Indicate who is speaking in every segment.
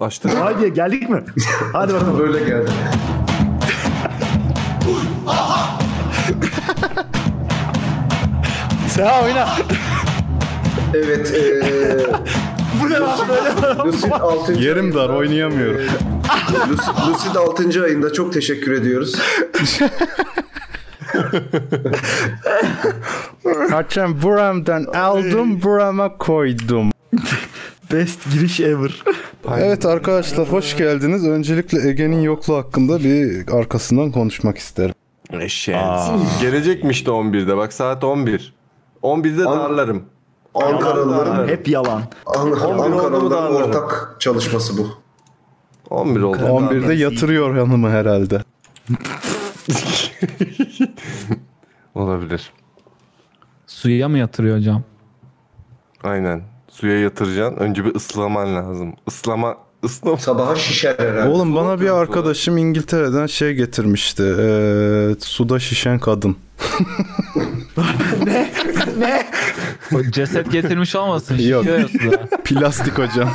Speaker 1: Açtık.
Speaker 2: Haydi geldik mi? Hadi bakalım.
Speaker 3: Böyle geldi.
Speaker 2: Seha oyna.
Speaker 3: Evet. eee
Speaker 2: Bu ne lan böyle?
Speaker 3: Lucid 6.
Speaker 4: Yerim dar oynayamıyorum.
Speaker 3: Lucid, Lucid 6. ayında çok teşekkür ediyoruz.
Speaker 4: Haçan buramdan aldım burama koydum.
Speaker 2: Best giriş ever.
Speaker 4: Evet arkadaşlar hoş geldiniz. Öncelikle Ege'nin yokluğu hakkında bir arkasından konuşmak isterim.
Speaker 1: Eşeğin. Gelecekmiş de 11'de bak saat 11. 11'de
Speaker 3: An-
Speaker 1: darlarım.
Speaker 3: Ankaralıların
Speaker 2: Hep yalan.
Speaker 3: An-
Speaker 1: oldu mu daha
Speaker 3: Ankaralıların
Speaker 1: anlarım.
Speaker 3: ortak çalışması bu.
Speaker 1: 11 oldu.
Speaker 4: 11'de yatırıyor hanımı herhalde.
Speaker 1: Olabilir.
Speaker 5: Suya mı yatırıyor hocam?
Speaker 1: Aynen. Suya yatıracaksın. Önce bir ıslaman lazım. Islama ıslam.
Speaker 3: Sabaha şişer herhalde.
Speaker 4: Oğlum bana bir
Speaker 1: diyoruz
Speaker 4: arkadaşım İngiltere'den şey getirmişti. Eee suda şişen kadın.
Speaker 5: O ceset getirmiş olmasın.
Speaker 4: Yok.
Speaker 5: şişiyor ya suda.
Speaker 4: Plastik hocam.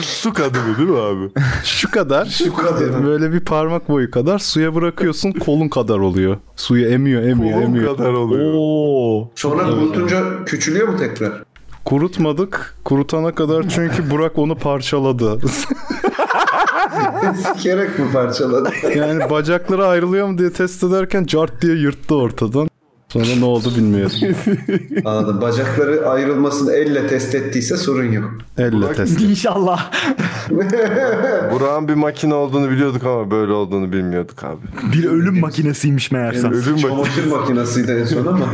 Speaker 1: Su kadını değil mi abi?
Speaker 4: Şu kadar.
Speaker 3: Su kadını.
Speaker 4: Böyle bir parmak boyu kadar suya bırakıyorsun kolun kadar oluyor. Suyu emiyor emiyor
Speaker 1: Kolum
Speaker 4: emiyor.
Speaker 1: kadar oluyor.
Speaker 5: Oo.
Speaker 3: Sonra kurutunca küçülüyor mu tekrar?
Speaker 4: Kurutmadık. Kurutana kadar çünkü Burak onu parçaladı.
Speaker 3: Sikerek mi parçaladı?
Speaker 4: yani bacakları ayrılıyor mu diye test ederken cart diye yırttı ortadan. Sonra ne oldu bilmiyorum.
Speaker 3: Anladım. Bacakları ayrılmasını elle test ettiyse sorun yok.
Speaker 4: Elle test.
Speaker 2: İnşallah.
Speaker 1: Burak'ın bir makine olduğunu biliyorduk ama böyle olduğunu bilmiyorduk abi.
Speaker 2: Bir ölüm makinesiymiş meğerse.
Speaker 1: Ölüm makinesi.
Speaker 3: Çamaşır makinesiydi en son ama.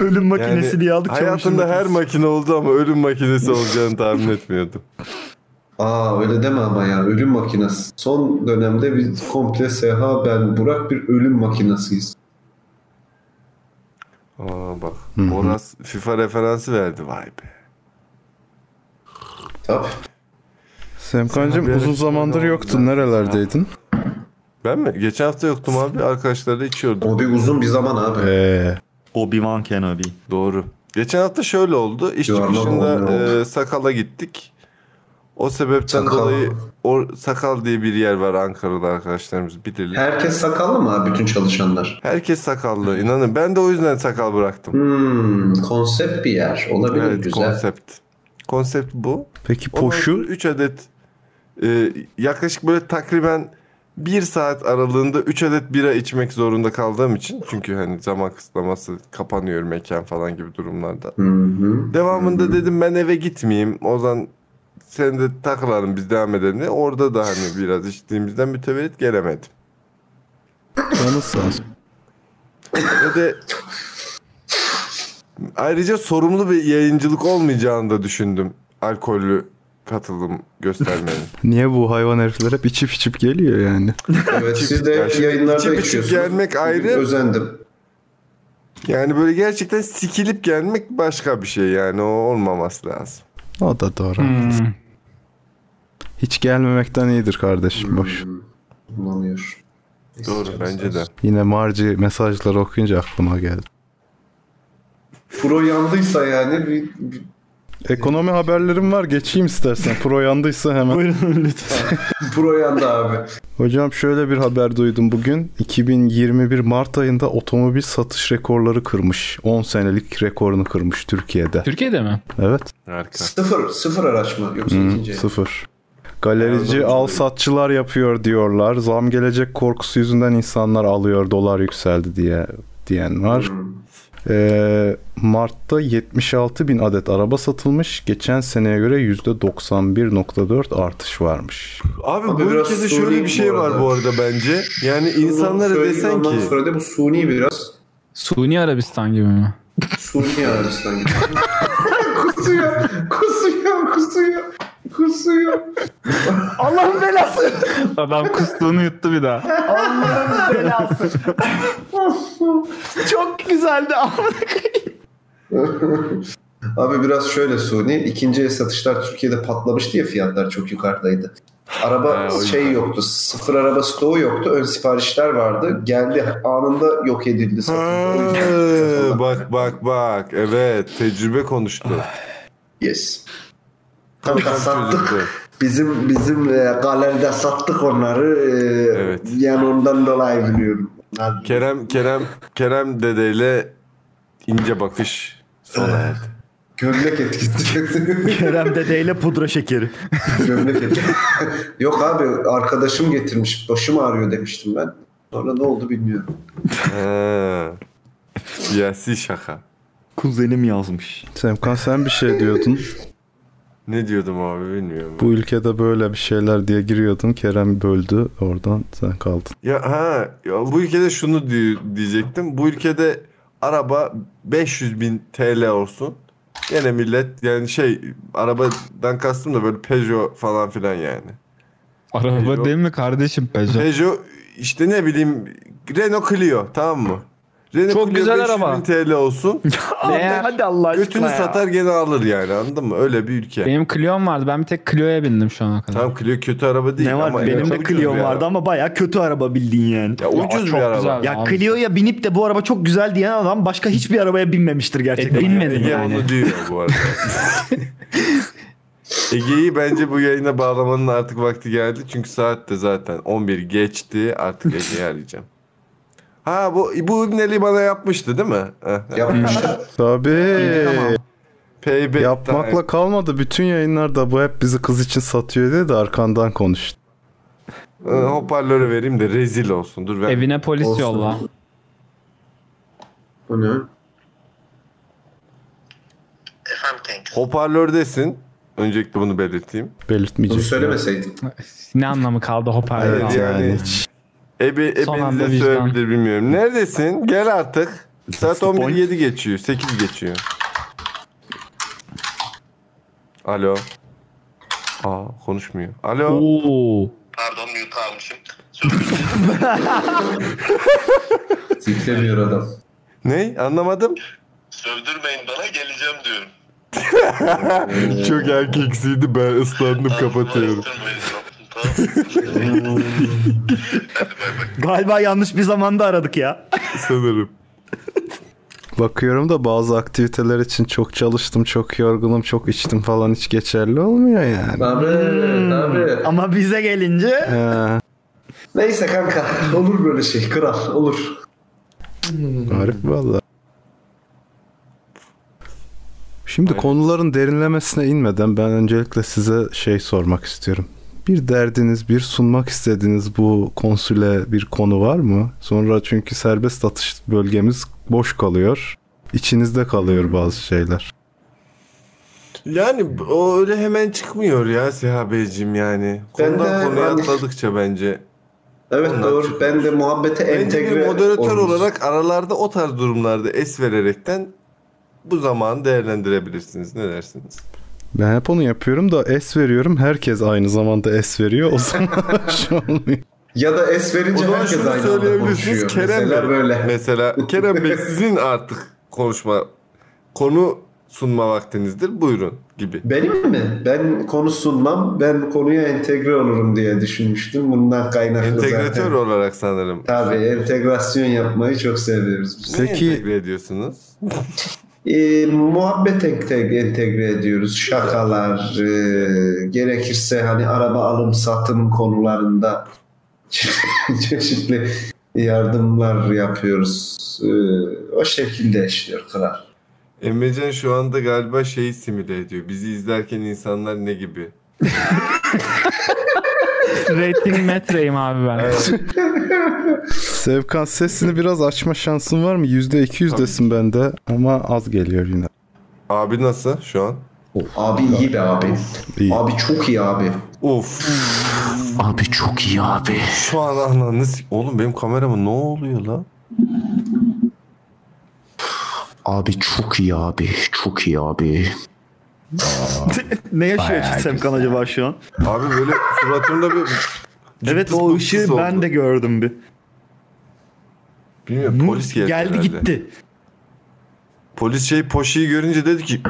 Speaker 2: ölüm
Speaker 1: Yani
Speaker 2: makinesi diye aldık. çamaşır
Speaker 1: Hayatında her
Speaker 2: makinesi.
Speaker 1: makine oldu ama ölüm makinesi olacağını tahmin etmiyordum.
Speaker 3: Aa öyle deme ama ya ölüm makinesi. Son dönemde biz komple Seha, ben, Burak bir ölüm makinesiyiz.
Speaker 1: Aa bak. Boras FIFA referansı verdi vay be.
Speaker 3: Tabii.
Speaker 1: Sen bir
Speaker 4: Semkancığım uzun
Speaker 1: eleştirmen
Speaker 4: zamandır
Speaker 1: oldun
Speaker 4: yoktun.
Speaker 1: zaten.
Speaker 4: Nerelerdeydin?
Speaker 1: Ben mi? Geçen hafta yoktum abi. Arkadaşlarla içiyordum.
Speaker 3: O bir uzun bir zaman abi.
Speaker 4: Eee.
Speaker 2: Obi-Wan Kenobi.
Speaker 1: Doğru. Geçen hafta şöyle oldu. İş
Speaker 3: Yuvarlak
Speaker 1: çıkışında
Speaker 3: olmuyor oldu.
Speaker 1: e, sakala gittik. O sebepten
Speaker 3: Sakal.
Speaker 1: dolayı o sakal diye bir yer var Ankara'da arkadaşlarımız bilirler.
Speaker 3: Herkes sakallı mı abi bütün çalışanlar?
Speaker 1: Herkes sakallı inanın. Ben de o yüzden sakal bıraktım.
Speaker 3: Hmm, konsept bir yer. Olabilir
Speaker 1: evet
Speaker 3: güzel.
Speaker 1: konsept. Konsept bu.
Speaker 4: Peki poşu?
Speaker 1: 3 adet e, yaklaşık böyle takriben 1 saat aralığında 3 adet bira içmek zorunda kaldığım için çünkü hani zaman kısıtlaması kapanıyor mekan falan gibi durumlarda.
Speaker 3: Hı hı.
Speaker 1: Devamında dedim ben eve gitmeyeyim. Ozan sen de takılalım biz devam edelim diye. Orada da hani biraz içtiğimizden mütevellit gelemedim.
Speaker 4: Canı sağ olsun.
Speaker 1: Ve de ayrıca sorumlu bir yayıncılık olmayacağını da düşündüm. Alkollü katılım göstermenin.
Speaker 4: Niye bu hayvan herifler hep içip içip geliyor yani?
Speaker 3: Evet siz de
Speaker 1: Ya şimdi
Speaker 3: yayınlarda
Speaker 1: içip içip
Speaker 3: içiyorsunuz.
Speaker 1: gelmek ayrı.
Speaker 3: Özendim.
Speaker 1: Yani böyle gerçekten sikilip gelmek başka bir şey yani o olmaması lazım.
Speaker 4: O da doğru. Hiç gelmemekten iyidir kardeşim. Boş.
Speaker 3: Anlamıyor. Neyse,
Speaker 1: Doğru
Speaker 3: canım
Speaker 1: bence
Speaker 3: sağ
Speaker 1: de.
Speaker 3: olsun.
Speaker 4: Yine marci mesajları okuyunca aklıma geldi.
Speaker 3: Pro yandıysa yani bir, bir-
Speaker 4: Ekonomi haberlerim var geçeyim istersen. Pro yandıysa hemen.
Speaker 2: Buyurun lütfen.
Speaker 3: pro yandı abi.
Speaker 4: Hocam şöyle bir haber duydum bugün. 2021 Mart ayında otomobil satış rekorları kırmış. 10 senelik rekorunu kırmış Türkiye'de.
Speaker 5: Türkiye'de mi?
Speaker 4: Evet.
Speaker 1: Harika.
Speaker 3: Sıfır, sıfır araç mı? Yoksa
Speaker 4: Hı,
Speaker 3: ikinci el.
Speaker 4: sıfır.
Speaker 1: Erdoğan
Speaker 4: Galerici al
Speaker 1: çalıyor.
Speaker 4: satçılar yapıyor diyorlar. Zam gelecek korkusu yüzünden insanlar alıyor dolar yükseldi diye diyen var.
Speaker 3: Hmm.
Speaker 4: Ee, Mart'ta 76 bin adet araba satılmış. Geçen seneye göre %91.4 artış varmış.
Speaker 1: Abi,
Speaker 3: Abi
Speaker 1: bu
Speaker 3: biraz
Speaker 1: ülkede
Speaker 3: sorayım
Speaker 1: şöyle bir şey
Speaker 3: bu
Speaker 1: var
Speaker 3: arada.
Speaker 1: bu arada bence. Yani
Speaker 3: Bunu
Speaker 1: insanlara
Speaker 3: söyleyeyim,
Speaker 1: desen ki
Speaker 3: Ondan sonra da bu suni biraz.
Speaker 5: Suni Arabistan gibi mi?
Speaker 3: Suni Arabistan gibi. kusuyor, kusuyor, kusuyor, kusuyor.
Speaker 2: Allah'ın belası.
Speaker 5: Adam kustuğunu yuttu bir daha.
Speaker 2: Allah'ın belası. Çok güzeldi ama.
Speaker 3: Abi biraz şöyle Suni. ikinci el satışlar Türkiye'de patlamıştı ya fiyatlar çok yukarıdaydı.
Speaker 1: Ha,
Speaker 3: Araba
Speaker 1: o
Speaker 3: şey
Speaker 1: yüzden.
Speaker 3: yoktu. Sıfır araba stoğu yoktu. Ön siparişler vardı. Geldi anında yok edildi satıldı. O
Speaker 1: Ha,
Speaker 3: yüzden-
Speaker 1: bak bak bak. Evet tecrübe konuştu.
Speaker 3: Yes. Kanka
Speaker 1: Problem
Speaker 3: sattık.
Speaker 1: çözüldü.
Speaker 3: Bizim bizim e, galeride sattık onları. E,
Speaker 1: Evet.
Speaker 3: Yani ondan dolayı biliyorum. Hadi.
Speaker 1: Kerem Kerem Kerem dedeyle ince bakış sona erdi.
Speaker 3: Gömlek etkisi.
Speaker 2: Kerem dedeyle pudra şekeri.
Speaker 3: Gömlek etkisi. Yok abi arkadaşım getirmiş. Başım ağrıyor demiştim ben. Sonra ne oldu bilmiyorum.
Speaker 1: Ha. Siyasi şaka.
Speaker 2: Kuzenim yazmış.
Speaker 4: Semkan sen bir şey diyordun.
Speaker 1: Ne diyordum abi bilmiyorum.
Speaker 4: Bu ülkede böyle bir şeyler diye giriyordun. Kerem böldü. Oradan sen kaldın.
Speaker 1: Ya ha ya bu ülkede şunu di- diyecektim. Bu ülkede araba 500 bin TL olsun. Gene millet yani şey arabadan kastım da böyle Peugeot falan filan yani.
Speaker 5: Araba değil mi kardeşim Peugeot?
Speaker 1: Peugeot işte ne bileyim Renault Clio tamam mı? Renault
Speaker 5: Çok
Speaker 1: Clio
Speaker 5: güzel
Speaker 1: 500
Speaker 5: araba.
Speaker 1: bin TL olsun.
Speaker 5: Değer.
Speaker 2: Hadi Allah aşkına
Speaker 1: Götünü
Speaker 2: ya.
Speaker 1: satar gene alır yani anladın mı? Öyle bir ülke.
Speaker 5: Benim Clio'm vardı. Ben bir tek Clio'ya bindim şu ana kadar.
Speaker 1: Tamam Clio kötü araba değil
Speaker 2: Ne var
Speaker 1: ama
Speaker 2: benim
Speaker 1: çok
Speaker 2: de
Speaker 1: ucuz
Speaker 2: Clio'm
Speaker 1: bir
Speaker 2: vardı
Speaker 1: araba.
Speaker 2: ama baya kötü araba bildiğin yani.
Speaker 1: Ya ucuz bir
Speaker 5: çok
Speaker 1: araba.
Speaker 5: güzel.
Speaker 2: Ya
Speaker 5: Abi.
Speaker 2: Clio'ya binip de bu araba çok güzel diyen adam başka hiçbir arabaya binmemiştir gerçekten.
Speaker 5: E, binmedi.
Speaker 1: Ege
Speaker 5: Yani.
Speaker 1: onu diyor bu arada. Ege'yi bence bu yayına bağlamanın artık vakti geldi. Çünkü saat de zaten 11 geçti. Artık Ege'yi arayacağım. Ha bu bu İbneli bana yapmıştı değil mi? Heh.
Speaker 3: Yapmışlar.
Speaker 4: Tabii.
Speaker 1: Payback time.
Speaker 4: Yapmakla kalmadı. Bütün yayınlarda bu hep bizi kız için satıyor diye de arkandan konuştu.
Speaker 1: Ee, hoparlörü vereyim de rezil olsun. Dur ver.
Speaker 5: Evine polis
Speaker 3: Olsun.
Speaker 5: yolla.
Speaker 3: O ne?
Speaker 6: Efendim kanka.
Speaker 1: Hoparlördesin. Öncelikle bunu belirteyim.
Speaker 4: Belirtmeyecek.
Speaker 3: Bunu söylemeseydin.
Speaker 5: Ne anlamı kaldı hoparlör?
Speaker 1: Evet,
Speaker 5: almanın?
Speaker 1: Ee, yani.
Speaker 4: Yani hiç.
Speaker 1: Ebe,
Speaker 5: Son anda
Speaker 1: ebenize
Speaker 5: vicdan.
Speaker 1: söyleyebilir bilmiyorum. Neredesin? Gel artık. Saat
Speaker 2: the point.
Speaker 1: 11.07 geçiyor. 8 geçiyor. Alo. Aa konuşmuyor. Alo.
Speaker 5: Oo.
Speaker 6: Pardon mute almışım. Sözü
Speaker 3: Zikremiyor adam.
Speaker 1: Ne? Anlamadım.
Speaker 6: sövdürmeyin bana geleceğim diyorum.
Speaker 1: Çok erkeksiydi ben ıslandım kapatıyorum.
Speaker 6: Uğraştırmayın, yaptım, Tamam.
Speaker 2: Galiba yanlış bir zamanda aradık ya.
Speaker 1: Sanırım.
Speaker 4: Bakıyorum da bazı aktiviteler için çok çalıştım, çok yorgunum, çok içtim falan hiç geçerli olmuyor yani.
Speaker 3: Abi,
Speaker 1: Hmm.
Speaker 3: abi.
Speaker 2: Ama bize gelince
Speaker 4: Ee,
Speaker 3: Neyse kanka. Olur böyle şey. Kral. Olur.
Speaker 4: garip valla. Şimdi
Speaker 1: Aynen.
Speaker 4: konuların derinlemesine inmeden ben öncelikle size şey sormak istiyorum. Bir derdiniz, bir sunmak istediğiniz bu konsüle bir konu var mı? Sonra çünkü serbest atış bölgemiz boş kalıyor. İçinizde kalıyor bazı şeyler.
Speaker 1: Yani o öyle hemen çıkmıyor ya Seha Beyciğim yani.
Speaker 3: Ben
Speaker 1: Konudan
Speaker 3: de-
Speaker 1: konuya
Speaker 3: ben-
Speaker 1: atladıkça bence.
Speaker 3: Evet
Speaker 1: Ondan
Speaker 3: doğru.
Speaker 1: çıkmış.
Speaker 3: Ben de muhabbete
Speaker 1: Bence
Speaker 3: entegre
Speaker 1: bir moderatör
Speaker 3: olmuş.
Speaker 1: olarak aralarda o tarz durumlarda es vererekten bu zamanı değerlendirebilirsiniz. Ne dersiniz?
Speaker 4: Ben hep onu yapıyorum da es veriyorum. Herkes aynı zamanda es veriyor. O zaman şey olmuyor.
Speaker 3: Ya da es
Speaker 1: O
Speaker 3: verince
Speaker 1: zaman
Speaker 3: herkes
Speaker 1: şunu
Speaker 3: aynı anda
Speaker 1: söyleyebilirsiniz.
Speaker 3: konuşuyor.
Speaker 1: Kerem
Speaker 3: Mesela
Speaker 1: Bey.
Speaker 3: böyle.
Speaker 1: Mesela Kerem Bey sizin artık konuşma konu sunma vaktinizdir. Buyurun gibi.
Speaker 3: Benim mi? Ben konu sunmam. Ben konuya entegre olurum diye düşünmüştüm. Bundan kaynaklı
Speaker 1: Entegratör
Speaker 3: zaten.
Speaker 1: olarak sanırım.
Speaker 3: Tabii entegrasyon yapmayı çok seviyoruz biz.
Speaker 1: Ne
Speaker 4: Peki-
Speaker 1: entegre ediyorsunuz?
Speaker 3: Ee, muhabbet entegre, entegre ediyoruz. Şakalar, e, gerekirse hani araba alım satım konularında çeşitli yardımlar yapıyoruz. Ee, o şekilde işliyor kral.
Speaker 1: Emrecan şu anda galiba şeyi simüle ediyor. Bizi izlerken insanlar ne gibi?
Speaker 5: Rating metreyim abi ben.
Speaker 4: Sevkan sesini biraz açma şansın var mı? %200 desin bende ama az geliyor yine.
Speaker 1: Abi nasıl şu an?
Speaker 3: Abi iyi be abi.
Speaker 4: İyi.
Speaker 3: Abi çok iyi abi.
Speaker 1: Of.
Speaker 2: abi çok iyi abi.
Speaker 1: Şu an ananı s- Oğlum benim kamerama ne oluyor lan?
Speaker 7: Abi çok iyi abi. Çok iyi abi.
Speaker 2: ne yaşıyor Semkan acaba şu an?
Speaker 1: Abi böyle suratımda bir...
Speaker 2: Evet
Speaker 1: cıptıs
Speaker 2: o
Speaker 1: bıptıs
Speaker 2: ışığı
Speaker 1: oldu.
Speaker 2: ben de gördüm bir.
Speaker 1: Bilmiyorum
Speaker 2: Nur
Speaker 1: polis geldi.
Speaker 2: geldi
Speaker 1: herhalde.
Speaker 2: gitti.
Speaker 1: Polis şey poşiyi görünce dedi ki...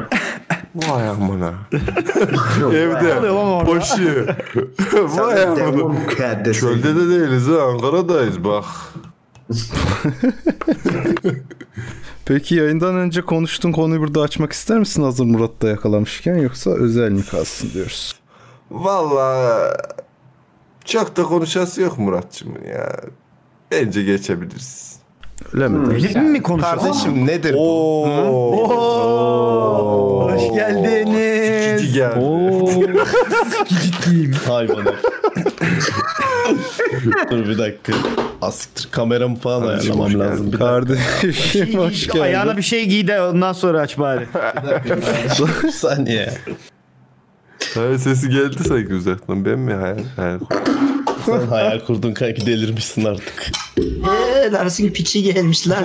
Speaker 1: Vay amına.
Speaker 2: Ne oluyor
Speaker 1: Evde.
Speaker 2: lan orada?
Speaker 1: Poşi. Vay amına. Çölde de değiliz ha Ankara'dayız bak.
Speaker 4: Peki yayından önce konuştuğun konuyu burada açmak ister misin hazır Murat'ta yakalamışken yoksa özel mi kalsın diyoruz.
Speaker 1: Valla çok da konuşası yok Muratçımın ya. Bence geçebiliriz.
Speaker 4: Öyle mi?
Speaker 2: Bilim mi konuşuyorsun?
Speaker 6: Kardeşim nedir bu?
Speaker 2: Oo. Hoş geldiniz.
Speaker 1: Sikici geldi.
Speaker 8: Ciddiyim.
Speaker 6: Hayvan herif. Dur bir dakika. Asiktir kameramı falan ayarlamam lazım. Bir
Speaker 4: Kardeşim hoş
Speaker 2: Hoş Ayağına
Speaker 4: geldin.
Speaker 2: bir şey giy de ondan sonra aç bari.
Speaker 6: dakika. Bir saniye.
Speaker 1: Hayır sesi geldi sanki uzaktan. Ben mi hayal? hayal.
Speaker 6: Sen hayal kurdun kanki delirmişsin artık.
Speaker 9: Eee Lars'ın piçi gelmiş lan.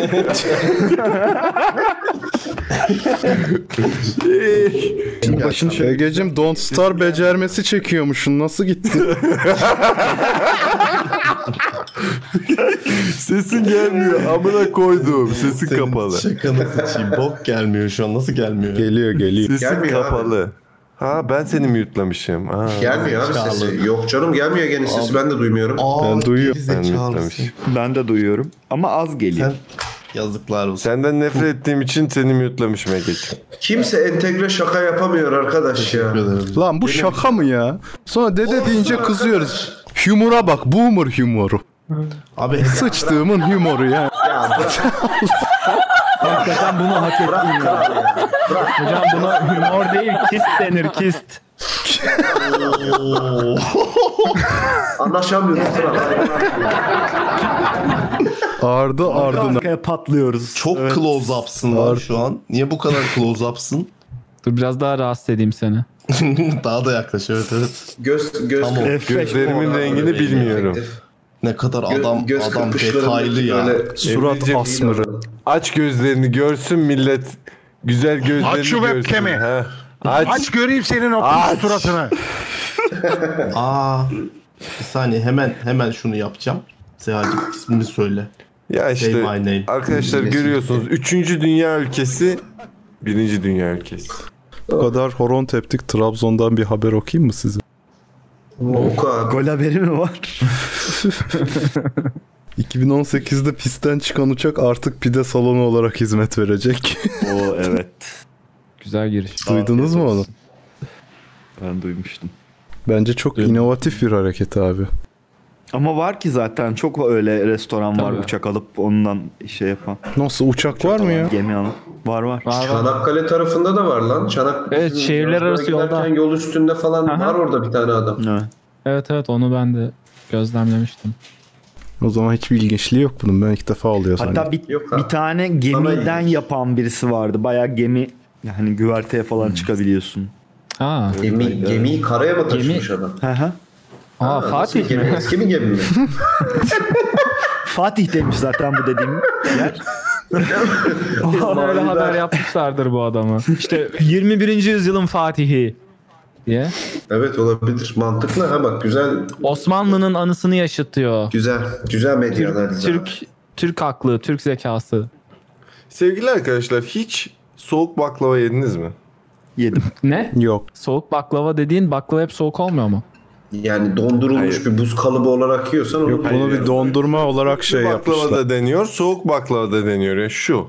Speaker 4: Başını şey... Egecim Don't Star becermesi çekiyormuşsun. Nasıl gitti?
Speaker 1: Sesin gelmiyor. Amına koyduğum. Sesin kapalı.
Speaker 6: Şakanı sıçayım. Bok gelmiyor şu an. Nasıl gelmiyor?
Speaker 4: geliyor geliyor.
Speaker 1: Sesin
Speaker 3: Gelmiyor abi.
Speaker 1: kapalı. Ha ben seni mute'lamışım. Ha.
Speaker 3: Gelmiyor abi sesi.
Speaker 6: Çağladı.
Speaker 3: Yok canım gelmiyor gene sesi ben de duymuyorum.
Speaker 6: Aa,
Speaker 4: Ben duyuyorum.
Speaker 1: Ben
Speaker 6: gerizekalısın.
Speaker 1: mute'lamışım.
Speaker 2: Ben de duyuyorum ama az geliyor.
Speaker 6: Sen- Yazıklar olsun.
Speaker 1: Senden nefret ettiğim için seni mute'lamışım Ege'ciğim.
Speaker 3: Kimse entegre şaka yapamıyor arkadaş ya.
Speaker 6: Teşekkür ederim.
Speaker 4: Lan bu şaka mı ya? Sonra dede
Speaker 3: Olsun
Speaker 4: deyince
Speaker 3: arkadaş.
Speaker 4: kızıyoruz. Humora bak. Boomer humoru.
Speaker 6: Abi
Speaker 4: Sıçtığımın humoru ya.
Speaker 8: Hakikaten bunu hak ettim. ya. Hocam buna humor değil kist denir kist.
Speaker 3: Anlaşamıyoruz.
Speaker 4: Ardı ardına.
Speaker 2: Arkaya patlıyoruz.
Speaker 6: çok close up'sın var şu an. Niye bu kadar close up'sın?
Speaker 8: Dur biraz daha rahatsız edeyim seni.
Speaker 6: Daha da yaklaş evet evet.
Speaker 3: Göz göz
Speaker 6: Tamam.
Speaker 3: kırp-
Speaker 1: Gözlerimin rengini bilmiyorum.
Speaker 6: Ne kadar
Speaker 3: Gö-
Speaker 6: adam
Speaker 3: göz
Speaker 6: adam
Speaker 3: kırpışlarındaki
Speaker 6: detaylı ya.
Speaker 3: böyle-
Speaker 4: Surat
Speaker 1: Evleneceğim.
Speaker 4: asmırı.
Speaker 1: Aç gözlerini görsün millet. Güzel gözlerini
Speaker 10: Aç şu
Speaker 1: görsün.
Speaker 10: webcam'i.
Speaker 1: Ha. Aç.
Speaker 10: Aç göreyim senin o
Speaker 1: Aç.
Speaker 10: suratını.
Speaker 6: Aa. Bir saniye hemen hemen şunu yapacağım. Sehacım ismini söyle.
Speaker 1: Ya
Speaker 6: Say my
Speaker 1: işte
Speaker 6: name.
Speaker 1: arkadaşlar görüyorsunuz. Üçüncü dünya ülkesi. Birinci dünya ülkesi.
Speaker 4: Bu kadar horon teptik Trabzon'dan bir haber okuyayım mı size?
Speaker 3: Oku abi.
Speaker 2: Gol haberi mi var?
Speaker 4: 2018'de pistten çıkan uçak artık pide salonu olarak hizmet verecek.
Speaker 2: Oo evet.
Speaker 8: Güzel giriş.
Speaker 4: Duydunuz mu onu?
Speaker 2: Ben duymuştum.
Speaker 4: Bence çok
Speaker 6: Duydum.
Speaker 4: inovatif bir hareket abi.
Speaker 2: Ama var ki zaten çok öyle restoran var
Speaker 8: Tabii.
Speaker 2: uçak alıp ondan şey yapan.
Speaker 4: Nasıl uçak var mı ya?
Speaker 2: Gemi alıp. Var var.
Speaker 8: Var var.
Speaker 3: Çanakkale tarafında da var lan. Çanak
Speaker 8: Evet, şehirler
Speaker 3: Yolculuğa
Speaker 8: arası yolda.
Speaker 3: giderken Yol üstünde falan
Speaker 8: Aha.
Speaker 3: var orada bir tane adam.
Speaker 2: Evet.
Speaker 8: Evet evet onu ben de gözlemlemiştim.
Speaker 4: O zaman hiçbir ilginçliği yok bunun. Ben ilk defa oluyor
Speaker 2: Hatta
Speaker 4: zannettim.
Speaker 2: bir,
Speaker 3: Yok abi.
Speaker 2: bir tane
Speaker 3: Sana
Speaker 2: gemiden yapan birisi vardı. Bayağı gemi yani güverteye falan çıkabiliyorsun.
Speaker 8: Ha.
Speaker 3: Gemi, gemiyi karaya mı taşımış adam?
Speaker 2: Hı hı.
Speaker 8: Aa,
Speaker 3: Ha, nasıl
Speaker 8: Fatih
Speaker 3: gemi?
Speaker 8: mi?
Speaker 3: Eski mi gemi mi?
Speaker 2: Fatih demiş zaten bu dediğim yer.
Speaker 8: Böyle haber yapmışlardır bu adamı. İşte 21. yüzyılın Fatihi diye.
Speaker 3: evet olabilir. Mantıklı. Ha bak güzel
Speaker 8: Osmanlı'nın anısını yaşatıyor.
Speaker 3: güzel güzel medya analizi.
Speaker 8: Türk Türk aklı, Türk zekası.
Speaker 1: Sevgili arkadaşlar hiç soğuk baklava yediniz mi?
Speaker 2: Yedim.
Speaker 8: Ne?
Speaker 4: Yok.
Speaker 8: Soğuk baklava dediğin baklava hep soğuk olmuyor mu?
Speaker 3: Yani dondurulmuş bir buz kalıbı olarak yiyorsan onu
Speaker 4: Yok bunu bir dondurma olarak şey
Speaker 1: baklava
Speaker 4: yapmışlar.
Speaker 1: da deniyor, soğuk baklava da deniyor. Yani şu.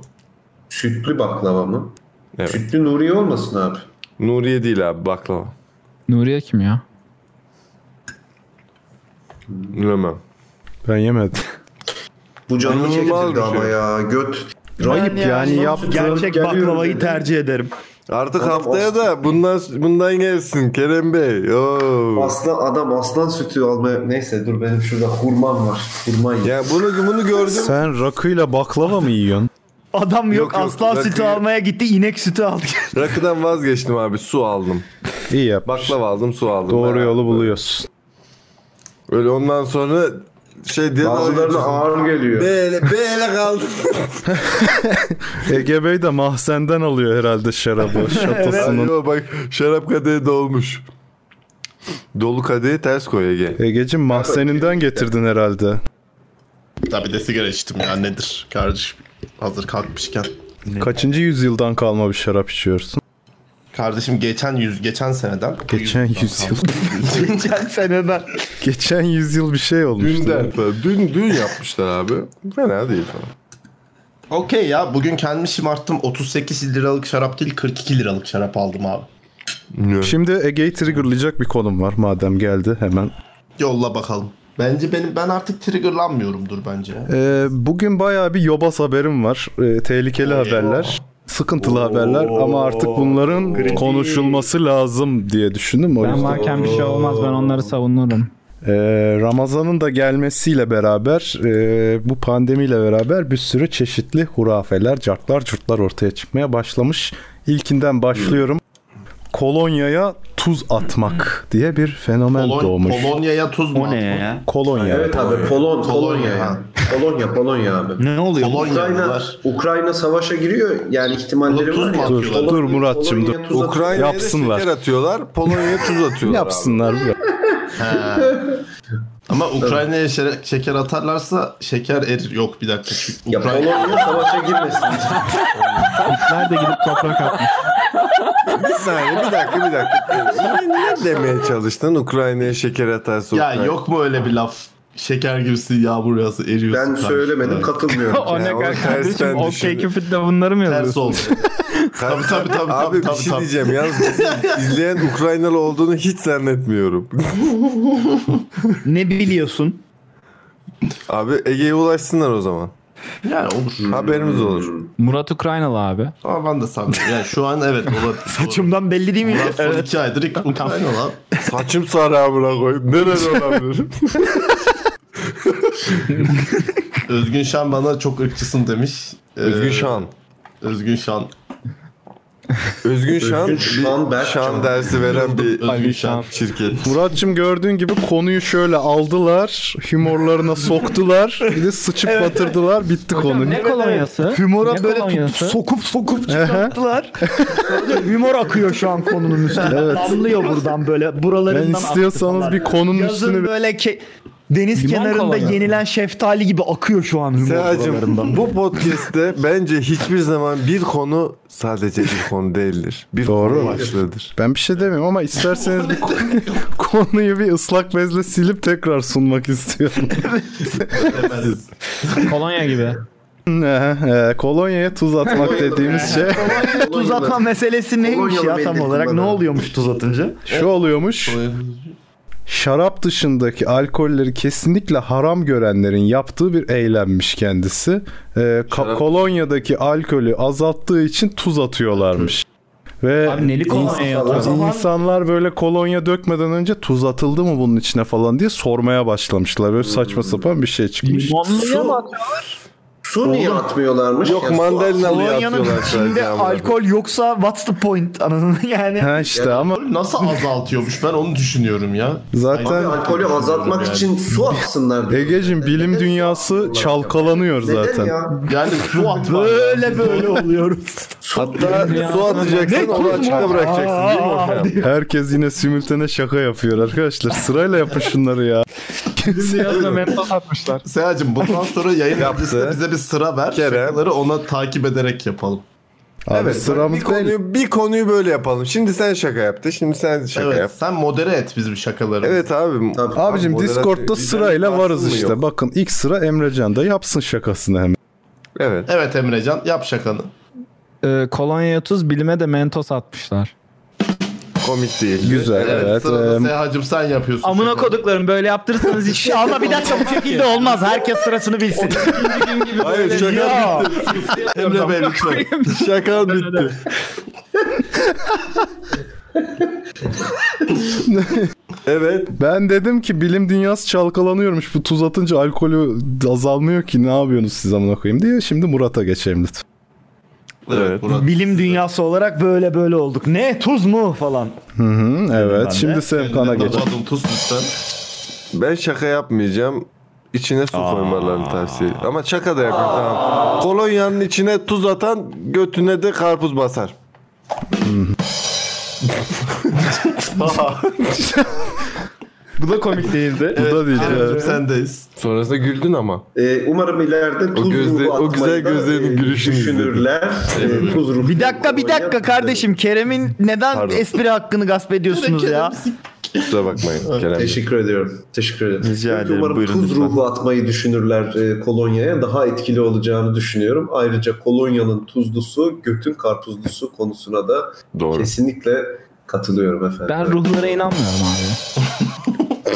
Speaker 3: sütlü baklava mı?
Speaker 1: Evet.
Speaker 3: Sütlü Nuriye olmasın abi.
Speaker 1: Nuriye değil abi baklava.
Speaker 8: Nuriye kim ya?
Speaker 1: Bilemem.
Speaker 4: Ben yemedim.
Speaker 3: Bu canımı
Speaker 1: İnanılmaz bir
Speaker 3: çektirdi ama
Speaker 1: şey.
Speaker 3: ya. Göt.
Speaker 4: Ayıp yani yaptığın-
Speaker 2: Gerçek
Speaker 3: Geliyorum
Speaker 2: baklavayı
Speaker 3: dedi.
Speaker 2: tercih ederim.
Speaker 1: Artık
Speaker 3: Adam
Speaker 1: haftaya
Speaker 3: aslan.
Speaker 1: da bundan bundan gelsin Kerem Bey. Oo.
Speaker 3: Aslan adam aslan sütü almaya neyse dur benim şurada hurmam var. Hurma ye.
Speaker 1: Ya bunu bunu gördüm.
Speaker 4: Sen rakıyla baklava mı yiyorsun?
Speaker 2: Adam yok,
Speaker 1: Yok, yok,
Speaker 2: aslan
Speaker 1: rakıyı-
Speaker 2: sütü almaya gitti inek sütü aldı.
Speaker 1: Rakıdan vazgeçtim abi. Su aldım.
Speaker 4: İyi yap.
Speaker 1: Baklava aldım, su aldım.
Speaker 4: Doğru
Speaker 1: Ben-
Speaker 4: yolu buluyorsun.
Speaker 1: Öyle ondan sonra şey diye
Speaker 3: Bazılarına ağır geliyor.
Speaker 1: Böyle böyle kaldı.
Speaker 4: Ege Bey de mahzenden alıyor herhalde şarabı şatosunu.
Speaker 1: Yo, bak şarap kadehi dolmuş. Dolu kadehi ters koy Ege.
Speaker 4: Egeciğim mahzeninden getirdin herhalde.
Speaker 6: Tabii de sigara içtim ya nedir kardeşim. Hazır kalkmışken.
Speaker 4: Kaçıncı yüzyıldan kalma bir şarap içiyorsun?
Speaker 6: Kardeşim geçen yüz geçen seneden. bu
Speaker 4: Geçen
Speaker 6: yüzyıldan
Speaker 4: yüzyıl.
Speaker 6: kaldı.
Speaker 2: Geçen seneden.
Speaker 4: Geçen yüzyıl bir şey olmuş.
Speaker 1: Dünden falan. Dün, dün yapmışlar abi. Fena değil falan.
Speaker 11: Okey ya bugün kendimi şımarttım. 38 liralık şarap değil 42 liralık şarap aldım abi.
Speaker 4: Şimdi Ege'yi triggerlayacak bir konum var madem geldi hemen.
Speaker 11: Yolla bakalım. Bence benim ben artık triggerlanmıyorumdur bence.
Speaker 4: Ee, bugün bayağı bir yobaz haberim var. Ee, tehlikeli haberler. Sıkıntılı haberler ama artık bunların konuşulması lazım diye düşündüm. O
Speaker 5: Ben
Speaker 4: yüzden.
Speaker 5: varken bir şey olmaz ben onları savunurum.
Speaker 4: Ee, Ramazan'ın da gelmesiyle beraber e, bu pandemiyle beraber bir sürü çeşitli hurafeler, cartlar curtlar ortaya çıkmaya başlamış. İlkinden başlıyorum. Kolonya'ya tuz atmak diye bir fenomen
Speaker 11: Polon-
Speaker 4: doğmuş.
Speaker 11: Polonya'ya tuz mu?
Speaker 2: O ne ya?
Speaker 4: Kolonya.
Speaker 3: Evet abi Polon, Polonya ya.
Speaker 11: Polonya.
Speaker 3: Polonya, Polonya abi.
Speaker 2: Ne oluyor?
Speaker 3: Ukrayna,
Speaker 11: Polonyalılar.
Speaker 3: Ukrayna savaşa giriyor. Yani ihtimalleri
Speaker 11: Tuz
Speaker 3: var.
Speaker 11: mu
Speaker 3: ya.
Speaker 11: atıyorlar?
Speaker 3: Polonya-
Speaker 4: Dur Muratçım,
Speaker 3: Polonya
Speaker 4: dur.
Speaker 3: tuz atıyor.
Speaker 1: Ukrayna'ya
Speaker 4: Yapsınlar.
Speaker 1: da şeker atıyorlar. Polonya'ya tuz atıyorlar. abi.
Speaker 4: Yapsınlar bırak.
Speaker 11: Ama Ukrayna'ya şere- şeker atarlarsa şeker erir. Yok bir dakika. Çünkü
Speaker 3: Ya
Speaker 11: Ukrayna
Speaker 3: Polonya savaşa girmesin.
Speaker 5: Hitler de gidip toprak atmış.
Speaker 1: Bir saniye bir dakika bir dakika. Sen ne demeye çalıştın Ukrayna'ya şeker atarsa
Speaker 11: Ya
Speaker 1: Ukrayna?
Speaker 11: yok mu öyle bir laf? Şeker gibisin yağmur yağsa eriyorsun.
Speaker 3: Ben
Speaker 11: kardeşim.
Speaker 3: söylemedim
Speaker 11: Evet.
Speaker 3: katılmıyorum.
Speaker 5: o ne
Speaker 1: Ya, o
Speaker 5: kadar
Speaker 1: tersten
Speaker 5: kardeşim okey
Speaker 1: düşündüm.
Speaker 5: Cupid'de bunları mı
Speaker 11: Ters
Speaker 5: yazıyorsun?
Speaker 11: oldu. tabii tabii tabii.
Speaker 1: Abi
Speaker 11: tabii,
Speaker 1: bir
Speaker 11: tabii,
Speaker 1: şey
Speaker 11: tabii.
Speaker 1: diyeceğim yalnız bizi izleyen Ukraynalı olduğunu hiç zannetmiyorum.
Speaker 2: Ne biliyorsun?
Speaker 1: Abi Ege'ye ulaşsınlar o zaman.
Speaker 11: Yani olur.
Speaker 1: Haberimiz olur.
Speaker 5: Murat Ukraynalı abi.
Speaker 11: Ama ben de sanmıyorum. Yani şu an evet olabilir.
Speaker 2: Saçımdan belli değil mi?
Speaker 1: şey.
Speaker 11: Murat son iki aydır ilk Ukrayna lan.
Speaker 1: Saçım sarı amına koyayım. Nereden olabilir?
Speaker 11: Özgün Şan bana çok ırkçısın demiş. Ee,
Speaker 1: Özgün Şan.
Speaker 11: Özgün Şan.
Speaker 1: Özgün Şan,
Speaker 3: Özgün Şan
Speaker 1: bir
Speaker 3: Berk
Speaker 1: şan
Speaker 3: Can.
Speaker 1: dersi veren bir
Speaker 11: Özgün Şan.
Speaker 1: şirket.
Speaker 4: Muratçım gördüğün gibi konuyu şöyle aldılar, humorlarına soktular, bir de sıçıp batırdılar, bitti konu.
Speaker 5: Ne kolonyası?
Speaker 2: Hümora
Speaker 5: Ne
Speaker 2: böyle tut-
Speaker 5: kolonyası?
Speaker 2: sokup sokup çıkarttılar. Hümor akıyor şu an konunun üstüne. Damlıyor buradan böyle
Speaker 4: Ben
Speaker 2: buralarından aktı
Speaker 4: istiyorsanız
Speaker 2: falan.
Speaker 4: bir konunun
Speaker 2: Yazın
Speaker 4: üstüne
Speaker 2: böyle ke- deniz
Speaker 5: Limon
Speaker 2: kenarında
Speaker 5: kolonyası.
Speaker 2: yenilen şeftali gibi akıyor şu an hümor buralarından.
Speaker 1: Sehacım bu podcast'te bence hiçbir zaman bir konu sadece bir konu değildir. Bir
Speaker 4: Doğru.
Speaker 1: konu başlığıdır.
Speaker 4: ben bir şey demiyorum ama isterseniz bir konuyu bir ıslak bezle silip tekrar sunmak istiyorum.
Speaker 11: Evet.
Speaker 5: Kolonya gibi.
Speaker 4: Ee, e, Kolonya'ya tuz atmak dediğimiz şey
Speaker 2: tuz atma meselesi neymiş
Speaker 3: Kolonyalı
Speaker 2: ya tam
Speaker 3: belli
Speaker 2: olarak? Ne
Speaker 3: kullanıyor.
Speaker 2: oluyormuş tuz atınca?
Speaker 4: şey şu oluyormuş. Şarap dışındaki alkolleri kesinlikle haram görenlerin yaptığı bir eylemmiş kendisi. Ee, ka- kolonya'daki alkolü azalttığı için tuz atıyorlarmış. Ve
Speaker 5: Abi neli kolonya
Speaker 4: o
Speaker 5: yazıyor?
Speaker 4: zaman- insanlar böyle kolonya dökmeden önce tuz atıldı mı bunun içine falan diye sormaya başlamışlar. Böyle saçma sapan bir şey çıkmış.
Speaker 5: Limonluya mı
Speaker 3: Su niye atmıyorlarmış?
Speaker 1: Yok
Speaker 3: Yani su
Speaker 1: mandalinalı
Speaker 2: Kolonyanın
Speaker 1: yapıyorlar sadece.
Speaker 2: içinde
Speaker 1: amına koyayım.
Speaker 2: alkol yoksa what's the point anladın mı? yani.
Speaker 4: Ha işte ama
Speaker 11: Nasıl azaltıyormuş ben onu düşünüyorum ya.
Speaker 4: zaten
Speaker 3: Abi alkolü azaltmak
Speaker 11: Yani.
Speaker 3: için su atsınlar. diyor.
Speaker 4: Egeciğim bilim dünyası çalkalanıyor
Speaker 3: Neden
Speaker 4: zaten.
Speaker 3: ya?
Speaker 11: Yani su atma.
Speaker 2: Böyle böyle oluyoruz.
Speaker 1: Hatta su atacaksın onu açıkta bırakacaksın değil mi hocam?
Speaker 4: Herkes yine simültene şaka yapıyor arkadaşlar. Sırayla yapın şunları ya.
Speaker 5: yazıyor? Mentos atmışlar.
Speaker 11: Seyacım bundan sonra yayın
Speaker 1: Yaptı.
Speaker 11: öncesinde bize bir sıra ver.
Speaker 1: Kerem.
Speaker 11: Şakaları ona takip ederek yapalım.
Speaker 4: Abi
Speaker 1: Evet,
Speaker 4: sıramız
Speaker 1: bir konuyu, bir konuyu böyle yapalım. Şimdi sen şaka yaptı, şimdi sen şaka
Speaker 11: evet
Speaker 1: yap.
Speaker 11: sen modere et bizim şakaları.
Speaker 1: Evet abi.
Speaker 3: Tabii.
Speaker 4: Abicim
Speaker 1: Abi,
Speaker 4: Discord'da
Speaker 1: moderatör-
Speaker 4: sırayla
Speaker 1: Bizden
Speaker 4: varız
Speaker 1: varsın mı
Speaker 4: işte.
Speaker 1: yok?
Speaker 4: Bakın ilk sıra Emrecan da yapsın şakasını hemen.
Speaker 1: Evet.
Speaker 11: Evet Emrecan yap şakanı.
Speaker 5: Ee, kolonya tuz bilime de mentos atmışlar.
Speaker 1: Komik değil.
Speaker 4: Güzel
Speaker 11: Evet,
Speaker 4: evet.
Speaker 11: sırada
Speaker 4: Em,
Speaker 11: Seyhacım sen yapıyorsun.
Speaker 5: Amına
Speaker 11: şakanı.
Speaker 5: koduklarım böyle yaptırırsanız şey hiç
Speaker 2: Ama bir dakika bu şekilde olmaz. Herkes sırasını bilsin.
Speaker 1: Hayır şaka
Speaker 2: Ya.
Speaker 11: Emre Bey lütfen.
Speaker 1: şaka bitti. evet.
Speaker 4: ben dedim ki bilim dünyası çalkalanıyormuş. Bu tuz atınca alkolü azalmıyor ki ne yapıyorsunuz siz amına koyayım diye. Şimdi Murat'a geçelim lütfen.
Speaker 1: Evet.
Speaker 11: Murat.
Speaker 2: Bilim dünyası olarak böyle böyle olduk. Ne tuz mu falan.
Speaker 4: Hı hı,
Speaker 2: ben
Speaker 4: evet.
Speaker 2: de.
Speaker 4: Şimdi Sevkan'a
Speaker 11: Eline
Speaker 4: geçelim.
Speaker 11: damadın tuz lütfen.
Speaker 1: Ben şaka yapmayacağım. İçine su koymalarını tavsiye ederim. Ama şaka da yapayım tamam. Kolonyanın içine tuz atan götüne de karpuz basar.
Speaker 5: Bu da komik değildi.
Speaker 4: Bu da değil.
Speaker 11: Kerem'cim
Speaker 4: evet.
Speaker 11: sendeyiz.
Speaker 1: Sonrasında güldün ama.
Speaker 3: Ee, umarım ileride tuz
Speaker 1: gözle-
Speaker 3: ruhu
Speaker 1: o güzel
Speaker 3: atmayı da,
Speaker 1: gözlerinin
Speaker 3: e,
Speaker 1: gülüşünü
Speaker 3: düşünürler. E, tuz ruhu
Speaker 2: Bir dakika bir
Speaker 3: atmayı
Speaker 2: dakika
Speaker 3: yapmayı.
Speaker 2: kardeşim Kerem'in neden
Speaker 1: Pardon.
Speaker 2: espri hakkını gasp ediyorsunuz ya?
Speaker 1: Kusura bakmayın Kerem. Bey.
Speaker 3: Teşekkür ediyorum. Teşekkür ederim.
Speaker 5: Rica ederim.
Speaker 3: Umarım
Speaker 5: Buyurun
Speaker 3: tuz
Speaker 5: lütfen.
Speaker 3: ruhu atmayı düşünürler e, kolonyaya. Daha etkili olacağını düşünüyorum. Ayrıca kolonyanın tuzlusu, götün karpuzlusu konusuna da
Speaker 1: Doğru.
Speaker 3: kesinlikle katılıyorum efendim.
Speaker 5: Ben ruhlara inanmıyorum abi.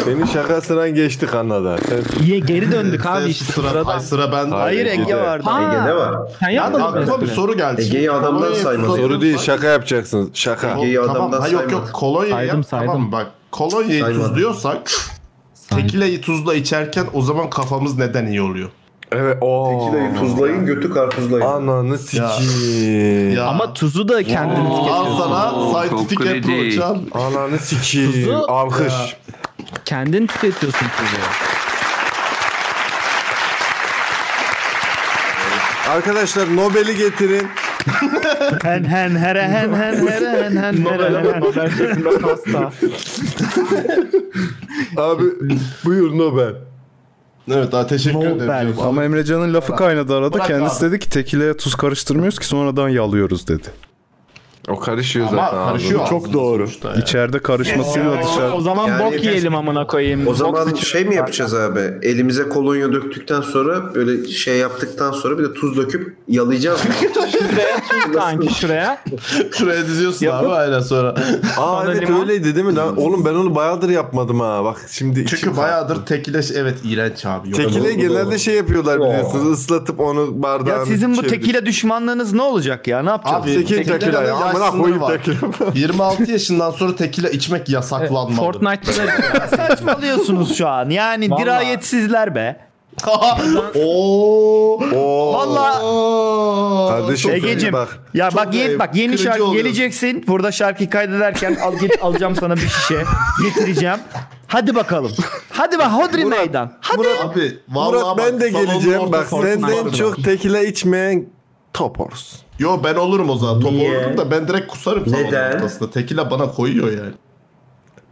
Speaker 1: Senin şakasından geçtik anladı. Sen
Speaker 2: Niye geri döndük abi
Speaker 11: Sen
Speaker 8: şey.
Speaker 2: işte
Speaker 11: sıra,
Speaker 2: sıradan.
Speaker 11: Ay, sıra
Speaker 2: Hayır
Speaker 11: ben.
Speaker 1: Hayır,
Speaker 2: Ege
Speaker 1: Ege.
Speaker 2: vardı.
Speaker 3: Ege ne var?
Speaker 2: Sen
Speaker 11: Ya da
Speaker 2: yapmadın mı?
Speaker 11: aklıma bir
Speaker 2: espri?
Speaker 11: soru geldi. şimdi.
Speaker 3: Ege'yi adamdan
Speaker 11: Kolonya'ya
Speaker 3: saymadı.
Speaker 11: tuz
Speaker 1: soru değil
Speaker 11: atıyorsan-
Speaker 1: şaka yapacaksınız. Şaka.
Speaker 3: Ege'yi adamdan
Speaker 11: ha, yok yok
Speaker 3: saymadı.
Speaker 11: kolonyayı
Speaker 5: Saydım,
Speaker 11: yap. Tamam
Speaker 5: saydım.
Speaker 11: bak kolonyayı
Speaker 3: Saymadı.
Speaker 11: tuzluyorsak tekileyi tuzla içerken o zaman kafamız neden iyi oluyor?
Speaker 1: Evet. Oo.
Speaker 3: Tekileyi tuzlayın, götü karpuzlayın.
Speaker 1: Ananı sikiyim.
Speaker 11: Ya.
Speaker 5: Ama tuzu da kendin
Speaker 11: Al
Speaker 5: tüketiyorsun.
Speaker 11: sana scientific
Speaker 7: çok
Speaker 11: approach
Speaker 7: kredi.
Speaker 11: abi.
Speaker 1: Ananı sikiyim.
Speaker 5: Tuzu-
Speaker 1: Alkış.
Speaker 5: Kendin tüketiyorsun tuzu.
Speaker 1: Arkadaşlar Nobel'i getirin.
Speaker 2: Hen hen here hen hen here hen hen here hen hen.
Speaker 1: Abi buyur Nobel.
Speaker 11: Evet daha teşekkür
Speaker 2: Nobel.
Speaker 11: ederim.
Speaker 4: Ama Emrecan'ın lafı kaynadı arada.
Speaker 11: Bırak
Speaker 4: Kendisi
Speaker 11: abi.
Speaker 4: dedi ki tekileye tuz karıştırmıyoruz ki sonradan yalıyoruz dedi.
Speaker 1: O karışıyor
Speaker 11: Ama
Speaker 1: zaten.
Speaker 11: karışıyor.
Speaker 1: Çok doğru.
Speaker 4: İçeride karışmasıyla
Speaker 5: O
Speaker 4: dışarı.
Speaker 5: zaman
Speaker 3: Yani
Speaker 5: bok yiyelim amına koyayım.
Speaker 3: O
Speaker 5: Bok
Speaker 3: zaman
Speaker 5: sıçıyoruz.
Speaker 3: şey mi yapacağız abi? Elimize kolonya döktükten sonra böyle şey yaptıktan sonra bir de tuz döküp yalayacağız. mı?
Speaker 5: Şuraya tuz kanki şuraya.
Speaker 11: Şuraya diziyorsun abi aynen sonra.
Speaker 1: Aa
Speaker 5: Sonra
Speaker 1: evet
Speaker 5: limon.
Speaker 1: öyleydi değil mi lan? Oğlum ben onu bayağıdır yapmadım ha. Bak şimdi
Speaker 11: Çünkü
Speaker 1: içim
Speaker 11: bayağıdır tekile şey, evet iğrenç abi. Yok.
Speaker 1: Tekile
Speaker 11: Doğru,
Speaker 1: genelde
Speaker 11: doğru.
Speaker 1: şey yapıyorlar biliyorsunuz. Islatıp onu bardağın
Speaker 2: Ya sizin bu
Speaker 1: çevirip-
Speaker 2: tekile düşmanlığınız ne olacak ya? Ne yapacağız?
Speaker 11: Abi
Speaker 1: Tekil tekile
Speaker 11: tekilenin
Speaker 1: ya.
Speaker 11: yaş
Speaker 1: Amına
Speaker 11: sınırı
Speaker 1: koyayım
Speaker 11: var.
Speaker 1: tekile.
Speaker 11: 26 yaşından sonra tekile içmek yasaklanmadı.
Speaker 5: Fortnite'da da
Speaker 2: Saçmalıyorsunuz şu an. Yani
Speaker 5: Vallahi.
Speaker 2: dirayetsizler be.
Speaker 11: Oo.
Speaker 1: Oo.
Speaker 2: Vallahi
Speaker 1: Kardeşim
Speaker 2: Çok
Speaker 1: Egeciğim.
Speaker 2: Egeciğim.
Speaker 1: bak.
Speaker 2: ya
Speaker 11: Çok
Speaker 2: bak yeni
Speaker 11: ayıp.
Speaker 2: bak yeni
Speaker 11: Kırıcı
Speaker 2: şarkı
Speaker 11: oluyorsun.
Speaker 2: geleceksin. Burada şarkı kaydederken al git alacağım sana bir şişe. Getireceğim. Hadi bakalım. Hadi bak hodri
Speaker 1: Murat,
Speaker 2: meydan. Hadi.
Speaker 11: Abi vallahi
Speaker 1: Murat ben
Speaker 11: bak,
Speaker 1: de
Speaker 11: salonun
Speaker 1: geleceğim. Bak
Speaker 11: ortasında
Speaker 1: senden
Speaker 11: varım.
Speaker 1: çok tekile içmeyen topors.
Speaker 11: Yo ben olurum o zaman. Top
Speaker 3: Niye?
Speaker 11: olurum da ben direkt kusarım salonun
Speaker 3: Neden?
Speaker 11: ortasında. Tekile bana koyuyor yani.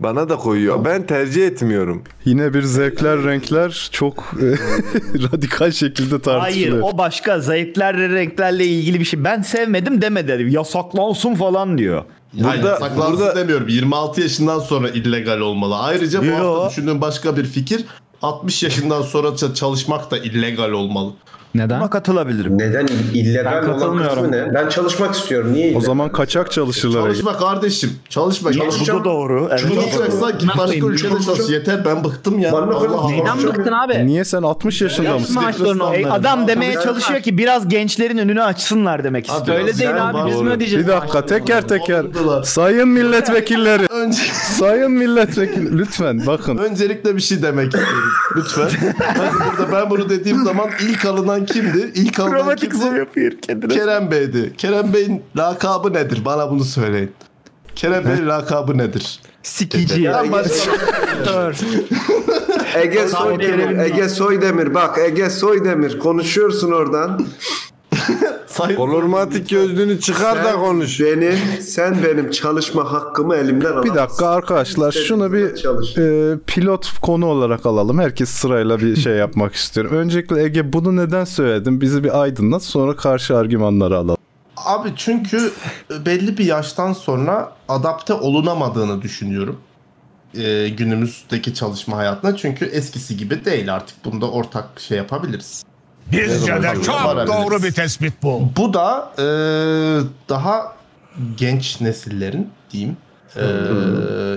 Speaker 1: Bana da koyuyor. Ben tercih etmiyorum.
Speaker 4: Yine bir zevkler renkler çok e, radikal şekilde
Speaker 2: Hayır
Speaker 4: tartışılıyor.
Speaker 2: o başka zevklerle renklerle ilgili bir şey. Ben sevmedim deme derim. Yasaklansın falan diyor.
Speaker 11: Burada,
Speaker 1: Burada-
Speaker 11: saklansın
Speaker 1: burada-
Speaker 11: demiyorum. 26 yaşından sonra illegal olmalı. Ayrıca bu
Speaker 2: Yo.
Speaker 11: hafta düşündüğüm başka bir fikir. 60 yaşından sonra ça- çalışmak da illegal olmalı.
Speaker 2: Buna
Speaker 5: Neden?
Speaker 2: katılabilirim.
Speaker 3: Neden illegal
Speaker 5: Ben
Speaker 3: olan kısmı
Speaker 5: katılmıyorum.
Speaker 3: ne? Ben çalışmak istiyorum. Niye illegal?
Speaker 4: O zaman kaçak çalışırlar. Ege.
Speaker 11: Çalışma kardeşim. Çalışma.
Speaker 2: Bu da
Speaker 11: Çalışacağım.
Speaker 2: doğru. Evet.
Speaker 11: Çalışacaksan git başka ülkede çalış. Yeter ben bıktım ya.
Speaker 3: Bana bakın,
Speaker 5: Neden
Speaker 3: Çok-
Speaker 5: bıktın abi?
Speaker 4: Niye sen 60 yaşında mısın?
Speaker 2: Ey, adam demeye çalışıyor ki biraz gençlerin önünü açsınlar demek
Speaker 11: Abi,
Speaker 2: istiyor.
Speaker 5: Öyle
Speaker 11: Sen
Speaker 5: değil abi biz
Speaker 11: bak-
Speaker 5: mi ödeyeceğiz?
Speaker 4: Bir dakika teker teker.
Speaker 11: Oldular.
Speaker 4: Sayın milletvekilleri.
Speaker 11: Önce,
Speaker 4: Sayın milletvekili lütfen bakın.
Speaker 11: öncelikle bir şey demek istiyorum. Lütfen. Ben, burada, ben bunu dediğim zaman ilk alınan kimdi? İlk alınan
Speaker 2: Kromatik
Speaker 11: kimdi?
Speaker 2: zoom yapıyor kendine.
Speaker 11: Kerem Bey'di. Kerem Bey'in lakabı nedir? Bana bunu söyleyin. Kerem Bey'in lakabı nedir?
Speaker 2: Sikici.
Speaker 3: Ege, Ege Soydemir, Ege Soydemir bak Ege Soydemir konuşuyorsun oradan.
Speaker 11: Sayın
Speaker 1: Olurmatik gözlüğünü çıkar da
Speaker 3: Sen
Speaker 1: konuş.
Speaker 3: Benim, sen benim çalışma hakkımı elimden alamazsın.
Speaker 4: Bir dakika arkadaşlar şunu bir
Speaker 3: Çalış.
Speaker 4: e, pilot konu olarak alalım. Herkes sırayla bir şey yapmak istiyorum. Öncelikle Ege bunu neden söyledin? Bizi bir aydınlat sonra karşı argümanları alalım.
Speaker 11: Abi çünkü e, belli bir yaştan sonra adapte olunamadığını düşünüyorum. Ee, günümüzdeki çalışma hayatına. Çünkü eskisi gibi değil artık. Bunda ortak şey yapabiliriz.
Speaker 12: Bizce de çok doğru bir tespit bu.
Speaker 11: Bu da e, daha genç nesillerin diyeyim e,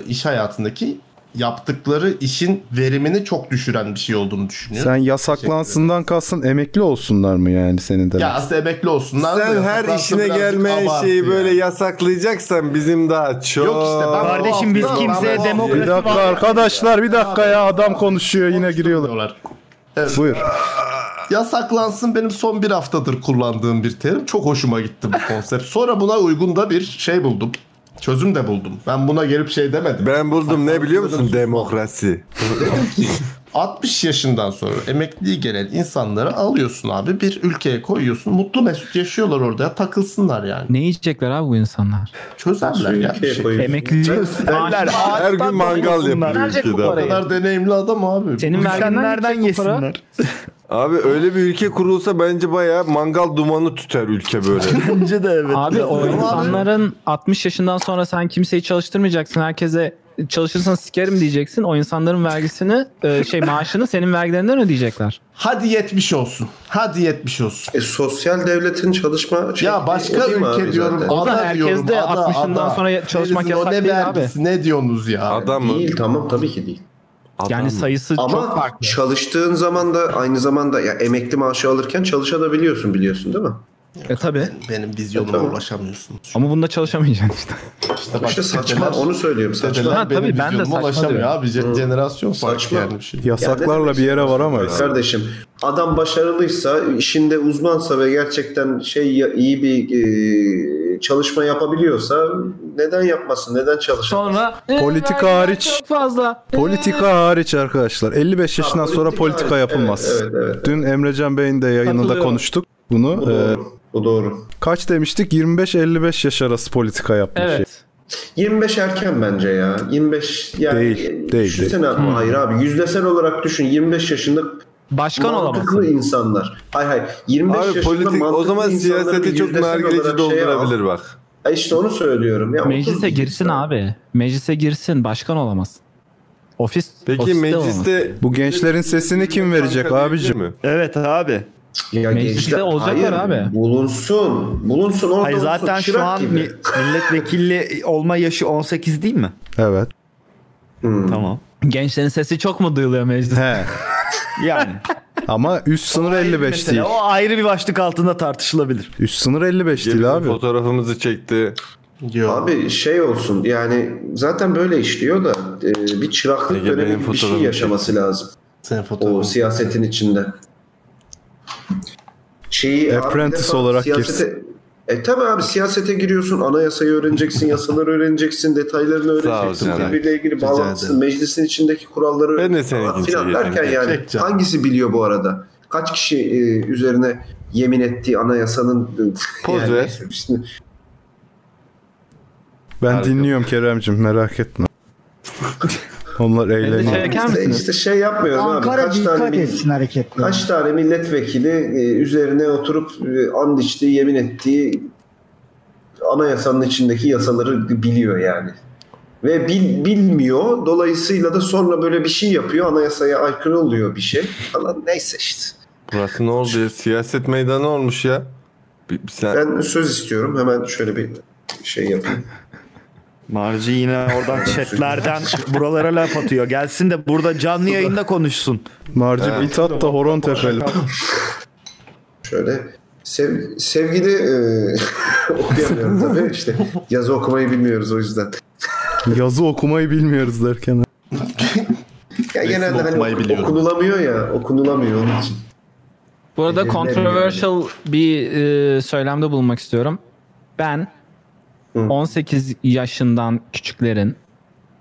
Speaker 11: iş hayatındaki yaptıkları işin verimini çok düşüren bir şey olduğunu düşünüyorum.
Speaker 4: Sen yasaklansından kalsın emekli olsunlar mı yani senin de?
Speaker 11: ya aslında emekli olsunlar. da
Speaker 1: Sen her
Speaker 11: yasaklansa
Speaker 1: işine
Speaker 11: birazcık
Speaker 1: gelmeyen
Speaker 11: abartı
Speaker 1: şeyi
Speaker 11: yani.
Speaker 1: böyle yasaklayacaksan bizim daha çok.
Speaker 11: Yok işte ben
Speaker 2: Kardeşim biz kimseye
Speaker 4: Bir
Speaker 2: demokrasi
Speaker 4: dakika
Speaker 2: var.
Speaker 4: arkadaşlar bir dakika ya adam konuşuyor yine giriyorlar.
Speaker 11: diyorlar.
Speaker 4: Buyur.
Speaker 11: Yasaklansın benim son bir haftadır kullandığım bir terim. Çok hoşuma gitti bu konsept. Sonra buna uygun da bir şey buldum. Çözüm de buldum. Ben buna gelip şey demedim.
Speaker 1: Ben buldum ne biliyor musun? Demokrasi.
Speaker 11: 60 yaşından sonra emekliye gelen insanları alıyorsun abi bir ülkeye koyuyorsun. Mutlu mesut yaşıyorlar orada ya, takılsınlar yani.
Speaker 5: Ne yiyecekler abi bu insanlar?
Speaker 11: Çözerler ya. bir şey.
Speaker 5: Emeklilik.
Speaker 2: Derler,
Speaker 1: Her gün mangal yapıyor
Speaker 5: Nerede bu
Speaker 1: ülkede.
Speaker 5: parayı?
Speaker 11: kadar deneyimli adam abi.
Speaker 5: Senin verginden
Speaker 2: Düşenlerden
Speaker 5: yiyecek bu para.
Speaker 2: yesinler.
Speaker 1: Abi öyle bir ülke kurulsa bence bayağı mangal dumanı tüter ülke böyle.
Speaker 2: Bence de evet.
Speaker 5: Abi o insanların 60 yaşından sonra sen kimseyi çalıştırmayacaksın. Herkese
Speaker 8: çalışırsan sikerim diyeceksin. O insanların vergisini e, şey maaşını senin vergilerinden ödeyecekler.
Speaker 11: Hadi 70 olsun. Hadi 70 olsun.
Speaker 3: E, sosyal devletin çalışma şey
Speaker 11: Ya başka ülke diyorum.
Speaker 8: O da
Speaker 11: ada diyorum,
Speaker 8: herkes de
Speaker 11: ada,
Speaker 8: 60'ından
Speaker 11: ada.
Speaker 8: sonra çalışmak
Speaker 11: Denizin o
Speaker 8: yasak
Speaker 11: ne
Speaker 8: değil abi.
Speaker 11: vergisi, Ne diyorsunuz ya?
Speaker 3: Adam Değil tamam tabii ki değil.
Speaker 8: Yani sayısı
Speaker 3: Ama
Speaker 8: çok farklı.
Speaker 3: çalıştığın zaman da aynı zamanda ya emekli maaşı alırken çalışabiliyorsun biliyorsun değil mi?
Speaker 8: E tabi.
Speaker 11: Benim
Speaker 3: E,
Speaker 11: vizyonuma
Speaker 3: tamam.
Speaker 11: ulaşamıyorsunuz.
Speaker 8: Ama bunda çalışamayacaksın işte.
Speaker 11: İşte,
Speaker 3: İşte saçma onu söylüyorum
Speaker 11: Dedeler
Speaker 3: saçma.
Speaker 11: benim vizyonuma ulaşamıyor abi. Ce- Jenerasyon farkı
Speaker 3: Saçma.
Speaker 11: yani bir şey.
Speaker 4: Yasaklarla bir yere varamayız.
Speaker 3: Kardeşim adam başarılıysa, işinde uzmansa ve gerçekten şey ya- iyi bir e, çalışma yapabiliyorsa neden yapmasın? Neden çalışamaz?
Speaker 8: Sonra
Speaker 4: Politika hariç. Çok
Speaker 8: E, fazla. E,
Speaker 4: Politika hariç arkadaşlar. 55 yaşından sonra politika yapılmaz. Dün Emrecan Bey'in de yayınında
Speaker 3: Katılıyorum.
Speaker 4: konuştuk bunu.
Speaker 3: Bu
Speaker 4: Ee,
Speaker 3: doğru. Bu doğru.
Speaker 4: kaç demiştik? 25-55 yaş arası politika yapmış.
Speaker 3: Evet. 25 erken bence ya. 25 yani
Speaker 4: Değil, değil,
Speaker 3: düşünsene
Speaker 4: değil.
Speaker 3: abi,
Speaker 4: Hmm.
Speaker 3: hayır abi yüzdesel olarak düşün 25 yaşında
Speaker 8: başkan
Speaker 3: mantıklı insanlar. Hay hay 25
Speaker 1: Abi
Speaker 3: yaşında
Speaker 1: politik o
Speaker 3: mantıklı
Speaker 1: zaman
Speaker 3: insanları
Speaker 1: siyaseti çok
Speaker 3: yüzdesel olarak
Speaker 1: nargileci
Speaker 3: şeye al.
Speaker 1: doldurabilir bak.
Speaker 3: E işte onu söylüyorum ya.
Speaker 8: Meclise girsin abi. Meclise girsin başkan olamaz. Ofis ofiste olamaz.
Speaker 4: bu gençlerin sesini kim verecek abicim?
Speaker 2: Evet abi.
Speaker 3: Ya
Speaker 8: Mecliste olacaklar abi.
Speaker 3: Bulunsun. Bulunsun orada
Speaker 2: Hayır
Speaker 3: olsun,
Speaker 2: zaten şu
Speaker 3: çırak
Speaker 2: an
Speaker 3: gibi.
Speaker 2: mi- milletvekili olma yaşı 18 değil mi?
Speaker 4: Evet.
Speaker 2: Tamam.
Speaker 8: Gençlerin sesi çok mu duyuluyor mecliste?
Speaker 4: He.
Speaker 2: Yani.
Speaker 4: Ama üst sınır 55 değil.
Speaker 2: Mesela o ayrı bir başlık altında tartışılabilir.
Speaker 4: Üst sınır 55 değil abi.
Speaker 1: Fotoğrafımızı çekti.
Speaker 3: Abi şey olsun yani zaten böyle işliyor da e, bir çıraklık
Speaker 1: Ege, benim
Speaker 3: dönemi gibi bir şey
Speaker 1: fotoğrafım
Speaker 3: yaşaması lazım.
Speaker 11: Senin
Speaker 3: O siyasetin içinde. Şeyi
Speaker 4: Apprentice
Speaker 3: abi,
Speaker 4: olarak
Speaker 3: siyasete- E tabi abi siyasete giriyorsun, anayasayı öğreneceksin, yasaları öğreneceksin, detaylarını öğreneceksin,
Speaker 1: canım.
Speaker 3: birbiriyle ilgili
Speaker 1: Rica
Speaker 3: bağlantısını,
Speaker 1: ederim.
Speaker 3: meclisin içindeki kuralları
Speaker 1: Ben de senin
Speaker 3: falan
Speaker 1: için
Speaker 3: filan
Speaker 1: yedim.
Speaker 3: derken yani
Speaker 1: Çek canım.
Speaker 3: hangisi biliyor bu arada? Kaç kişi e, üzerine yemin ettiği anayasanın e,
Speaker 1: Poz
Speaker 3: yani,
Speaker 1: ver.
Speaker 3: Şimdi-
Speaker 4: Ben dinliyorum Keremcim merak etme. Onlar eğleniyor.
Speaker 3: işte,
Speaker 8: çeker misiniz?
Speaker 3: işte şey yapmıyorum
Speaker 13: Ankara
Speaker 3: abi. Kaç
Speaker 13: dikkat
Speaker 3: tane, mi-
Speaker 13: etsin hareketlerine.
Speaker 3: kaç tane milletvekili e, üzerine oturup e, and içtiği, yemin ettiği anayasanın içindeki yasaları biliyor yani. Ve bil- bilmiyor. Dolayısıyla da sonra böyle bir şey yapıyor. Anayasaya aykırı oluyor bir şey falan. Neyse işte.
Speaker 1: Burası ne oldu ya? Siyaset meydanı olmuş ya. Bir, bir sen...
Speaker 3: Ben söz istiyorum. Hemen şöyle bir şey yapayım.
Speaker 2: Marci yine oradan chatlerden buralara laf atıyor. Gelsin de burada canlı yayında konuşsun.
Speaker 4: Marci bir tat da horon tepeli.
Speaker 3: Şöyle sev- sevgili e, okuyamıyorum tabii işte yazı okumayı bilmiyoruz o yüzden.
Speaker 4: Yazı okumayı bilmiyoruz derken.
Speaker 3: Ya
Speaker 11: Resim
Speaker 3: genelde hani
Speaker 11: okumayı
Speaker 3: ok-
Speaker 11: biliyorum.
Speaker 3: okunulamıyor ya okunulamıyor onun için.
Speaker 8: Bu arada
Speaker 3: Ellerine
Speaker 8: controversial bir e, söylemde bulunmak istiyorum. Ben 18 yaşından küçüklerin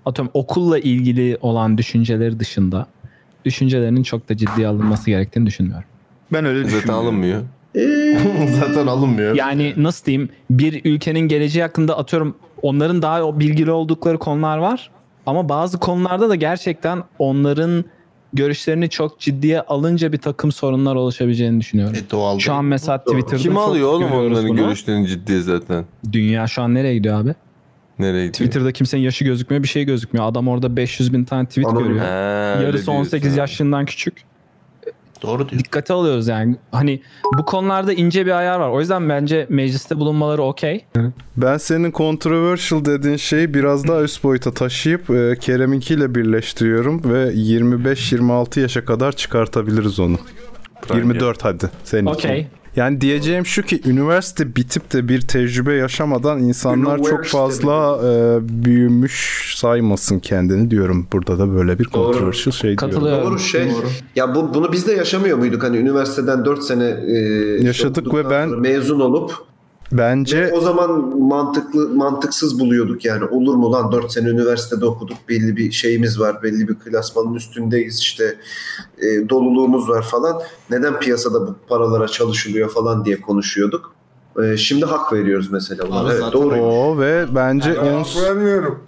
Speaker 8: atıyorum okulla ilgili olan düşünceleri dışında düşüncelerinin çok da ciddiye alınması gerektiğini düşünmüyorum.
Speaker 2: Ben öyle
Speaker 1: Zaten alınmıyor.
Speaker 11: Zaten alınmıyor.
Speaker 8: Yani nasıl diyeyim bir ülkenin geleceği hakkında atıyorum onların daha o bilgili oldukları konular var ama bazı konularda da gerçekten onların görüşlerini çok ciddiye alınca bir takım sorunlar oluşabileceğini düşünüyorum.
Speaker 11: E, doğal.
Speaker 8: Şu an mesela Twitter'da
Speaker 1: Kim
Speaker 8: çok
Speaker 1: alıyor oğlum
Speaker 8: görüyoruz
Speaker 1: onların
Speaker 8: bunu.
Speaker 1: görüşlerini ciddiye zaten?
Speaker 8: Dünya şu an nereye gidiyor abi?
Speaker 1: Nereye gidiyor?
Speaker 8: Twitter'da kimsenin yaşı gözükmüyor, bir şey gözükmüyor. Adam orada 500 bin tane tweet
Speaker 1: Anladım.
Speaker 8: görüyor.
Speaker 1: He, öyle
Speaker 8: Yarısı
Speaker 1: diyorsun.
Speaker 8: 18 yaşından küçük.
Speaker 11: Doğru diyor.
Speaker 8: Dikkate alıyoruz yani. Hani bu konularda ince bir ayar var. O yüzden bence mecliste bulunmaları okey.
Speaker 4: Ben senin controversial dediğin şeyi biraz daha üst boyuta taşıyıp e, Kerem'inkiyle birleştiriyorum ve 25-26 yaşa kadar çıkartabiliriz onu. 24 hadi senin
Speaker 8: Okey.
Speaker 4: için. Yani diyeceğim şu ki üniversite bitip de bir tecrübe yaşamadan insanlar çok
Speaker 3: Üniversite
Speaker 4: fazla e, büyümüş saymasın kendini diyorum. Burada da böyle bir controversial şey diyorum.
Speaker 3: Doğru şey. Ya bu, bunu biz de yaşamıyor muyduk? Hani üniversiteden 4 sene e,
Speaker 4: Yaşadık ve ben
Speaker 3: mezun olup
Speaker 4: bence
Speaker 3: o zaman mantıklı mantıksız buluyorduk yani. Olur mu lan 4 sene üniversitede okuduk. Belli bir şeyimiz var. Belli bir klasmanın üstündeyiz işte. e, doluluğumuz var falan. Neden piyasada bu paralara çalışılıyor falan diye konuşuyorduk. E, şimdi hak veriyoruz mesela. Ulan,
Speaker 4: Abi
Speaker 3: evet,
Speaker 4: zaten-
Speaker 3: doğru.
Speaker 4: o ve bence on-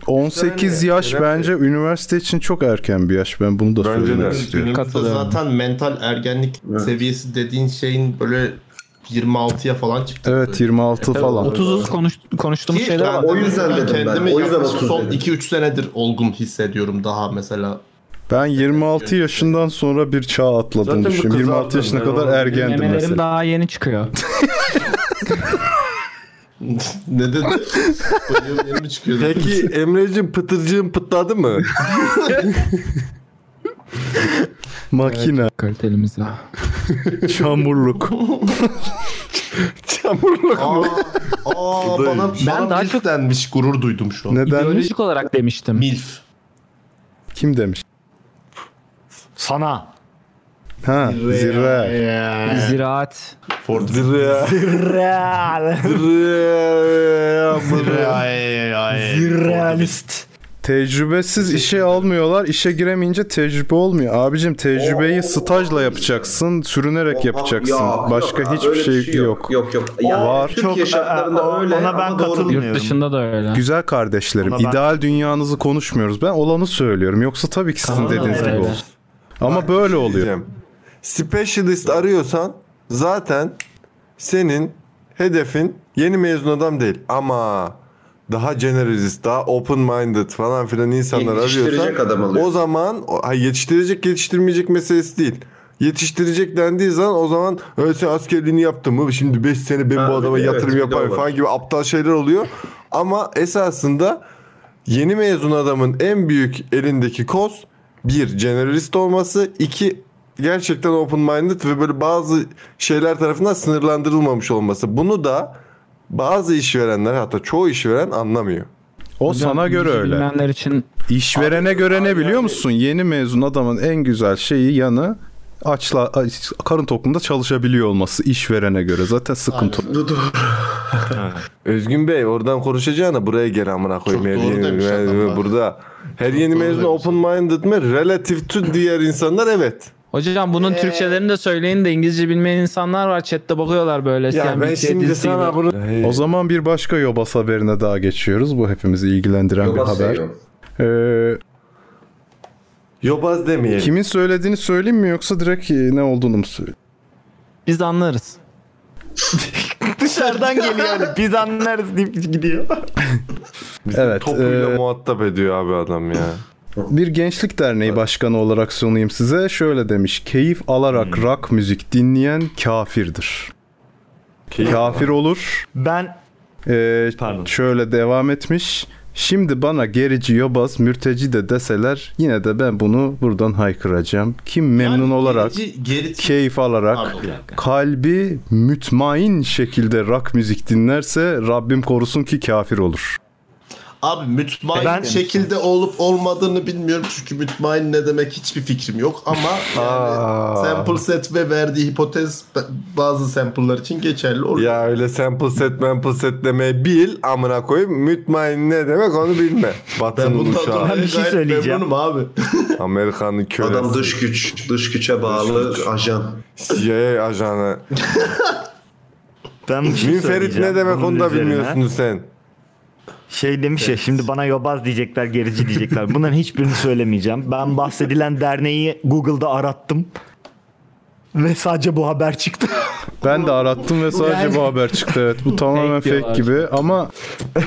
Speaker 4: 18 yaş bence üniversite için çok erken bir yaş. Ben bunu da söylemek istiyorum.
Speaker 11: Günümüzde zaten mental ergenlik seviyesi dediğin şeyin böyle 26'ya falan çıktı.
Speaker 4: Evet 26 falan.
Speaker 8: 30'uz konuş, konuştuğumuz
Speaker 11: Ki
Speaker 8: şeyler
Speaker 11: ben
Speaker 8: var.
Speaker 11: o yüzden
Speaker 4: dedim ben.
Speaker 11: kendimi
Speaker 4: O yüzden
Speaker 11: yaklaşık
Speaker 4: 30
Speaker 11: son
Speaker 4: dedim.
Speaker 11: 2-3 senedir olgun hissediyorum daha mesela.
Speaker 4: Ben 26 yaşından sonra bir çağ atladım
Speaker 11: Zaten bu
Speaker 4: düşün.
Speaker 11: kızardım
Speaker 4: 26 yaşına
Speaker 11: ben
Speaker 4: kadar
Speaker 11: oğlum.
Speaker 4: ergendim
Speaker 8: Memelerim
Speaker 4: mesela.
Speaker 8: daha yeni çıkıyor.
Speaker 11: ne dedi?
Speaker 1: Peki Emre'cim pıtırcığın pıtladı mı?
Speaker 4: Makine.
Speaker 8: Kalitelimizde.
Speaker 4: Çamurluk.
Speaker 1: Çamurluk
Speaker 11: mu? Aa, bana, ben daha çok denmiş gurur duydum şu an.
Speaker 4: Neden?
Speaker 8: İdeolojik olarak demiştim.
Speaker 11: Milf.
Speaker 4: Kim demiş?
Speaker 2: Sana.
Speaker 4: Ha zirve.
Speaker 8: Ziraat.
Speaker 1: Zirre.
Speaker 2: Zirrealist.
Speaker 4: Tecrübesiz işe almıyorlar. İşe giremeyince tecrübe olmuyor. Abicim tecrübeyi stajla yapacaksın. Sürünerek yapacaksın.
Speaker 3: yok,
Speaker 4: Başka
Speaker 3: yok,
Speaker 4: hiçbir
Speaker 3: öyle
Speaker 4: şey,
Speaker 3: bir şey yok.
Speaker 4: yok.
Speaker 3: Yok yok. Ya,
Speaker 4: Var.
Speaker 3: Türkiye şartlarında öyle
Speaker 2: ona ben
Speaker 3: ama doğru
Speaker 2: katılmıyorum.
Speaker 8: Yurt dışında da öyle.
Speaker 4: Güzel kardeşlerim,
Speaker 2: Ona ben-
Speaker 4: ideal dünyanızı konuşmuyoruz. Ben olanı söylüyorum. Yoksa tabii ki sizin
Speaker 8: Tamam,
Speaker 4: dediğiniz gibi
Speaker 8: evet.
Speaker 4: olsun. Ama böyle
Speaker 3: şey
Speaker 4: şey oluyor.
Speaker 1: Specialist arıyorsan zaten senin hedefin yeni mezun adam değil ama daha generalist, daha open minded falan filan insanlar
Speaker 3: Yetiştirecek
Speaker 1: arıyorsan
Speaker 3: adam alıyor.
Speaker 1: o zaman o- hayır, yetiştirecek yetiştirmeyecek meselesi değil. Yetiştirecek dendiği zaman o zaman öyle sen askerliğini yaptın mı şimdi 5 sene ben
Speaker 3: Ha,
Speaker 1: bu adama
Speaker 3: evet, bir
Speaker 1: yatırım
Speaker 3: de
Speaker 1: yaparım
Speaker 3: o var.
Speaker 1: falan gibi aptal şeyler oluyor. Ama esasında Yeni mezun adamın en büyük elindeki koz bir generalist olması, iki gerçekten open minded ve böyle bazı şeyler tarafından sınırlandırılmamış olması. Bunu da bazı işverenler hatta çoğu işveren anlamıyor.
Speaker 4: O
Speaker 8: Hocam,
Speaker 4: sana göre
Speaker 8: bilgi
Speaker 4: öyle.
Speaker 8: Bilmeyenler için
Speaker 4: İşverene göre ne biliyor musun? Yeni mezun adamın en güzel şeyi yanı açla aç- karın tokluğunda çalışabiliyor olması işverene göre zaten sıkıntı.
Speaker 3: Dur dur.
Speaker 1: Özgün Bey oradan konuşacağına buraya gel amına koyayım.
Speaker 11: Çok
Speaker 1: Her
Speaker 11: doğru
Speaker 1: yeni-
Speaker 11: demiş
Speaker 1: her-
Speaker 11: adam bak.
Speaker 1: burada. Her yeni
Speaker 11: doğru
Speaker 1: mezun
Speaker 11: demiş.
Speaker 1: open minded mı? Relative to diğer insanlar evet.
Speaker 8: Hocam
Speaker 1: Ee,
Speaker 8: bunun Türkçelerini de söyleyin de İngilizce bilmeyen insanlar var. Chatte bakıyorlar böyle.
Speaker 1: Ya
Speaker 8: CNBC
Speaker 1: ben şimdi
Speaker 8: dizisi
Speaker 1: sana
Speaker 8: gibi.
Speaker 1: bunu...
Speaker 4: O zaman bir başka yobas haberine daha geçiyoruz. Bu hepimizi ilgilendiren
Speaker 3: Yok,
Speaker 4: bir haber.
Speaker 3: şey yok.
Speaker 4: Ee,
Speaker 1: Yobaz demeyelim.
Speaker 4: kimin söylediğini söyleyeyim mi yoksa direkt e, ne olduğunu mu söyleyeyim?
Speaker 8: Biz anlarız.
Speaker 2: Dışarıdan geliyor öyle. Biz anlarız deyip gidiyor.
Speaker 4: Evet.
Speaker 1: Topuyla
Speaker 4: e,
Speaker 1: muhatap ediyor abi adam ya.
Speaker 4: Bir gençlik derneği başkanı olarak sunayım size. Şöyle demiş. Keyif alarak
Speaker 1: Hmm.
Speaker 4: rock müzik dinleyen kafirdir.
Speaker 1: Keyif
Speaker 4: Kafir olur.
Speaker 2: Ben
Speaker 4: Ee,
Speaker 2: Pardon.
Speaker 4: Şöyle devam etmiş. Şimdi bana gerici, yobaz, mürteci de deseler yine de ben bunu buradan haykıracağım. Kim memnun olarak,
Speaker 11: Gerici, gerici-
Speaker 4: keyif alarak,
Speaker 11: Pardon.
Speaker 4: kalbi mütmain şekilde rock müzik dinlerse Rabbim korusun ki kafir olur.
Speaker 11: Abi mütmain
Speaker 2: Ben-
Speaker 11: şekilde olup olmadığını bilmiyorum çünkü mütmain ne demek hiçbir fikrim yok ama yani sample set ve verdiği hipotez ba- bazı sample'lar için geçerli olur.
Speaker 1: Ya öyle sample set sample set demeyi bil amına koyayım. Mütmain ne demek onu bilme.
Speaker 11: ben
Speaker 1: Batı'nın
Speaker 11: bundan
Speaker 1: uçağı.
Speaker 11: dolayı
Speaker 2: Ben bir şey
Speaker 11: gayet
Speaker 2: söyleyeceğim.
Speaker 11: memnunum abi.
Speaker 1: Amerika'nın kölesi.
Speaker 3: Adam dış güç, dış güçe bağlı ajan.
Speaker 1: CIA ajanı.
Speaker 2: ben bir şey
Speaker 1: Minferit
Speaker 2: söyleyeceğim
Speaker 1: ne demek
Speaker 2: bunun
Speaker 1: onu da
Speaker 2: üzerine.
Speaker 1: bilmiyorsunuz sen.
Speaker 2: Şey demiş ya şimdi bana yobaz diyecekler gerici diyecekler. Bunların hiçbirini söylemeyeceğim. Ben bahsedilen derneği Google'da arattım. Ve sadece bu haber çıktı.
Speaker 4: Ben de arattım ve sadece
Speaker 8: Yani-
Speaker 4: bu haber çıktı. Evet bu tamamen fake,
Speaker 8: diyorlar.
Speaker 4: gibi ama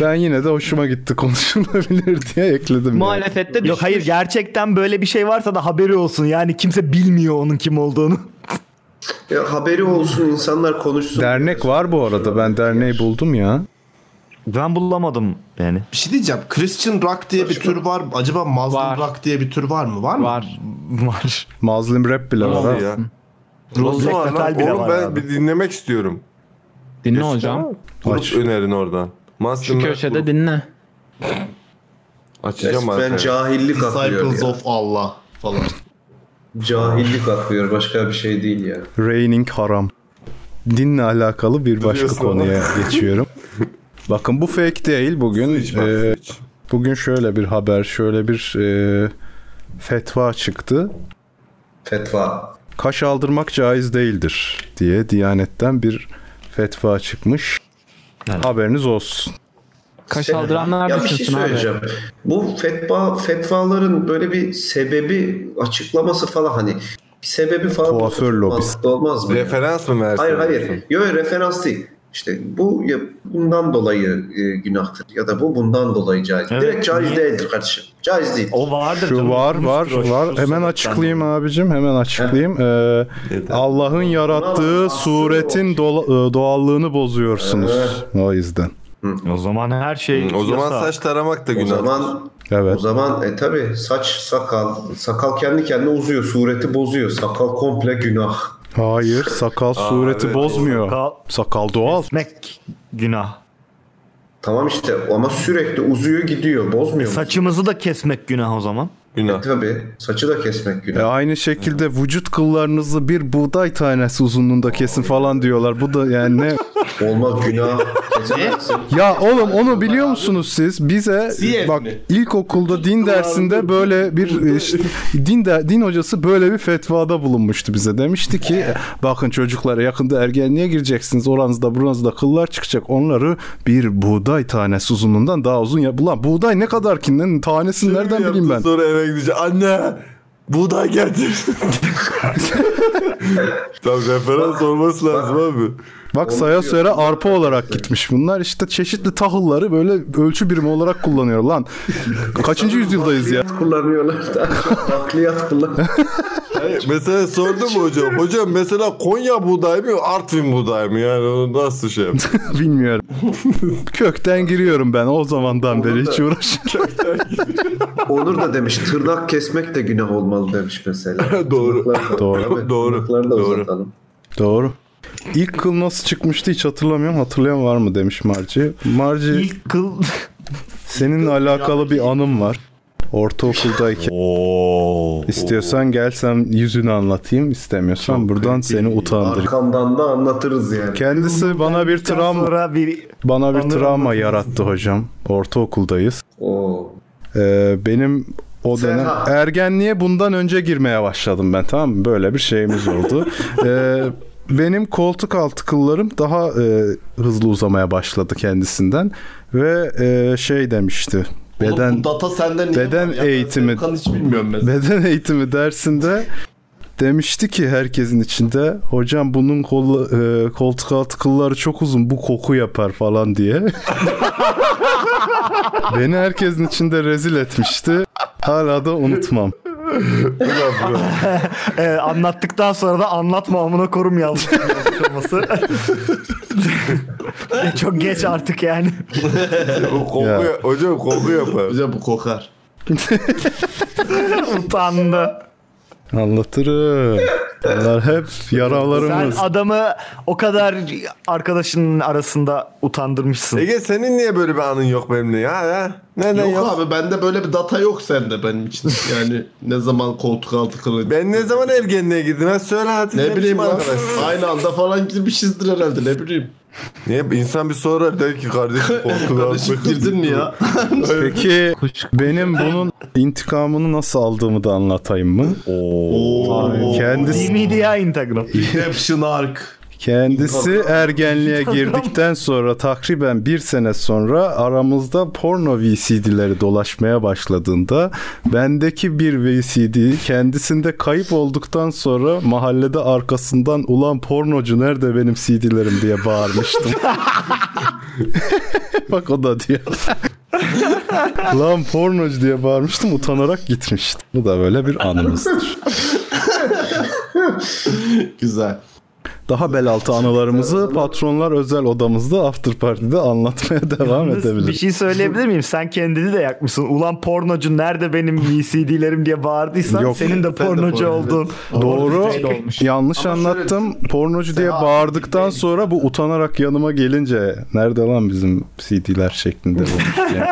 Speaker 4: ben yine de hoşuma gitti konuşulabilir diye ekledim. yani.
Speaker 8: Muhalefette düşmüş.
Speaker 2: Yok hayır gerçekten böyle bir şey varsa da haberi olsun. Yani kimse bilmiyor onun kim olduğunu.
Speaker 3: Ya haberi olsun insanlar konuşsun.
Speaker 4: Dernek var bu arada. Ben derneği buldum ya.
Speaker 2: Ben bulamadım yani.
Speaker 11: Bir şey diyeceğim. Christian rock diye bir tür var mı? Acaba Muslim
Speaker 8: Var.
Speaker 11: rock diye bir tür var mı? Var mı?
Speaker 8: var.
Speaker 2: Var.
Speaker 4: Muslim rap bile var. ha.
Speaker 1: Nasıl ya?
Speaker 2: Black
Speaker 1: Nasıl var
Speaker 2: Metal
Speaker 1: lan?
Speaker 2: bile
Speaker 1: Onu
Speaker 2: var
Speaker 1: ben
Speaker 2: abi.
Speaker 1: bir dinlemek istiyorum.
Speaker 8: Dinle hocam.
Speaker 1: Grup
Speaker 4: Aç.
Speaker 1: önerin oradan.
Speaker 8: Şu
Speaker 1: Master
Speaker 8: köşede dinle.
Speaker 1: Açacağım
Speaker 3: Resmen
Speaker 1: artık.
Speaker 3: cahillik akıyor
Speaker 11: Disciples
Speaker 3: ya.
Speaker 11: of Allah falan.
Speaker 3: Cahillik akıyor başka bir şey değil ya.
Speaker 4: Raining Haram. Dinle alakalı bir başka
Speaker 1: Duruyorsun
Speaker 4: konuya geçiyorum. Bakın bu fake değil bugün.
Speaker 1: Hiç bak,
Speaker 4: e,
Speaker 1: hiç.
Speaker 4: bugün şöyle bir haber, şöyle bir e, fetva çıktı.
Speaker 3: Fetva.
Speaker 4: Kaş aldırmak caiz değildir diye Diyanet'ten bir fetva çıkmış. Haberiniz olsun.
Speaker 8: Kaş
Speaker 3: Sen-
Speaker 8: aldıranlar
Speaker 3: Ya bir şey
Speaker 8: düşünsün abi.
Speaker 3: söyleyeceğim. Bu fetva fetvaların böyle bir sebebi açıklaması falan hani Bir sebebi falan
Speaker 4: Kuaför lobisi.
Speaker 3: mantıklı olmaz mı?
Speaker 1: Referans mı versin?
Speaker 3: Hayır hayır. Yok referans değil. İşte bu ya- bundan dolayı e, günahtır ya da bu bundan dolayı caiz.
Speaker 4: Evet,
Speaker 3: Direkt caiz
Speaker 4: niye?
Speaker 3: değildir kardeşim. Caiz değil.
Speaker 2: O vardır
Speaker 4: Şu var var var. Hemen açıklayayım abicim. Hemen açıklayayım. Ee, Allah'ın yarattığı suretin dola- e, doğallığını bozuyorsunuz. O yüzden.
Speaker 2: O zaman her şey
Speaker 1: O zaman saç taramak da
Speaker 3: O
Speaker 1: günah.
Speaker 3: zaman
Speaker 4: Evet.
Speaker 3: o zaman e, tabi saç sakal sakal kendi kendine uzuyor sureti bozuyor sakal komple günah.
Speaker 4: Hayır, sakal
Speaker 3: Aa,
Speaker 4: sureti
Speaker 3: evet,
Speaker 4: bozmuyor.
Speaker 3: sakal-
Speaker 4: Sakal doğal.
Speaker 2: günah.
Speaker 3: Tamam işte ama sürekli uzuyor gidiyor bozmuyor. mu?
Speaker 2: Saçımızı da kesmek günah o zaman.
Speaker 1: Günah.
Speaker 3: tabii saçı da kesmek günah.
Speaker 4: E, aynı şekilde vücut kıllarınızı bir buğday tanesi uzunluğunda kesin falan diyorlar. Bu da yani ne?
Speaker 3: Olmaz günah. Kesemezsin.
Speaker 4: Ya oğlum onu biliyor musunuz siz? Bize bak ilkokulda din dersinde böyle bir e, ş- din de, din hocası böyle bir fetvada bulunmuştu bize. Demişti ki bakın çocuklara yakında ergenliğe gireceksiniz. Oranızda buranızda kıllar çıkacak. Onları bir buğday tanesi uzunluğundan daha uzun ya. Ulan buğday ne kadar ki? Ne- Tanesini nereden bileyim ben?
Speaker 1: Sonra eve gideceğim. Anne buğday getir. Tam referans olması lazım abi.
Speaker 4: Bak saya söyle arpa olarak gitmiş bunlar. İşte çeşitli tahılları böyle ölçü birimi olarak kullanıyor lan. Kaçıncı yüzyıldayız ya?
Speaker 3: kullanıyorlar da. Nakliyat kullan.
Speaker 1: Hayır, mesela sordum mu hocam? Hocam mesela Konya buğday mı Artvin buğday mı? Yani onu nasıl şey yap?
Speaker 4: Bilmiyorum. Kökten giriyorum ben o zamandan beri hiç uğraşmıyorum.
Speaker 3: Onur da demiş tırnak kesmek de günah olmalı demiş mesela.
Speaker 1: Doğru.
Speaker 4: Doğru.
Speaker 1: Doğru.
Speaker 3: Tırnakları da uzatalım.
Speaker 4: Doğru. İlk kıl nasıl çıkmıştı hiç hatırlamıyorum. Hatırlayan var mı demiş Marci. Marci
Speaker 2: İlk kıl
Speaker 4: seninle alakalı bir anım var. Ortaokuldayken. İstiyorsan gelsem yüzünü anlatayım. istemiyorsan buradan seni utandırayım.
Speaker 3: Arkamdan da anlatırız yani.
Speaker 4: Kendisi bana bir travma
Speaker 2: sonra bir
Speaker 4: bana bir
Speaker 2: Anladım,
Speaker 4: travma
Speaker 2: anladım.
Speaker 4: yarattı hocam. Ortaokuldayız.
Speaker 3: Oo.
Speaker 4: Ee, benim o
Speaker 3: Sen
Speaker 4: dönem
Speaker 3: ha.
Speaker 4: ergenliğe bundan önce girmeye başladım ben tamam mı? Böyle bir şeyimiz oldu. Ee, benim koltuk altı kıllarım daha e, hızlı uzamaya başladı kendisinden ve e, şey demişti. Beden
Speaker 11: Bu data senden niye
Speaker 4: beden eğitimi
Speaker 11: Ben hiç bilmiyorum mesela.
Speaker 4: beden eğitimi dersinde demişti ki herkesin içinde hocam bunun kolu, e, koltuk altı kılları çok uzun bu koku yapar falan diye. Beni herkesin içinde rezil etmişti. Hala da unutmam.
Speaker 2: Ee, anlattıktan sonra da anlatma amına korum yazmış yazmış olması. Ya Çok geç artık yani.
Speaker 1: O koku
Speaker 4: Ya.
Speaker 1: hocam koku yapar.
Speaker 11: Hocam bu kokar.
Speaker 2: Utandı.
Speaker 4: Anlatırım. Bunlar hep
Speaker 2: Sen
Speaker 4: yaralarımız.
Speaker 2: adamı o kadar arkadaşının arasında utandırmışsın.
Speaker 1: Ege senin niye böyle bir anın yok benimle ya? ya? Neden
Speaker 11: Yok,
Speaker 1: yok?
Speaker 11: abi bende böyle bir data yok sende benim için. Yani ne zaman koltuk altı kılıç.
Speaker 1: Ben ne zaman ergenliğe girdim? Ha, söyle hadi.
Speaker 11: ne
Speaker 1: Kim
Speaker 11: bileyim lan.
Speaker 1: arkadaş?
Speaker 11: Aynı anda falan girmişizdir herhalde ne bileyim.
Speaker 1: Niye insan bir sorar der ki kardeşim korktu
Speaker 11: Karışık şey girdin mi ya?
Speaker 4: Peki benim bunun intikamını nasıl aldığımı da anlatayım mı?
Speaker 11: Oo.
Speaker 4: Kendisi
Speaker 2: Media Instagram.
Speaker 11: Inception Arc.
Speaker 4: Kendisi ergenliğe girdikten sonra takriben bir sene sonra aramızda porno VCD'leri dolaşmaya başladığında bendeki bir VCD kendisinde kayıp olduktan sonra mahallede arkasından ulan pornocu nerede benim CD'lerim diye bağırmıştım. Bak o da diyor. Lan pornocu diye bağırmıştım utanarak gitmiştim. Bu da böyle bir anımızdır.
Speaker 11: Güzel.
Speaker 4: Daha bel altı anılarımızı patronlar özel odamızda after party'de anlatmaya devam
Speaker 2: Yalnız Bir
Speaker 4: edebiliriz.
Speaker 2: şey söyleyebilir miyim? Sen kendini de yakmışsın. Ulan pornocu nerede benim VCD'lerim diye bağırdıysan
Speaker 4: Yok.
Speaker 2: senin de pornocu
Speaker 11: pornocu.
Speaker 2: olduğun.
Speaker 1: şey
Speaker 4: Doğru. Yanlış
Speaker 11: Ama şöyle şey.
Speaker 4: anlattım. Pornocu diye
Speaker 11: Seha-
Speaker 4: bağırdıktan sonra bu utanarak yanıma gelince nerede lan bizim CD'ler şeklinde olmuş. Yani.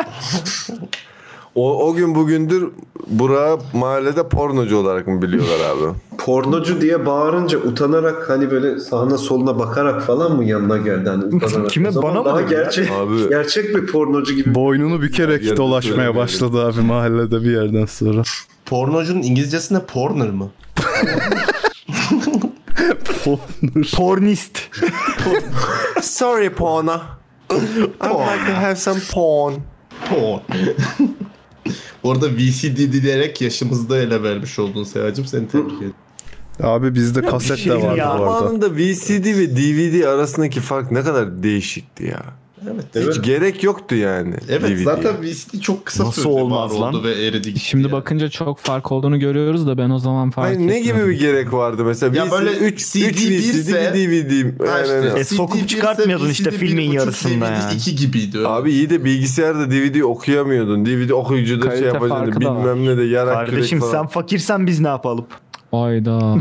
Speaker 1: O, o gün bugündür Burak'ı mahallede pornocu olarak mı biliyorlar abi?
Speaker 3: Pornocu diye bağırınca utanarak hani böyle sağına soluna bakarak falan mı yanına geldi hani utanarak.
Speaker 2: Kime?
Speaker 3: O zaman
Speaker 2: Bana mı
Speaker 3: daha
Speaker 2: dedi ya?
Speaker 3: gerçek
Speaker 1: Abi.
Speaker 3: gerçek bir pornocu gibi.
Speaker 4: Boynunu bükerek
Speaker 1: Yerde
Speaker 4: dolaşmaya
Speaker 1: söylemeyelim.
Speaker 4: başladı abi mahallede bir yerden sonra.
Speaker 11: Pornocunun İngilizcesi ne? Porner mı?
Speaker 4: Pornocu.
Speaker 2: Pornist.
Speaker 1: Sorry porna. I would like to have some porn.
Speaker 11: Porn. Bu arada VCD dileyerek yaşımızda ele vermiş oldun Seyacım. Seni tebrik ederim.
Speaker 4: Abi bizde
Speaker 1: Ya
Speaker 4: kaset
Speaker 1: bir şey
Speaker 4: de vardı
Speaker 1: ya.
Speaker 4: bu arada.
Speaker 1: Zamanında VCD ve DVD arasındaki fark ne kadar değişikti ya.
Speaker 11: Evet,
Speaker 1: Hiç
Speaker 11: evet.
Speaker 1: gerek yoktu yani.
Speaker 11: Evet
Speaker 1: DVD.
Speaker 11: zaten VCD çok kısa
Speaker 1: Nasıl
Speaker 11: sürede
Speaker 1: olmaz
Speaker 11: var
Speaker 1: lan?
Speaker 11: oldu ve eridi gitti.
Speaker 8: Şimdi bakınca çok fark olduğunu görüyoruz da ben o zaman fark
Speaker 1: Hayır,
Speaker 8: etmedim.
Speaker 1: ne gibi bir gerek vardı mesela?
Speaker 11: Ya
Speaker 1: VCD,
Speaker 11: böyle
Speaker 1: 3
Speaker 11: CD birse-
Speaker 1: VCD, bir DVD.
Speaker 11: Ha işte,
Speaker 1: Aynen.
Speaker 2: E, sokup
Speaker 11: CD birse
Speaker 2: çıkartmıyordun işte
Speaker 11: VCD
Speaker 2: filmin
Speaker 11: 1.5
Speaker 2: yarısında
Speaker 11: DVD
Speaker 2: yani.
Speaker 11: iki gibiydi. öyle.
Speaker 1: Abi iyi de bilgisayarda DVD okuyamıyordun. DVD okuyucuda şey
Speaker 8: Kalite
Speaker 1: yapacaktın.
Speaker 8: farkı da var.
Speaker 1: Bilmem ne de yarak
Speaker 2: Kardeşim
Speaker 1: kürek
Speaker 2: sen
Speaker 1: falan.
Speaker 2: fakirsen biz ne yapalım?
Speaker 8: Hayda.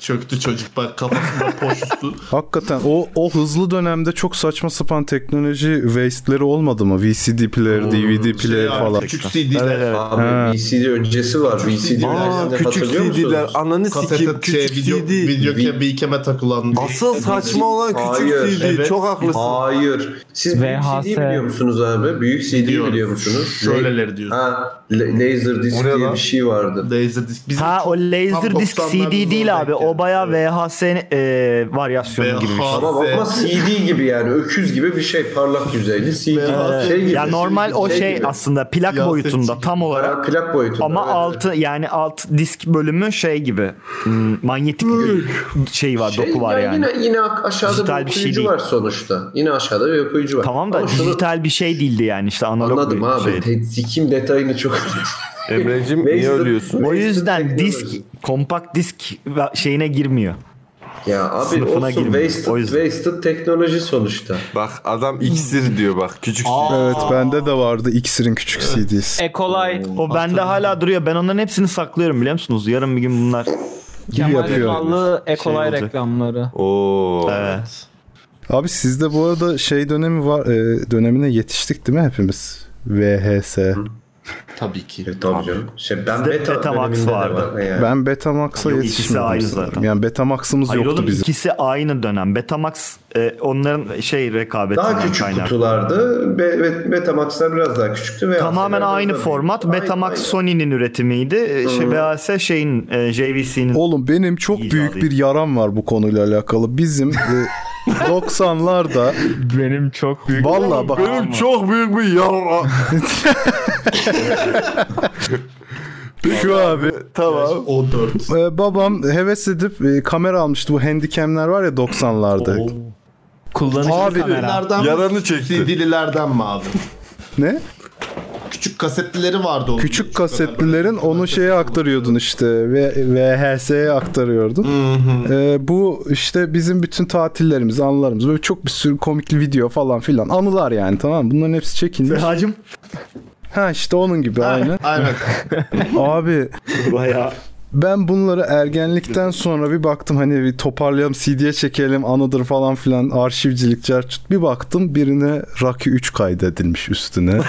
Speaker 11: Çöktü çocuk bak kafasında poşusu.
Speaker 4: Hakikaten o o hızlı dönemde çok saçma sapan teknoloji waste'leri olmadı mı? VCD player,
Speaker 11: Şey
Speaker 4: DVD player falan.
Speaker 11: Küçük CD'ler.
Speaker 4: Ha.
Speaker 3: Abi VCD öncesi var.
Speaker 1: Aa,
Speaker 3: VCD'lerden
Speaker 1: küçük
Speaker 3: hatırlıyor musunuz?
Speaker 1: CD'ler ananı sikip
Speaker 11: Kasete şey,
Speaker 1: küçük
Speaker 11: video,
Speaker 1: CD.
Speaker 11: video kebi ikeme takılan.
Speaker 1: Asıl saçma olan küçük
Speaker 3: Hayır,
Speaker 1: CD.
Speaker 11: evet.
Speaker 1: Çok haklısın.
Speaker 3: Hayır. Siz büyük
Speaker 8: VHS.
Speaker 3: CD'yi biliyor musunuz abi? Büyük CD'yi
Speaker 11: Biliyorum.
Speaker 3: biliyor musunuz?
Speaker 11: Şöyleleri diyorsun.
Speaker 3: Ha, la- laser disk
Speaker 1: O ne
Speaker 3: diye
Speaker 1: lan?
Speaker 3: bir şey vardı.
Speaker 11: Laser disk. Bizim
Speaker 2: Ha o
Speaker 11: Tam
Speaker 2: laser disk
Speaker 11: 90'larda
Speaker 2: CD değil abi. O baya VHS e, varyasyonu gibi bir şey.
Speaker 3: Ama bakma CD gibi yani öküz gibi bir şey parlak yüzeyli CD.
Speaker 11: VHS.
Speaker 3: şey gibi,
Speaker 2: Ya normal o şey
Speaker 3: gibi.
Speaker 2: aslında plak
Speaker 11: Siyasetçi
Speaker 2: boyutunda
Speaker 11: gibi.
Speaker 2: tam
Speaker 3: Ha,
Speaker 2: olarak.
Speaker 3: plak boyutunda.
Speaker 2: Ama
Speaker 3: evet,
Speaker 2: altı yani alt disk bölümü şey gibi. hmm, Manyetik şey var,
Speaker 3: Şey,
Speaker 2: doku var
Speaker 3: ya
Speaker 2: yani.
Speaker 3: Yine, yine aşağıda
Speaker 2: Dijital
Speaker 3: bir
Speaker 2: bir şey
Speaker 3: okuyucu
Speaker 2: değil.
Speaker 3: var sonuçta. Yine aşağıda bir okuyucu var.
Speaker 2: Tamam da
Speaker 3: Ama şunu
Speaker 2: dijital bir şey değildi yani işte analog
Speaker 3: anladım
Speaker 2: bir şey.
Speaker 3: abi.
Speaker 2: şeydi.
Speaker 3: Te- Sikim detayını çok...
Speaker 1: Emre'cim niye
Speaker 3: Laser-
Speaker 1: ölüyorsun?
Speaker 2: O
Speaker 3: Laser
Speaker 2: yüzden
Speaker 3: teknoloji.
Speaker 2: disk, kompakt disk ve- şeyine girmiyor.
Speaker 3: Ya abi
Speaker 2: Sınıfına
Speaker 3: olsun
Speaker 2: girmiyor.
Speaker 3: wasted,
Speaker 2: O yüzden.
Speaker 3: wasted teknoloji sonuçta.
Speaker 1: Bak adam iksir diyor bak. Küçük CD.
Speaker 4: Evet bende de vardı X'in küçük CD'si.
Speaker 8: Ekolay.
Speaker 2: O bende hala duruyor. Ben onların hepsini saklıyorum biliyor musunuz? Yarın bir gün bunlar
Speaker 8: Kemal
Speaker 4: yapıyor.
Speaker 8: Ünal'lı Ekolay
Speaker 2: olacak.
Speaker 8: reklamları.
Speaker 1: Oo.
Speaker 2: e,
Speaker 4: Abi sizde bu arada şey dönemi var e, dönemine yetiştik değil mi hepimiz? VHS.
Speaker 11: Tabii ki.
Speaker 3: E, tabii canım. Şey, ben
Speaker 2: Bizde
Speaker 3: beta,
Speaker 2: Betamax
Speaker 3: döneminde de
Speaker 2: vardı.
Speaker 3: var. Yani.
Speaker 4: Ben Betamax'a
Speaker 2: Yok, ikisi
Speaker 4: yetişmedim.
Speaker 2: ayrı
Speaker 4: sanırım.
Speaker 2: zaten.
Speaker 4: Yani Betamax'ımız
Speaker 2: Hayır
Speaker 4: yoktu
Speaker 2: oğlum
Speaker 4: bizim.
Speaker 2: ikisi aynı dönem. Betamax e, onların şey rekabetinden
Speaker 3: Daha küçük
Speaker 2: kaynaklı.
Speaker 3: kutulardı. Be, be, Betamax'lar biraz daha küçüktü. Ve
Speaker 2: Tamamen
Speaker 3: aslında
Speaker 2: aynı
Speaker 3: biraz daha
Speaker 2: format.
Speaker 3: büyüktü.
Speaker 2: Betamax
Speaker 3: Aynı,
Speaker 2: Sony'nin üretimiydi. E, Şey,
Speaker 3: Hı.
Speaker 2: VHS şeyin e, JVC'nin.
Speaker 4: Oğlum benim çok
Speaker 2: İyi
Speaker 4: büyük
Speaker 2: abi.
Speaker 4: bir yaram var bu konuyla alakalı. Bizim e, 90'larda
Speaker 8: Benim çok büyük.
Speaker 4: valla bak
Speaker 1: Benim çok büyük bir yara.
Speaker 4: şu abi
Speaker 1: tamam.
Speaker 11: 14.
Speaker 4: e, babam heves edip e, kamera almıştı. Bu handicamler var ya 90'larda.
Speaker 8: Kullanıcı
Speaker 4: Abi-
Speaker 8: kamera.
Speaker 11: Nereden
Speaker 1: Yaranı çekti.
Speaker 11: CD'lilerden mi abi?
Speaker 4: Ne?
Speaker 11: Küçük kasetlileri vardı onun.
Speaker 4: Küçük kasetlilerin onu şeye aktarıyordun işte. V- VHS'ye aktarıyordun. E, bu işte bizim bütün tatillerimiz, anılarımız. Böyle çok bir sürü komikli video falan filan. Anılar yani tamam mı? Bunların hepsi çekilmiş.
Speaker 2: Hacım
Speaker 4: Ha işte onun gibi aynı.
Speaker 11: Aynen.
Speaker 4: Abi
Speaker 2: bayağı
Speaker 4: Ben bunları ergenlikten sonra bir baktım hani bir toparlayalım CD'ye çekelim anıdır falan filan arşivcilik carçut. Bir baktım birine Rocky 3 kaydedilmiş üstüne.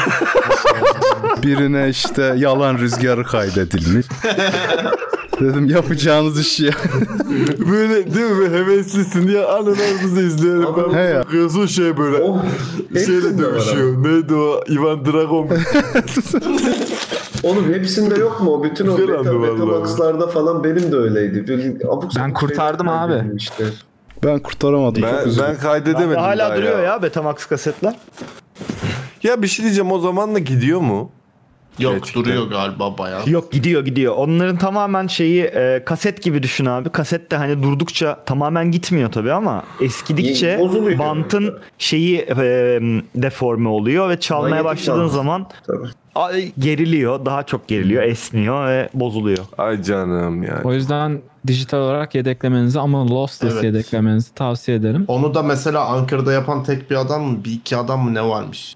Speaker 4: birine işte yalan rüzgarı kaydedilmiş. Dedim yapacağınız iş ya.
Speaker 1: Böyle değil mi? Heveslisin diye anılarımızı izleyelim. Ben
Speaker 4: He ya.
Speaker 1: bakıyorsun şey böyle.
Speaker 3: Oh,
Speaker 1: şeyle
Speaker 3: hepsinde var
Speaker 1: dövüşüyor. Neydi o? Ivan Drago mu?
Speaker 3: Oğlum hepsinde yok mu? o? Bütün o
Speaker 1: Güzel
Speaker 3: beta,
Speaker 1: andı vallahi.
Speaker 3: Betamax'larda falan benim de öyleydi. Böyle abuk sabuk
Speaker 8: Ben kurtardım
Speaker 3: şeyler
Speaker 8: abi.
Speaker 3: kaydedilmişti.
Speaker 4: Ben kurtaramadım. çok
Speaker 1: ben,
Speaker 4: üzüldüm.
Speaker 1: ben kaydedemedim.
Speaker 2: hala
Speaker 1: daha
Speaker 2: duruyor
Speaker 1: ya.
Speaker 2: ya Betamax kasetler.
Speaker 1: Ya bir şey diyeceğim o zamanla gidiyor mu?
Speaker 11: Yok
Speaker 1: Gerçekten.
Speaker 11: duruyor galiba bayağı.
Speaker 2: Yok gidiyor gidiyor. Onların tamamen şeyi e, kaset gibi düşün abi. Kaset de hani durdukça tamamen gitmiyor tabii ama eskidikçe
Speaker 3: Ye- bozuluyor.
Speaker 2: bantın şeyi e, deforme oluyor ve çalmaya
Speaker 3: Manyetik
Speaker 2: başladığın
Speaker 3: bant.
Speaker 2: zaman
Speaker 3: Tabii.
Speaker 2: ay, geriliyor. Daha çok geriliyor, esniyor ve bozuluyor.
Speaker 1: Ay canım ya.
Speaker 8: O yüzden dijital olarak yedeklemenizi ama Lossless
Speaker 11: Evet.
Speaker 8: yedeklemenizi tavsiye ederim.
Speaker 11: Onu da mesela Ankara'da yapan tek bir adam mı? Bir iki adam mı ne varmış?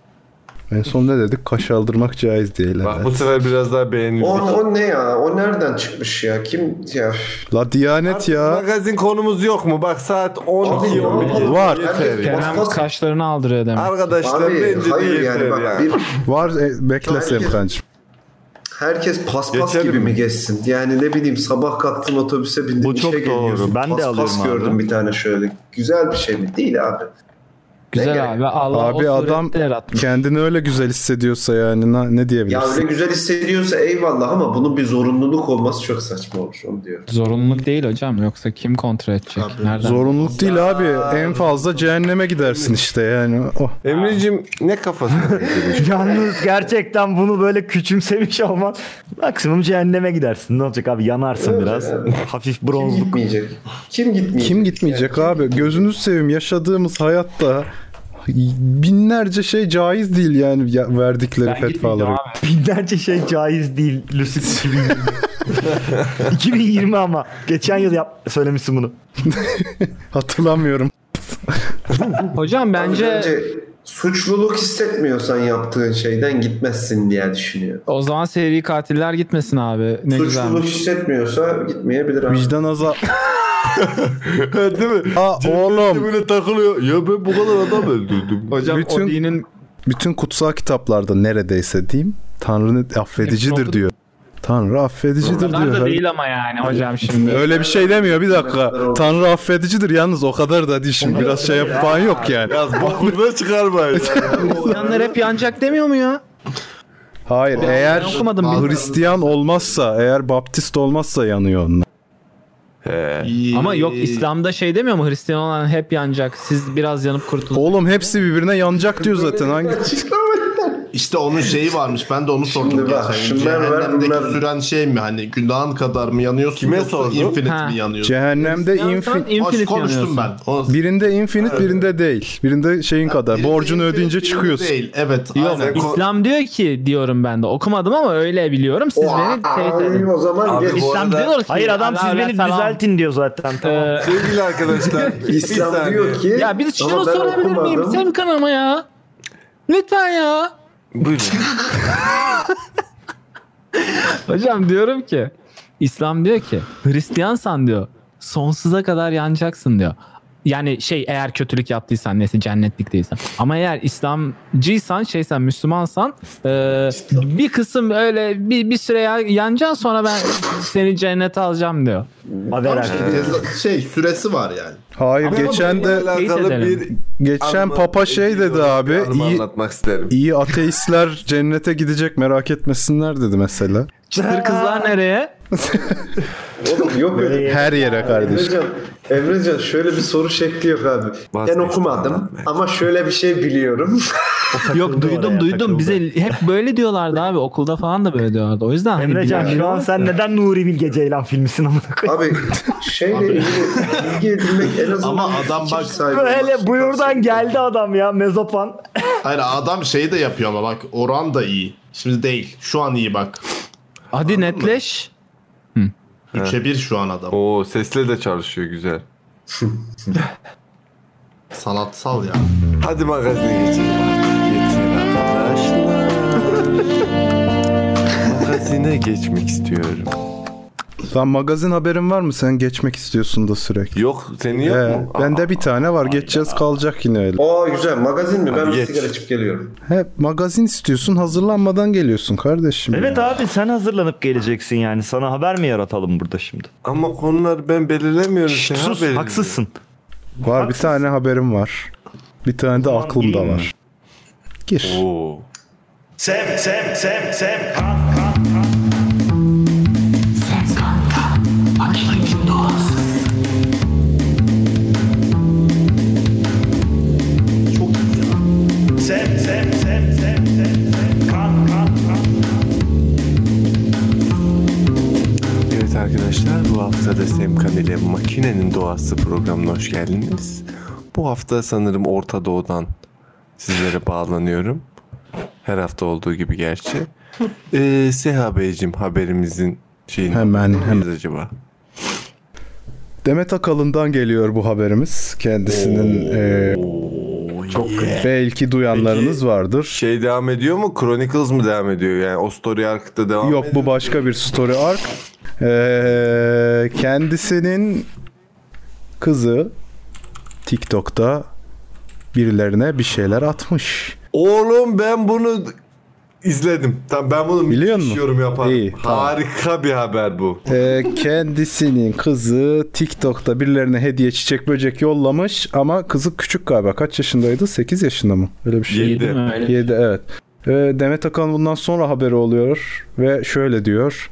Speaker 4: En son ne dedik? Kaş aldırmak caiz değil.
Speaker 1: Bak
Speaker 4: evet.
Speaker 1: bu sefer biraz daha beğenildi.
Speaker 3: O, o ne ya? O nereden çıkmış ya? Kim ya? üf.
Speaker 4: La Diyanet
Speaker 1: Artık
Speaker 4: ya.
Speaker 1: Magazin konumuz yok mu? Bak saat 12
Speaker 3: Abi,
Speaker 1: 11.
Speaker 4: Var.
Speaker 3: Herkes
Speaker 1: Yeter.
Speaker 8: Kerem
Speaker 3: paspas-
Speaker 8: kaşlarını aldırıyor demek.
Speaker 1: Arkadaşlar
Speaker 3: Abi
Speaker 1: bence de
Speaker 3: hayır
Speaker 1: yeter
Speaker 3: yani bak
Speaker 1: ya.
Speaker 3: bir,
Speaker 4: Var. E, bekle
Speaker 3: Herkes-
Speaker 4: Serkan'cığım.
Speaker 3: herkes paspas
Speaker 1: Geçelim
Speaker 3: gibi
Speaker 1: mi?
Speaker 3: mi geçsin? Yani ne bileyim sabah kalktın otobüse bindin
Speaker 2: Bu
Speaker 3: işe
Speaker 2: çok doğru.
Speaker 3: geliyorsun.
Speaker 2: Ben de
Speaker 3: paspas
Speaker 2: alıyorum abi.
Speaker 3: gördüm bir tane şöyle. Güzel bir şey mi? Değil abi.
Speaker 8: Güzel
Speaker 3: gerek
Speaker 8: abi. Allah o
Speaker 4: Abi
Speaker 8: surette
Speaker 4: adam
Speaker 8: yaratmış.
Speaker 4: kendini öyle güzel hissediyorsa yani na- ne
Speaker 3: Ya
Speaker 4: diyebilirsin?
Speaker 3: öyle güzel hissediyorsa eyvallah ama bunun bir zorunluluk olması çok saçma olur onu diyorum.
Speaker 8: Zorunluluk değil hocam. Yoksa kim kontrol edecek? Nereden?
Speaker 4: Zorunluluk değil abi. En fazla cehenneme gidersin işte yani. Oh.
Speaker 1: Emre'cim ne kafası?
Speaker 2: Yalnız gerçekten bunu böyle küçümsemiş olman maksimum cehenneme gidersin. Ne olacak abi yanarsın biraz. Hafif bronzluk.
Speaker 3: Gitmeyecek. Kim gitmeyecek?
Speaker 4: Kim gitmeyecek abi? Gözünüz seveyim yaşadığımız hayatta binlerce şey caiz değil yani ya- verdikleri fetvaları.
Speaker 2: Binlerce şey caiz değil Lucid 2020. 2020 ama. Geçen yıl yap söylemişsin bunu.
Speaker 4: Hatırlamıyorum.
Speaker 8: Hocam bence...
Speaker 3: suçluluk hissetmiyorsan yaptığın şeyden gitmezsin diye düşünüyorum.
Speaker 8: O zaman seri katiller gitmesin abi. Ne
Speaker 3: suçluluk
Speaker 8: güzelmiş.
Speaker 3: hissetmiyorsa gitmeyebilir abi.
Speaker 4: Vicdan azap.
Speaker 1: Değil mi?
Speaker 4: Aa oğlum.
Speaker 1: Böyle takılıyor. Ya ben bu kadar adam öldürdüm.
Speaker 8: Hocam
Speaker 4: Bütün-
Speaker 8: o dinin
Speaker 4: Bütün kutsal kitaplarda neredeyse diyeyim Tanrı affedicidir diyor. Tanrı affedicidir
Speaker 8: kadar da
Speaker 4: diyor.
Speaker 8: değil ama yani hocam şimdi.
Speaker 4: Öyle bir şey demiyor bir dakika. Tanrı affedicidir yalnız o kadar da değil şimdi biraz şey yap falan yok yani.
Speaker 1: Yaz bokunu çıkarmayın.
Speaker 8: Hristiyanlar hep yanacak demiyor mu ya?
Speaker 4: Hayır eğer
Speaker 8: okumadım bilmiyorum.
Speaker 4: Hristiyan olmazsa eğer Baptist olmazsa yanıyor onlar.
Speaker 8: Ama yok İslam'da şey demiyor mu? Hristiyan olan hep yanacak. Siz biraz yanıp kurtulun.
Speaker 4: Oğlum hepsi birbirine yanacak diyor zaten. Hangi
Speaker 11: İşte onun şeyi varmış. Ben de onu sordum
Speaker 3: Şimdi bak,
Speaker 11: geçen gün.
Speaker 3: şimdi ben var,
Speaker 11: Cehennemdeki
Speaker 3: bunlar-
Speaker 11: süren şey mi? Hani günahın kadar mı yanıyorsun?
Speaker 1: Kime
Speaker 11: yoksa
Speaker 1: sordun?
Speaker 11: Infinite
Speaker 8: Ha.
Speaker 11: mi yanıyorsun?
Speaker 4: Cehennemde
Speaker 8: Yansan
Speaker 4: infi...
Speaker 11: Hoş
Speaker 8: infinite
Speaker 11: konuştum
Speaker 8: yanıyorsun.
Speaker 11: ben. O-
Speaker 4: Birinde infinite birinde değil. Birinde şeyin kadar.
Speaker 11: Birinde
Speaker 4: Borcunu
Speaker 11: infinite,
Speaker 4: ödeyince
Speaker 11: birinde
Speaker 4: çıkıyorsun.
Speaker 11: Değil. Evet.
Speaker 1: Yok,
Speaker 11: aynen.
Speaker 1: ko-
Speaker 8: İslam diyor ki diyorum ben de. Okumadım ama öyle biliyorum. Siz beni teyit
Speaker 3: Ay,
Speaker 8: edin.
Speaker 3: o zaman
Speaker 1: Abi
Speaker 3: geç.
Speaker 1: bu-
Speaker 8: İslam
Speaker 1: arada-
Speaker 8: diyor ki.
Speaker 2: Hayır adam
Speaker 8: Allah
Speaker 2: siz beni
Speaker 8: Allah, selam.
Speaker 2: düzeltin diyor zaten. Tamam.
Speaker 8: Ee,
Speaker 1: Sevgili arkadaşlar. bir
Speaker 3: İslam
Speaker 1: saniye.
Speaker 3: diyor ki
Speaker 8: ya bir şunu
Speaker 3: "Ama ben
Speaker 8: sorabilir miyim?
Speaker 3: okumadım."
Speaker 8: Semkan ama ya. Lütfen ya.
Speaker 1: Buyurun.
Speaker 8: Hocam diyorum ki İslam diyor ki Hristiyansan diyor sonsuza kadar yanacaksın diyor. Yani şey eğer kötülük yaptıysan neyse cennetlik değilsen. Ama eğer İslamcıysan şeysen Müslümansan e, bir kısım öyle bir, bir süre ya- yanacaksın sonra ben seni cennete alacağım diyor.
Speaker 2: Haber
Speaker 11: Ama
Speaker 2: abi.
Speaker 11: şey, ceza- şey süresi var yani.
Speaker 4: Hayır geçen de
Speaker 1: Bununla
Speaker 8: Teyit
Speaker 1: alakalı bir
Speaker 8: edelim.
Speaker 4: geçen
Speaker 1: anma-
Speaker 4: papa şey dedi abi.
Speaker 1: anımı
Speaker 4: iyi,
Speaker 1: anlatmak isterim.
Speaker 4: iyi ateistler cennete gidecek merak etmesinler dedi mesela.
Speaker 8: Çıtır kızlar nereye?
Speaker 3: Oğlum yok öyle.
Speaker 4: Her yere kardeşim.
Speaker 3: Emrecan, Emrecan şöyle bir soru şekli yok abi.
Speaker 1: Vazgeçtim,
Speaker 3: ben okumadım
Speaker 1: anlatmayın.
Speaker 3: ama şöyle bir şey biliyorum.
Speaker 8: Yok duydum
Speaker 2: oraya,
Speaker 8: duydum
Speaker 2: takıldı.
Speaker 8: bize hep böyle diyorlardı abi okulda falan da böyle diyorlardı. O yüzden hani
Speaker 2: Emrecan
Speaker 8: bilmiyorum.
Speaker 2: şu an sen neden Nuri Bilge Ceylan filmisin amına koyayım?
Speaker 3: Abi şeyle ilgili bilgi edinmek en azından
Speaker 11: Ama adam
Speaker 3: fikir
Speaker 11: bak-
Speaker 3: sahibi
Speaker 2: Böyle şey
Speaker 3: olmak.
Speaker 2: buyurdan geldi adam ya mezopan.
Speaker 11: Hayır adam şeyi de yapıyor ama bak oran da iyi. Şimdi değil. Şu an iyi bak.
Speaker 8: Hadi netleş.
Speaker 11: 3'e 1 şu an adam.
Speaker 1: Oo sesle de çalışıyor güzel.
Speaker 11: Sanatsal ya.
Speaker 1: Hadi magazine geçelim artık. Yeter arkadaşlar. magazine geçmek istiyorum.
Speaker 4: Lan magazin haberin var mı? Sen geçmek istiyorsun da sürekli.
Speaker 1: Yok senin yok
Speaker 4: He,
Speaker 1: mu? Ah, Aa,
Speaker 4: bende bir tane var. Geçeceğiz kalacak yine öyle.
Speaker 3: Aa güzel magazin mi? Ben
Speaker 1: Abi
Speaker 3: bir
Speaker 1: geç.
Speaker 3: sigara içip geliyorum.
Speaker 4: Hep magazin istiyorsun. Hazırlanmadan geliyorsun kardeşim.
Speaker 2: Evet
Speaker 4: ya.
Speaker 2: abi sen hazırlanıp geleceksin yani. Sana haber mi yaratalım burada şimdi?
Speaker 1: Ama konular ben belirlemiyorum.
Speaker 2: Şşt,
Speaker 1: Seyhan
Speaker 2: sus
Speaker 1: belirliyor.
Speaker 2: haksızsın.
Speaker 4: Var bir tane haberim var. Bir tane de aklımda
Speaker 2: gireyim mi?
Speaker 4: var. Gir.
Speaker 1: Oo.
Speaker 12: Sem sem sem sem. Sem sem sem sem sem sem. Kan kan kan.
Speaker 1: Evet arkadaşlar bu hafta da Semkan ile Makinenin Doğası programına hoş geldiniz. Bu hafta sanırım Orta Doğu'dan sizlere bağlanıyorum. Her hafta olduğu gibi gerçi. Ee, Seha Beyciğim haberimizin şeyini
Speaker 4: Hemen, hemen.
Speaker 1: acaba?
Speaker 4: Demet Akalın'dan geliyor bu haberimiz. Kendisinin e, çok belki duyanlarınız
Speaker 1: Peki,
Speaker 4: vardır.
Speaker 1: Şey devam ediyor mu? Chronicles mı devam ediyor? Yani o story arkada devam
Speaker 4: Yok bu başka bir story arc. Ee, kendisinin kızı TikTok'ta birilerine bir şeyler atmış.
Speaker 1: Oğlum ben bunu izledim. Tamam ben bunu
Speaker 4: Biliyor
Speaker 1: müthiş
Speaker 4: musun?
Speaker 1: yorum yaparım.
Speaker 4: İyi, tamam.
Speaker 1: Harika bir haber bu.
Speaker 4: Ee, kendisinin kızı TikTok'ta birilerine hediye çiçek böcek yollamış ama kızı küçük galiba. Kaç yaşındaydı? 8 yaşında mı? Öyle bir şey.
Speaker 1: Yedi. Yedi mi? Öyle bir
Speaker 4: 7 evet. Ee, Demet Akalın bundan sonra haberi oluyor ve şöyle diyor.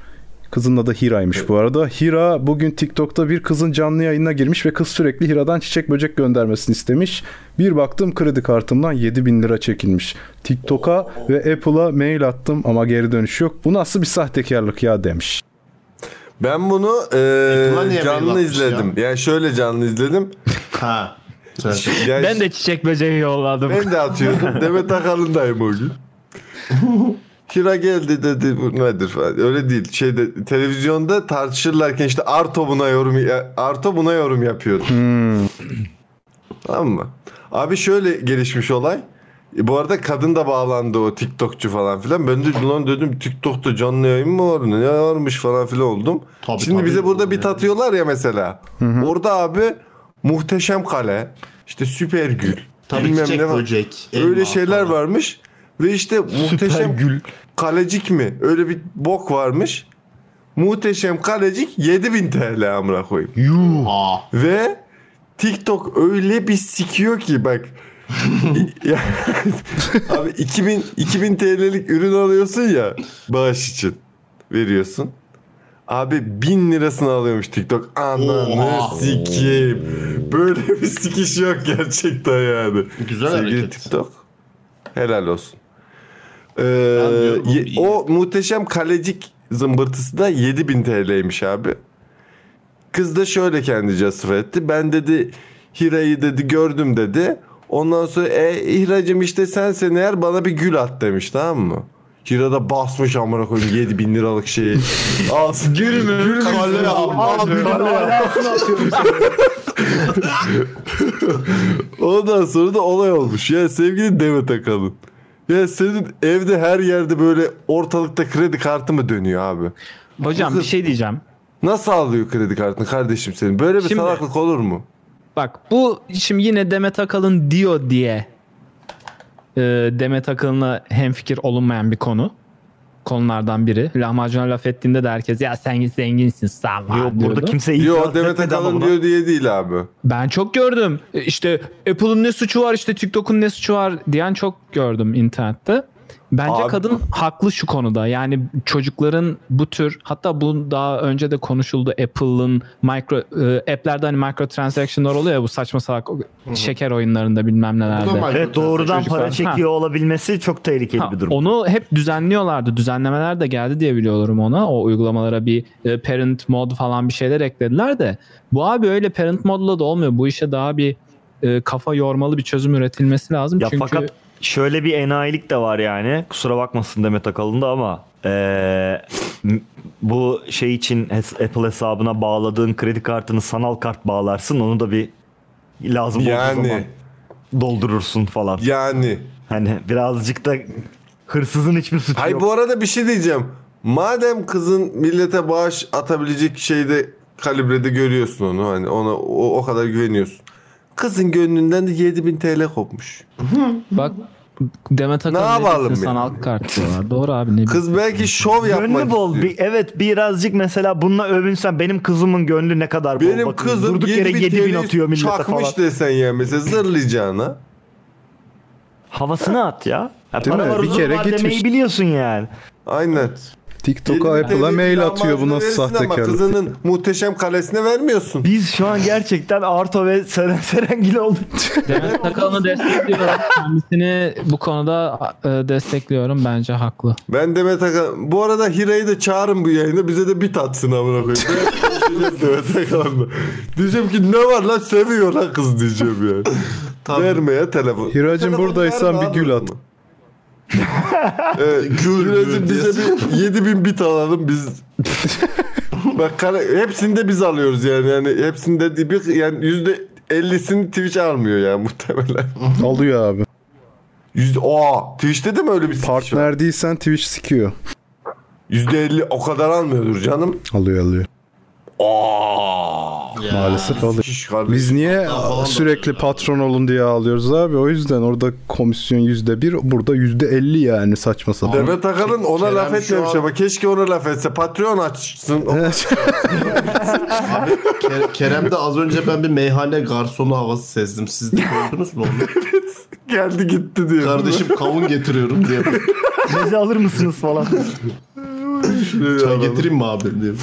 Speaker 4: Kızın adı Hira'ymış bu arada. Hira bugün TikTok'ta bir kızın canlı yayına girmiş ve kız sürekli Hira'dan çiçek böcek göndermesini istemiş. Bir baktım kredi kartımdan 7000 lira çekilmiş. TikTok'a ve Apple'a mail attım ama geri dönüş yok. Bu nasıl bir sahtekarlık ya demiş.
Speaker 1: Ben bunu e,
Speaker 11: niye
Speaker 1: canlı
Speaker 11: mail atmış
Speaker 1: izledim. Yani şöyle canlı izledim.
Speaker 11: Ha.
Speaker 8: Ben de çiçek böceği yolladım.
Speaker 1: Ben de atıyorum. Demet Akalın'dayım o gün. Hira geldi dedi bu nedir falan. Öyle değil. Şeyde televizyonda tartışırlarken işte Arto buna yorum ya- Arto buna yorum yapıyor.
Speaker 11: Hmm.
Speaker 1: tamam mı? Abi şöyle gelişmiş olay. E, bu arada kadın da bağlandı o TikTokçu falan filan. Ben de lan dedim TikTok'ta canlı yayın mı var? Ne varmış falan filan oldum. Şimdi
Speaker 11: tabii.
Speaker 1: bize burada bir tatıyorlar ya mesela. Orada abi muhteşem kale, işte süper gül,
Speaker 11: Tabii çiçek böcek, elma
Speaker 1: Öyle şeyler varmış ve işte muhteşem gül kalecik mi? Öyle bir bok varmış. Muhteşem kalecik 7000 TL amına koyayım. Ve TikTok öyle bir sikiyor ki bak. Ya- abi 2000 2000 TL'lik ürün alıyorsun ya bağış için veriyorsun. Abi 1000 lirasını alıyormuş TikTok. Ananı
Speaker 11: Oha.
Speaker 1: sikeyim. Böyle bir sikiş yok gerçekten yani.
Speaker 11: Güzel
Speaker 1: Sevgili
Speaker 11: hareket.
Speaker 1: TikTok. Helal olsun. Ee,
Speaker 11: diyorum bu
Speaker 1: ye- o muhteşem kalecik zımbırtısı da 7000 TL'ymiş abi. Kız da şöyle kendi cesur etti. Ben dedi Hira'yı dedi gördüm dedi. Ondan sonra e Hira'cım işte sensen eğer bana bir gül at demiş tamam mı? Hira da basmış amına koyayım 7000 liralık şeyi. Al gül mü? Gül mü? Al gülü
Speaker 5: Alasını atıyorum
Speaker 1: Ondan sonra da olay olmuş. Ya sevgili Demet Akalın. Ya senin evde her yerde böyle ortalıkta kredi kartı mı dönüyor abi?
Speaker 8: Hocam, bir şey diyeceğim.
Speaker 1: Nasıl alıyor kredi kartını kardeşim senin? Böyle bir
Speaker 8: Şimdi-
Speaker 1: salaklık olur mu?
Speaker 8: Bak bu şimdi yine Demet Akalın diyor diye e, Demet Akalın'la hemfikir olunmayan bir konu. Konulardan biri. Lahmacun'a laf ettiğinde de herkes ya sen zenginsin sen var
Speaker 2: Yok, burada
Speaker 8: diyordu.
Speaker 2: kimse
Speaker 1: Yo Demet Akalın diyor diye değil abi.
Speaker 8: Ben çok gördüm. E, İşte Apple'ın ne suçu var işte TikTok'un ne suçu var diyen çok gördüm internette. Bence
Speaker 1: Abi-
Speaker 8: kadın haklı şu konuda. Yani çocukların bu tür hatta bu daha önce de konuşuldu Apple'ın micro e, app'lerde hani micro transaction'lar oluyor ya bu saçma salak şeker oyunlarında bilmem nelerde.
Speaker 2: Evet doğrudan para çekiyor
Speaker 8: Ha,
Speaker 2: olabilmesi çok tehlikeli
Speaker 8: ha,
Speaker 2: bir durum.
Speaker 8: onu hep düzenliyorlardı. Düzenlemeler de geldi diye biliyorum ona. O uygulamalara bir e, parent mod falan bir şeyler eklediler de bu abi öyle parent modla da olmuyor. Bu işe daha bir e, kafa yormalı bir çözüm üretilmesi lazım.
Speaker 2: Ya
Speaker 8: Çünkü
Speaker 2: fakat şöyle bir enayilik de var yani. Kusura bakmasın Demet Akalın da ama eee, m- bu şey için hes- Apple hesabına bağladığın kredi kartını sanal kart bağlarsın. Onu da bir lazım olduğu
Speaker 1: Yani.
Speaker 2: zaman doldurursun falan.
Speaker 1: Yani.
Speaker 2: Hani birazcık da hırsızın hiçbir suçu
Speaker 1: Hay
Speaker 2: yok.
Speaker 1: bu arada bir şey diyeceğim. Madem kızın millete bağış atabilecek şeyde kalibrede görüyorsun onu hani ona o, o kadar güveniyorsun. Kızın gönlünden de 7000 TL kopmuş.
Speaker 8: bak Demet
Speaker 1: Ne
Speaker 8: Akalın ne
Speaker 1: yapalım
Speaker 8: bilsin
Speaker 1: yani?
Speaker 8: sanal kart diyorlar. Doğru abi ne bileyim.
Speaker 1: Kız belki şov yapmak
Speaker 2: Gönlü bol.
Speaker 1: istiyor.
Speaker 2: Bir, evet birazcık mesela bununla övünsen benim kızımın gönlü ne kadar bol.
Speaker 1: Benim
Speaker 2: Bakın,
Speaker 1: kızım
Speaker 2: durduk yere
Speaker 1: 7000
Speaker 2: 7000
Speaker 1: TL'yi
Speaker 2: atıyor millete
Speaker 1: çakmış
Speaker 2: falan.
Speaker 1: desen ya mesela zırlayacağına.
Speaker 2: Havasını at ya. ya
Speaker 4: Değil
Speaker 2: para
Speaker 4: mi?
Speaker 2: var,
Speaker 4: Bir
Speaker 2: huzur
Speaker 4: kere
Speaker 2: var demeyi
Speaker 4: gitmiş.
Speaker 2: biliyorsun yani.
Speaker 1: Aynen.
Speaker 4: TikTok'a Apple'a mail atıyor bu nasıl
Speaker 1: Ama
Speaker 4: sahtekarlık.
Speaker 1: kızının muhteşem kalesine vermiyorsun.
Speaker 2: Biz şu an gerçekten Arto ve Seren Serengil olduk.
Speaker 8: Demet Akalın'ı destekliyorum. Kendisini bu konuda e, destekliyorum. Bence haklı.
Speaker 1: Ben Demet Akalın. Bu arada Hira'yı da çağırın bu yayına. Bize de bit atsın amına koyayım. Ben Demet Akalın'la. Diyeceğim ki ne var lan seviyor lan kız diyeceğim yani. Verme ya telefon.
Speaker 4: Hiracım buradaysan bir gül at.
Speaker 1: Evet, Hira'cığım bize
Speaker 11: diyorsun.
Speaker 1: bir 7000 bit alalım biz. Bak kare, hepsini de biz alıyoruz yani. yani hepsinde de bir yani yüzde 50'sini Twitch almıyor ya muhtemelen.
Speaker 4: Alıyor abi.
Speaker 1: Yüzde, aa, Twitch'te de mi öyle bir sikiş var?
Speaker 4: Partnerdiysen Twitch sikiyor.
Speaker 1: %50 o kadar almıyordur canım.
Speaker 4: Alıyor alıyor.
Speaker 1: Aa.
Speaker 4: Maalesef oluyor.
Speaker 1: Şiş
Speaker 4: Biz niye
Speaker 1: falan da
Speaker 4: sürekli patron olun diye ağlıyoruz abi? O yüzden orada komisyon yüzde bir, burada yüzde elli yani saçma sapan.
Speaker 1: Demet Akalın ona
Speaker 4: Kerem
Speaker 1: laf
Speaker 4: şu
Speaker 1: etmemiş
Speaker 4: an-
Speaker 1: ama keşke ona laf etse. Patreon açsın.
Speaker 11: Ke- Kerem'de az önce ben bir meyhane garsonu havası sezdim. Siz de gördünüz mü onu?
Speaker 1: Geldi gitti diyor.
Speaker 11: Kardeşim kavun getiriyorum diye.
Speaker 2: Meze alır mısınız falan.
Speaker 11: Çay getireyim mi abi diye.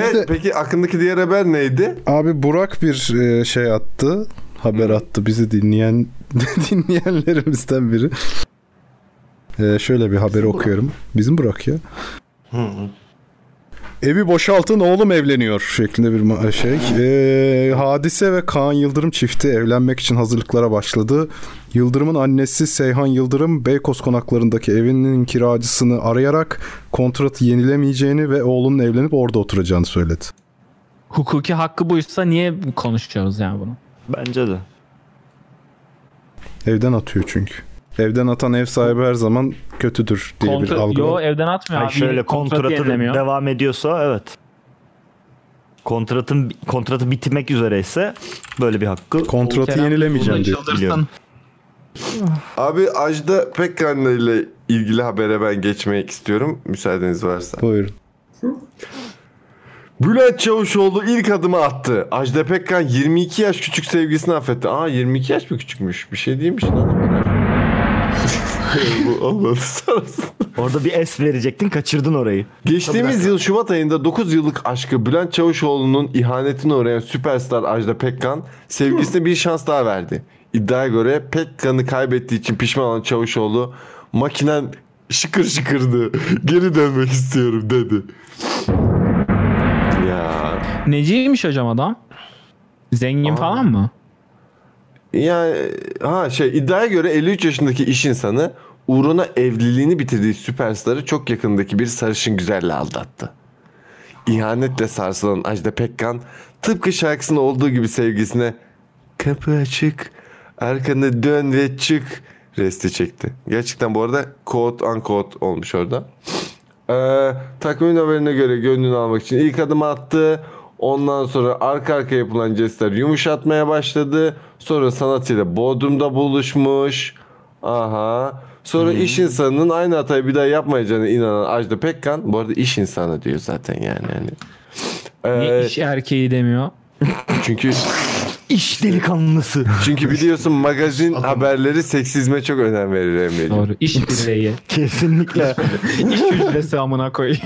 Speaker 1: Evet peki aklındaki diğer haber neydi?
Speaker 4: Abi Burak bir e, şey attı. Haber attı bizi dinleyen dinleyenlerimizden biri. E, şöyle bir haberi okuyorum. Bizim Burak ya. Evi boşaltın oğlum evleniyor şeklinde bir ma- şey. Ee, Hadise ve Kaan Yıldırım çifti evlenmek için hazırlıklara başladı. Yıldırım'ın annesi Seyhan Yıldırım Beykoz konaklarındaki evinin kiracısını arayarak kontratı yenilemeyeceğini ve oğlunun evlenip orada oturacağını söyledi.
Speaker 8: Hukuki hakkı buysa niye konuşuyoruz yani bunu?
Speaker 2: Bence de.
Speaker 4: Evden atıyor çünkü. Evden atan ev sahibi her zaman kötüdür diye bir
Speaker 8: Kontra-
Speaker 4: algı
Speaker 8: Yo
Speaker 4: var.
Speaker 8: evden atmıyor
Speaker 2: Hayır,
Speaker 8: abi.
Speaker 2: şöyle
Speaker 8: kontratı
Speaker 2: kontratın
Speaker 8: yenilemiyor.
Speaker 2: devam ediyorsa evet. Kontratın kontratı bitmek üzereyse böyle bir hakkı
Speaker 4: Kontratı Kerem, yenilemeyeceğim bunu diyor. çıldırsan.
Speaker 2: Biliyorum.
Speaker 1: Abi Ajda Pekkan ile ilgili habere ben geçmek istiyorum. Müsaadeniz varsa.
Speaker 4: Buyurun.
Speaker 1: Bülent Çavuşoğlu ilk adımı attı. Ajda Pekkan 22 yaş küçük sevgisini affetti. Aa 22 yaş mı küçükmüş? Bir şey değilmiş lan. Bu olmadı sonrasında.
Speaker 2: Orada bir es verecektin kaçırdın orayı.
Speaker 1: Geçtiğimiz yıl Şubat ayında 9 yıllık aşkı Bülent Çavuşoğlu'nun ihanetine uğrayan süperstar Ajda Pekkan sevgilisine bir şans daha verdi. İddiaya göre Pekkan'ı kaybettiği için pişman olan Çavuşoğlu makinen şıkır şıkırdı. Geri dönmek istiyorum dedi. Ya
Speaker 8: Neciymiş hocam adam? Zengin falan mı?
Speaker 1: Yani ha şey iddiaya göre 53 yaşındaki iş insanı uğruna evliliğini bitirdiği süperstarı çok yakındaki bir sarışın güzelle aldattı. İhanetle sarsılan Ajda Pekkan tıpkı şarkısında olduğu gibi sevgisine kapı açık arkanı dön ve çık resti çekti. Gerçekten bu arada quote unquote olmuş orada. Ee, takvimin haberine göre gönlünü almak için ilk adımı attı. Ondan sonra arka arkaya yapılan jestler yumuşatmaya başladı. Sonra sanatçıyla Bodrum'da buluşmuş. Aha. Sonra iş insanının aynı hatayı bir daha yapmayacağına inanan Ajda Pekkan. Bu arada iş insanı diyor zaten yani. yani.
Speaker 8: Niye
Speaker 1: Ee,
Speaker 8: iş erkeği demiyor?
Speaker 1: çünkü
Speaker 2: İş delikanlısı.
Speaker 1: çünkü biliyorsun magazin haberleri seksizme çok önem verir Emre'ciğim.
Speaker 8: Doğru. İş birliği.
Speaker 2: Kesinlikle.
Speaker 8: iş hücresi amına koyayım.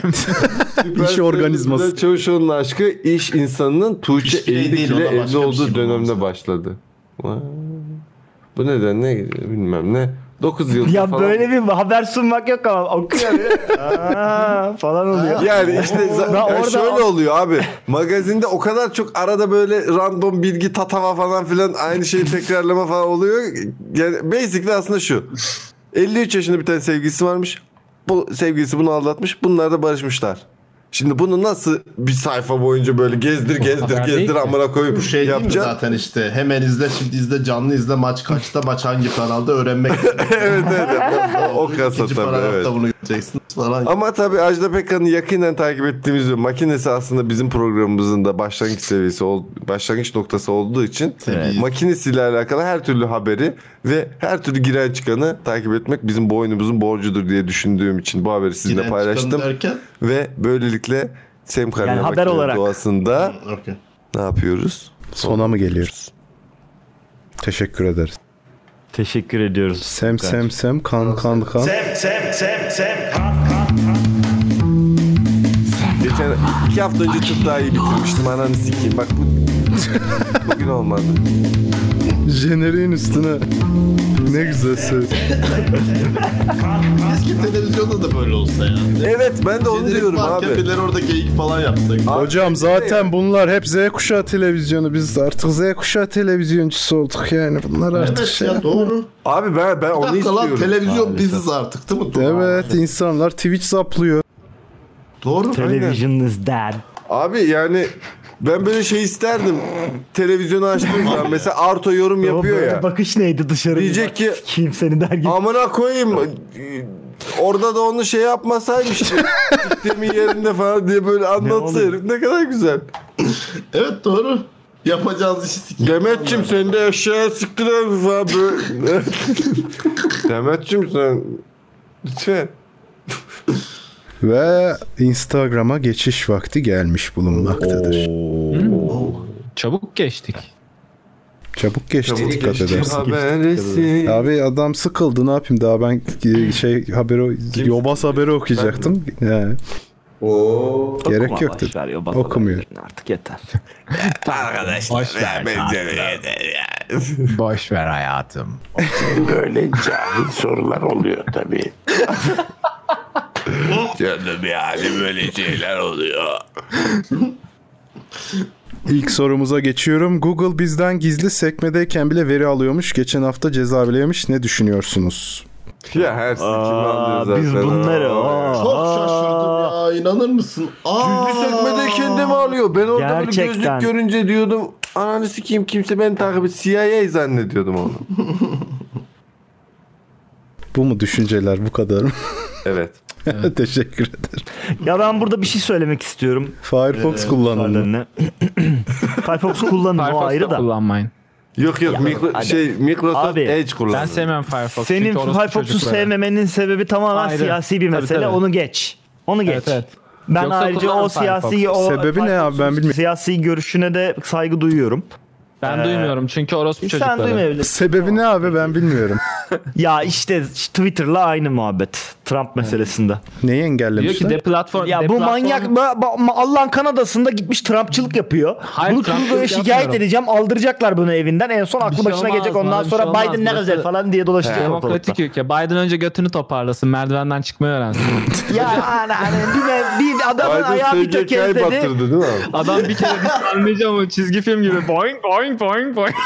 Speaker 1: İş organizması. Çavuşoğlu'nun aşkı iş insanının Tuğçe
Speaker 11: İş birliği
Speaker 1: Eğdik
Speaker 11: değil,
Speaker 1: ile
Speaker 11: o da başka
Speaker 1: evli
Speaker 11: bir
Speaker 1: olduğu
Speaker 11: şey
Speaker 1: dönemde başladı. Vay. Bu nedenle bilmem ne. 9 yıl
Speaker 2: ya
Speaker 1: falan.
Speaker 2: böyle bir haber sunmak yok ama okuyor ya. Aa, falan oluyor.
Speaker 1: Yani işte za-
Speaker 2: Ben
Speaker 1: yani
Speaker 2: orada-
Speaker 1: şöyle oluyor abi. Magazinde o kadar çok arada böyle random bilgi tatava falan filan aynı şeyi tekrarlama falan oluyor. Yani basically aslında şu. 53 yaşında bir tane sevgilisi varmış. Bu sevgilisi bunu aldatmış. Bunlar da barışmışlar. Şimdi bunu nasıl bir sayfa boyunca böyle gezdir gezdir
Speaker 11: Haber değil
Speaker 1: gezdir
Speaker 11: ki.
Speaker 1: amına koyup
Speaker 11: Bu şey değil mi
Speaker 1: yapacaksın?
Speaker 11: zaten işte hemen izle şimdi izle canlı izle maç kaçta maç hangi kanalda öğrenmek.
Speaker 1: evet evet. o kasa
Speaker 11: İkinci
Speaker 1: tabii
Speaker 11: paragrafta
Speaker 1: evet.
Speaker 11: bunu göreceksin falan.
Speaker 1: Ama tabii Ajda Pekkan'ı yakinen takip ettiğimiz bir makinesi aslında bizim programımızın da başlangıç seviyesi, ol- başlangıç noktası olduğu için makinesiyle alakalı her türlü haberi ve her türlü giren çıkanı takip etmek bizim boynumuzun borcudur diye düşündüğüm için bu haberi sizinle
Speaker 11: Giren
Speaker 1: paylaştım.
Speaker 11: çıkanı derken?
Speaker 1: Ve böylelikle Sem Karnı
Speaker 2: Yani haber
Speaker 1: Makinenin
Speaker 2: olarak.
Speaker 1: doğasında
Speaker 11: Okey.
Speaker 1: ne yapıyoruz?
Speaker 4: Sona mı geliyoruz? Teşekkür ederiz.
Speaker 2: Teşekkür ediyoruz.
Speaker 4: Sem sem sem kan kan kan.
Speaker 12: Sem sem sem sem kan kan
Speaker 1: Geçen iki hafta önce çok daha iyi bitirmiştim ananı sikeyim. Bak bu bugün olmadı.
Speaker 4: Jeneriğin üstüne ne güzel söz.
Speaker 11: Eski televizyonda da böyle olsa ya.
Speaker 1: Evet ben de onu diyorum abi.
Speaker 11: Birileri orada geyik falan yaptı.
Speaker 4: Hocam zaten bunlar hep Z kuşağı televizyonu. Biz artık Z kuşağı televizyoncusu olduk yani. Bunlar artık
Speaker 11: Evet
Speaker 4: şey.
Speaker 11: ya doğru.
Speaker 1: Abi ben ben
Speaker 11: Bir
Speaker 1: onu
Speaker 11: dakika lan
Speaker 1: istiyorum.
Speaker 11: televizyon
Speaker 1: Maalesef.
Speaker 11: biziz artık değil mi?
Speaker 4: Evet insanlar Twitch zaplıyor.
Speaker 11: Doğru.
Speaker 2: Television is dead.
Speaker 1: Abi yani ben böyle şey isterdim. Televizyonu açtığımda mesela Arto yorum yapıyor
Speaker 2: böyle
Speaker 1: ya.
Speaker 2: Bakış neydi dışarı?
Speaker 1: Diyecek ki
Speaker 2: Kim seni der gibi.
Speaker 1: amına koyayım e, orada da onu şey yapmasaymış. Gittiğimin yerinde falan diye böyle anlatsa herif ne kadar güzel.
Speaker 11: Evet doğru. Yapacağız işi sikeyim.
Speaker 1: Demetçim sen de eşeğe sıktın abi. Demetçim sen lütfen.
Speaker 4: Ve Instagram'a geçiş vakti gelmiş bulunmaktadır.
Speaker 8: Çabuk geçtik.
Speaker 4: Çabuk geçti
Speaker 1: Çabuk
Speaker 4: dikkat
Speaker 1: geçti
Speaker 4: edersin.
Speaker 1: haberisi.
Speaker 4: Abi adam sıkıldı ne yapayım daha ben e, şey haberi o- yobaz haberi okuyacaktım. Yani.
Speaker 3: Oo.
Speaker 4: Gerek yoktu. Okumuyor.
Speaker 2: Artık yeter.
Speaker 1: Arkadaşlar.
Speaker 13: Boş ver Boş ver hayatım.
Speaker 14: Böyle cahil sorular oluyor tabii. Canım yani böyle şeyler oluyor.
Speaker 4: İlk sorumuza geçiyorum. Google bizden gizli sekmedeyken bile veri alıyormuş. Geçen hafta ceza bile yemiş. Ne düşünüyorsunuz?
Speaker 1: Ya her sikim alıyor zaten.
Speaker 2: biz bunları, aa.
Speaker 11: Çok şaşırdım ya inanır mısın? Aa.
Speaker 1: Gizli sekmede kendimi alıyor. Ben orada böyle gözlük
Speaker 2: Gerçekten.
Speaker 1: görünce diyordum ananı sikeyim kimse beni takip et. CIA zannediyordum onu.
Speaker 4: Bu mu düşünceler bu kadar mı?
Speaker 1: Evet.
Speaker 4: Teşekkür ederim.
Speaker 2: Ya ben burada bir şey söylemek istiyorum.
Speaker 4: Firefox
Speaker 2: Ee,
Speaker 4: kullanın.
Speaker 2: müsaadenle. Firefox kullanın o ayrı da.
Speaker 8: kullanmayın.
Speaker 1: Yok yok mikro, şey Microsoft Edge kullanın.
Speaker 8: Ben sevmem Firefox.
Speaker 2: Senin
Speaker 8: çünkü orası
Speaker 2: Firefox'u
Speaker 8: çocuklara.
Speaker 2: sevmemenin sebebi tamamen
Speaker 8: Ayrı.
Speaker 2: siyasi bir
Speaker 8: Tabii,
Speaker 2: mesele.
Speaker 8: tabii.
Speaker 2: Onu geç. Onu geç.
Speaker 8: Evet, evet.
Speaker 2: Ben
Speaker 8: Yoksa
Speaker 2: ayrıca o
Speaker 8: kullanırım
Speaker 2: siyasi
Speaker 8: Firefox'u.
Speaker 2: o
Speaker 8: Sebebi ne
Speaker 2: abi ben bilmiyorum. Siyasi görüşüne de saygı duyuyorum.
Speaker 8: Ben
Speaker 2: Ee,
Speaker 8: duymuyorum çünkü orospu
Speaker 2: sen
Speaker 8: çocukları.
Speaker 2: duymayabilirsin.
Speaker 4: Sebebi ne abi ben bilmiyorum.
Speaker 2: ya işte Twitter'la aynı muhabbet. Trump meselesinde.
Speaker 4: Neyi engellemişler?
Speaker 8: platform
Speaker 2: Ya bu manyak ba- ba- ma- Allah'ın Kanada'sında gitmiş Trumpçılık yapıyor.
Speaker 8: Hayır,
Speaker 2: bunu
Speaker 8: Trumpçılık
Speaker 2: Trudeau'ya şikayet
Speaker 8: yapmıyorum.
Speaker 2: edeceğim. Aldıracaklar bunu evinden. En son aklı
Speaker 8: şey
Speaker 2: başına
Speaker 8: olmaz,
Speaker 2: gelecek. Ondan
Speaker 8: bana bir
Speaker 2: sonra
Speaker 8: şey olmaz.
Speaker 2: Biden ne
Speaker 8: Burası
Speaker 2: güzel falan diye dolaşacak ortalıkta.
Speaker 8: Demokratik ülke. Biden önce götünü toparlasın. Merdivenden çıkmayı öğrensin.
Speaker 2: Ya ana, ana, bir, bir adamın
Speaker 8: Biden
Speaker 2: ayağı bir
Speaker 8: SGK'yı
Speaker 2: tökezledi.
Speaker 8: batırdı.
Speaker 1: Değil mi abi?
Speaker 8: Adam bir kere bir anlayacağım o çizgi film gibi. Boing boing boing boing.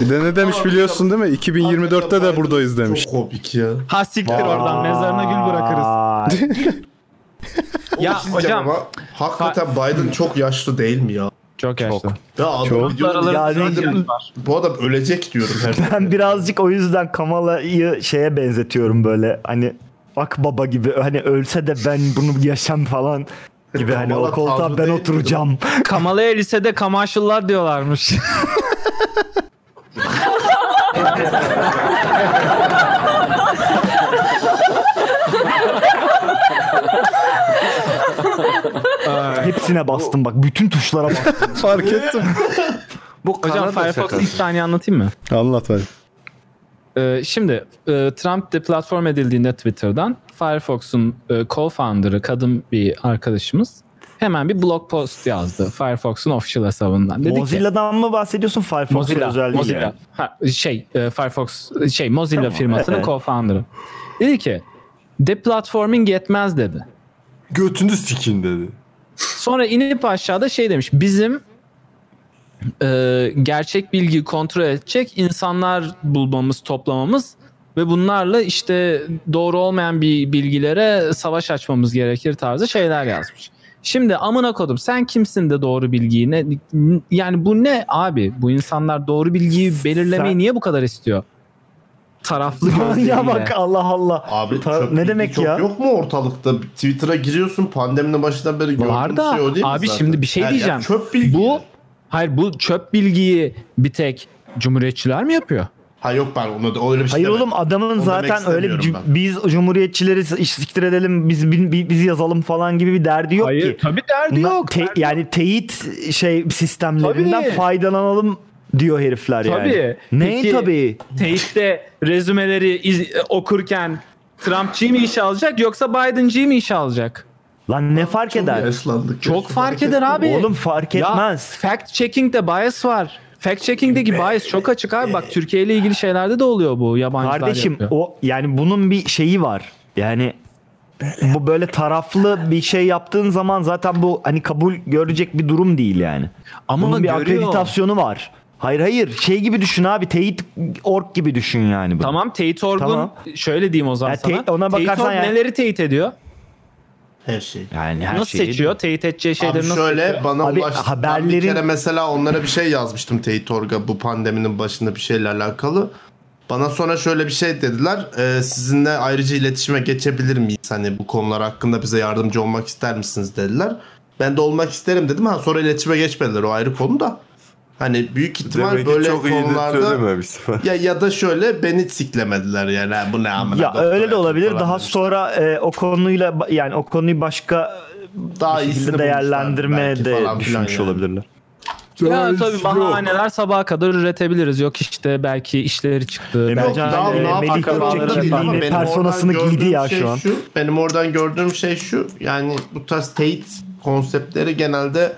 Speaker 4: Bir de ne demiş biliyorsun değil mi? 2024'te de buradayız demiş.
Speaker 11: Çok komik ya.
Speaker 8: Ha siktir oradan mezarına gül bırakırız.
Speaker 11: ya
Speaker 8: hocam-
Speaker 11: hakikaten Biden çok yaşlı değil mi ya?
Speaker 8: Çok yaşlı.
Speaker 11: Ya adam
Speaker 2: Çok.
Speaker 11: diyorum,
Speaker 2: Yani-
Speaker 11: zaten bu adam ölecek diyorum her
Speaker 2: Ben birazcık o yüzden Kamala'yı şeye benzetiyorum böyle hani akbaba gibi hani ölse de ben bunu yaşam falan gibi hani o
Speaker 8: Kamala
Speaker 2: koltuğa
Speaker 8: tavrı
Speaker 2: ben
Speaker 8: değil mi?
Speaker 2: oturacağım.
Speaker 8: Kamala'ya lisede kamaşıllar diyorlarmış.
Speaker 2: Hepsine bastım bak bütün tuşlara bastım.
Speaker 4: Fark ettim.
Speaker 8: Bu Hocam
Speaker 2: Kanada
Speaker 8: Firefox
Speaker 2: şakası.
Speaker 8: bir tane anlatayım mı?
Speaker 4: Anlat hadi.
Speaker 8: Ee, şimdi e, Trump deplatform edildiğinde Twitter'dan Firefox'un e, co-founder'ı kadın bir arkadaşımız hemen bir blog post yazdı Firefox'un official hesabından. Dedi ki-
Speaker 2: Mozilla'dan mı bahsediyorsun Firefox'un
Speaker 8: Mozilla,
Speaker 2: özelliği?
Speaker 8: Mozilla.
Speaker 2: yani?
Speaker 8: Ha, şey e, Firefox şey Mozilla
Speaker 2: Tamam,
Speaker 8: firmasının
Speaker 2: evet.
Speaker 8: co-founder'ı. Dedi ki deplatforming yetmez dedi.
Speaker 1: Götünü sikin dedi.
Speaker 8: Sonra inip aşağıda şey demiş. Bizim e, gerçek bilgi kontrol edecek insanlar bulmamız, toplamamız ve bunlarla işte doğru olmayan bir bilgilere savaş açmamız gerekir tarzı şeyler yazmış. Şimdi amına kodum sen kimsin de doğru bilgiyi ne yani bu ne abi bu insanlar doğru bilgiyi belirlemeyi niye bu kadar istiyor? Taraflı
Speaker 2: ya
Speaker 8: gözleriyle.
Speaker 2: bak Allah Allah.
Speaker 11: Abi
Speaker 2: Ta-
Speaker 11: çöp
Speaker 2: ne
Speaker 11: bilgi
Speaker 2: demek
Speaker 11: çok
Speaker 2: ya?
Speaker 11: Yok mu ortalıkta? Twitter'a giriyorsun pandeminin başından beri gördüğüm
Speaker 8: Var da
Speaker 11: şey o değil mi
Speaker 8: abi
Speaker 11: zaten?
Speaker 8: şimdi bir şey
Speaker 11: Her yer
Speaker 8: diyeceğim.
Speaker 11: çöp.
Speaker 8: Bu hayır bu çöp bilgiyi bir tek cumhuriyetçiler mi yapıyor?
Speaker 11: Ha yok ben ona da öyle bir şey
Speaker 2: Hayır
Speaker 11: demedim.
Speaker 2: oğlum adamın
Speaker 11: Onu demek
Speaker 2: zaten öyle bir
Speaker 11: istemiyorum
Speaker 2: cüm- biz cumhuriyetçileri s- iş- siktir edelim biz bi- bi- biz yazalım falan gibi bir derdi yok ki.
Speaker 8: tabii derdi
Speaker 2: yok. yani teyit şey sistemlerinden
Speaker 8: Tabii.
Speaker 2: faydalanalım diyor herifler yani.
Speaker 8: Tabii.
Speaker 2: Ne
Speaker 8: Peki,
Speaker 2: tabii?
Speaker 8: Teyit'te rezümeleri iz- okurken Trumpçıyı mı işe alacak yoksa Biden'cıyı mı işe alacak?
Speaker 2: Lan ne fark eder?
Speaker 8: Çok fark eder abi.
Speaker 2: Oğlum fark etmez.
Speaker 8: Ya, fact checking'de bias var. Fact checking'deki bias çok açık abi. Bak Türkiye ile ilgili şeylerde de oluyor bu yabancılar
Speaker 2: Kardeşim
Speaker 8: yapıyor.
Speaker 2: o yani bunun bir şeyi var. Yani bu böyle taraflı bir şey yaptığın zaman zaten bu hani kabul görecek bir durum değil yani.
Speaker 8: Ama
Speaker 2: bunun bir
Speaker 8: görüyor.
Speaker 2: akreditasyonu var. Hayır hayır şey gibi düşün abi teyit org gibi düşün yani bunu.
Speaker 8: Tamam Teyit Orgun şöyle diyeyim o zaman
Speaker 2: Ya
Speaker 8: sana.
Speaker 2: teyit- ona
Speaker 8: Teyit
Speaker 2: bakarsan
Speaker 8: Org
Speaker 2: yani-
Speaker 8: neleri teyit ediyor?
Speaker 11: Her şey.
Speaker 2: Yani her
Speaker 8: nasıl
Speaker 2: şeyi-
Speaker 8: seçiyor? Teyit edeceği şeyleri
Speaker 11: Abi
Speaker 8: nasıl
Speaker 11: şöyle
Speaker 8: seçiyor?
Speaker 11: bana
Speaker 8: Abi,
Speaker 11: ulaştı.
Speaker 8: haberlerin-
Speaker 11: Ben bir kere mesela onlara bir şey yazmıştım Teyit Org'a bu pandeminin başında bir şeyle alakalı. Bana sonra şöyle bir şey dediler. Ee, sizinle ayrıca iletişime geçebilir miyiz? Hani bu konular hakkında bize yardımcı olmak ister misiniz dediler. Ben de olmak isterim dedim. Ha sonra iletişime geçmediler o ayrı konu da. Hani büyük ihtimal
Speaker 1: Demek ki
Speaker 11: böyle
Speaker 1: çok iyi de
Speaker 11: konularda
Speaker 1: söylememişler.
Speaker 11: ya ya da şöyle beni siklemediler yani Ha, bu ne amına
Speaker 2: Ya
Speaker 11: doktora
Speaker 2: öyle de olabilir.
Speaker 11: falan
Speaker 2: Daha
Speaker 11: demiş.
Speaker 2: sonra e, o konuyla ba- yani o konuyu başka
Speaker 11: Daha
Speaker 2: bir şekilde
Speaker 11: iyisini
Speaker 2: değerlendirme
Speaker 11: bulmuşlar
Speaker 2: de
Speaker 11: belki falan filan
Speaker 2: düşünmüş
Speaker 11: yani.
Speaker 2: olabilirler.
Speaker 8: Ya
Speaker 2: şey
Speaker 8: tabii bahaneler sabaha kadar üretebiliriz. Yok işte belki işleri çıktı. belki
Speaker 2: Can, e, Melih Gökçek'in
Speaker 8: falan.
Speaker 2: yine personasını
Speaker 11: oradan
Speaker 2: giydi ya
Speaker 11: gördüğüm
Speaker 2: şu an.
Speaker 11: şey benim oradan gördüğüm şey şu. Yani bu tarz teyit konseptleri genelde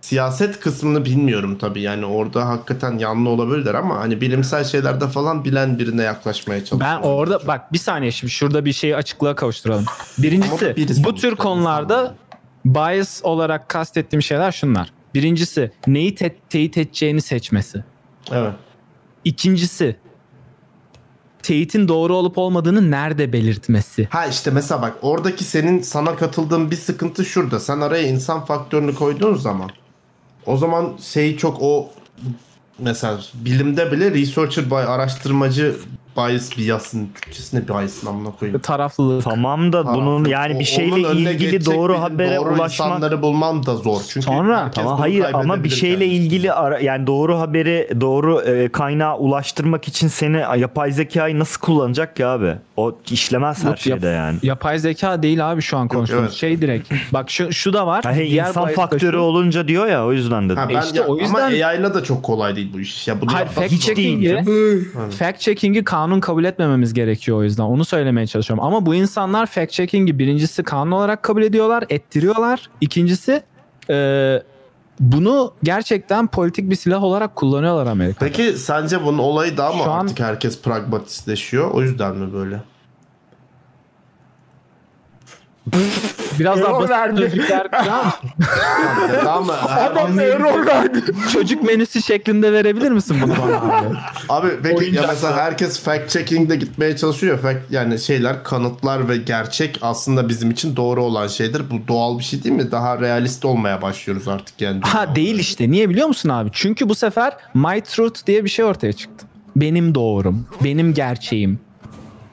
Speaker 11: siyaset kısmını bilmiyorum tabii. Yani orada hakikaten yanlı olabilirler ama hani bilimsel şeylerde falan bilen birine yaklaşmaya çalışıyorum.
Speaker 8: Ben orada bak bir saniye şimdi şurada bir şeyi açıklığa kavuşturalım. Birincisi bu tür konularda bias olarak kastettiğim şeyler şunlar. Birincisi neyi te- teyit edeceğini seçmesi.
Speaker 11: Evet.
Speaker 8: İkincisi teyitin doğru olup olmadığını nerede belirtmesi.
Speaker 11: Ha işte mesela bak oradaki senin sana katıldığın bir sıkıntı şurada. Sen araya insan faktörünü koyduğun zaman o zaman şey çok o mesela bilimde bile researcher by araştırmacı bias biasın Türkçesine biasın amına koyayım.
Speaker 8: Taraflılık.
Speaker 2: Tamam da E, bunun yani bir şeyle
Speaker 11: Onun önüne
Speaker 2: ilgili
Speaker 11: geçecek
Speaker 2: doğru
Speaker 11: bizim
Speaker 2: habere
Speaker 11: doğru
Speaker 2: ulaşmak
Speaker 11: insanları bulmam da zor. Çünkü
Speaker 2: Sonra
Speaker 11: herkes
Speaker 2: tamam
Speaker 11: bunu
Speaker 2: hayır ama bir
Speaker 11: kaybedebilir
Speaker 2: şeyle ilgili ara, yani doğru haberi doğru e, kaynağa ulaştırmak için seni yapay zekayı nasıl kullanacak ki abi? O işlemez her
Speaker 8: Yok, yap-
Speaker 2: şeyde yani.
Speaker 8: Yapay zeka değil abi şu an konuştuğumuz
Speaker 2: evet.
Speaker 8: şey direkt. Bak şu şu da var.
Speaker 2: Yani
Speaker 8: Diğer şey-
Speaker 2: insan
Speaker 8: bias da
Speaker 2: faktörü
Speaker 8: şu.
Speaker 2: olunca diyor ya o yüzden dedim.
Speaker 11: Ha, ben ya- ama AI 'la da çok kolay değil bu iş. Ya bunu
Speaker 8: Hayır,
Speaker 11: yapmak
Speaker 8: fact
Speaker 11: zor.
Speaker 8: checking'i fact checking'i kanun kabul etmememiz gerekiyor o yüzden. Onu söylemeye çalışıyorum. Ama bu insanlar fact checking'i birincisi kanun olarak kabul ediyorlar, ettiriyorlar. İkincisi e, bunu gerçekten politik bir silah olarak kullanıyorlar Amerika.
Speaker 11: Peki sence bunun olayı daha mı
Speaker 8: Şu an-
Speaker 11: artık herkes pragmatistleşiyor? O yüzden mi böyle?
Speaker 8: Biraz daha
Speaker 11: Error
Speaker 8: basit
Speaker 11: verdi.
Speaker 8: sözcükler kurar mısın?
Speaker 11: Tamam mı?
Speaker 8: Adam error Çocuk menüsü şeklinde verebilir misin bunu bana abi?
Speaker 11: Abi peki ya
Speaker 8: Oyuncak.
Speaker 11: mesela herkes fact checking'de gitmeye çalışıyor. Fact, yani şeyler kanıtlar ve gerçek aslında bizim için doğru olan şeydir. Bu doğal bir şey değil mi? Daha realist olmaya başlıyoruz artık yani.
Speaker 8: Ha değil işte. Niye biliyor musun abi? Çünkü bu sefer my truth diye bir şey ortaya çıktı. Benim doğrum, benim gerçeğim.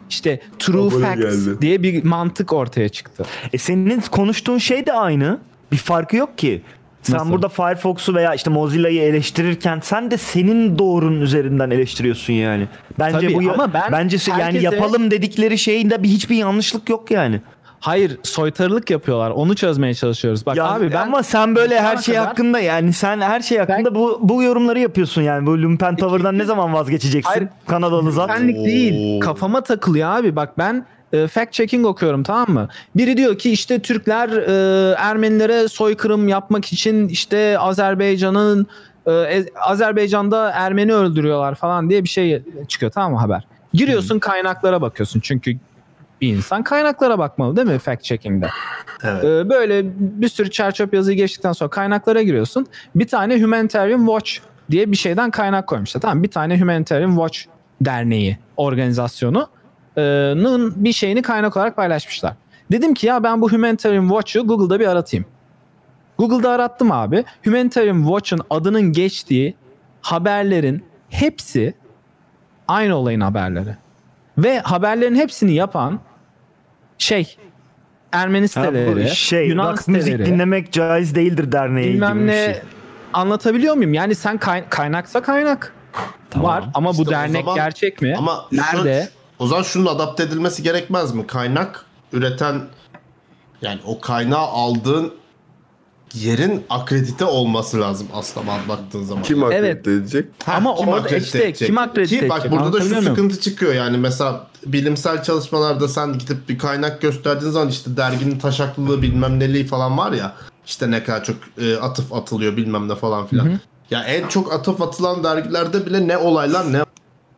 Speaker 8: İşte true
Speaker 2: Abone
Speaker 8: facts
Speaker 2: geldi.
Speaker 8: diye bir mantık ortaya çıktı.
Speaker 2: E senin konuştuğun şey de aynı. Bir farkı yok ki. Sen
Speaker 8: Nasıl?
Speaker 2: burada Firefox'u veya işte Mozilla'yı eleştirirken sen de senin doğrunun üzerinden eleştiriyorsun yani. Bence
Speaker 8: Tabii
Speaker 2: bu ya-
Speaker 8: ama ben
Speaker 2: bence se- yani
Speaker 8: herkese-
Speaker 2: yapalım dedikleri şeyinde bir hiçbir yanlışlık yok yani.
Speaker 8: Hayır, soytarılık yapıyorlar. Onu çözmeye çalışıyoruz. Bak
Speaker 2: Ya
Speaker 8: abi ben
Speaker 2: ama sen böyle her
Speaker 8: Sana
Speaker 2: şey
Speaker 8: kadar-
Speaker 2: hakkında yani sen her şey hakkında bu bu yorumları yapıyorsun yani bu lümpen tavırdan ne zaman vazgeçeceksin?
Speaker 8: E, Hayır.
Speaker 2: Kanadalı zat.
Speaker 8: Benlik değil. Kafama takılıyor abi. Bak ben e, fact checking okuyorum tamam mı? Biri diyor ki işte Türkler e, Ermenilere soykırım yapmak için işte Azerbaycan'ın e, Ez- Azerbaycan'da Ermeni öldürüyorlar falan diye bir şey çıkıyor tamam mı haber? Giriyorsun kaynaklara bakıyorsun çünkü bir insan kaynaklara bakmalı değil mi fact checking'de? Ee, Böyle bir sürü çerçöp yazıyı geçtikten sonra kaynaklara giriyorsun. Bir tane Humanitarian Watch diye bir şeyden kaynak koymuşlar. Tamam bir tane Humanitarian Watch derneği, organizasyonu e, nın bir şeyini kaynak olarak paylaşmışlar. Dedim ki ya ben bu Humanitarian Watch'ı Google'da bir aratayım. Google'da arattım abi. Humanitarian Watch'ın adının geçtiği haberlerin hepsi aynı olayın haberleri. Ve haberlerin hepsini yapan şey Ermeni
Speaker 2: Ha, bu
Speaker 8: siteleri,
Speaker 2: şey
Speaker 8: Yunan
Speaker 2: bak müzik
Speaker 8: siteleri,
Speaker 2: dinlemek caiz değildir derneği gibi
Speaker 8: bilmem
Speaker 2: bir
Speaker 8: ne
Speaker 2: şey.
Speaker 8: anlatabiliyor muyum? Yani sen kay- kaynaksa kaynak var ama bu
Speaker 11: İşte o
Speaker 8: dernek
Speaker 11: zaman-
Speaker 8: gerçek mi?
Speaker 11: Ama
Speaker 8: Nerede?
Speaker 11: Şu, o zaman şunun adapte edilmesi gerekmez mi? Kaynak üreten yani o kaynağı aldığın yerin akredite olması lazım aslında bak- baktığın zaman.
Speaker 1: Kim akredite edecek?
Speaker 11: Ha,
Speaker 8: Ama
Speaker 11: kim
Speaker 8: orada
Speaker 11: akredite
Speaker 8: işte
Speaker 11: edecek?
Speaker 8: kim akredite
Speaker 11: Ki Bak
Speaker 8: edecek?
Speaker 11: burada da şu
Speaker 8: Anlatabiliyor muyum?
Speaker 11: sıkıntı çıkıyor yani mesela bilimsel çalışmalarda sen gidip bir kaynak gösterdiğin zaman işte derginin taşaklılığı bilmem neliği falan var ya işte ne kadar çok e, atıf atılıyor bilmem ne falan filan.
Speaker 8: Hı hı.
Speaker 11: Ya en çok atıf atılan dergilerde bile ne olaylar ne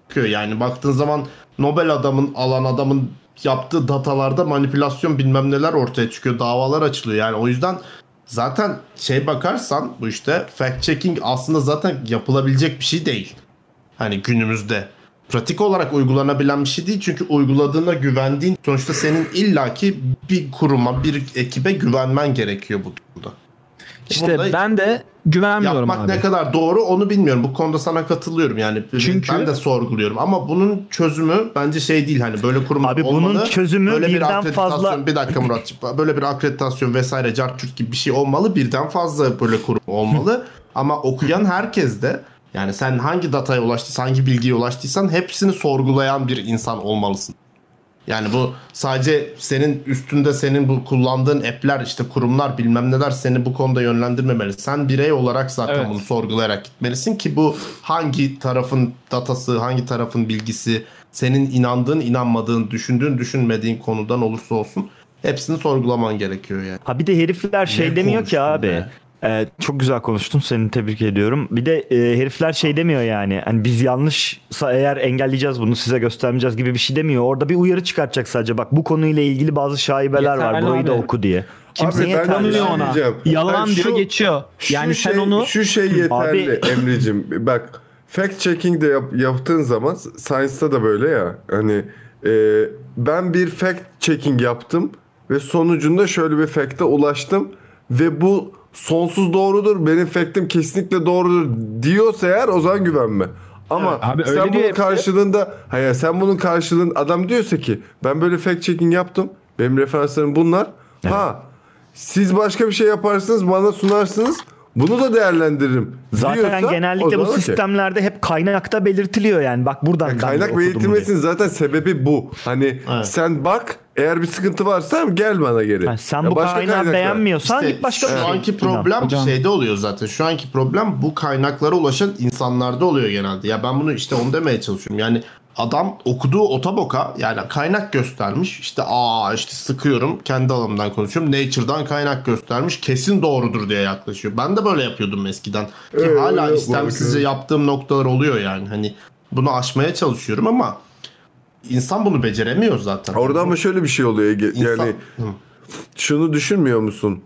Speaker 11: çıkıyor yani baktığın zaman Nobel adamın alan adamın yaptığı datalarda manipülasyon bilmem neler ortaya çıkıyor davalar açılıyor yani o yüzden zaten şey bakarsan bu işte fact checking aslında zaten yapılabilecek bir şey değil hani günümüzde pratik olarak uygulanabilen bir şey değil çünkü uyguladığına güvendiğin sonuçta senin illaki bir kuruma bir ekibe güvenmen gerekiyor bu durumda.
Speaker 8: İşte ben de Güvenmiyorum
Speaker 11: Yapmak
Speaker 8: abi.
Speaker 11: ne kadar doğru onu bilmiyorum. Bu konuda sana katılıyorum yani.
Speaker 8: Çünkü-
Speaker 11: ben de sorguluyorum ama bunun çözümü bence şey değil hani böyle kurumlar
Speaker 2: Abi bunun
Speaker 11: olmalı.
Speaker 2: çözümü
Speaker 11: böyle bir
Speaker 2: birden
Speaker 11: akreditasyon-
Speaker 2: fazla-
Speaker 11: bir dakika Muratçım. Böyle bir akreditasyon vesaire cartçurt gibi bir şey olmalı. Birden fazla böyle kurum olmalı. ama okuyan herkes de yani sen hangi dataya ulaştıysan, hangi bilgiye ulaştıysan hepsini sorgulayan bir insan olmalısın. Yani bu sadece senin üstünde senin bu kullandığın app'ler işte kurumlar bilmem neler seni bu konuda yönlendirmemeli. Sen birey olarak zaten bunu sorgulayarak gitmelisin ki bu hangi tarafın datası, hangi tarafın bilgisi, senin inandığın, inanmadığın, düşündüğün, düşünmediğin konudan olursa olsun hepsini sorgulaman gerekiyor yani.
Speaker 2: Ha bir de herifler şey
Speaker 11: Ne
Speaker 2: demiyor ki abi. Ee, çok güzel konuştun seni tebrik ediyorum. Bir de e, herifler şey demiyor yani. Hani biz yanlışsa eğer engelleyeceğiz bunu size göstermeyeceğiz gibi bir şey demiyor. Orada bir uyarı çıkartacak sadece bak bu konuyla ilgili bazı şaibeler var.
Speaker 8: Yeterli
Speaker 2: Burayı da
Speaker 8: abi.
Speaker 2: oku diye.
Speaker 8: Kimse
Speaker 2: Niye
Speaker 8: yeterli
Speaker 2: tanımıyor
Speaker 8: ona.
Speaker 1: diyeceğim.
Speaker 8: Yalan
Speaker 1: Ben
Speaker 8: diyor
Speaker 1: şu-
Speaker 8: geçiyor.
Speaker 1: Şu
Speaker 8: Yani
Speaker 1: şey,
Speaker 8: sen onu
Speaker 1: şu şey yeterli
Speaker 8: Abi-
Speaker 1: Emre'cim. Bak fact checking de yap- yaptığın zaman science'da da böyle ya. Hani e, ben bir fact checking yaptım ve sonucunda şöyle bir fact'e ulaştım ve bu sonsuz doğrudur. Benim fact'im kesinlikle doğrudur diyorsa eğer o zaman güvenme. Ama
Speaker 5: Abi öyle
Speaker 1: sen bunun
Speaker 5: diyor hepsi.
Speaker 1: karşılığında hayır sen bunun karşılığında adam diyorsa ki ben böyle fact checking yaptım. Benim referanslarım bunlar. Ha siz başka bir şey yaparsınız bana sunarsınız. Bunu da değerlendiririm.
Speaker 2: Zaten
Speaker 1: diyorsa, o
Speaker 2: genellikle bu
Speaker 1: zaman okey.
Speaker 2: sistemlerde hep kaynakta belirtiliyor yani. Bak buradan ben de
Speaker 1: Kaynak
Speaker 2: okudum diye.
Speaker 1: belirtilmesinin zaten sebebi bu. Hani sen bak eğer bir sıkıntı varsa gel bana geri.
Speaker 2: sen
Speaker 1: Ya
Speaker 2: bu
Speaker 1: başka
Speaker 2: kaynağı
Speaker 1: kaynaklar.
Speaker 2: beğenmiyorsan
Speaker 11: İşte
Speaker 2: git başka bir
Speaker 11: şu
Speaker 2: şey.
Speaker 11: anki problem
Speaker 2: İnan.
Speaker 11: şeyde oluyor zaten. Şu anki problem bu kaynaklara ulaşan insanlarda oluyor genelde. Ya ben bunu işte onu demeye çalışıyorum. Yani adam okuduğu otoboka yani kaynak göstermiş. İşte aa işte sıkıyorum kendi alanımdan konuşuyorum. Nature'dan kaynak göstermiş. Kesin doğrudur diye yaklaşıyor. Ben de böyle yapıyordum eskiden. Ki
Speaker 1: Ee,
Speaker 11: hala
Speaker 1: öyle
Speaker 11: istemsizce
Speaker 1: yapmadık,
Speaker 11: yaptığım noktalar oluyor yani. Hani bunu aşmaya çalışıyorum ama insan bunu beceremiyor zaten.
Speaker 1: Orada ama şöyle bir şey oluyor Ege. Yani şunu düşünmüyor musun?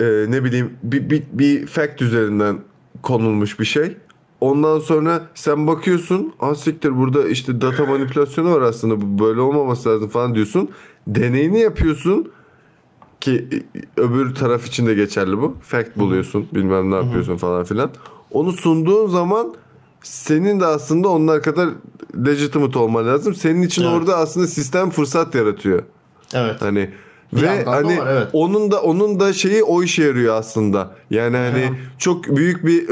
Speaker 1: Ee, ne bileyim bir, bir, bir fact üzerinden konulmuş bir şey. Ondan sonra sen bakıyorsun. "Aa, siktir burada işte data manipülasyonu var aslında. Bu böyle olmaması lazım falan diyorsun. Deneyini yapıyorsun ki e, öbür taraf için de geçerli bu. Fact buluyorsun, bilmem ne yapıyorsun falan filan. Onu sunduğun zaman senin de aslında onlar kadar legitimate olman lazım. Senin için orada aslında sistem fırsat yaratıyor.
Speaker 11: Evet.
Speaker 1: Hani
Speaker 11: Bir
Speaker 1: ve
Speaker 11: yandan da
Speaker 1: hani
Speaker 11: var, evet.
Speaker 1: onun da onun da şeyi o işe yarıyor aslında. Yani hani çok büyük bir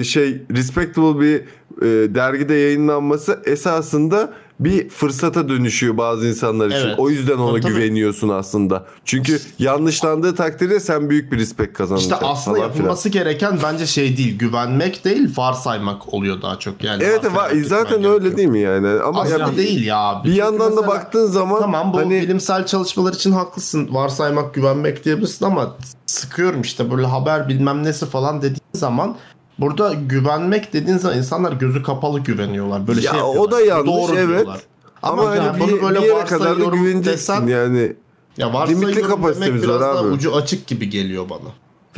Speaker 1: e, şey respectable bir e, dergide yayınlanması esasında bir fırsata dönüşüyor bazı insanlar için.
Speaker 11: Evet.
Speaker 1: O yüzden ona
Speaker 11: Tabii, tabii.
Speaker 1: güveniyorsun aslında. Çünkü yanlışlandığı takdirde sen büyük bir respect kazanacaksın.
Speaker 11: İşte aslında
Speaker 1: falan filan.
Speaker 11: yapılması gereken bence şey değil, güvenmek değil, varsaymak oluyor daha çok yani.
Speaker 1: Evet
Speaker 11: varsaymak
Speaker 1: va- zaten öyle değil mi yani? Ama
Speaker 11: Aslında
Speaker 1: yani-
Speaker 11: değil ya abi.
Speaker 1: Bir
Speaker 11: Çünkü
Speaker 1: yandan da
Speaker 11: mesela-
Speaker 1: baktığın zaman
Speaker 11: Tamam bu
Speaker 1: hani
Speaker 11: bilimsel çalışmalar için haklısın. Varsaymak, güvenmek diyebilirsin ama sıkıyorum işte böyle haber bilmem nesi falan dediğin zaman burada güvenmek dediğin zaman insanlar gözü kapalı güveniyorlar. Böyle
Speaker 1: ya
Speaker 11: şey
Speaker 1: o da
Speaker 11: yapıyorlar.
Speaker 1: yanlış
Speaker 11: Doğru
Speaker 1: evet.
Speaker 11: diyorlar.
Speaker 1: Ama,
Speaker 11: yani
Speaker 1: hani
Speaker 11: bunu
Speaker 1: bir,
Speaker 11: böyle
Speaker 1: bir yere kadar da
Speaker 11: varsayıyorum
Speaker 1: güveneceksin
Speaker 11: desen-
Speaker 1: yani.
Speaker 11: Ya
Speaker 1: limitli
Speaker 11: varsayıyorum demek
Speaker 1: kapasitemiz
Speaker 11: biraz
Speaker 1: var
Speaker 11: daha
Speaker 1: abi.
Speaker 11: ucu açık gibi geliyor bana.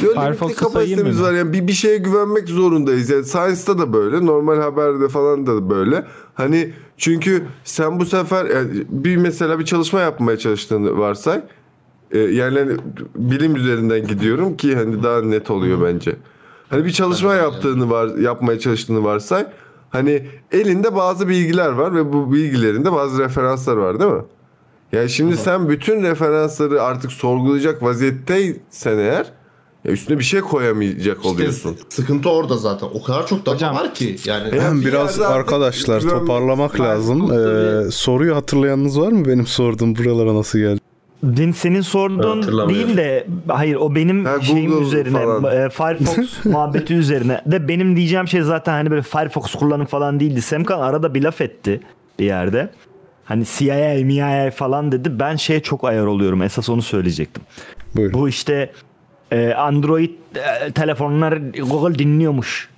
Speaker 1: Böyle
Speaker 11: Firefox'u
Speaker 1: limitli kapasitemiz
Speaker 11: sayayım mı?
Speaker 1: var yani bir, bir şeye güvenmek zorundayız. Yani Science'da da böyle, normal haberde falan da böyle. Hani çünkü sen bu sefer yani bir mesela bir çalışma yapmaya çalıştığını varsay. Ee, Yani hani bilim üzerinden gidiyorum ki hani daha net oluyor bence. Hani bir çalışma yaptığını var yapmaya çalıştığını varsay. Hani elinde bazı bilgiler var ve bu bilgilerinde bazı referanslar var değil mi? Yani şimdi sen bütün referansları artık sorgulayacak vaziyetteysen eğer ya üstüne bir şey koyamayacak oluyorsun.
Speaker 11: Sıkıntı orada zaten. O kadar çok data var ki. Yani
Speaker 4: Ben biraz arkadaşlar toparlamak lazım. Ee, soruyu hatırlayanınız var mı? Benim sorduğum buralara nasıl geldi?
Speaker 2: Din senin sorduğun
Speaker 4: Hatırlamıyorum.
Speaker 2: değil de hayır o benim şeyim
Speaker 4: Google
Speaker 2: üzerine
Speaker 4: falan.
Speaker 2: e, Firefox muhabbeti üzerine de benim diyeceğim şey zaten hani böyle Firefox kullanın falan değildi. Semkan arada bir laf etti bir yerde. Hani CIA, MIA falan dedi. Ben şeye çok ayar oluyorum. Esas onu söyleyecektim. Bu işte e, Android e, telefonlar Google dinliyormuş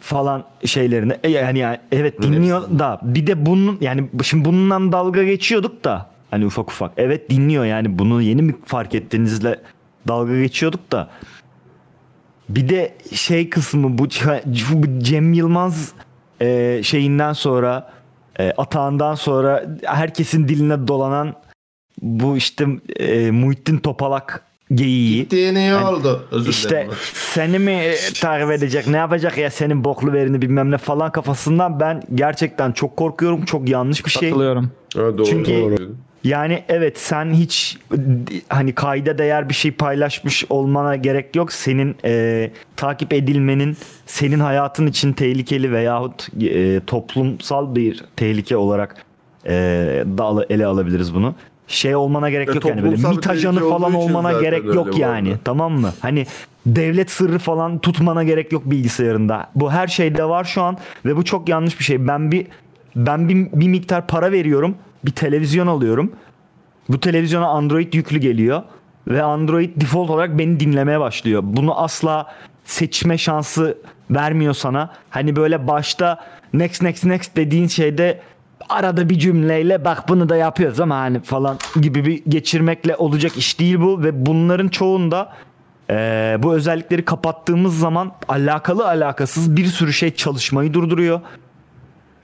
Speaker 2: falan şeylerini E, yani, yani evet dinliyor da bir de bunun yani şimdi bundan dalga geçiyorduk da hani ufak ufak evet dinliyor yani bunu yeni mi fark ettiğinizle dalga geçiyorduk da bir de şey kısmı bu, bu Cem Yılmaz e, şeyinden sonra e, atağından sonra herkesin diline dolanan bu işte e, Muhittin Topalak geyiği.
Speaker 11: Gittiği ne oldu? Özür
Speaker 2: işte
Speaker 11: dilerim.
Speaker 2: seni mi takip edecek ne yapacak ya senin boklu verini bilmem ne falan kafasından ben gerçekten çok korkuyorum. Çok yanlış bir şey.
Speaker 8: Katılıyorum.
Speaker 1: doğru,
Speaker 2: Çünkü
Speaker 1: doğru.
Speaker 2: yani evet sen hiç hani kayda değer bir şey paylaşmış olmana gerek yok. Senin e, takip edilmenin senin hayatın için tehlikeli veyahut e, toplumsal bir tehlike olarak e, da al- ele alabiliriz bunu. Şey olmana gerek
Speaker 1: E,
Speaker 2: yok yani böyle
Speaker 1: toplumsal bir
Speaker 2: MİT ajanı
Speaker 1: tehlike
Speaker 2: falan
Speaker 1: olduğu için
Speaker 2: olmana
Speaker 1: zaten
Speaker 2: gerek
Speaker 1: öyle
Speaker 2: yok
Speaker 1: bu
Speaker 2: yani.
Speaker 1: arada.
Speaker 2: Tamam mı? Hani devlet sırrı falan tutmana gerek yok bilgisayarında. Bu her şeyde var şu an ve bu çok yanlış bir şey. Ben bir ben bir, bir miktar para veriyorum. Bir televizyon alıyorum. Bu televizyona Android yüklü geliyor ve Android default olarak beni dinlemeye başlıyor. Bunu asla seçme şansı vermiyor sana. Hani böyle başta next next next dediğin şeyde arada bir cümleyle bak bunu da yapıyoruz ama hani falan gibi bir geçirmekle olacak iş değil bu ve bunların çoğunda ee, bu özellikleri kapattığımız zaman alakalı alakasız bir sürü şey çalışmayı durduruyor.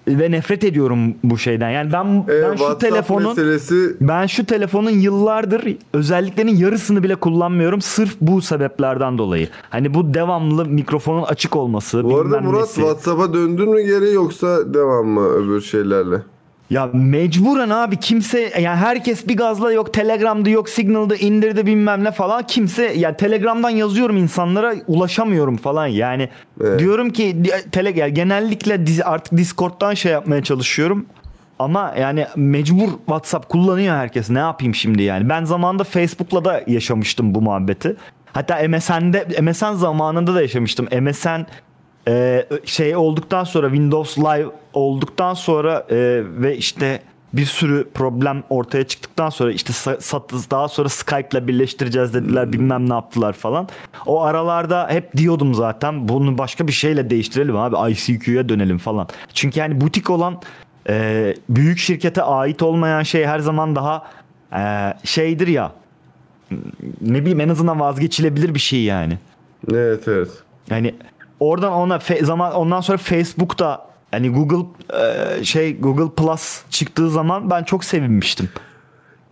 Speaker 2: Ve nefret ediyorum bu şeyden. Yani ben, ben şu
Speaker 1: WhatsApp
Speaker 2: telefonun
Speaker 1: meselesi-
Speaker 2: ben şu telefonun yıllardır özelliklerinin yarısını bile kullanmıyorum sırf bu sebeplerden dolayı. Hani bu devamlı mikrofonun açık olması,
Speaker 1: Bu arada
Speaker 2: bilmem
Speaker 1: Murat
Speaker 2: nesi.
Speaker 1: WhatsApp'a döndün mü geri yoksa devam mı öbür şeylerle?
Speaker 2: Ya mecburen abi kimse yani herkes bir gazla yok Telegram'da yok Signal'da indirdi bilmem ne falan kimse yani Telegram'dan yazıyorum insanlara ulaşamıyorum falan yani diyorum ki di- tele, yani genellikle dizi- artık Discord'dan şey yapmaya çalışıyorum ama yani mecbur WhatsApp kullanıyor herkes ne yapayım şimdi yani ben zamanında Facebook'la da yaşamıştım bu muhabbeti hatta MSN'de MSN zamanında da yaşamıştım MSN ee, şey olduktan sonra Windows Live olduktan sonra e, ve işte bir sürü problem ortaya çıktıktan sonra işte sa- sat- daha sonra Skype'la birleştireceğiz dediler bilmem ne yaptılar falan. O aralarda hep diyordum zaten bunu başka bir şeyle değiştirelim abi ICQ'ya dönelim falan. Çünkü yani butik olan e, büyük şirkete ait olmayan şey her zaman daha e, şeydir ya ne bileyim en azından vazgeçilebilir bir şey yani.
Speaker 1: Evet evet.
Speaker 2: Yani oradan ona fe- zaman ondan sonra Facebook'ta yani Google e, şey Google Plus çıktığı zaman ben çok sevinmiştim.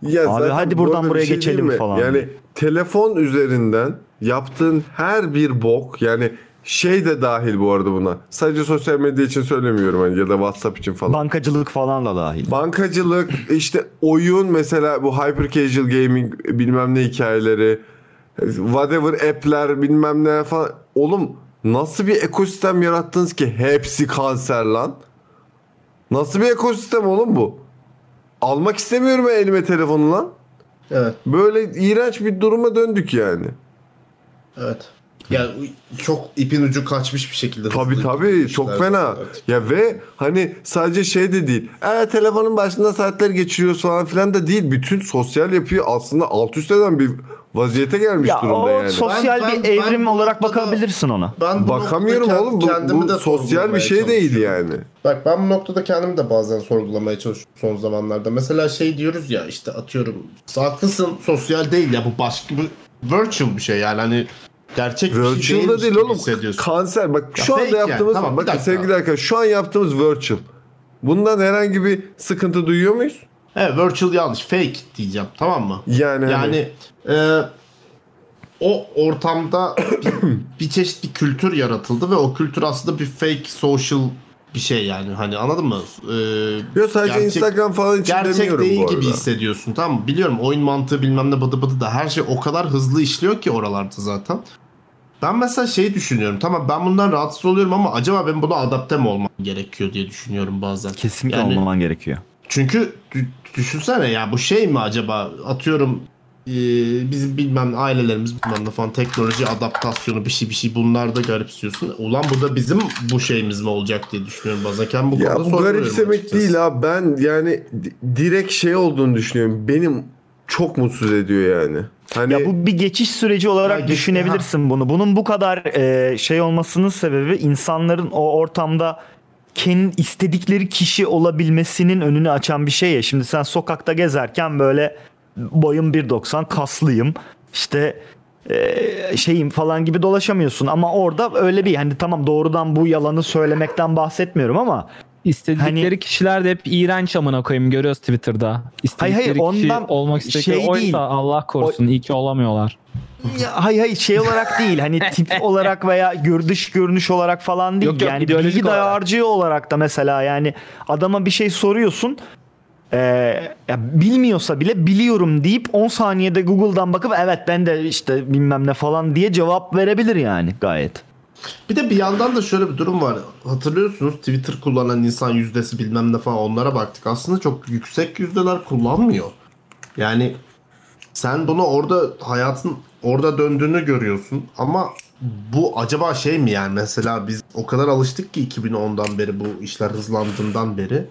Speaker 1: Ya
Speaker 2: Abi
Speaker 1: zaten
Speaker 2: hadi
Speaker 1: bu
Speaker 2: buradan
Speaker 1: arada bir
Speaker 2: buraya
Speaker 1: şey
Speaker 2: geçelim
Speaker 1: diyeyim mi?
Speaker 2: falan
Speaker 1: Yani
Speaker 2: diye.
Speaker 1: telefon üzerinden yaptığın her bir bok yani şey de dahil bu arada buna. Sadece sosyal medya için söylemiyorum hani ya da WhatsApp için falan.
Speaker 2: Bankacılık falan da dahil.
Speaker 1: Bankacılık işte oyun mesela bu hyper casual gaming bilmem ne hikayeleri whatever app'ler bilmem ne falan. Oğlum nasıl bir ekosistem yarattınız ki hepsi kanser lan? Nasıl bir ekosistem oğlum bu? Almak istemiyorum ben elime telefonu lan.
Speaker 11: Evet.
Speaker 1: Böyle iğrenç bir duruma döndük yani.
Speaker 11: Evet. Ya çok ipin ucu kaçmış bir şekilde.
Speaker 1: Tabii tabii çok fena. Ya ve hani sadece şey de değil. E, telefonun başında saatler geçiriyoruz falan filan da değil. Bütün sosyal yapıyı aslında alt üst eden bir vaziyete gelmiş
Speaker 2: Ya
Speaker 1: durumda
Speaker 2: o
Speaker 1: yani.
Speaker 2: sosyal
Speaker 11: Ben- ben-
Speaker 2: bir evrim olarak bakabilirsin ona.
Speaker 11: Ben bu
Speaker 1: Bakamıyorum
Speaker 11: noktada
Speaker 1: oğlum bu,
Speaker 11: kendimi
Speaker 1: bu
Speaker 11: de
Speaker 1: sosyal bir
Speaker 11: sorgulamaya
Speaker 1: şey değil yani.
Speaker 11: Bak ben bu noktada kendimi de bazen sorgulamaya çalışıyorum son zamanlarda. Mesela şey diyoruz ya işte atıyorum haklısın sosyal değil ya bu başka bir virtual bir şey yani hani gerçek bir şey
Speaker 1: Virtual da
Speaker 11: değilmiş
Speaker 1: değil
Speaker 11: gibi
Speaker 1: oğlum.
Speaker 11: hissediyorsun.
Speaker 1: Kanser bak
Speaker 11: Ya
Speaker 1: şu
Speaker 11: fake
Speaker 1: anda
Speaker 11: yani.
Speaker 1: yaptığımız
Speaker 11: Tamam, bir
Speaker 1: bakın
Speaker 11: dakika.
Speaker 1: sevgili arkadaşlar şu an yaptığımız virtual. Bundan herhangi bir sıkıntı duyuyor muyuz?
Speaker 11: Evet virtual yanlış fake diyeceğim tamam mı?
Speaker 1: Yani hani-
Speaker 11: Yani e, o ortamda bir, bir çeşit bir kültür yaratıldı ve o kültür aslında bir fake social bir şey yani hani anladın mı? Ee,
Speaker 1: Yok sadece Instagram falan için
Speaker 11: gerçek
Speaker 1: demiyorum
Speaker 11: değil
Speaker 1: bu
Speaker 11: gibi
Speaker 1: arada.
Speaker 11: hissediyorsun tamam mı? Biliyorum oyun mantığı bilmem ne bıdı bıdı da her şey o kadar hızlı işliyor ki oralarda zaten. Ben mesela şey düşünüyorum tamam ben bundan rahatsız oluyorum ama acaba ben buna adapte mi olmam gerekiyor diye düşünüyorum bazen.
Speaker 2: Kesinlikle
Speaker 11: Yani-
Speaker 2: olmaman gerekiyor.
Speaker 11: çünkü dü- düşünsene ya bu şey mi acaba atıyorum e, bizim bilmem ne ailelerimiz bilmem ne falan teknoloji adaptasyonu bir şey bir şey bunlar da garipsiyorsun. Ulan bu da bizim bu şeyimiz mi olacak diye düşünüyorum bazen Kendim bu
Speaker 1: Ya
Speaker 11: konuda
Speaker 1: bu
Speaker 11: sorguluyorum
Speaker 1: garipsemek
Speaker 11: açıkçası.
Speaker 1: değil abi. Ben yani di- direkt şey olduğunu düşünüyorum. Benim çok mutsuz ediyor yani. Hani
Speaker 2: Ya bu bir geçiş süreci olarak düşünebilirsin bunu. Bunun bu kadar e, şey olmasının sebebi insanların o ortamda kendi istedikleri kişi olabilmesinin önünü açan bir şey ya. Şimdi sen sokakta gezerken böyle boyum 1.90 kaslıyım işte e, şeyim falan gibi dolaşamıyorsun ama orada öyle bir hani tamam doğrudan bu yalanı söylemekten bahsetmiyorum ama
Speaker 8: İstedikleri kişiler de hep iğrenç amına koyayım görüyoruz Twitter'da. İstedikleri
Speaker 2: Hayır, hayır,
Speaker 8: kişi
Speaker 2: ondan
Speaker 8: olmak
Speaker 2: şey
Speaker 8: istedikleri oysa
Speaker 2: değil.
Speaker 8: Allah korusun iyi ki olamıyorlar.
Speaker 2: Ya, hay hay şey olarak değil hani tip olarak veya gör, dış görünüş olarak falan değil.
Speaker 8: Yok, yok,
Speaker 2: yani
Speaker 8: ideolojik
Speaker 2: bilgi dayarcığı olarak da mesela yani adama bir şey soruyorsun. Ee, ya bilmiyorsa bile biliyorum deyip 10 saniyede Google'dan bakıp evet ben de işte bilmem ne falan diye cevap verebilir yani gayet.
Speaker 11: Bir de bir yandan da şöyle bir durum var. Hatırlıyorsunuz Twitter kullanan insan yüzdesi bilmem ne falan onlara baktık. Aslında çok yüksek yüzdeler kullanmıyor. Yani sen bunu orada hayatın orada döndüğünü görüyorsun ama bu acaba şey mi yani mesela biz o kadar alıştık ki 2010'dan beri bu işler hızlandığından beri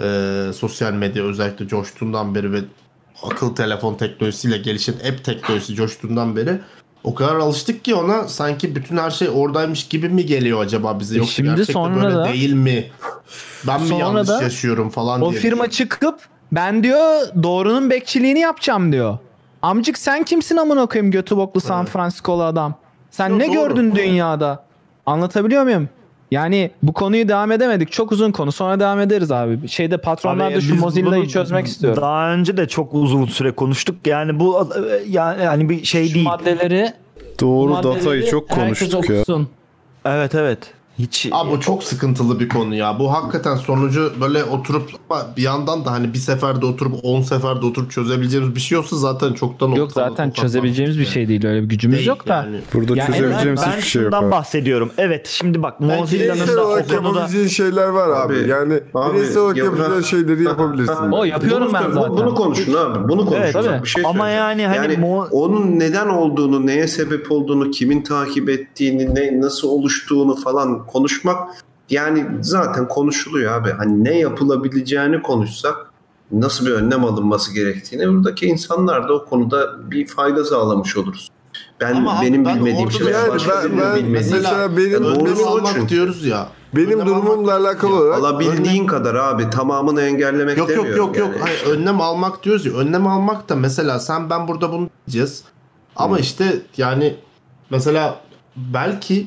Speaker 11: e, sosyal medya özellikle coştuğundan beri ve akıl telefon teknolojisiyle gelişen app teknolojisi coştuğundan beri o kadar alıştık ki ona sanki bütün her şey oradaymış gibi mi geliyor acaba bize
Speaker 8: E
Speaker 11: yoksa
Speaker 8: şimdi
Speaker 11: gerçekten
Speaker 8: sonra
Speaker 11: böyle
Speaker 8: da-
Speaker 11: değil mi? Ben mi
Speaker 8: Sonra
Speaker 11: yanlış
Speaker 8: da
Speaker 11: yaşıyorum falan
Speaker 8: o
Speaker 11: diye.
Speaker 8: firma çıkıp ben diyor doğrunun bekçiliğini yapacağım diyor. Amcık sen kimsin amına koyayım götü boklu San Francisco'lu adam. Sen
Speaker 11: Yo,
Speaker 8: ne
Speaker 11: doğru.
Speaker 8: gördün dünyada? Anlatabiliyor muyum? Yani bu konuyu devam edemedik. Çok uzun konu. Sonra devam ederiz abi. Şeyde patronlar
Speaker 2: Abi,
Speaker 8: da şu
Speaker 2: biz
Speaker 8: Mozilla'yı
Speaker 2: bunu
Speaker 8: çözmek istiyorum.
Speaker 2: Daha önce de çok uzun süre konuştuk. Yani bu e, yani, yani bir şey değil.
Speaker 8: maddeleri
Speaker 4: Doğru
Speaker 2: maddeleri
Speaker 4: datayı çok
Speaker 2: herkes
Speaker 4: konuştuk ya.
Speaker 8: okusun.
Speaker 2: Evet evet. Hiç
Speaker 11: Abi bu çok sıkıntılı bir konu ya. Bu hakikaten sonucu böyle oturup ama bir yandan da hani bir seferde oturup 10 seferde oturup çözebileceğimiz bir şey olsa zaten çoktan
Speaker 8: Yok zaten çözebileceğimiz bir şey değil. Öyle bir gücümüz
Speaker 11: Değil
Speaker 8: yok da.
Speaker 11: yani.
Speaker 4: Burada
Speaker 8: Ya en-
Speaker 4: çözebileceğimiz
Speaker 2: ben
Speaker 4: hiçbir şey yok.
Speaker 2: şundan
Speaker 4: abi.
Speaker 2: bahsediyorum. Evet şimdi bak Mozilla'nın
Speaker 1: Bireysel
Speaker 2: da o
Speaker 1: olarak
Speaker 2: konuda
Speaker 1: yapabileceğin şeyler var abi.
Speaker 3: Abi,
Speaker 1: yani
Speaker 3: abi,
Speaker 1: bireysel olarak
Speaker 3: yapılan-
Speaker 1: yapabileceğin şeyleri yapabilirsin.
Speaker 8: O yapıyorum
Speaker 3: Bunu-
Speaker 8: ben
Speaker 3: bu-
Speaker 8: zaten.
Speaker 3: Bunu konuşun abi. Bunu konuşun.
Speaker 2: Evet,
Speaker 3: Bak,
Speaker 2: tabii.
Speaker 3: bir şey
Speaker 2: Ama
Speaker 3: söyleyeceğim.
Speaker 2: yani hani mo-
Speaker 3: onun neden olduğunu, neye sebep olduğunu, kimin takip ettiğini, ne, nasıl oluştuğunu falan konuşmak yani zaten konuşuluyor abi. Hani ne yapılabileceğini konuşsak nasıl bir önlem alınması gerektiğini buradaki insanlar da o konuda bir fayda sağlamış oluruz. Ben
Speaker 11: Ama abi
Speaker 3: benim
Speaker 11: ben
Speaker 3: bilmediğim
Speaker 11: orada
Speaker 3: şeyler
Speaker 1: yani
Speaker 3: başka
Speaker 1: ben-
Speaker 3: birinin
Speaker 1: ben-
Speaker 3: bilmediği.
Speaker 1: mesela benim-
Speaker 3: Yani
Speaker 11: önlem
Speaker 3: doğrusu o
Speaker 11: almak
Speaker 3: çünkü.
Speaker 11: diyoruz ya.
Speaker 1: Benim
Speaker 11: Önlem almak-
Speaker 1: durumumla alakalı olarak
Speaker 3: Alabildiğin kadar abi tamamını engellemek
Speaker 11: Yok yok
Speaker 3: demiyorum
Speaker 11: yok yok.
Speaker 3: yani.
Speaker 11: Hayır, önlem almak diyoruz ya. Önlem almak da mesela sen ben burada bunu diyeceğiz. Ama işte yani mesela belki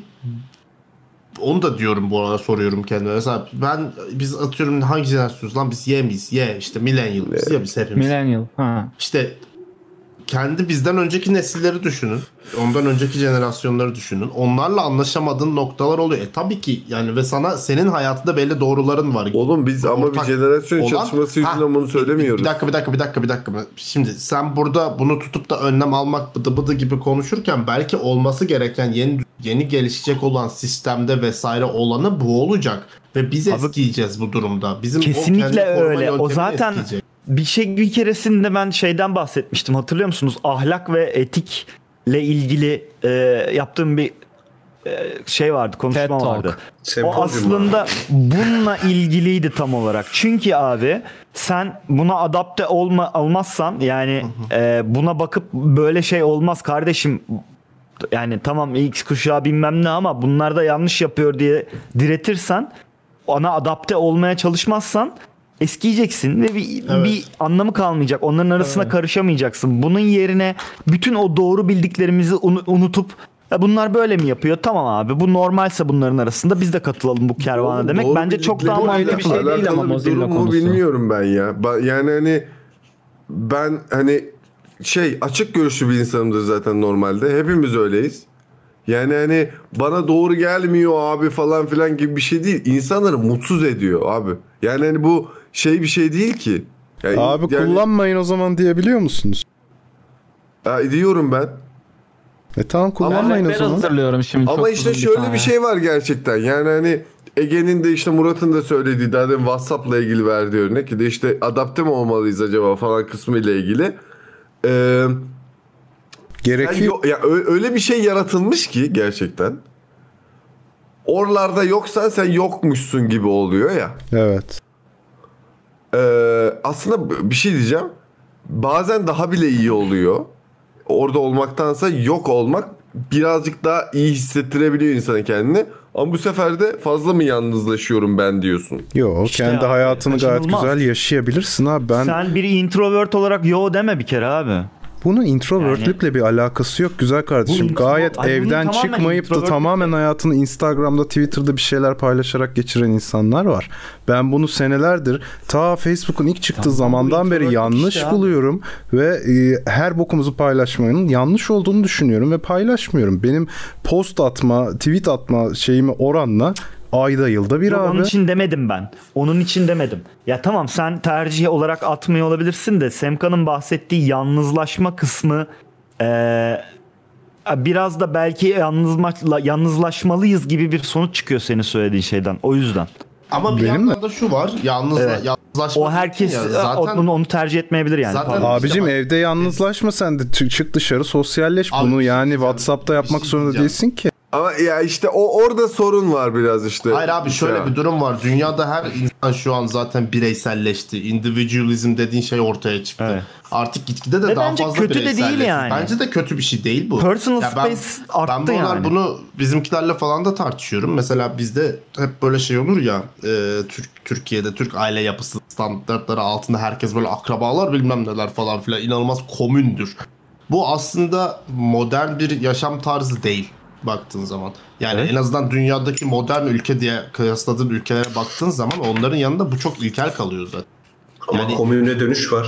Speaker 11: onu da diyorum bu arada soruyorum kendime. Mesela ben biz atıyorum hangi jenerasyonuz lan biz Y miyiz? Y işte millennial biz ya biz hepimiz.
Speaker 8: Millennial. Ha.
Speaker 11: İşte kendi bizden önceki nesilleri düşünün. Ondan önceki jenerasyonları düşünün. Onlarla anlaşamadığın noktalar oluyor. E tabii ki yani ve sana senin hayatında belli doğruların var.
Speaker 1: Oğlum biz ama bir
Speaker 11: Ortak
Speaker 1: jenerasyon
Speaker 11: olan-
Speaker 1: çalışması
Speaker 11: Ha,
Speaker 1: yüzünden bunu söylemiyoruz.
Speaker 11: bir dakika bir dakika bir dakika bir dakika. Şimdi sen burada bunu tutup da önlem almak bıdı bıdı gibi konuşurken belki olması gereken yeni yeni gelişecek olan sistemde vesaire olanı bu olacak ve biz eskiyeceğiz bu durumda. Bizim o
Speaker 2: Kesinlikle
Speaker 11: kendi koruma
Speaker 2: öyle. O
Speaker 11: yöntemini
Speaker 2: zaten
Speaker 11: eskiyecek.
Speaker 2: bir şey bir keresinde ben şeyden bahsetmiştim. Hatırlıyor musunuz? Ahlak ve etikle ilgili e, yaptığım bir e, şey vardı, konuşma
Speaker 8: TED Talk.
Speaker 2: vardı.
Speaker 3: Sempozyum
Speaker 2: o aslında bununla ilgiliydi tam olarak. Çünkü abi sen buna adapte olma olmazsan yani e, buna bakıp böyle şey olmaz kardeşim. Yani tamam X kuşağı bilmem ne ama bunlar da yanlış yapıyor diye diretirsen ona adapte olmaya çalışmazsan eskiyeceksin ve bir, bir anlamı kalmayacak. Onların arasına karışamayacaksın. Bunun yerine bütün o doğru bildiklerimizi unu- unutup "Ya bunlar böyle mi yapıyor? Tamam abi bu normalse bunların arasında biz de katılalım bu kervana
Speaker 1: Oğlum,
Speaker 2: demek.
Speaker 1: doğru
Speaker 2: Bence çok daha
Speaker 1: doğru
Speaker 2: mantıklı.
Speaker 8: bir şey değil
Speaker 1: alakalı
Speaker 8: ama
Speaker 1: bir
Speaker 8: Mozilla
Speaker 1: durum mu
Speaker 8: konusu.
Speaker 1: bilmiyorum ben ya. Ba- Yani hani ben hani şey açık görüşlü bir insanımdır zaten normalde. Hepimiz öyleyiz. Yani hani bana doğru gelmiyor abi falan filan gibi bir şey değil. İnsanları mutsuz ediyor abi. Yani hani bu şey bir şey değil ki. Yani,
Speaker 4: Abi
Speaker 1: yani-
Speaker 4: kullanmayın o zaman diyebiliyor musunuz?
Speaker 1: Ya diyorum ben.
Speaker 4: E tamam
Speaker 8: Ben
Speaker 4: kullanmayın o
Speaker 8: rehber
Speaker 4: zaman.
Speaker 8: hazırlıyorum şimdi.
Speaker 1: Ama
Speaker 8: çok
Speaker 1: işte
Speaker 8: uzun
Speaker 1: şöyle
Speaker 8: tane.
Speaker 1: bir şey var gerçekten. Yani hani Ege'nin de işte Murat'ın da söylediği daha demin WhatsApp'la ilgili verdiği örnek ki de işte adapte mi olmalıyız acaba falan kısmı ile ilgili. Ee, yani
Speaker 4: Gerekiyor.
Speaker 1: yo- ya ö- öyle bir şey yaratılmış ki gerçekten. Oralarda yoksan sen yokmuşsun gibi oluyor ya.
Speaker 4: Evet.
Speaker 1: Ee, aslında b- bir şey diyeceğim. Bazen daha bile iyi oluyor. Orada olmaktansa yok olmak birazcık daha iyi hissettirebiliyor insana kendini. Ama bu sefer de fazla mı yalnızlaşıyorum ben diyorsun.
Speaker 4: Yok
Speaker 2: İşte
Speaker 4: kendi
Speaker 2: abi,
Speaker 4: hayatını gayet
Speaker 2: kaçınılmaz.
Speaker 4: güzel yaşayabilirsin abi. Ben
Speaker 2: Sen bir introvert olarak yo deme bir kere abi.
Speaker 4: Bunun introvertlikle bir alakası yok güzel kardeşim.
Speaker 5: Bu intro-
Speaker 4: Gayet
Speaker 5: Ay, bunun
Speaker 4: evden
Speaker 5: tamamen
Speaker 4: çıkmayıp da
Speaker 5: introvert-
Speaker 4: tamamen hayatını Instagram'da, Twitter'da bir şeyler paylaşarak geçiren insanlar var. Ben bunu senelerdir ta Facebook'un ilk çıktığı zamandan beri yanlış
Speaker 5: işte abi.
Speaker 4: buluyorum ve e, her bokumuzu paylaşmanın yanlış olduğunu düşünüyorum ve paylaşmıyorum. Benim post atma, tweet atma şeyimi oranla ayda yılda bir
Speaker 2: Yok,
Speaker 4: abi.
Speaker 2: Onun için demedim ben. Onun için demedim. Ya tamam sen tercih olarak atmıyor olabilirsin de Semkan'ın bahsettiği yalnızlaşma kısmı eee, biraz da belki yalnızma, yalnızlaşmalıyız gibi bir sonuç çıkıyor senin söylediğin şeyden. O yüzden.
Speaker 11: Ama bir yandan da şu var. Yalnız,
Speaker 2: Evet.
Speaker 11: yalnızlaşma.
Speaker 2: O herkes e,
Speaker 11: ya, zaten
Speaker 2: onu, onu tercih etmeyebilir yani.
Speaker 11: Zaten
Speaker 2: Pardon.
Speaker 4: Abicim evde yalnızlaşma sen de Çı- çık dışarı sosyalleş bunu yani WhatsApp'ta yapmak
Speaker 5: şey
Speaker 4: zorunda değilsin ki.
Speaker 1: Ama ya işte o orada sorun var biraz işte.
Speaker 11: Hayır abi şöyle
Speaker 1: Ya.
Speaker 11: bir durum var. Dünyada her insan şu an zaten bireyselleşti. Individualizm dediğin şey ortaya çıktı. Artık gitgide de
Speaker 2: Ve
Speaker 11: daha
Speaker 2: bence
Speaker 11: fazla
Speaker 2: kötü de değil
Speaker 11: bireyselleşti.
Speaker 2: yani.
Speaker 11: Bence de kötü bir şey değil bu.
Speaker 2: Personal
Speaker 11: ben,
Speaker 2: space arttı
Speaker 11: ben bunlar
Speaker 2: yani.
Speaker 11: bunu bizimkilerle falan da tartışıyorum. Mesela bizde hep böyle şey olur ya e, Türk Türkiye'de Türk aile yapısı standartları altında herkes böyle akrabalar bilmem neler falan filan inanılmaz komündür. Bu aslında modern bir yaşam tarzı değil baktığın zaman. Yani en azından dünyadaki modern ülke diye kıyasladığın ülkelere baktığın zaman onların yanında bu çok ilkel kalıyor zaten.
Speaker 3: Ama komüne dönüş var.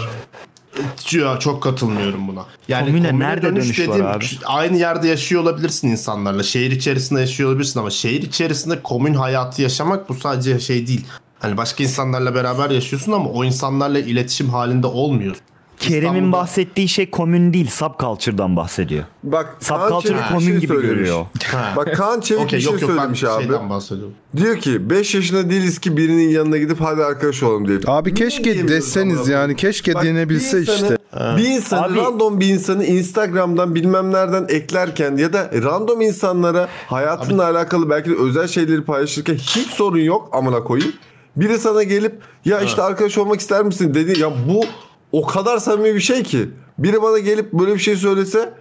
Speaker 11: Ya çok katılmıyorum buna. Yani
Speaker 2: Komüne
Speaker 11: komüne
Speaker 2: nerede dönüş var abi?
Speaker 11: Aynı yerde yaşıyor olabilirsin insanlarla. Şehir içerisinde yaşıyor olabilirsin ama şehir içerisinde komün hayatı yaşamak bu sadece şey değil. Hani başka insanlarla beraber yaşıyorsun ama o insanlarla iletişim halinde olmuyorsun.
Speaker 2: Kerem'in bahsettiği şey komün değil, subculture'dan bahsediyor.
Speaker 1: Bak Kaan
Speaker 2: Subculture'ı
Speaker 1: Çevik bir
Speaker 2: komün
Speaker 1: şey
Speaker 2: gibi
Speaker 1: söylemiş.
Speaker 2: görüyor.
Speaker 1: Bak Kaan Çevik
Speaker 11: Okey,
Speaker 1: bir
Speaker 11: yok,
Speaker 1: şey
Speaker 11: yok, ben
Speaker 1: söylemiş abi.
Speaker 11: şeyden bahsediyorum.
Speaker 1: Diyor ki 5 yaşında değiliz ki birinin yanına gidip hadi arkadaş olalım diye.
Speaker 4: Abi keşke deseniz yani keşke denebilse işte.
Speaker 1: Bir insanı random bir insanı Instagram'dan bilmem nereden eklerken ya da random insanlara hayatınla alakalı belki de özel şeyleri paylaşırken hiç sorun yok amına koyayım. Biri sana gelip ya işte arkadaş olmak ister misin dedi. Ya bu o kadar samimi bir şey ki. Biri bana gelip böyle bir şey söylese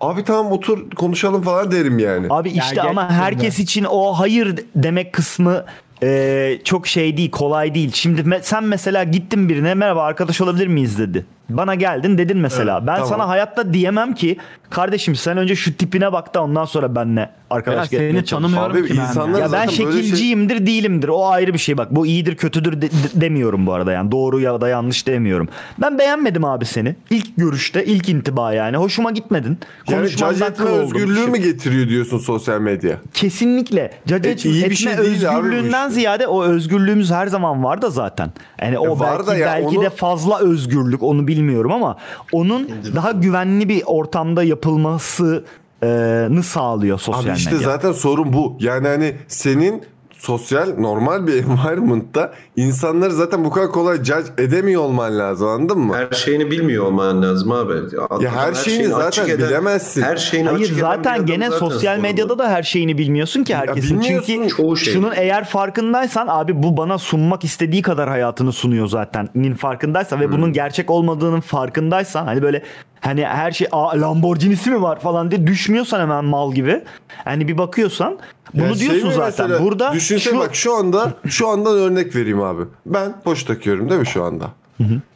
Speaker 1: abi tamam otur konuşalım falan derim yani.
Speaker 2: Abi işte ama herkes için o hayır demek kısmı e, çok şey değil, kolay değil. Şimdi me- sen mesela gittin birine merhaba arkadaş olabilir miyiz dedi. Bana geldin dedin mesela.
Speaker 1: Evet,
Speaker 2: ben
Speaker 1: tamam.
Speaker 2: sana hayatta diyemem ki kardeşim sen önce şu tipine bak da ondan sonra benle
Speaker 8: Ya
Speaker 2: arkadaş
Speaker 8: seni
Speaker 2: etmeye çalış."
Speaker 8: tanımıyorum Abi ki ben insanlar ya.
Speaker 2: Ya ben
Speaker 8: zaten böyle şey-
Speaker 2: şekilciyimdir değilimdir. O ayrı bir şey bak. Bu iyidir kötüdür de- de- demiyorum bu arada yani. Doğru ya da yanlış demiyorum. Ben beğenmedim abi seni. İlk görüşte, ilk intiba yani. Hoşuma gitmedin.
Speaker 1: Yani
Speaker 2: Konuşmandan
Speaker 1: caz etme
Speaker 2: kıl oldum.
Speaker 1: özgürlüğü mü getiriyor diyorsun sosyal medya?
Speaker 2: Kesinlikle. Cadet
Speaker 1: E, iyi bir
Speaker 2: etme
Speaker 1: şey değil abi bu
Speaker 2: özgürlüğünden ziyade o özgürlüğümüz her zaman var da zaten. Yani o
Speaker 1: E, var
Speaker 2: belki,
Speaker 1: da ya,
Speaker 2: belki
Speaker 1: onu-
Speaker 2: de fazla özgürlük onu bilmiyorum ama onun daha güvenli bir ortamda yapılması e, nı sağlıyor sosyal
Speaker 1: Abi işte
Speaker 2: medya.
Speaker 1: zaten sorun bu. Yani hani senin sosyal normal bir environment'ta insanları zaten bu kadar kolay judge edemiyor olman lazım anladın mı?
Speaker 3: Her şeyini bilmiyor olman lazım abi. Adam
Speaker 1: Ya her şeyini zaten
Speaker 3: açık eden-
Speaker 1: bilemezsin.
Speaker 3: Her şeyini
Speaker 2: Hayır
Speaker 3: açık eden bir
Speaker 2: zaten
Speaker 3: adam
Speaker 2: gene
Speaker 3: zaten
Speaker 2: sosyal
Speaker 3: sorumlu.
Speaker 2: medyada da her şeyini bilmiyorsun ki herkesin.
Speaker 3: bilmiyorsun
Speaker 2: Çünkü
Speaker 3: çoğu şeyi.
Speaker 2: şunun eğer farkındaysan abi bu bana sunmak istediği kadar hayatını sunuyor zaten. Nin farkındaysan
Speaker 3: Hmm.
Speaker 2: ve bunun gerçek olmadığının farkındaysan hani böyle hani her şey "Aa, Lamborghini'si mi var falan diye düşmüyorsan hemen mal gibi. Hani bir bakıyorsan bunu
Speaker 1: Ya şey
Speaker 2: diyorsun
Speaker 1: mi
Speaker 2: zaten.
Speaker 1: mesela,
Speaker 2: Burada
Speaker 1: düşünsene
Speaker 2: şu
Speaker 1: bak şu anda şu andan örnek vereyim abi. Ben poş takıyorum değil mi şu anda?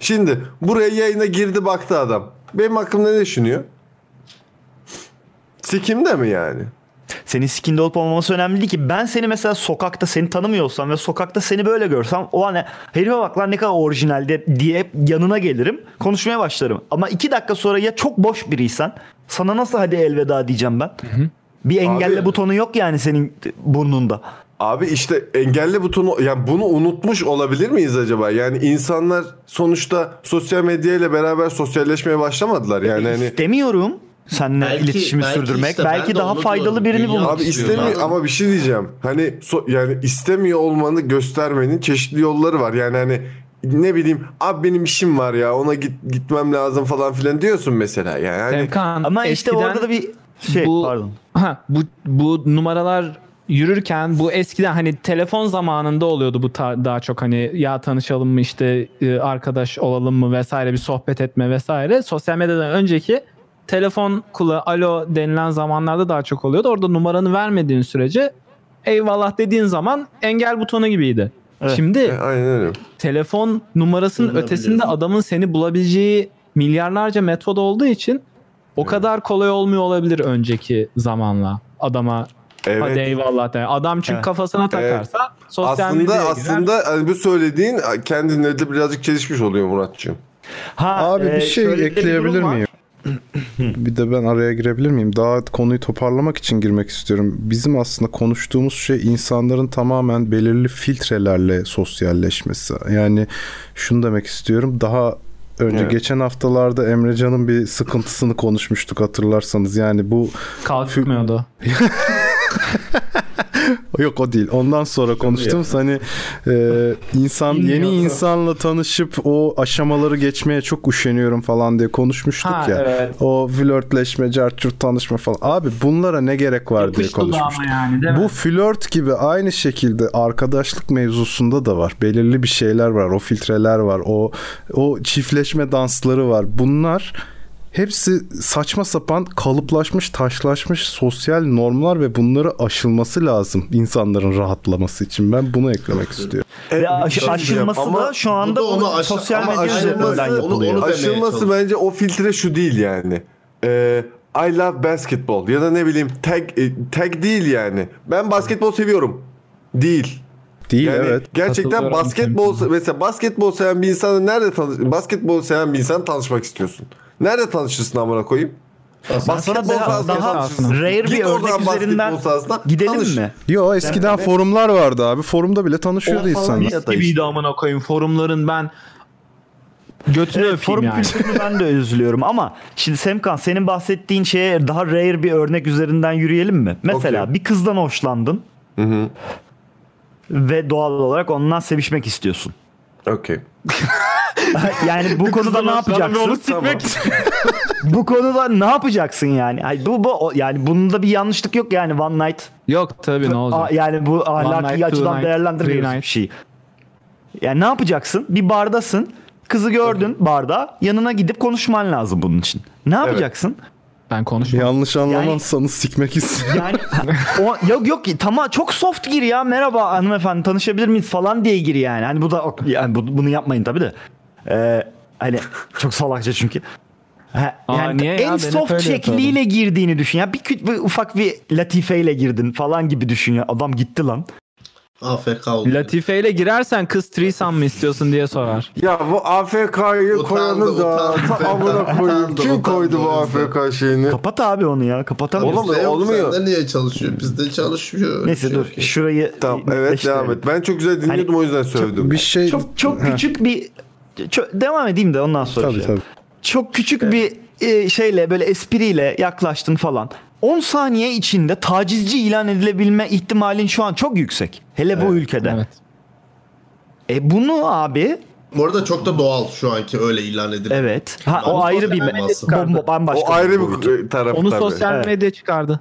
Speaker 1: Şimdi buraya yayına girdi baktı adam. Benim hakkımda ne düşünüyor? Sikimde mi yani?
Speaker 2: senin skinde olup olmaması önemli değil ki. Ben seni mesela sokakta seni tanımıyorsam ve sokakta seni böyle görsem o hani herife bak lan ne kadar orijinal de- diye yanına gelirim. Konuşmaya başlarım. Ama iki dakika sonra ya çok boş biriysen sana nasıl hadi elveda diyeceğim ben. Bir engelle butonu yok yani senin burnunda.
Speaker 1: Abi işte engelli butonu yani bunu unutmuş olabilir miyiz acaba? Yani insanlar sonuçta sosyal medyayla beraber sosyalleşmeye başlamadılar. Yani hani
Speaker 2: İstemiyorum seninle iletişimi sürdürmek. belki daha faydalı birini bulmak
Speaker 1: Abi istemiyor ama bir şey diyeceğim. Hani so- yani istemiyor olmanı göstermenin çeşitli yolları var. Yani hani ne bileyim abi benim işim var ya ona git gitmem lazım falan filan diyorsun mesela. Yani hani
Speaker 8: Serkan,
Speaker 2: Ama işte
Speaker 8: eskiden
Speaker 2: orada da bir şey
Speaker 8: bu,
Speaker 2: pardon.
Speaker 8: Ha, bu, bu numaralar yürürken bu eskiden hani telefon zamanında oluyordu bu ta- daha çok hani ya tanışalım mı işte e, arkadaş olalım mı vesaire bir sohbet etme vesaire. Sosyal medyadan önceki telefon kula alo denilen zamanlarda daha çok oluyordu. Orada numaranı vermediğin sürece eyvallah dediğin zaman engel butonu gibiydi. Şimdi
Speaker 1: e, Aynen öyle.
Speaker 8: telefon numarasının
Speaker 1: Bulunabiliyorsun.
Speaker 8: ötesinde adamın seni bulabileceği milyarlarca metod olduğu için o kadar kolay olmuyor olabilir önceki zamanla adama
Speaker 1: Evet.
Speaker 8: hadi eyvallah de. Adam çünkü
Speaker 1: Heh.
Speaker 8: kafasına takarsa
Speaker 1: Evet.
Speaker 8: sosyal
Speaker 1: aslında,
Speaker 8: medyaya girer.
Speaker 1: Aslında hani bu söylediğin kendinle de birazcık çelişmiş oluyor Muratçığım.
Speaker 2: Ha, e,
Speaker 4: Abi bir şey ekleyebilir miyim? bir de ben araya girebilir miyim? Daha konuyu toparlamak için girmek istiyorum. Bizim aslında konuştuğumuz şey insanların tamamen belirli filtrelerle sosyalleşmesi. Yani şunu demek istiyorum. Daha önce
Speaker 13: Evet.
Speaker 4: geçen haftalarda Emrecan'ın bir sıkıntısını konuşmuştuk hatırlarsanız. Yani bu
Speaker 8: kalkmıyordu.
Speaker 4: Yok o değil. Ondan sonra konuştuğumuz hani e, insan yeni insanla tanışıp o aşamaları geçmeye çok üşeniyorum falan diye konuşmuştuk
Speaker 8: Ha,
Speaker 4: ya.
Speaker 8: evet.
Speaker 4: O flörtleşme, cartçurt tanışma falan. Abi bunlara ne gerek var diye
Speaker 8: Yapıştı dudağıma
Speaker 4: konuşmuştuk.
Speaker 8: yani, değil mi?
Speaker 4: Bu flört gibi aynı şekilde arkadaşlık mevzusunda da var. Belirli bir şeyler var. O filtreler var. O o çiftleşme dansları var. Bunlar Hepsi saçma sapan kalıplaşmış, taşlaşmış sosyal normlar ve bunları aşılması lazım insanların rahatlaması için. Ben bunu eklemek istiyorum.
Speaker 2: Ve aş- aşılması da şu anda
Speaker 1: şey bu da onu
Speaker 2: onu
Speaker 1: aşı-
Speaker 2: sosyal
Speaker 1: ama
Speaker 2: medya
Speaker 1: aşılması-
Speaker 2: üzerinden yapılıyor.
Speaker 1: onu- onu aşılması bence o filtre şu değil yani. Ee, I love basketball ya da ne bileyim tag e, tag değil yani. Ben basketbol seviyorum. Değil.
Speaker 4: Değil
Speaker 1: Yani
Speaker 4: evet.
Speaker 1: Gerçekten
Speaker 4: Katılıyorum
Speaker 1: basketbol mesela basketbol seven bir insanla nerede tanış basketbol seven bir insan tanışmak istiyorsun? Nerede tanışırsın amına koyayım?
Speaker 2: Aslında daha,
Speaker 1: sahasında
Speaker 2: daha
Speaker 1: tanışırsın.
Speaker 2: rare
Speaker 1: Git
Speaker 2: bir
Speaker 1: oradan
Speaker 2: örnek üzerinden
Speaker 1: basketbol sahasına
Speaker 2: gidelim
Speaker 1: tanış.
Speaker 2: mi?
Speaker 4: Yo eskiden
Speaker 2: Yani-
Speaker 4: forumlar vardı abi. Forumda bile tanışıyordu insanlar.
Speaker 8: Mis gibiydi amına koyayım forumların ben götünü
Speaker 2: Evet,
Speaker 8: öpeyim
Speaker 2: forum
Speaker 8: yani.
Speaker 2: kültürünü ben de üzülüyorum ama şimdi Semkan senin bahsettiğin şeye daha rare bir örnek üzerinden yürüyelim mi? Mesela bir kızdan hoşlandın ve doğal olarak ondan sevişmek istiyorsun.
Speaker 1: Okey.
Speaker 2: yani bu konuda ne yapacaksın? bu konuda ne yapacaksın yani? Ay bu, bu o- yani bunda bir yanlışlık yok yani one night.
Speaker 8: Yok tabii ne olacak?
Speaker 2: A- yani bu
Speaker 8: One night,
Speaker 2: ahlaki
Speaker 8: two
Speaker 2: açıdan
Speaker 8: night,
Speaker 2: değerlendirmiyoruz
Speaker 8: three
Speaker 2: bir şey. Yani ne yapacaksın? Bir bardasın. Kızı gördün barda. Yanına gidip konuşman lazım bunun için. Ne yapacaksın?
Speaker 8: Ben konuşmam.
Speaker 4: Yanlış anlamazsanız sikmek istiyorum.
Speaker 2: Yani o, yok yok tamam çok soft gir ya merhaba hanımefendi tanışabilir miyiz falan diye gir yani. Hani bu da yani bu- bunu yapmayın tabii de. Ee, hani çok salakça çünkü. Ha,
Speaker 8: Aa,
Speaker 2: yani
Speaker 8: niye ya? Ben
Speaker 2: en
Speaker 8: hep
Speaker 2: soft
Speaker 8: öyle
Speaker 2: şekliyle girdiğini düşün. Ya bir, küt- bir ufak bir latifeyle girdin falan gibi düşün ya. Adam gitti lan.
Speaker 11: AFK oldu.
Speaker 8: Latife ile girersen kız threesome mı istiyorsun diye sorar.
Speaker 1: Ya bu AFK'yı koyanı da ta amına koyayım. Kim koydu bu AFK şeyini?
Speaker 2: Kapat abi onu ya. Kapatamıyorsun.
Speaker 1: Oğlum olmuyor.
Speaker 11: Sende niye çalışıyor? Bizde çalışıyor.
Speaker 2: Neyse dur. Şurayı
Speaker 1: Şey, Tamam evet devam et. Ben çok güzel dinliyordum o yüzden söyledim.
Speaker 4: Bir şey
Speaker 2: Çok çok küçük bir çö- devam edeyim de ondan sonra. şey. Çok küçük bir e, şeyle böyle espriyle yaklaştın falan. 10 saniye içinde tacizci ilan edilebilme ihtimalin şu an çok yüksek. Hele bu ülkede. E bunu abi
Speaker 11: Bu arada çok da doğal şu anki öyle ilan edildi.
Speaker 2: Evet. Ha, o ayrı bir bomba, bambaşka
Speaker 11: O ayrı bir
Speaker 1: e,
Speaker 2: boyutu.
Speaker 11: taraf
Speaker 8: Onu sosyal
Speaker 2: Evet.
Speaker 8: medya çıkardı.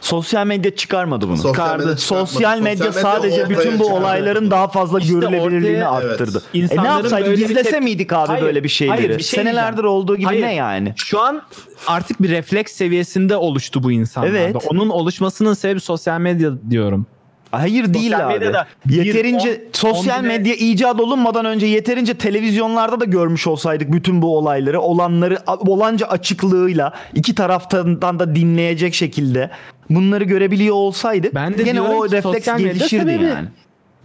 Speaker 2: Sosyal medya çıkarmadı bunu.
Speaker 8: Sosyal
Speaker 2: Sosyal
Speaker 8: medya
Speaker 2: medya,
Speaker 8: çıkartmadı. Sosyal medya
Speaker 2: sadece
Speaker 8: ortaya
Speaker 2: bütün bu
Speaker 8: çıkardı.
Speaker 2: olayların daha fazla görülebilirliğini arttırdı. E ne
Speaker 8: İnsanların
Speaker 2: yapsaydı
Speaker 8: böyle bir
Speaker 2: gizlese
Speaker 8: tep-
Speaker 2: miydik abi
Speaker 8: Hayır,
Speaker 2: böyle bir şeyleri?
Speaker 8: hayır, bir şey
Speaker 2: Senelerdir
Speaker 8: diyeceğim.
Speaker 2: olduğu gibi
Speaker 8: Hayır,
Speaker 2: ne yani?
Speaker 8: Şu an artık bir refleks seviyesinde oluştu bu insanlarda.
Speaker 2: Evet.
Speaker 8: Onun oluşmasının sebebi sosyal medya diyorum.
Speaker 2: Hayır değil abi. Yeterince sosyal medya icat olunmadan önce yeterince televizyonlarda da görmüş olsaydık bütün bu olayları, olanları a- olanca açıklığıyla iki taraftan da dinleyecek şekilde bunları görebiliyor olsaydık
Speaker 8: Ben de
Speaker 2: gene
Speaker 8: diyorum
Speaker 2: o
Speaker 8: ki
Speaker 2: refleks
Speaker 8: sosyal medya
Speaker 2: gelişirdi
Speaker 8: sebebi.
Speaker 2: yani.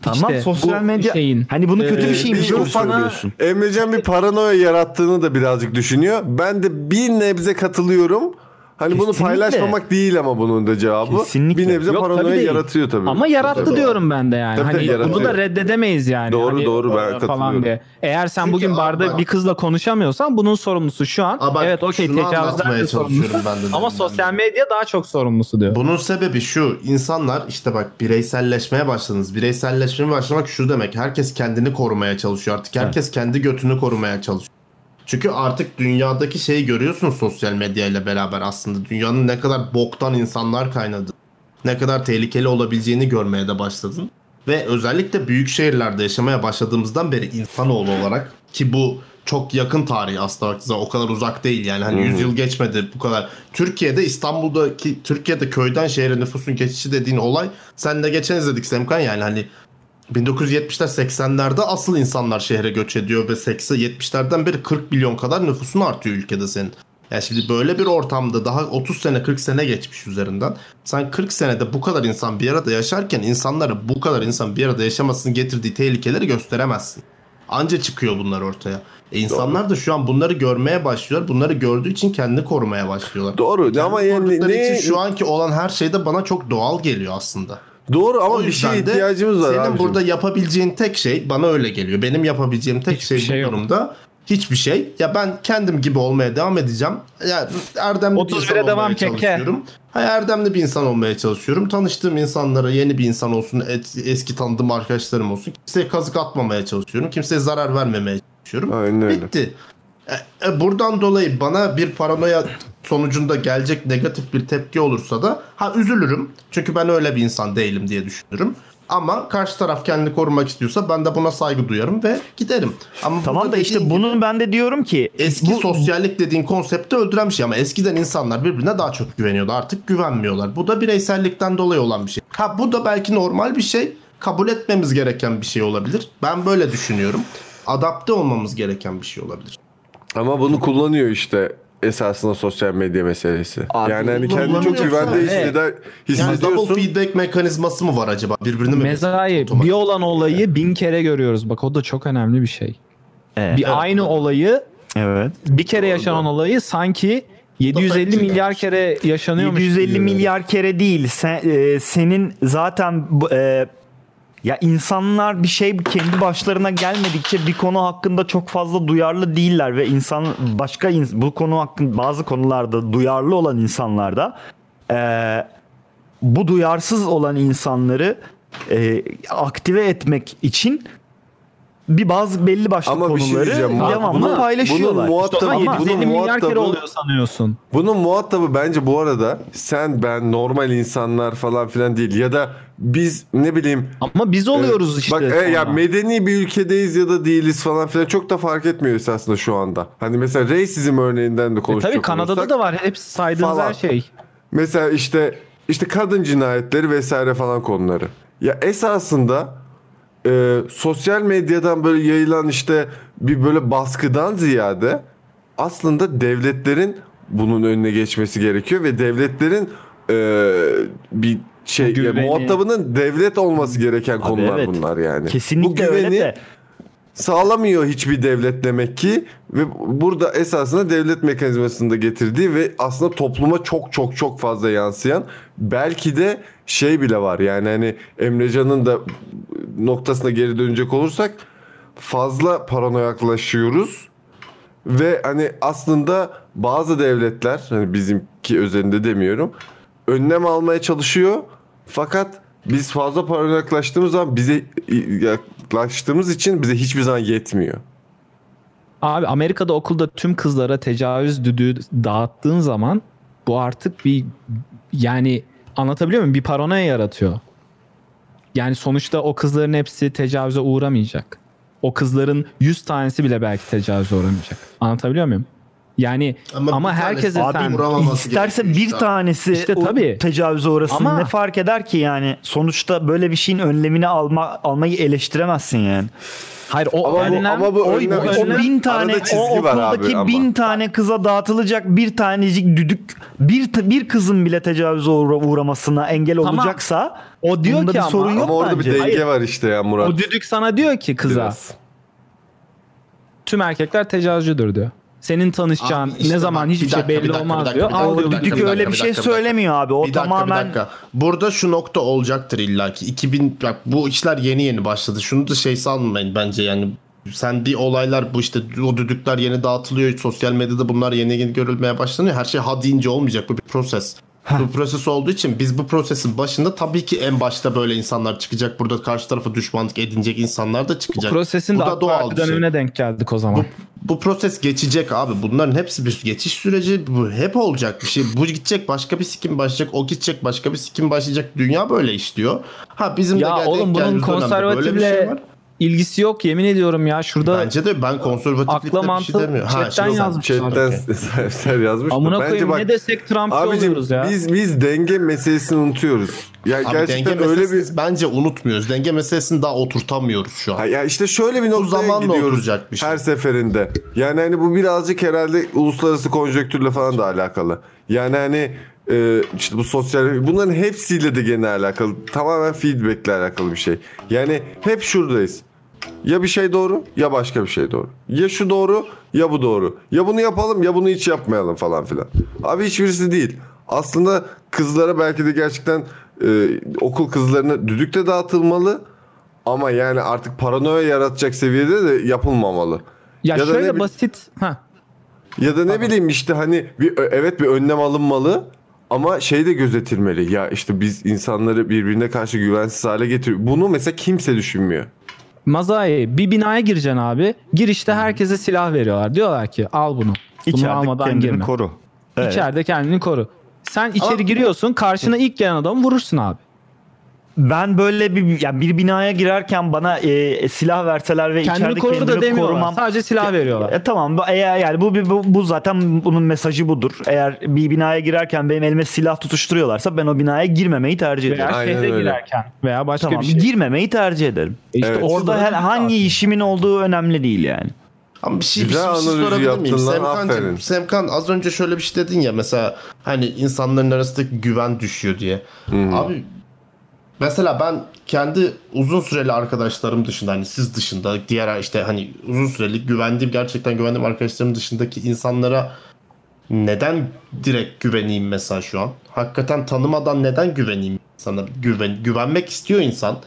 Speaker 2: Tamam
Speaker 8: İşte
Speaker 2: sosyal
Speaker 8: bu
Speaker 2: medya
Speaker 8: şeyin, e,
Speaker 2: hani bunu kötü bir şeymiş gibi söylüyorsun.
Speaker 1: şey Emrecan bir paranoya yarattığını da birazcık düşünüyor. Ben de bir nebze katılıyorum. Hani
Speaker 2: Kesinlikle.
Speaker 1: bunu paylaşmamak değil ama bunun da cevabı. Bir nebze
Speaker 8: Yok,
Speaker 1: paranoya
Speaker 8: tabii değil.
Speaker 1: yaratıyor tabii.
Speaker 8: Ama yarattı
Speaker 1: Tabii.
Speaker 8: diyorum ben de yani.
Speaker 1: Tabii
Speaker 8: hani
Speaker 1: tabii,
Speaker 8: bunu da
Speaker 1: yaratıyor.
Speaker 8: reddedemeyiz yani.
Speaker 1: Doğru,
Speaker 8: Hani,
Speaker 1: doğru, ben
Speaker 8: e, falan
Speaker 1: katılıyorum.
Speaker 8: diye. Eğer sen bugün barda bir kızla konuşamıyorsan bunun sorumlusu şu an.
Speaker 11: Aa, bak,
Speaker 8: evet okey
Speaker 11: şunu
Speaker 8: tecavüzden
Speaker 11: anlatmaya
Speaker 8: de sorumlusu.
Speaker 11: çalışıyorum ben de
Speaker 8: Ama sosyal medya daha çok sorumlusu diyor.
Speaker 11: Bunun sebebi şu. insanlar işte bak bireyselleşmeye başladınız. Bireyselleşmeye başlamak şu demek. Herkes kendini korumaya çalışıyor artık. Herkes kendi götünü korumaya çalışıyor. Çünkü artık dünyadaki şeyi görüyorsun sosyal medyayla beraber aslında. Dünyanın ne kadar boktan insanlar kaynadı. Ne kadar tehlikeli olabileceğini görmeye de başladın. Ve özellikle büyük şehirlerde yaşamaya başladığımızdan beri insanoğlu olarak ki bu çok yakın tarih aslında baktığınız zaman, o kadar uzak değil yani hani
Speaker 1: Hı hı.
Speaker 11: 100 yıl geçmedi bu kadar. Türkiye'de İstanbul'daki Türkiye'de köyden şehre nüfusun geçişi dediğin olay sen de geçen izledik Semkan yani hani 1970'ler 80'lerde asıl insanlar şehre göç ediyor ve 80 70'lerden beri 40 milyon kadar nüfusun artıyor ülkede senin. Yani şimdi böyle bir ortamda daha 30 sene 40 sene geçmiş üzerinden. Sen 40 senede bu kadar insan bir arada yaşarken insanlara bu kadar insan bir arada yaşamasının getirdiği tehlikeleri gösteremezsin. Anca çıkıyor bunlar ortaya. E insanlar da şu an bunları görmeye başlıyorlar. Bunları gördüğü için kendini korumaya başlıyorlar.
Speaker 1: Doğru ama yani
Speaker 11: ne...
Speaker 1: ne-
Speaker 11: için şu anki olan her şey de bana çok doğal geliyor aslında.
Speaker 1: Doğru ama
Speaker 11: O
Speaker 1: bir
Speaker 11: yüzden
Speaker 1: şeye
Speaker 11: de
Speaker 1: ihtiyacımız var
Speaker 11: Senin
Speaker 1: abicim.
Speaker 11: burada yapabileceğin tek şey bana öyle geliyor. Benim yapabileceğim tek şey, bu durumda hiçbir şey. Ya ben kendim gibi olmaya devam edeceğim. Ya erdemli bir
Speaker 8: 31'e
Speaker 11: insan olmaya
Speaker 8: devam keke.
Speaker 11: çalışıyorum. Ha, erdemli bir insan olmaya çalışıyorum. Tanıştığım insanlara yeni bir insan olsun, et- eski tanıdığım arkadaşlarım olsun. Kimseye kazık atmamaya çalışıyorum. Kimseye zarar vermemeye çalışıyorum. Bitti. E, e, buradan dolayı bana bir paranoya sonucunda gelecek negatif bir tepki olursa da ha üzülürüm. Çünkü ben öyle bir insan değilim diye düşünürüm. Ama karşı taraf kendini korumak istiyorsa ben de buna saygı duyarım ve giderim. Ama
Speaker 2: Tamam da işte bunun ben de diyorum ki
Speaker 11: eski sosyallik dediğin konsepti öldüren bir şey ama eskiden insanlar birbirine daha çok güveniyordu. Artık güvenmiyorlar. Bu da bireysellikten dolayı olan bir şey. Ha bu da belki normal bir şey. Kabul etmemiz gereken bir şey olabilir. Ben böyle düşünüyorum. Adapte olmamız gereken bir şey olabilir.
Speaker 1: Ama bunu kullanıyor işte esasında sosyal medya meselesi. yani hani kendi çok güvende hisseder,
Speaker 11: Yani
Speaker 1: hissediyorsun.
Speaker 11: double feedback mekanizması mı var acaba? Birbirini mi
Speaker 8: Mezai bir olan olayı bin kere görüyoruz. Bak o da çok önemli bir şey.
Speaker 2: Evet.
Speaker 8: Bir aynı olayı
Speaker 2: Evet.
Speaker 8: bir kere yaşanan olayı sanki 750 milyar kere yaşanıyormuş.
Speaker 2: 750
Speaker 8: gibi.
Speaker 2: milyar kere değil. Sen, e, senin zaten bu- e, ya insanlar bir şey kendi başlarına gelmedikçe bir konu hakkında çok fazla duyarlı değiller ve insan başka ins- bu konu hakkında bazı konularda duyarlı olan insanlarda e, bu duyarsız olan insanları e, aktive etmek için bir bazı belli başlı
Speaker 1: Ama bir şey
Speaker 2: konuları
Speaker 1: diyeceğim. Bak,
Speaker 2: devamlı
Speaker 1: bunun-
Speaker 2: paylaşıyorlar.
Speaker 1: bunun muhatabı-
Speaker 2: İşte ama-
Speaker 1: bunun
Speaker 8: 750 milyar kere
Speaker 1: muhatabı-
Speaker 8: oluyor sanıyorsun.
Speaker 1: Bunun muhatabı bence bu arada sen ben normal insanlar falan filan değil ya da biz ne bileyim
Speaker 8: ama biz oluyoruz işte
Speaker 1: Bak e, ya
Speaker 8: sonra.
Speaker 1: medeni bir ülkedeyiz ya da değiliz falan filan çok da fark etmiyor esasında şu anda. Hani mesela racism örneğinden de
Speaker 8: E
Speaker 1: konuşacak
Speaker 8: tabii Kanada'da
Speaker 1: olursak
Speaker 8: da var. Hepsi saydığınız
Speaker 1: falan.
Speaker 8: her şey.
Speaker 1: Mesela işte işte kadın cinayetleri vesaire falan konuları. Ya esasında e, sosyal medyadan böyle yayılan işte bir böyle baskıdan ziyade aslında devletlerin bunun önüne geçmesi gerekiyor ve devletlerin e, bir şey ya,
Speaker 2: Güveni.
Speaker 1: muhatabının devlet olması gereken konular
Speaker 2: evet.
Speaker 1: bunlar yani.
Speaker 2: Kesinlikle
Speaker 1: Bu güveni
Speaker 2: öyle de.
Speaker 1: sağlamıyor hiçbir devlet demek ki ve burada esasında devlet mekanizmasını da getirdiği ve aslında topluma çok çok çok fazla yansıyan belki de şey bile var yani hani Emrecan'ın da noktasına geri dönecek olursak fazla paranoyaklaşıyoruz ve hani aslında bazı devletler hani bizimki özelinde demiyorum önlem almaya çalışıyor fakat biz fazla paranoyaklaştığımız zaman bize yaklaştığımız için bize hiçbir zaman yetmiyor.
Speaker 8: Abi Amerika'da okulda tüm kızlara tecavüz düdüğü dağıttığın zaman bu artık bir yani anlatabiliyor muyum? Bir paranoya yaratıyor. Yani sonuçta o kızların hepsi tecavüze uğramayacak. O kızların 100 tanesi bile belki tecavüze uğramayacak. Anlatabiliyor muyum? Yani ama,
Speaker 2: bir
Speaker 8: herkese
Speaker 2: tanesi-
Speaker 8: sen
Speaker 2: Abi isterse bir tanesi
Speaker 8: İşte
Speaker 2: o
Speaker 8: tabii.
Speaker 2: tecavüze uğrasın
Speaker 8: Ama-
Speaker 2: ne fark eder ki yani sonuçta böyle bir şeyin önlemini alma almayı eleştiremezsin yani.
Speaker 8: Hayır o
Speaker 1: Ama bu- önlem- ama bu
Speaker 2: o,
Speaker 1: önlem-
Speaker 2: o
Speaker 1: önlem-
Speaker 2: bin tane
Speaker 1: arada çizgi
Speaker 2: o
Speaker 1: var abi
Speaker 2: okuldaki
Speaker 1: ama.
Speaker 2: bin tane kıza dağıtılacak bir tanecik düdük bir t- bir kızın bile tecavüze uğra- uğramasına engel
Speaker 8: Tamam.
Speaker 2: olacaksa
Speaker 8: O diyor
Speaker 2: bunda
Speaker 8: ki
Speaker 2: bir
Speaker 8: ama-
Speaker 2: sorun yok
Speaker 1: Ama orada
Speaker 2: bence.
Speaker 1: bir denge
Speaker 2: Hayır.
Speaker 1: var işte ya Murat.
Speaker 8: O düdük sana diyor ki kıza. Tüm erkekler tecavüzcüdür diyor. Senin tanışacağın
Speaker 11: Abi Ah, işte
Speaker 8: ne zaman
Speaker 11: bak,
Speaker 8: hiçbir
Speaker 11: bir
Speaker 8: şey
Speaker 11: dakika,
Speaker 8: belli
Speaker 11: bir dakika,
Speaker 8: olmaz
Speaker 11: bir dakika,
Speaker 8: diyor.
Speaker 11: bir dakika,
Speaker 8: Al
Speaker 11: bir
Speaker 8: diyor.
Speaker 11: dakika, bir dakika, bir dakika, bir dakika.
Speaker 2: şey abi. O
Speaker 11: bir dakika,
Speaker 2: tamamen-
Speaker 11: Bir dakika. Burada şu nokta olacaktır illaki. 2000 bak bu işler yeni yeni başladı. Şunu da şey sanmayın bence yani sen bir olaylar bu işte o düdükler yeni dağıtılıyor. Sosyal medyada bunlar yeni yeni görülmeye başlanıyor. Her şey ha deyince olmayacak. Bu bir proses. Bu proses olduğu için biz bu prosesin başında tabii ki en başta böyle insanlar çıkacak. Burada karşı tarafa düşmanlık edinecek insanlar da çıkacak.
Speaker 8: Prosesin de
Speaker 11: da şey.
Speaker 8: AK Parti dönemine denk geldik o zaman.
Speaker 11: bu proses geçecek abi. Bunların hepsi bir geçiş süreci. Bu hep olacak bir şey. Bu gidecek başka bir sikim başlayacak. O gidecek başka bir sikim başlayacak. Dünya böyle işliyor. Ha bizim de
Speaker 8: ya
Speaker 11: geldiğimiz
Speaker 8: oğlum bunun
Speaker 11: geldiğimiz dönemde böyle bir
Speaker 8: konservatifle
Speaker 11: şey var.
Speaker 8: ilgisi yok yemin ediyorum ya şurada.
Speaker 11: Bence de ben konservatiflikte
Speaker 8: akla
Speaker 11: bir
Speaker 8: mantığı
Speaker 11: şey demiyorum.
Speaker 8: chatten
Speaker 11: şimdi-
Speaker 8: yazmışlar.
Speaker 1: Chatten Ser yazmış. da
Speaker 8: Amına
Speaker 1: bence
Speaker 8: koyayım
Speaker 1: bak-
Speaker 8: ne desek Trump'ı
Speaker 1: Abicim,
Speaker 8: oluyoruz ya.
Speaker 1: Biz biz denge meselesini unutuyoruz. Ya
Speaker 11: Abi
Speaker 1: gerçekten
Speaker 11: denge
Speaker 1: öyle bir
Speaker 11: meselesini bence unutmuyoruz. Denge meselesini daha oturtamıyoruz şu an.
Speaker 1: Ha, ya işte şöyle bir noktaya
Speaker 11: zamanla
Speaker 1: gidiyoruz her seferinde. Yani hani bu birazcık herhalde uluslararası konjonktürle falan da alakalı. Yani hani e, işte bu sosyal bunların hepsiyle de gene alakalı. Tamamen feedback'le alakalı bir şey. Yani hep şuradayız. Ya bir şey doğru ya başka bir şey doğru. Ya şu doğru ya bu doğru. Ya bunu yapalım ya bunu hiç yapmayalım falan filan. Abi hiçbirisi değil. Aslında kızlara belki de gerçekten e, okul kızlarına düdük de dağıtılmalı. Ama yani artık paranoya yaratacak seviyede de yapılmamalı.
Speaker 8: ya,
Speaker 1: da
Speaker 8: şöyle
Speaker 1: ne bi-
Speaker 8: basit. Ha.
Speaker 1: ya da ne bileyim işte hani bir ö- evet bir önlem alınmalı ama şey de gözetilmeli. Ya işte biz insanları birbirine karşı güvensiz hale getiriyor. Bunu mesela kimse düşünmüyor.
Speaker 8: Mazai bir binaya gireceksin abi. Girişte herkese silah veriyorlar. Diyorlar ki al bunu. Bunu
Speaker 2: İçeride
Speaker 8: almadan
Speaker 2: kendini
Speaker 8: girme.
Speaker 2: koru. Evet.
Speaker 8: İçeride kendini koru. Sen içeri giriyorsun karşına ilk gelen adamı vurursun abi.
Speaker 2: Ben böyle bir yani bir binaya girerken bana e, silah verseler ve
Speaker 8: Kendini
Speaker 2: içeride
Speaker 8: koru da
Speaker 2: kendimi
Speaker 8: demiyorlar.
Speaker 2: korumam.
Speaker 8: Sadece silah veriyorlar.
Speaker 2: E, tamam bu eğer yani bu, bir- bu bu zaten bunun mesajı budur. Eğer bir binaya girerken benim elime silah tutuşturuyorlarsa ben o binaya girmemeyi tercih
Speaker 8: Veya
Speaker 2: ederim.
Speaker 8: şehre girerken veya başka
Speaker 2: Tamam,
Speaker 8: bir şey.
Speaker 2: girmemeyi tercih ederim.
Speaker 8: işte
Speaker 2: Evet.
Speaker 8: orada
Speaker 2: Orada her, hangi işimin olduğu önemli değil yani.
Speaker 11: Ama bir şey, bir şey, bir şey sorabilir miyim? Semkancığım, Semkan az önce şöyle bir şey dedin ya mesela hani insanların arasındaki güven düşüyor diye. Abi mesela ben kendi uzun süreli arkadaşlarım dışında hani siz dışında diğer işte hani uzun süreli güvendiğim gerçekten güvendiğim arkadaşlarım dışındaki insanlara neden direkt güveneyim mesela şu an? Hakikaten tanımadan neden güveneyim sana? Güven, güvenmek istiyor insan.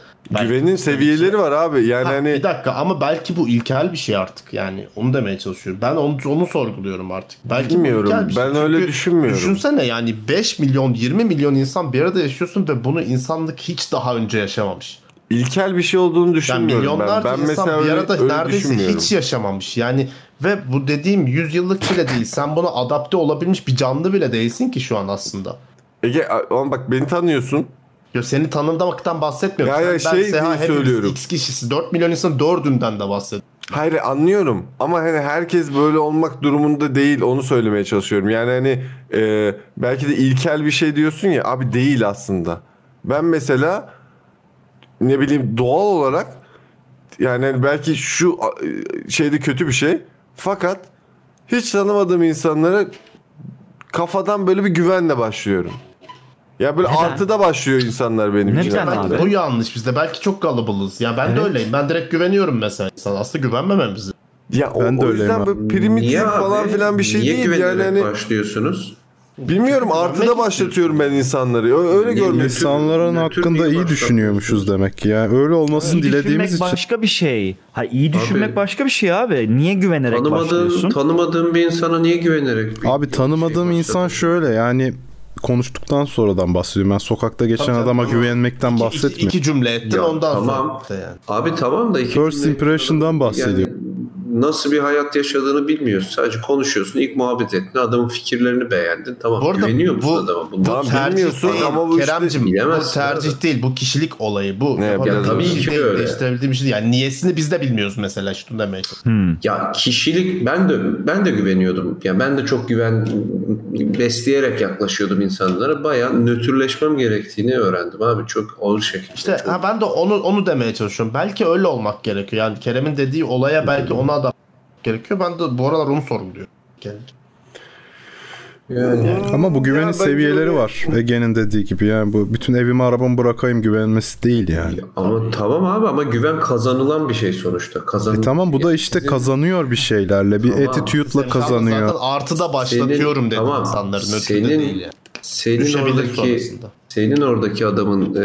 Speaker 1: Güvenin seviyeleri var abi. Yani hani
Speaker 11: bir dakika ama belki bu ilkel bir şey artık yani onu demeye çalışıyorum. Ben onu, onu sorguluyorum artık. Belki bu
Speaker 1: Bilmiyorum.
Speaker 11: ilkel bir şey.
Speaker 1: Ben öyle düşünmüyorum.
Speaker 11: Düşünsene yani 5 milyon 20 milyon insan bir arada yaşıyorsun ve bunu insanlık hiç daha önce yaşamamış.
Speaker 1: İlkel bir şey olduğunu düşünmüyorum ben.
Speaker 11: milyonlarca
Speaker 1: Ben
Speaker 11: insan
Speaker 1: mesela
Speaker 11: bir
Speaker 1: öyle-
Speaker 11: arada
Speaker 1: öyle
Speaker 11: neredeyse
Speaker 1: düşünmüyorum.
Speaker 11: hiç yaşamamış. Yani ve bu dediğim 100 yıllık bile değil. Sen buna adapte olabilmiş bir canlı bile değilsin ki şu an aslında.
Speaker 1: Ege ama bak beni tanıyorsun.
Speaker 11: Ya seni tanımaktan bahsetmiyorum.
Speaker 1: Ya ya
Speaker 11: Sen-
Speaker 1: şey
Speaker 11: Seha,
Speaker 1: diye
Speaker 11: hepimiz
Speaker 1: söylüyorum.
Speaker 11: X kişisi 4 milyon insan 4'ünden de bahsediyorum.
Speaker 1: Hayır anlıyorum ama hani herkes böyle olmak durumunda değil onu söylemeye çalışıyorum. Yani hani e, belki de ilkel bir şey diyorsun ya abi değil aslında. Ben mesela ne bileyim doğal olarak yani hani belki şu e, şeyde kötü bir şey fakat hiç tanımadığım insanlara kafadan böyle bir güvenle başlıyorum. Ya böyle
Speaker 11: Neden?
Speaker 1: artıda başlıyor insanlar benim için.
Speaker 11: Belki de Bu yanlış bizde. Belki çok kalabalığız. Ya ben de öyleyim. Ben direkt güveniyorum mesela insana. Aslında güvenmememiz.
Speaker 1: Ya
Speaker 11: Ben
Speaker 1: o,
Speaker 11: de
Speaker 1: o
Speaker 11: öyleyim
Speaker 1: yüzden
Speaker 11: abi.
Speaker 1: böyle primitif
Speaker 11: Niye abi?
Speaker 1: falan filan bir şey
Speaker 11: Niye
Speaker 1: değil. Yani
Speaker 11: güvenerek
Speaker 1: hani
Speaker 3: başlıyorsunuz?
Speaker 1: Bilmiyorum artıda başlatıyorum ben insanları. Ö- Öyle görmek
Speaker 4: İnsanların hakkında iyi düşünüyormuşuz demek ki. Yani öyle olmasını
Speaker 2: İyi
Speaker 4: dilediğimiz
Speaker 2: düşünmek
Speaker 4: için.
Speaker 2: başka bir şey. Ha iyi düşünmek
Speaker 4: Abi.
Speaker 2: başka bir şey abi. Niye güvenerek başlıyorsun?
Speaker 4: Tanımadığım,
Speaker 3: tanımadığım bir insana niye güvenerek?
Speaker 2: şey,
Speaker 3: şey
Speaker 4: Abi tanımadığım insan şöyle yani konuştuktan sonradan bahsediyorum. Ben sokakta geçen
Speaker 3: Tabii,
Speaker 4: adama
Speaker 3: tabii.
Speaker 4: güvenmekten bahsetmiyorum.
Speaker 11: cümle ettin
Speaker 3: Ya,
Speaker 11: ondan
Speaker 3: tamam.
Speaker 11: sonra. Yani.
Speaker 3: Abi tamam da iki
Speaker 4: First
Speaker 3: cümle-
Speaker 4: impression'dan bahsediyorum.
Speaker 3: nasıl bir hayat yaşadığını bilmiyorsun. Sadece konuşuyorsun, ilk muhabbet ettin, adamın fikirlerini beğendin. Tamam, güveniyor musun adama? Bundan
Speaker 11: bu tercih değil. Keremcim bu
Speaker 3: bilemezsin.
Speaker 11: tercih değil. Bu kişilik olayı. Bu
Speaker 3: ya tabii ki öyle.
Speaker 11: Değiştirebildiğim şey değil. Yani niyesini biz de bilmiyoruz mesela. Şunu demeye çalışıyorum.
Speaker 3: Ya kişilik ben de ben de güveniyordum. Ya ben de çok güven besleyerek yaklaşıyordum insanlara. Bayağı nötrleşmem gerektiğini öğrendim abi çok ağır şekilde.
Speaker 11: İşte ha, ben de onu onu demeye çalışıyorum. Belki öyle olmak gerekiyor. Yani Kerem'in dediği olaya belki ona da gerekiyor. Ben de bu aralar onu sorguluyorum. Yani
Speaker 4: Ama bu güvenin seviyeleri var. Ege'nin dediği gibi yani bu bütün evimi arabamı bırakayım güvenmesi değil yani.
Speaker 3: Ama tamam abi ama güven kazanılan bir şey sonuçta. Kazan
Speaker 4: E tamam bu da işte kazanıyor bir şeylerle. Bir
Speaker 3: Tamam.
Speaker 4: attitude'la
Speaker 3: Senin
Speaker 4: kazanıyor.
Speaker 3: zaten
Speaker 11: artıda başlatıyorum
Speaker 3: Senin-
Speaker 11: dedim
Speaker 3: tamam.
Speaker 11: insanların ötede
Speaker 3: Senin-
Speaker 11: değil yani.
Speaker 3: Senin
Speaker 11: Düşebilir
Speaker 3: oradaki
Speaker 11: sonrasında.
Speaker 3: senin oradaki adamın e,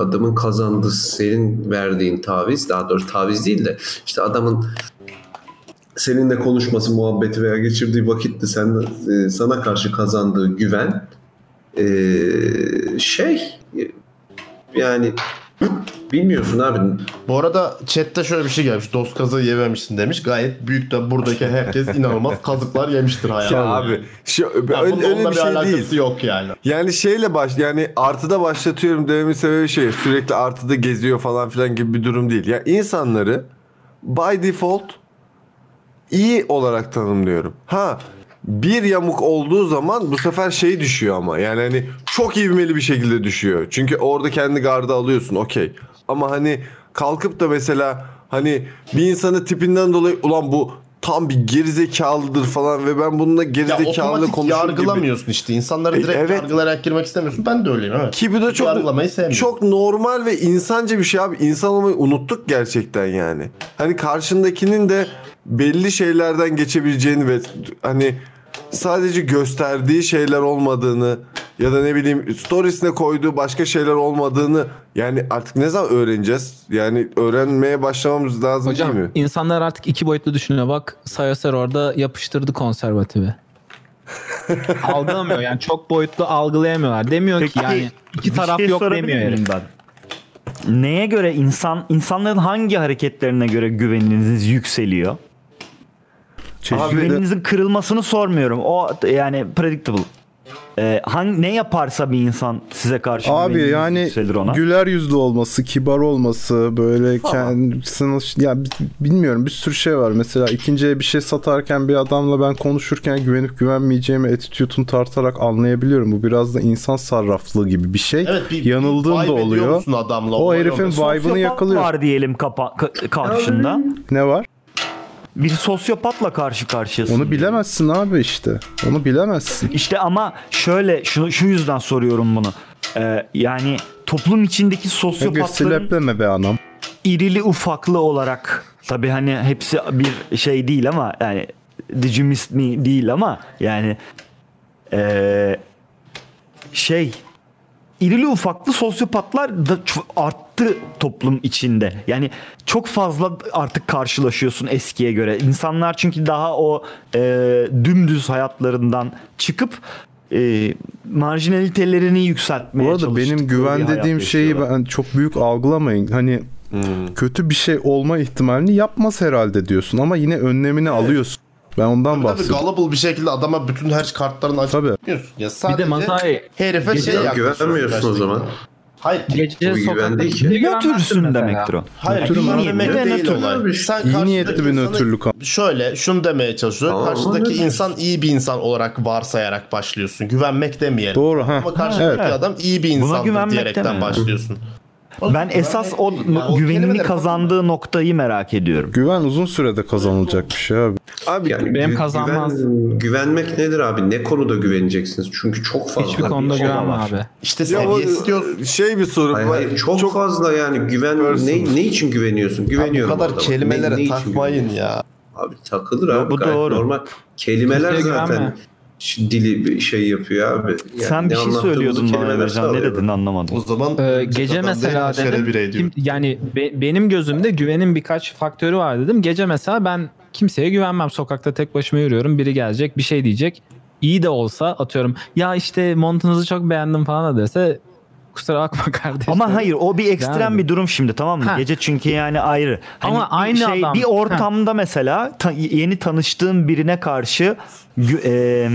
Speaker 3: adamın kazandığı senin verdiğin taviz daha doğrusu taviz değil de işte adamın seninle konuşması, muhabbeti veya geçirdiği vakitte sen e, sana karşı kazandığı güven e, şey e, yani Bilmiyorsun abi.
Speaker 11: Bu arada chatte şöyle bir şey gelmiş. Dost kazığı yememişsin demiş. Gayet büyük de buradaki herkes inanılmaz kazıklar yemiştir hayatında.
Speaker 1: Ya abi şu,
Speaker 11: Ya
Speaker 1: öyle,
Speaker 11: bunun
Speaker 1: öyle
Speaker 11: onunla
Speaker 1: bir
Speaker 11: bir
Speaker 1: şey
Speaker 11: alakası
Speaker 1: değil.
Speaker 11: yok yani.
Speaker 1: Yani şeyle baş yani artıda başlatıyorum dememin sebebi şey sürekli artıda geziyor falan filan gibi bir durum değil. Ya insanları by default iyi olarak tanımlıyorum. Ha bir yamuk olduğu zaman bu sefer şey düşüyor ama yani hani çok ivmeli bir şekilde düşüyor. Çünkü orada kendi garda alıyorsun okey. Ama hani kalkıp da mesela hani bir insanı tipinden dolayı ulan bu tam bir gerizekalıdır falan ve ben bununla gerizekalı
Speaker 11: otomatik
Speaker 1: konuşurum gibi. E,
Speaker 11: yargılamıyorsun işte. İnsanları direkt yargılayarak girmek istemiyorsun. Ben de öyleyim evet.
Speaker 1: Ki bu da
Speaker 11: Yargılamayı
Speaker 1: çok,
Speaker 11: sevmiyorum.
Speaker 1: çok normal ve insanca bir şey abi. İnsan olmayı unuttuk gerçekten yani. Hani karşındakinin de belli şeylerden geçebileceğini ve hani sadece gösterdiği şeyler olmadığını ya da ne bileyim storiesine koyduğu başka şeyler olmadığını yani artık ne zaman öğreneceğiz? Yani öğrenmeye başlamamız lazım
Speaker 8: Hocam
Speaker 1: değil mi?
Speaker 8: insanlar artık iki boyutlu düşünüyor. Bak Sayoser orada yapıştırdı konservatifi. Algılamıyor yani çok boyutlu algılayamıyorlar. Demiyor ki yani iki
Speaker 2: bir
Speaker 8: taraf
Speaker 2: şey
Speaker 8: yok
Speaker 2: sorabilir
Speaker 8: demiyor
Speaker 2: miyim
Speaker 8: herif.
Speaker 2: ben? Neye göre insan insanların hangi hareketlerine göre güveniniz yükseliyor?
Speaker 4: Çeşitli-
Speaker 2: güveninizin kırılmasını sormuyorum. O yani predictable. Ee, hangi, ne yaparsa bir insan size karşı
Speaker 4: Abi
Speaker 2: güveniniz
Speaker 4: yani
Speaker 2: yükselir ona.
Speaker 4: güler yüzlü olması, kibar olması, böyle kendisini ya bi- bilmiyorum bir sürü şey var. Mesela ikinciye bir şey satarken bir adamla ben konuşurken güvenip güvenmeyeceğimi attitude'unu tartarak anlayabiliyorum. Bu biraz da insan sarraflığı gibi bir şey. Yanıldığım da oluyor. o herifin vibe'ını yakalıyor.
Speaker 2: var diyelim kapa- ka- karşında.
Speaker 4: Ne var?
Speaker 2: Bir sosyopatla karşı karşıyasın.
Speaker 4: Onu bilemezsin abi işte. Onu bilemezsin.
Speaker 2: İşte ama şöyle şunu şu yüzden soruyorum bunu. Ee, yani toplum içindeki
Speaker 4: Egir
Speaker 2: sosyopatların
Speaker 4: silepleme be anam.
Speaker 2: irili ufaklı olarak tabi hani hepsi bir şey değil ama yani did you miss me değil ama yani eee, şey irili ufaklı sosyopatlar da ç- arttı toplum içinde. Yani çok fazla artık karşılaşıyorsun eskiye göre. İnsanlar çünkü daha o eee, dümdüz hayatlarından çıkıp eee marjinalitelerini yükseltmeye
Speaker 4: Bu arada benim
Speaker 2: çalıştıkları bir
Speaker 4: güven
Speaker 2: hayat
Speaker 4: dediğim şeyi ben çok büyük algılamayın. Hani
Speaker 11: Hmm.
Speaker 4: kötü bir şey olma ihtimalini yapmaz herhalde diyorsun ama yine önlemini alıyorsun. Ben ondan
Speaker 11: Tabii
Speaker 4: bahsediyorum.
Speaker 11: gullible bir şekilde adama bütün her kartlarını açıp yapıyorsun. Ya sadece
Speaker 8: Masai-
Speaker 11: herife
Speaker 8: Gece-
Speaker 11: şey yaklaşıyorsun
Speaker 3: Güvenmiyorsun o
Speaker 11: gerçekten.
Speaker 3: zaman.
Speaker 11: Hayır.
Speaker 3: Bu güven değil ki.
Speaker 2: Nötürsün demektir o.
Speaker 11: Hayır,
Speaker 4: Nötrüm abi.
Speaker 11: güvenmemek
Speaker 4: Ne
Speaker 11: değil
Speaker 4: nötrüm
Speaker 11: olay.
Speaker 4: abi?
Speaker 11: Sen
Speaker 4: İyi
Speaker 11: karşıdaki
Speaker 4: niyetli bir
Speaker 11: insanı-
Speaker 4: nötrlük abi.
Speaker 11: Şöyle şunu demeye çalışıyor.
Speaker 4: Tamam,
Speaker 11: karşıdaki
Speaker 4: anladım.
Speaker 11: insan iyi bir insan olarak varsayarak başlıyorsun. Güvenmek demeyelim.
Speaker 4: Doğru, ha.
Speaker 11: Ama karşıdaki
Speaker 2: Ha, evet.
Speaker 11: adam iyi bir
Speaker 2: Buna
Speaker 11: insandır
Speaker 2: güvenmek
Speaker 11: diyerekten
Speaker 2: demeyelim.
Speaker 11: başlıyorsun.
Speaker 2: Ben esas o güvenini kazandığı noktayı merak ediyorum.
Speaker 4: Güven uzun sürede kazanılacak bir şey abi.
Speaker 1: Abi
Speaker 3: yani
Speaker 8: Benim
Speaker 3: gü-
Speaker 8: kazanmaz.
Speaker 3: güven- güvenmek nedir abi? Ne konuda güveneceksiniz? Çünkü çok fazla.
Speaker 8: Hiçbir konuda
Speaker 3: bir şey
Speaker 8: güvenme
Speaker 3: var.
Speaker 8: abi.
Speaker 11: İşte
Speaker 1: Ya bu şey bir soru.
Speaker 3: Hayır, hayır, çok, fazla yani güven ne, ne için güveniyorsun? Güveniyorum.
Speaker 11: kadar
Speaker 3: adama.
Speaker 11: kelimelere
Speaker 3: için
Speaker 11: takmayın
Speaker 3: güveniyorsun?
Speaker 11: ya.
Speaker 3: Abi takılır
Speaker 2: Ya
Speaker 3: abi.
Speaker 2: bu
Speaker 3: gayet
Speaker 2: doğru.
Speaker 3: Normal. Kelimeler
Speaker 2: Kimseye güvenme.
Speaker 3: zaten ş- dili bir şey yapıyor abi. Yani
Speaker 2: Sen
Speaker 3: ne
Speaker 2: bir şey
Speaker 3: anlattığımızı
Speaker 2: söylüyordun bana
Speaker 3: kelimeler
Speaker 2: Emrecan. Ne
Speaker 3: sağlıyor.
Speaker 2: dedin anlamadım.
Speaker 11: O zaman
Speaker 8: Ee, gece mesela
Speaker 11: şey
Speaker 8: dedim, kim- yani be- benim gözümde güvenin birkaç faktörü var dedim. Gece mesela ben kimseye güvenmem. Sokakta tek başıma yürüyorum. Biri gelecek bir şey diyecek. İyi de olsa atıyorum. Ya işte montunuzu çok beğendim falan da dese kusura bakma kardeşim.
Speaker 2: Ama hayır o bir ekstrem
Speaker 8: Yani.
Speaker 2: bir durum şimdi tamam mı?
Speaker 8: Ha.
Speaker 2: Gece çünkü yani ayrı. Hani
Speaker 8: Ama
Speaker 2: bir şey,
Speaker 8: aynı adam-
Speaker 2: Bir ortamda mesela ta- yeni tanıştığın birine karşı gü- e,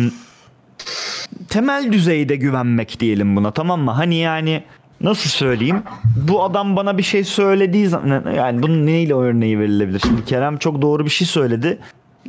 Speaker 2: temel düzeyde güvenmek diyelim buna tamam mı? Hani yani nasıl söyleyeyim? Bu adam bana bir şey söylediği zaman yani bunun neyle örneği verilebilir? Şimdi Kerem çok doğru bir şey söyledi.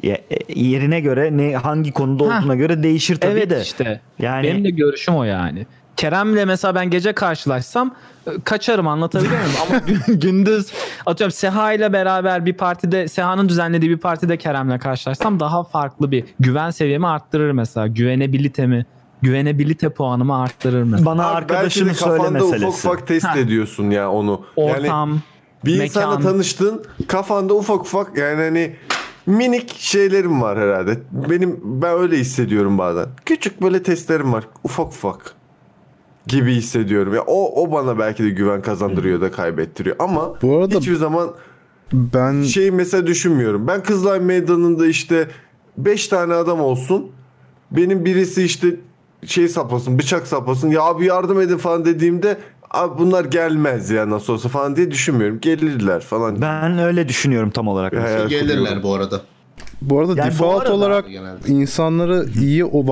Speaker 2: Ya- e, Yerine göre ne hangi konuda
Speaker 8: Ha.
Speaker 2: olduğuna göre değişir tabii
Speaker 8: evet
Speaker 2: de.
Speaker 8: işte.
Speaker 2: Yani-
Speaker 8: Benim de görüşüm o yani. Kerem'le mesela ben gece karşılaşsam e, kaçarım anlatabiliyor muyum? Ama gün- gündüz atıyorum Seha ile beraber bir partide Seha'nın düzenlediği bir partide Kerem'le karşılaşsam daha farklı bir güven seviyemi arttırır mesela. Güvenebilitemi güvenebilite puanımı arttırır mesela.
Speaker 2: Bana arkadaşını
Speaker 1: Belki de
Speaker 2: söyle
Speaker 1: kafanda
Speaker 2: meselesi.
Speaker 1: ufak ufak test
Speaker 8: Ha.
Speaker 1: ediyorsun ya onu.
Speaker 8: Ortam,
Speaker 1: yani bir
Speaker 8: mekan.
Speaker 1: insanla tanıştın, kafanda ufak ufak yani hani minik şeylerim var herhalde. Benim ben öyle hissediyorum bazen. Küçük böyle testlerim var. Ufak ufak gibi hissediyorum. Ya o o bana belki de güven kazandırıyor da kaybettiriyor ama hiçbir zaman
Speaker 4: ben
Speaker 1: şey mesela düşünmüyorum. Ben Kızılay Meydanı'nda işte 5 tane adam olsun. Benim birisi işte şey saplasın, bıçak saplasın. Ya abi yardım edin falan dediğimde "Aa, abi bunlar gelmez ya nasıl olsa falan diye düşünmüyorum. Gelirler falan. Ee,
Speaker 2: Ben öyle düşünüyorum tam olarak.
Speaker 1: şey
Speaker 11: Gelirler bu arada.
Speaker 4: Bu arada
Speaker 1: Yani bu
Speaker 4: default
Speaker 1: arada
Speaker 4: olarak
Speaker 11: genelde.
Speaker 4: insanları iyi o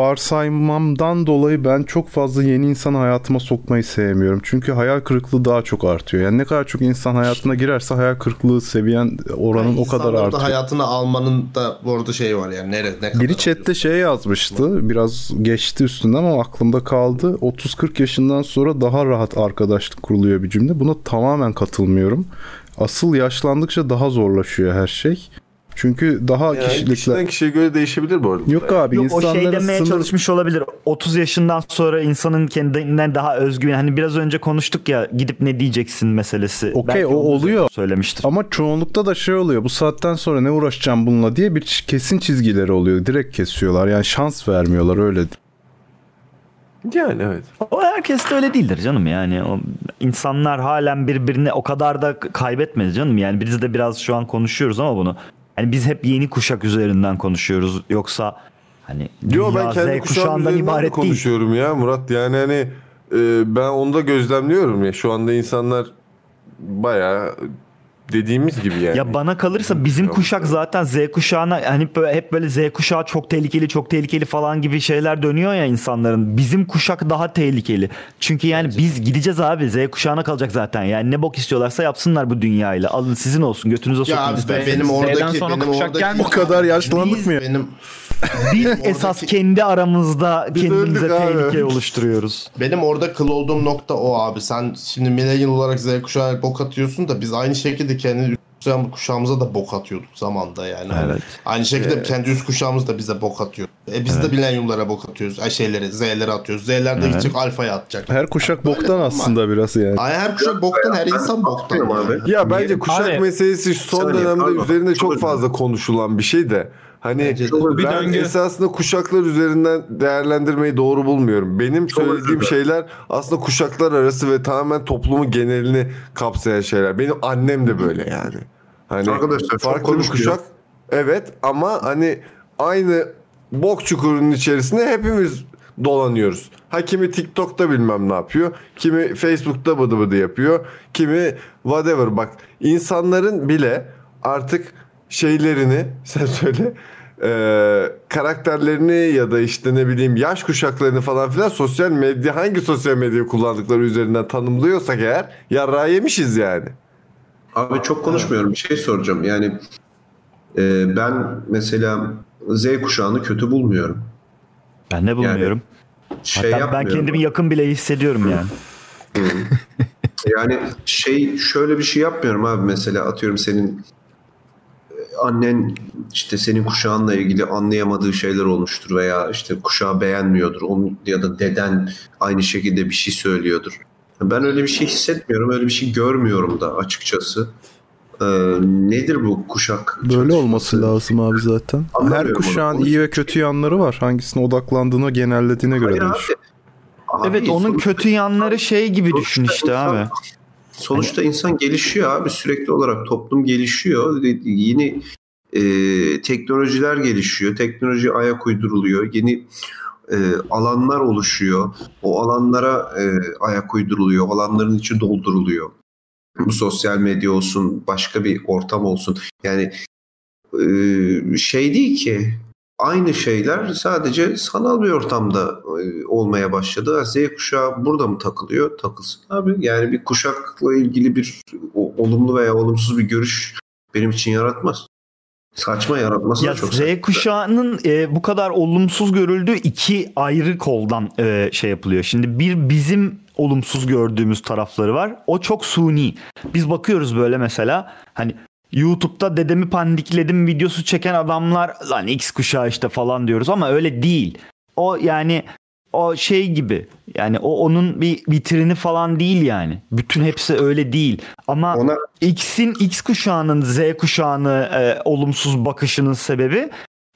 Speaker 4: varsaymamdan dolayı ben çok fazla yeni insan hayatıma sokmayı sevmiyorum. Çünkü hayal kırıklığı daha çok artıyor. Yani ne kadar çok insan hayatına girerse hayal kırıklığı seviyen oranın o kadar
Speaker 11: İnsanları da
Speaker 4: artıyor.
Speaker 11: hayatına almanın da bu arada şey var yani. Nere, ne kadar
Speaker 4: Biri chatte şey yazmıştı. Biraz geçti üstünden ama aklımda kaldı. 30-40 yaşından sonra daha rahat arkadaşlık kuruluyor bir cümle. Buna tamamen katılmıyorum. Asıl yaşlandıkça daha zorlaşıyor her şey. Çünkü daha
Speaker 1: Yani
Speaker 4: kişilikler...
Speaker 1: kişiden kişiye göre değişebilir bu arada.
Speaker 4: Yok abi
Speaker 2: Yok, o şey
Speaker 4: insanların
Speaker 2: demeye
Speaker 4: sınır-
Speaker 2: çalışmış olabilir. 30 yaşından sonra insanın kendinden daha özgüven. Hani biraz önce konuştuk ya gidip ne diyeceksin meselesi.
Speaker 4: Okey
Speaker 2: Belki
Speaker 4: o oluyor.
Speaker 2: Söylemiştir.
Speaker 4: Ama çoğunlukta da şey oluyor. Bu saatten sonra ne uğraşacağım bununla diye bir ç- kesin çizgileri oluyor. Direkt kesiyorlar. Yani şans vermiyorlar öyle.
Speaker 1: Yani evet.
Speaker 2: O herkes de öyle değildir canım yani. O insanlar halen birbirini o kadar da kaybetmedi canım. Yani biz de biraz şu an konuşuyoruz ama bunu. Hani biz hep yeni kuşak üzerinden konuşuyoruz. Yoksa hani
Speaker 1: Yo ben
Speaker 2: dünya
Speaker 1: kendi kuşağım
Speaker 2: Z kuşağından
Speaker 1: üzerinden de
Speaker 2: ibaret değil.
Speaker 1: konuşuyorum ya Murat. Yani hani e, ben onu da gözlemliyorum ya. Şu anda insanlar bayağı dediğimiz gibi yani.
Speaker 2: Ya bana kalırsa bizim kuşak zaten Z kuşağına hani böyle, hep böyle Z kuşağı çok tehlikeli çok tehlikeli falan gibi şeyler dönüyor ya insanların. Bizim kuşak daha tehlikeli. Çünkü yani biz gideceğiz abi Z kuşağına kalacak zaten. Yani ne bok istiyorlarsa yapsınlar bu dünyayla. Alın sizin olsun götünüze sokun.
Speaker 11: abi,
Speaker 2: isterseniz.
Speaker 11: benim oradaki- Z'den sonra benim kuşak oradaki- gelmiyor. O kadar
Speaker 4: yaşlandık mı?
Speaker 11: Benim
Speaker 2: Biz esas kendi aramızda kendimize tehlike oluşturuyoruz.
Speaker 11: Benim orada kıl olduğum nokta o abi. Sen şimdi millennial olarak Z kuşağına bok atıyorsun da biz aynı şekilde kendi üst kuşağımıza da bok atıyorduk zamanda yani.
Speaker 2: Evet.
Speaker 11: Aynı şekilde
Speaker 2: Evet.
Speaker 11: kendi üst kuşağımız da bize bok atıyor. E biz
Speaker 4: Ee, Evet.
Speaker 11: de millenniumlara bok atıyoruz. Ay şeylere, Z'lere atıyoruz. Z'ler de
Speaker 4: Evet.
Speaker 11: gidecek alfaya atacak.
Speaker 4: Her kuşak boktan aslında biraz yani.
Speaker 11: Ay her kuşak boktan, her insan boktan. yani.
Speaker 1: Ya bence kuşak meselesi şu son
Speaker 11: Saniye,
Speaker 1: dönemde
Speaker 11: pardon.
Speaker 1: üzerinde çok fazla konuşulan bir şey de. Hani
Speaker 11: de. Bir
Speaker 1: ben
Speaker 11: döngü.
Speaker 1: esasında kuşaklar üzerinden değerlendirmeyi doğru bulmuyorum. Benim söylediğim şeyler aslında kuşaklar arası ve tamamen toplumun genelini kapsayan şeyler. Benim annem de böyle yani. Hani
Speaker 3: Arkadaşlar çok şey.
Speaker 1: farklı bir
Speaker 3: konuşuyor.
Speaker 1: kuşak evet ama hani aynı bok çukurunun içerisinde hepimiz dolanıyoruz. Ha kimi TikTok'ta bilmem ne yapıyor. Kimi Facebook'ta bıdı bıdı yapıyor. Kimi whatever bak. insanların bile artık şeylerini sen söyle eee, Ee, karakterlerini ya da işte ne bileyim yaş kuşaklarını falan filan sosyal medya hangi sosyal medya kullandıkları üzerinden tanımlıyorsak eğer yarrağı yemişiz yani.
Speaker 3: Abi çok konuşmuyorum. Bir şey soracağım. Yani e, ben mesela Z kuşağını kötü bulmuyorum.
Speaker 2: Ben ne bulmuyorum?
Speaker 3: şey
Speaker 2: Hatta ben
Speaker 3: yapmıyorum.
Speaker 2: kendimi yakın bile hissediyorum yani.
Speaker 3: Yani şey şöyle bir şey yapmıyorum abi mesela atıyorum senin e, annen işte senin kuşağınla ilgili anlayamadığı şeyler olmuştur veya işte kuşağı beğenmiyordur onun ya da deden aynı şekilde bir şey söylüyordur. Ben öyle bir şey hissetmiyorum, öyle bir şey görmüyorum da açıkçası. Ee, nedir bu kuşak?
Speaker 4: Böyle olması lazım abi zaten. Her
Speaker 3: Anlamıyorum
Speaker 4: kuşağın
Speaker 3: onu.
Speaker 4: iyi ve kötü yanları var. Hangisine odaklandığına genellediğine göre değişiyor.
Speaker 2: evet onun kötü yanları şey gibi düşün işte abi.
Speaker 3: Sonuçta insan gelişiyor abi sürekli olarak toplum gelişiyor. Yeni e, teknolojiler gelişiyor. Teknoloji ayak uyduruluyor. Yeni e, alanlar oluşuyor. O alanlara e, ayak uyduruluyor. Alanların içi dolduruluyor. Bu sosyal medya olsun, başka bir ortam olsun. Yani e, şey değil ki aynı şeyler sadece sanal bir ortamda e, olmaya başladı. Ha, Z kuşağı burada mı takılıyor? Takılsın abi. Yani bir kuşakla ilgili bir o- olumlu veya olumsuz bir görüş benim için yaratmaz. Saçma yaratması
Speaker 2: Ya
Speaker 3: da çok
Speaker 2: Z kuşağının e, bu kadar olumsuz görüldüğü iki ayrı koldan e, şey yapılıyor. Şimdi bir bizim olumsuz gördüğümüz tarafları var. O çok suni. Biz bakıyoruz böyle mesela hani YouTube'da dedemi pandikledim videosu çeken adamlar lan X kuşağı işte falan diyoruz ama öyle değil. O yani o şey gibi yani o onun bir vitrini falan değil yani. Bütün hepsi öyle değil. Ama X'in X kuşağının Z kuşağını e, olumsuz bakışının sebebi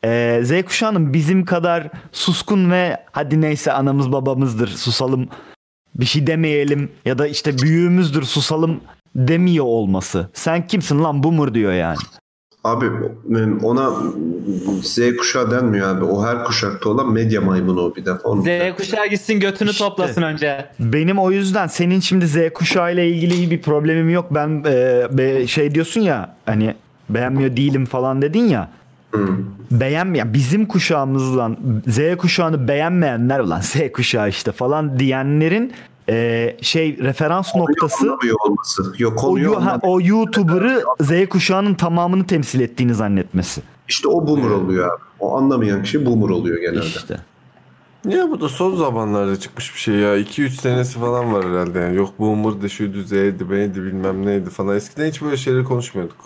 Speaker 2: e, Z kuşağının bizim kadar suskun ve hadi neyse anamız babamızdır susalım bir şey demeyelim ya da işte büyüğümüzdür susalım demiyor olması. Sen kimsin lan boomer diyor yani.
Speaker 3: Abi ona Z kuşağı denmiyor abi. O her kuşakta olan medya maymunu o bir defa. Onu
Speaker 2: Z
Speaker 8: kuşağı gitsin götünü toplasın önce.
Speaker 2: Benim o yüzden senin şimdi Z kuşağı ile ilgili bir problemim yok. Ben e, be- şey diyorsun ya hani beğenmiyor değilim falan dedin ya. Beğenmeyen bizim kuşağımızdan Z kuşağını beğenmeyenler ulan Z kuşağı işte falan diyenlerin e, şey referans noktası
Speaker 3: Konuyu olması. Yok konuyu
Speaker 2: o, yu- ha,
Speaker 3: olmadı.
Speaker 2: o YouTuber'ı Z kuşağının tamamını temsil ettiğini zannetmesi.
Speaker 3: İşte o boomer oluyor abi. O anlamayan kişi boomer oluyor genelde.
Speaker 2: İşte.
Speaker 1: Ya bu da son zamanlarda çıkmış bir şey ya. 2-3 senesi falan var herhalde. Yani yok boomer'dı, şuydu, Z'ydi, B'ydi bilmem neydi falan. Eskiden hiç böyle şeyleri konuşmuyorduk.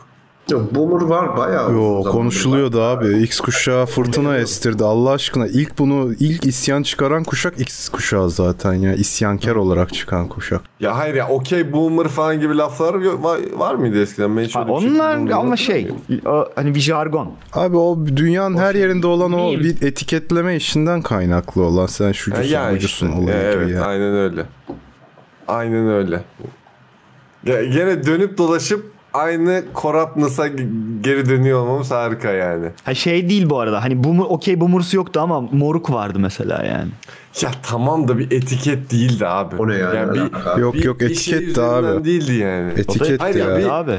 Speaker 3: Yok boomer var bayağı.
Speaker 4: Yo konuşuluyordu abi. X kuşağı fırtına estirdi. Allah aşkına ilk bunu ilk isyan çıkaran kuşak X kuşağı zaten ya. İsyankar olarak çıkan kuşak.
Speaker 1: Ya hayır ya okey boomer falan gibi laflar yo- var, var mıydı eskiden? Ben hiç öyle bir şey
Speaker 2: Onlar
Speaker 1: bilmiyorum.
Speaker 2: ama şey o, hani bir jargon.
Speaker 4: Abi o dünyanın her yerinde olan o bir etiketleme işinden kaynaklı olan sen şucusun
Speaker 1: Ya yani
Speaker 4: bucusun
Speaker 1: işte.
Speaker 4: olayı
Speaker 1: Ya
Speaker 4: gibi
Speaker 1: evet
Speaker 4: ya.
Speaker 1: aynen öyle. Aynen öyle. Ya gene dönüp dolaşıp aynı Korapnas'a g- geri dönüyor olmamız harika yani.
Speaker 2: Ha şey değil bu arada. Hani boomer okey boomer'sı yoktu ama moruk vardı mesela yani.
Speaker 1: Ya tamam da bir etiket değildi abi. O
Speaker 3: ne yani?
Speaker 1: bir,
Speaker 4: Yok, yok,
Speaker 1: bir şey
Speaker 4: etiketti abi.
Speaker 1: üzerinden değildi yani.
Speaker 4: Etiketti
Speaker 1: Hayır ya,
Speaker 4: ya.
Speaker 1: bir-
Speaker 2: Abi.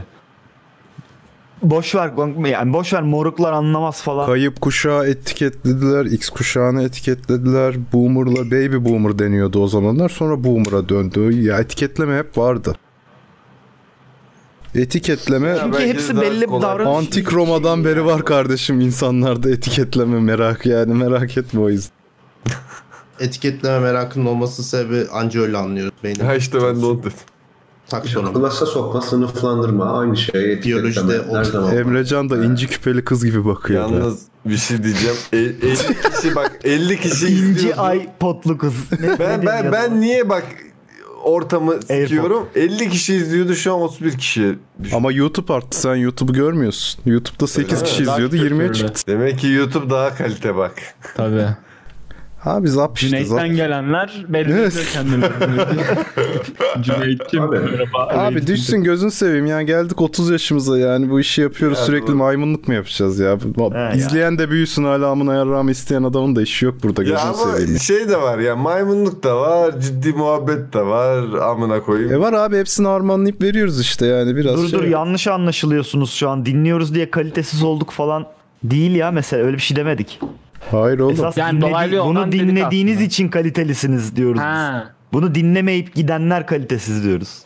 Speaker 2: Boş ver yani boş ver moruklar anlamaz falan.
Speaker 4: Kayıp kuşağı etiketlediler, X kuşağını etiketlediler. Boomer'la baby boomer deniyordu o zamanlar. Sonra boomer'a döndü. Ya etiketleme hep vardı. Etiketleme
Speaker 2: Çünkü bence hepsi daha belli kolay. davranış-
Speaker 4: Antik
Speaker 1: şey
Speaker 4: Roma'dan beri var kardeşim insanlarda etiketleme merak yani merak etme o yüzden.
Speaker 11: Etiketleme merakının olması sebebi anca öyle anlıyoruz. Beynim.
Speaker 1: Ha işte ben de onu dedim.
Speaker 11: Taksonomi.
Speaker 3: Klasa sokma sınıflandırma aynı şey etiketleme.
Speaker 11: Biyolojide
Speaker 3: Nereden oldu?
Speaker 4: Emrecan da inci küpeli kız gibi bakıyor. da.
Speaker 1: Yalnız bir şey diyeceğim. E- 50 kişi bak 50 kişi
Speaker 2: İnci
Speaker 1: izliyordu.
Speaker 2: iPod'lu kız. Ne- ne
Speaker 1: Ben
Speaker 2: deniyor?
Speaker 1: ben ben niye bak ortamı sikiyorum? 50 kişi izliyordu şu an 31 kişi.
Speaker 4: Ama YouTube arttı sen YouTube'u görmüyorsun. YouTube'da 8
Speaker 1: Öyle
Speaker 4: kişi
Speaker 1: mi?
Speaker 4: izliyordu 20'ye çıktı.
Speaker 1: Demek ki YouTube daha kalite bak.
Speaker 8: Tabii.
Speaker 4: Abi zap işte zap.
Speaker 8: Cüneyt'ten gelenler belli evet. kendilerini. Cüneyt'cim merhaba.
Speaker 4: Abi düşsün gözün seveyim yani geldik 30 yaşımıza yani bu işi yapıyoruz
Speaker 8: Ya
Speaker 4: sürekli
Speaker 8: doğru.
Speaker 4: maymunluk mu yapacağız ya? Bu-
Speaker 1: ya.
Speaker 4: İzleyen de büyüsün hala amına yarrağımı isteyen adamın da işi yok burada
Speaker 1: Ya
Speaker 4: gözün
Speaker 1: ama
Speaker 4: seveyim.
Speaker 1: şey de var ya maymunluk da var, ciddi muhabbet de var amına koyayım.
Speaker 4: E var abi hepsini harmanlayıp veriyoruz işte yani biraz
Speaker 2: Dur
Speaker 4: şey.
Speaker 2: dur yanlış anlaşılıyorsunuz şu an. Dinliyoruz diye kalitesiz olduk falan değil ya mesela öyle bir şey demedik.
Speaker 4: Hayır oğlum.
Speaker 2: Esas
Speaker 8: Yani
Speaker 2: dinledi-
Speaker 8: dolaylı yoldan
Speaker 2: bunu
Speaker 8: dedik
Speaker 2: dinlediğiniz için kalitelisiniz diyoruz
Speaker 8: Ha.
Speaker 2: biz. Bunu dinlemeyip gidenler kalitesiz diyoruz.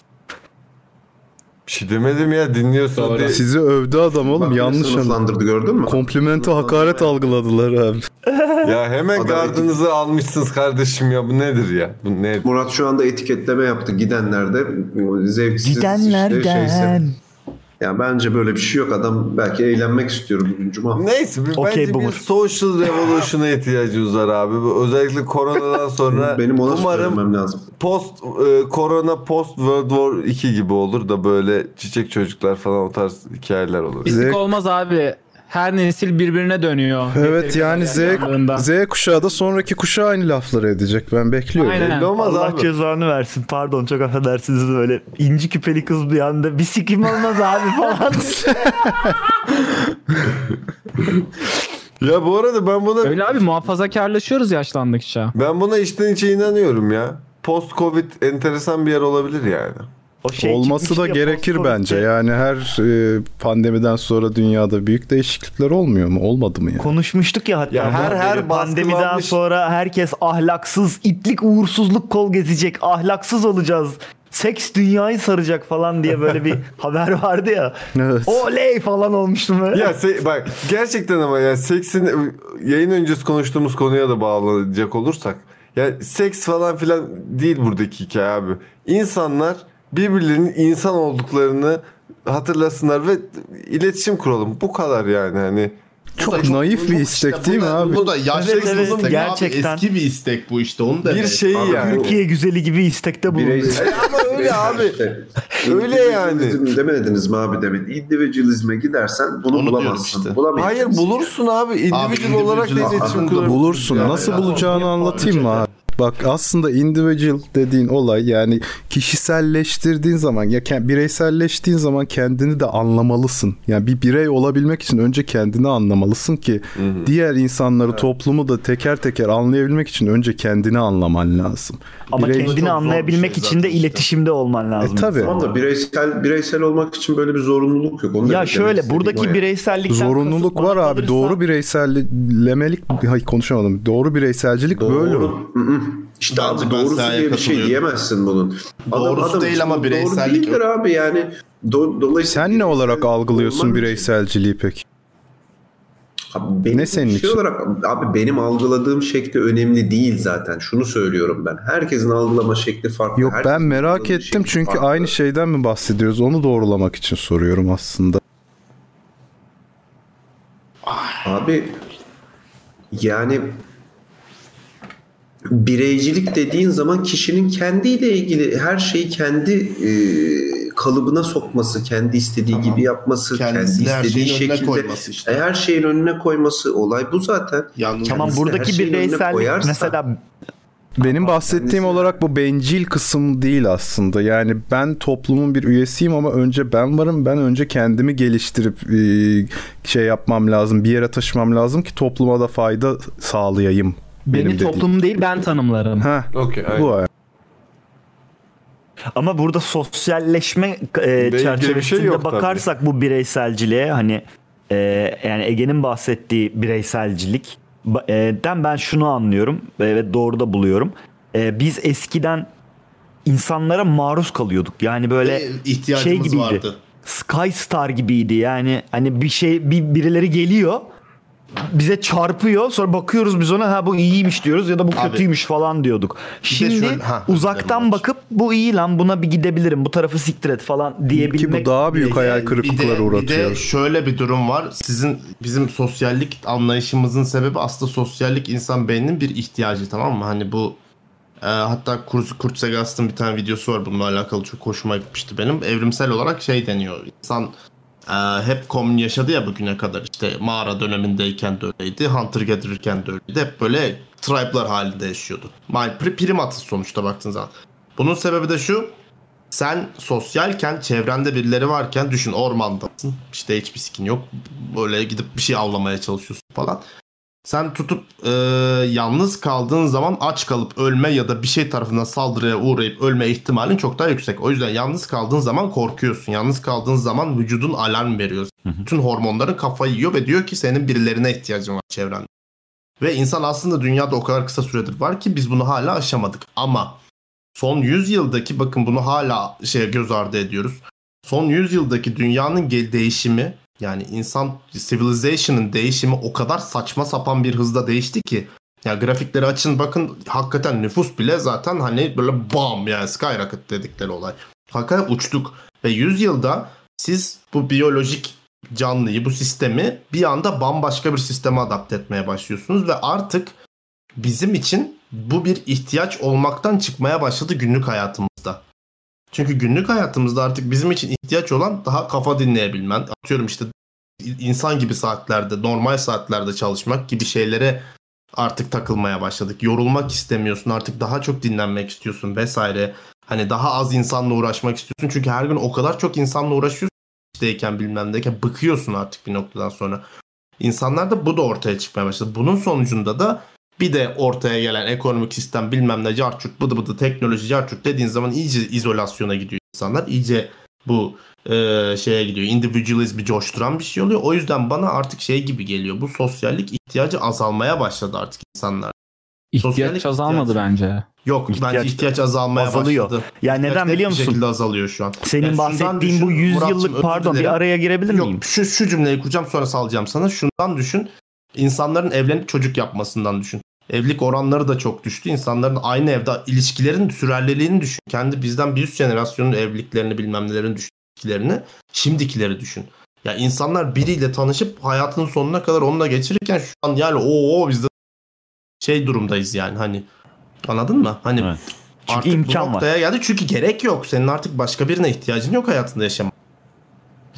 Speaker 1: Bir şey demedim ya dinliyorsun diye.
Speaker 4: Sizi övdü adam oğlum
Speaker 1: Bak,
Speaker 4: yanlış
Speaker 1: sınıflandırdı, gördün mü?
Speaker 4: Komplimente hakaret algıladılar abi.
Speaker 1: Ya hemen gardınızı almışsınız kardeşim ya bu nedir ya? Bu ne?
Speaker 3: Murat şu anda etiketleme yaptı. Gidenler de zevksiz
Speaker 1: şey
Speaker 3: işte şeyse. Ya bence böyle bir şey yok. Adam belki eğlenmek istiyor bugün cuma.
Speaker 1: Neyse bir, bence bir social revolution'a ihtiyacımız var abi. Bu Özellikle koronadan sonra
Speaker 3: Benim ona
Speaker 1: umarım
Speaker 3: söylemem lazım.
Speaker 1: post e, korona post World War 2 gibi olur da böyle çiçek çocuklar falan o tarz hikayeler olur.
Speaker 8: Pislik olmaz abi. Her nesil birbirine dönüyor.
Speaker 4: Evet
Speaker 8: Yeteri
Speaker 4: yani
Speaker 8: kadar
Speaker 4: Z,
Speaker 8: yanlarında.
Speaker 4: Z kuşağı da sonraki kuşağa aynı lafları edecek ben bekliyorum.
Speaker 8: Aynen.
Speaker 2: Allah cezanı versin. Pardon çok affedersiniz böyle inci küpeli kız bir anda bir sikim olmaz abi falan.
Speaker 1: Ya bu arada ben buna
Speaker 8: Öyle abi muhafazakarlaşıyoruz yaşlandıkça.
Speaker 1: ben buna içten içe inanıyorum ya. Post Covid enteresan bir yer olabilir yani.
Speaker 2: O şey
Speaker 4: Olması da gerekir bence. Yani her e, pandemiden sonra dünyada büyük değişiklikler olmuyor mu? Olmadı mı yani?
Speaker 2: Konuşmuştuk ya hatta.
Speaker 4: Ya
Speaker 2: bu
Speaker 4: her-
Speaker 2: haberi.
Speaker 4: her
Speaker 2: pandemiden
Speaker 4: baskılanmış-
Speaker 2: sonra herkes ahlaksız, itlik, uğursuzluk kol gezecek. Ahlaksız olacağız. Seks dünyayı saracak falan diye böyle bir haber vardı ya.
Speaker 4: Evet.
Speaker 2: Oley falan olmuştum böyle.
Speaker 1: Ya se- bak gerçekten ama ya seksin yayın öncesi konuştuğumuz konuya da bağlanacak olursak ya seks falan filan değil buradaki hikaye abi. İnsanlar birbirlerinin insan olduklarını hatırlasınlar ve iletişim kuralım. Bu kadar yani hani.
Speaker 4: Çok naif bir istek değil mi abi?
Speaker 11: Bu da yaşlı
Speaker 2: Evet, evet,
Speaker 11: istek
Speaker 2: gerçekten.
Speaker 11: abi. Eski bir istek bu işte. Onu da
Speaker 1: Bir şey- şeyi yani.
Speaker 2: Türkiye güzeli gibi istekte bulundu.
Speaker 1: Ama öyle abi. Öyle yani.
Speaker 3: Individualizm Demediniz mi abi demin? İndividualizme gidersen bunu bulamazsın. Bulamayacaksın.
Speaker 1: Hayır bulursun abi. Individual olarak da iletişim kuralım.
Speaker 4: Bulursun. Nasıl bulacağını anlatayım mı abi? Bak aslında individual dediğin olay yani kişiselleştirdiğin zaman ya ke- bireyselleştiğin zaman kendini de anlamalısın. Yani bir birey olabilmek için önce kendini anlamalısın ki diğer insanları, toplumu da teker teker anlayabilmek için önce kendini anlaman lazım.
Speaker 2: Ama
Speaker 4: Birey-
Speaker 2: kendini anlayabilmek için de iletişimde olman lazım.
Speaker 4: şey E, tabii.
Speaker 3: Tamam da bireysel bireysel olmak için böyle bir zorunluluk yok. Onu
Speaker 2: Ya
Speaker 3: demek
Speaker 2: şöyle,
Speaker 3: istediğim
Speaker 2: buradaki
Speaker 3: o yani.
Speaker 2: bireysellikten
Speaker 4: Zorunluluk var abi. Doğru bireysellemelik hayır konuşamadım. Doğru bireyselcilik böyle.
Speaker 3: Doğru. Hı hı. İşte abi doğrusu
Speaker 4: Galatasaray'a
Speaker 3: diye bir şey
Speaker 4: katılıyorum.
Speaker 3: diyemezsin bunun.
Speaker 4: Doğrusu değil ama
Speaker 3: Doğru
Speaker 4: bireysellik
Speaker 3: değildir abi yani. Do- dolayısıyla
Speaker 4: Sen ne olarak algılıyorsun
Speaker 3: olman
Speaker 4: bireyselciliği peki?
Speaker 3: Abi benim
Speaker 4: Ne senin
Speaker 3: şey
Speaker 4: için?
Speaker 3: olarak abi benim algıladığım şekli önemli değil zaten. Şunu söylüyorum ben. Herkesin algılama şekli farklı.
Speaker 4: Yok ben
Speaker 3: Herkesin
Speaker 4: merak
Speaker 3: algıladığı
Speaker 4: ettim
Speaker 3: şekli
Speaker 4: çünkü
Speaker 3: farklı.
Speaker 4: aynı şey- şeyden mi bahsediyoruz? Onu doğrulamak için soruyorum aslında.
Speaker 3: Abi yani bireycilik dediğin zaman kişinin kendiyle ilgili her şeyi kendi e, kalıbına sokması, kendi istediği gibi yapması, kendi
Speaker 11: Kendisini her
Speaker 3: istediği
Speaker 11: şeyin önüne
Speaker 3: şekilde
Speaker 11: koyması işte.
Speaker 3: E, her şeyin önüne koyması olay bu zaten.
Speaker 4: şey.
Speaker 2: Tamam
Speaker 3: Kendisini her
Speaker 2: buradaki
Speaker 3: şeyin önüne
Speaker 2: bireysellik
Speaker 3: koyarsa-
Speaker 2: mesela
Speaker 4: Benim bahsettiğim olarak bu bencil kısım değil aslında. Yani ben toplumun bir üyesiyim ama önce ben varım. Ben önce kendimi geliştirip e, şey yapmam lazım. Bir yere taşımam lazım ki topluma da fayda sağlayayım.
Speaker 8: Beni
Speaker 4: Benim dediğim.
Speaker 8: toplum değil ben tanımlarım.
Speaker 4: Ha.
Speaker 1: Okey.
Speaker 4: Bu ay.
Speaker 2: Ama burada sosyalleşme e,
Speaker 1: bir
Speaker 2: çerçevesinde
Speaker 1: şey yok tabii.
Speaker 2: bakarsak bu bireyselciliğe hani e, yani Ege'nin bahsettiği bireyselcilik ba- e, den ben şunu anlıyorum e, ve doğru da buluyorum. E, biz eskiden insanlara maruz kalıyorduk. Yani böyle şey
Speaker 11: ihtiyacımız
Speaker 2: gibiydi.
Speaker 11: vardı.
Speaker 2: Sky Star gibiydi. Yani hani bir şey bir birileri geliyor bize çarpıyor sonra bakıyoruz biz ona ha bu iyiymiş diyoruz ya da bu
Speaker 11: Abi.
Speaker 2: kötüymüş falan diyorduk. Şimdi
Speaker 11: şöyle- ha,
Speaker 2: uzaktan bakıp bu iyi lan buna bir gidebilirim bu tarafı siktir et falan diyebilmek.
Speaker 4: Ki bu daha büyük hayal
Speaker 11: bir
Speaker 4: kırıklıkları
Speaker 11: de, Bir de
Speaker 4: uğratıyor.
Speaker 11: şöyle bir durum var. Sizin bizim sosyallik anlayışımızın sebebi aslında sosyallik insan beyninin bir ihtiyacı tamam mı? Hani bu e, hatta Kurt, Kurt Sagan'ın bir tane videosu var bununla alakalı çok hoşuma gitmişti benim. Evrimsel olarak şey deniyor. İnsan e, hep komün yaşadı ya bugüne kadar. İşte mağara dönemindeyken de öyleydi. Hunter getirirken de öyleydi. Hep böyle tribe'lar halinde yaşıyordu. My, pri- primatız sonuçta baktığın zaman. Bunun sebebi de şu. Sen sosyalken çevrende birileri varken düşün ormandasın. İşte hiçbir sikin yok. Böyle gidip bir şey avlamaya çalışıyorsun falan. Sen tutup e, yalnız kaldığın zaman aç kalıp ölme ya da bir şey tarafından saldırıya uğrayıp ölme ihtimalin çok daha yüksek. O yüzden yalnız kaldığın zaman korkuyorsun. Yalnız kaldığın zaman vücudun alarm veriyor. Bütün hormonların kafayı yiyor ve diyor ki senin birilerine ihtiyacın var çevrende. Ve insan aslında dünyada o kadar kısa süredir var ki biz bunu hala aşamadık. Ama son 100 yıldaki bakın bunu hala şey göz ardı ediyoruz. Son 100 yıldaki dünyanın gel değişimi yani insan civilization'ın değişimi o kadar saçma sapan bir hızda değişti ki ya grafikleri açın bakın hakikaten nüfus bile zaten hani böyle bam yani skyrocket dedikleri olay. Hakikaten uçtuk ve 100 yılda siz bu biyolojik canlıyı bu sistemi bir anda bambaşka bir sisteme adapte etmeye başlıyorsunuz ve artık bizim için bu bir ihtiyaç olmaktan çıkmaya başladı günlük hayatımızda. Çünkü günlük hayatımızda artık bizim için ihtiyaç olan daha kafa dinleyebilmen. Atıyorum işte insan gibi saatlerde, normal saatlerde çalışmak gibi şeylere artık takılmaya başladık. Yorulmak istemiyorsun, artık daha çok dinlenmek istiyorsun vesaire. Hani daha az insanla uğraşmak istiyorsun. Çünkü her gün o kadar çok insanla uğraşıyorsun işteyken bilmem neyken bıkıyorsun artık bir noktadan sonra. İnsanlarda bu da ortaya çıkmaya başladı. Bunun sonucunda da bir de ortaya gelen ekonomik sistem bilmem ne carçurt bıdı bıdı teknoloji carçurt dediğin zaman iyice izolasyona gidiyor insanlar. İyice bu e, şeye gidiyor. Individualizmi coşturan bir şey oluyor. O yüzden bana artık şey gibi geliyor. Bu sosyallik ihtiyacı azalmaya başladı artık insanlar.
Speaker 8: İhtiyaç
Speaker 11: Sosyallik
Speaker 8: azalmadı bence.
Speaker 11: Yok bence ihtiyaç azalmaya
Speaker 2: azalıyor.
Speaker 11: başladı.
Speaker 2: Ya
Speaker 11: İhtiyaç
Speaker 2: neden
Speaker 11: net
Speaker 2: biliyor
Speaker 11: bir
Speaker 2: musun?
Speaker 11: şekilde azalıyor şu an.
Speaker 2: Senin
Speaker 11: Yani şundan
Speaker 2: bahsettiğin bu
Speaker 11: düşün,
Speaker 2: 100
Speaker 11: Muratçım,
Speaker 2: yıllık
Speaker 11: özür
Speaker 2: pardon bir
Speaker 11: dilerim.
Speaker 2: araya girebilir miyim?
Speaker 11: Yok şu, şu cümleyi kuracağım sonra salacağım sana. Şundan düşün. İnsanların evlenip çocuk yapmasından düşün. Evlilik oranları da çok düştü. İnsanların aynı evde ilişkilerin sürerliliğini düşün. Kendi bizden bir üst jenerasyonun evliliklerini bilmem nelerini düşün. ilişkilerini, Şimdikileri düşün. Ya insanlar biriyle tanışıp hayatının sonuna kadar onunla geçirirken şu an yani o biz de şey durumdayız yani hani anladın mı? Hani
Speaker 2: Çünkü
Speaker 11: artık
Speaker 2: imkan
Speaker 11: bu
Speaker 2: var.
Speaker 11: noktaya geldi çünkü gerek yok. Senin artık başka birine ihtiyacın yok hayatında yaşamak.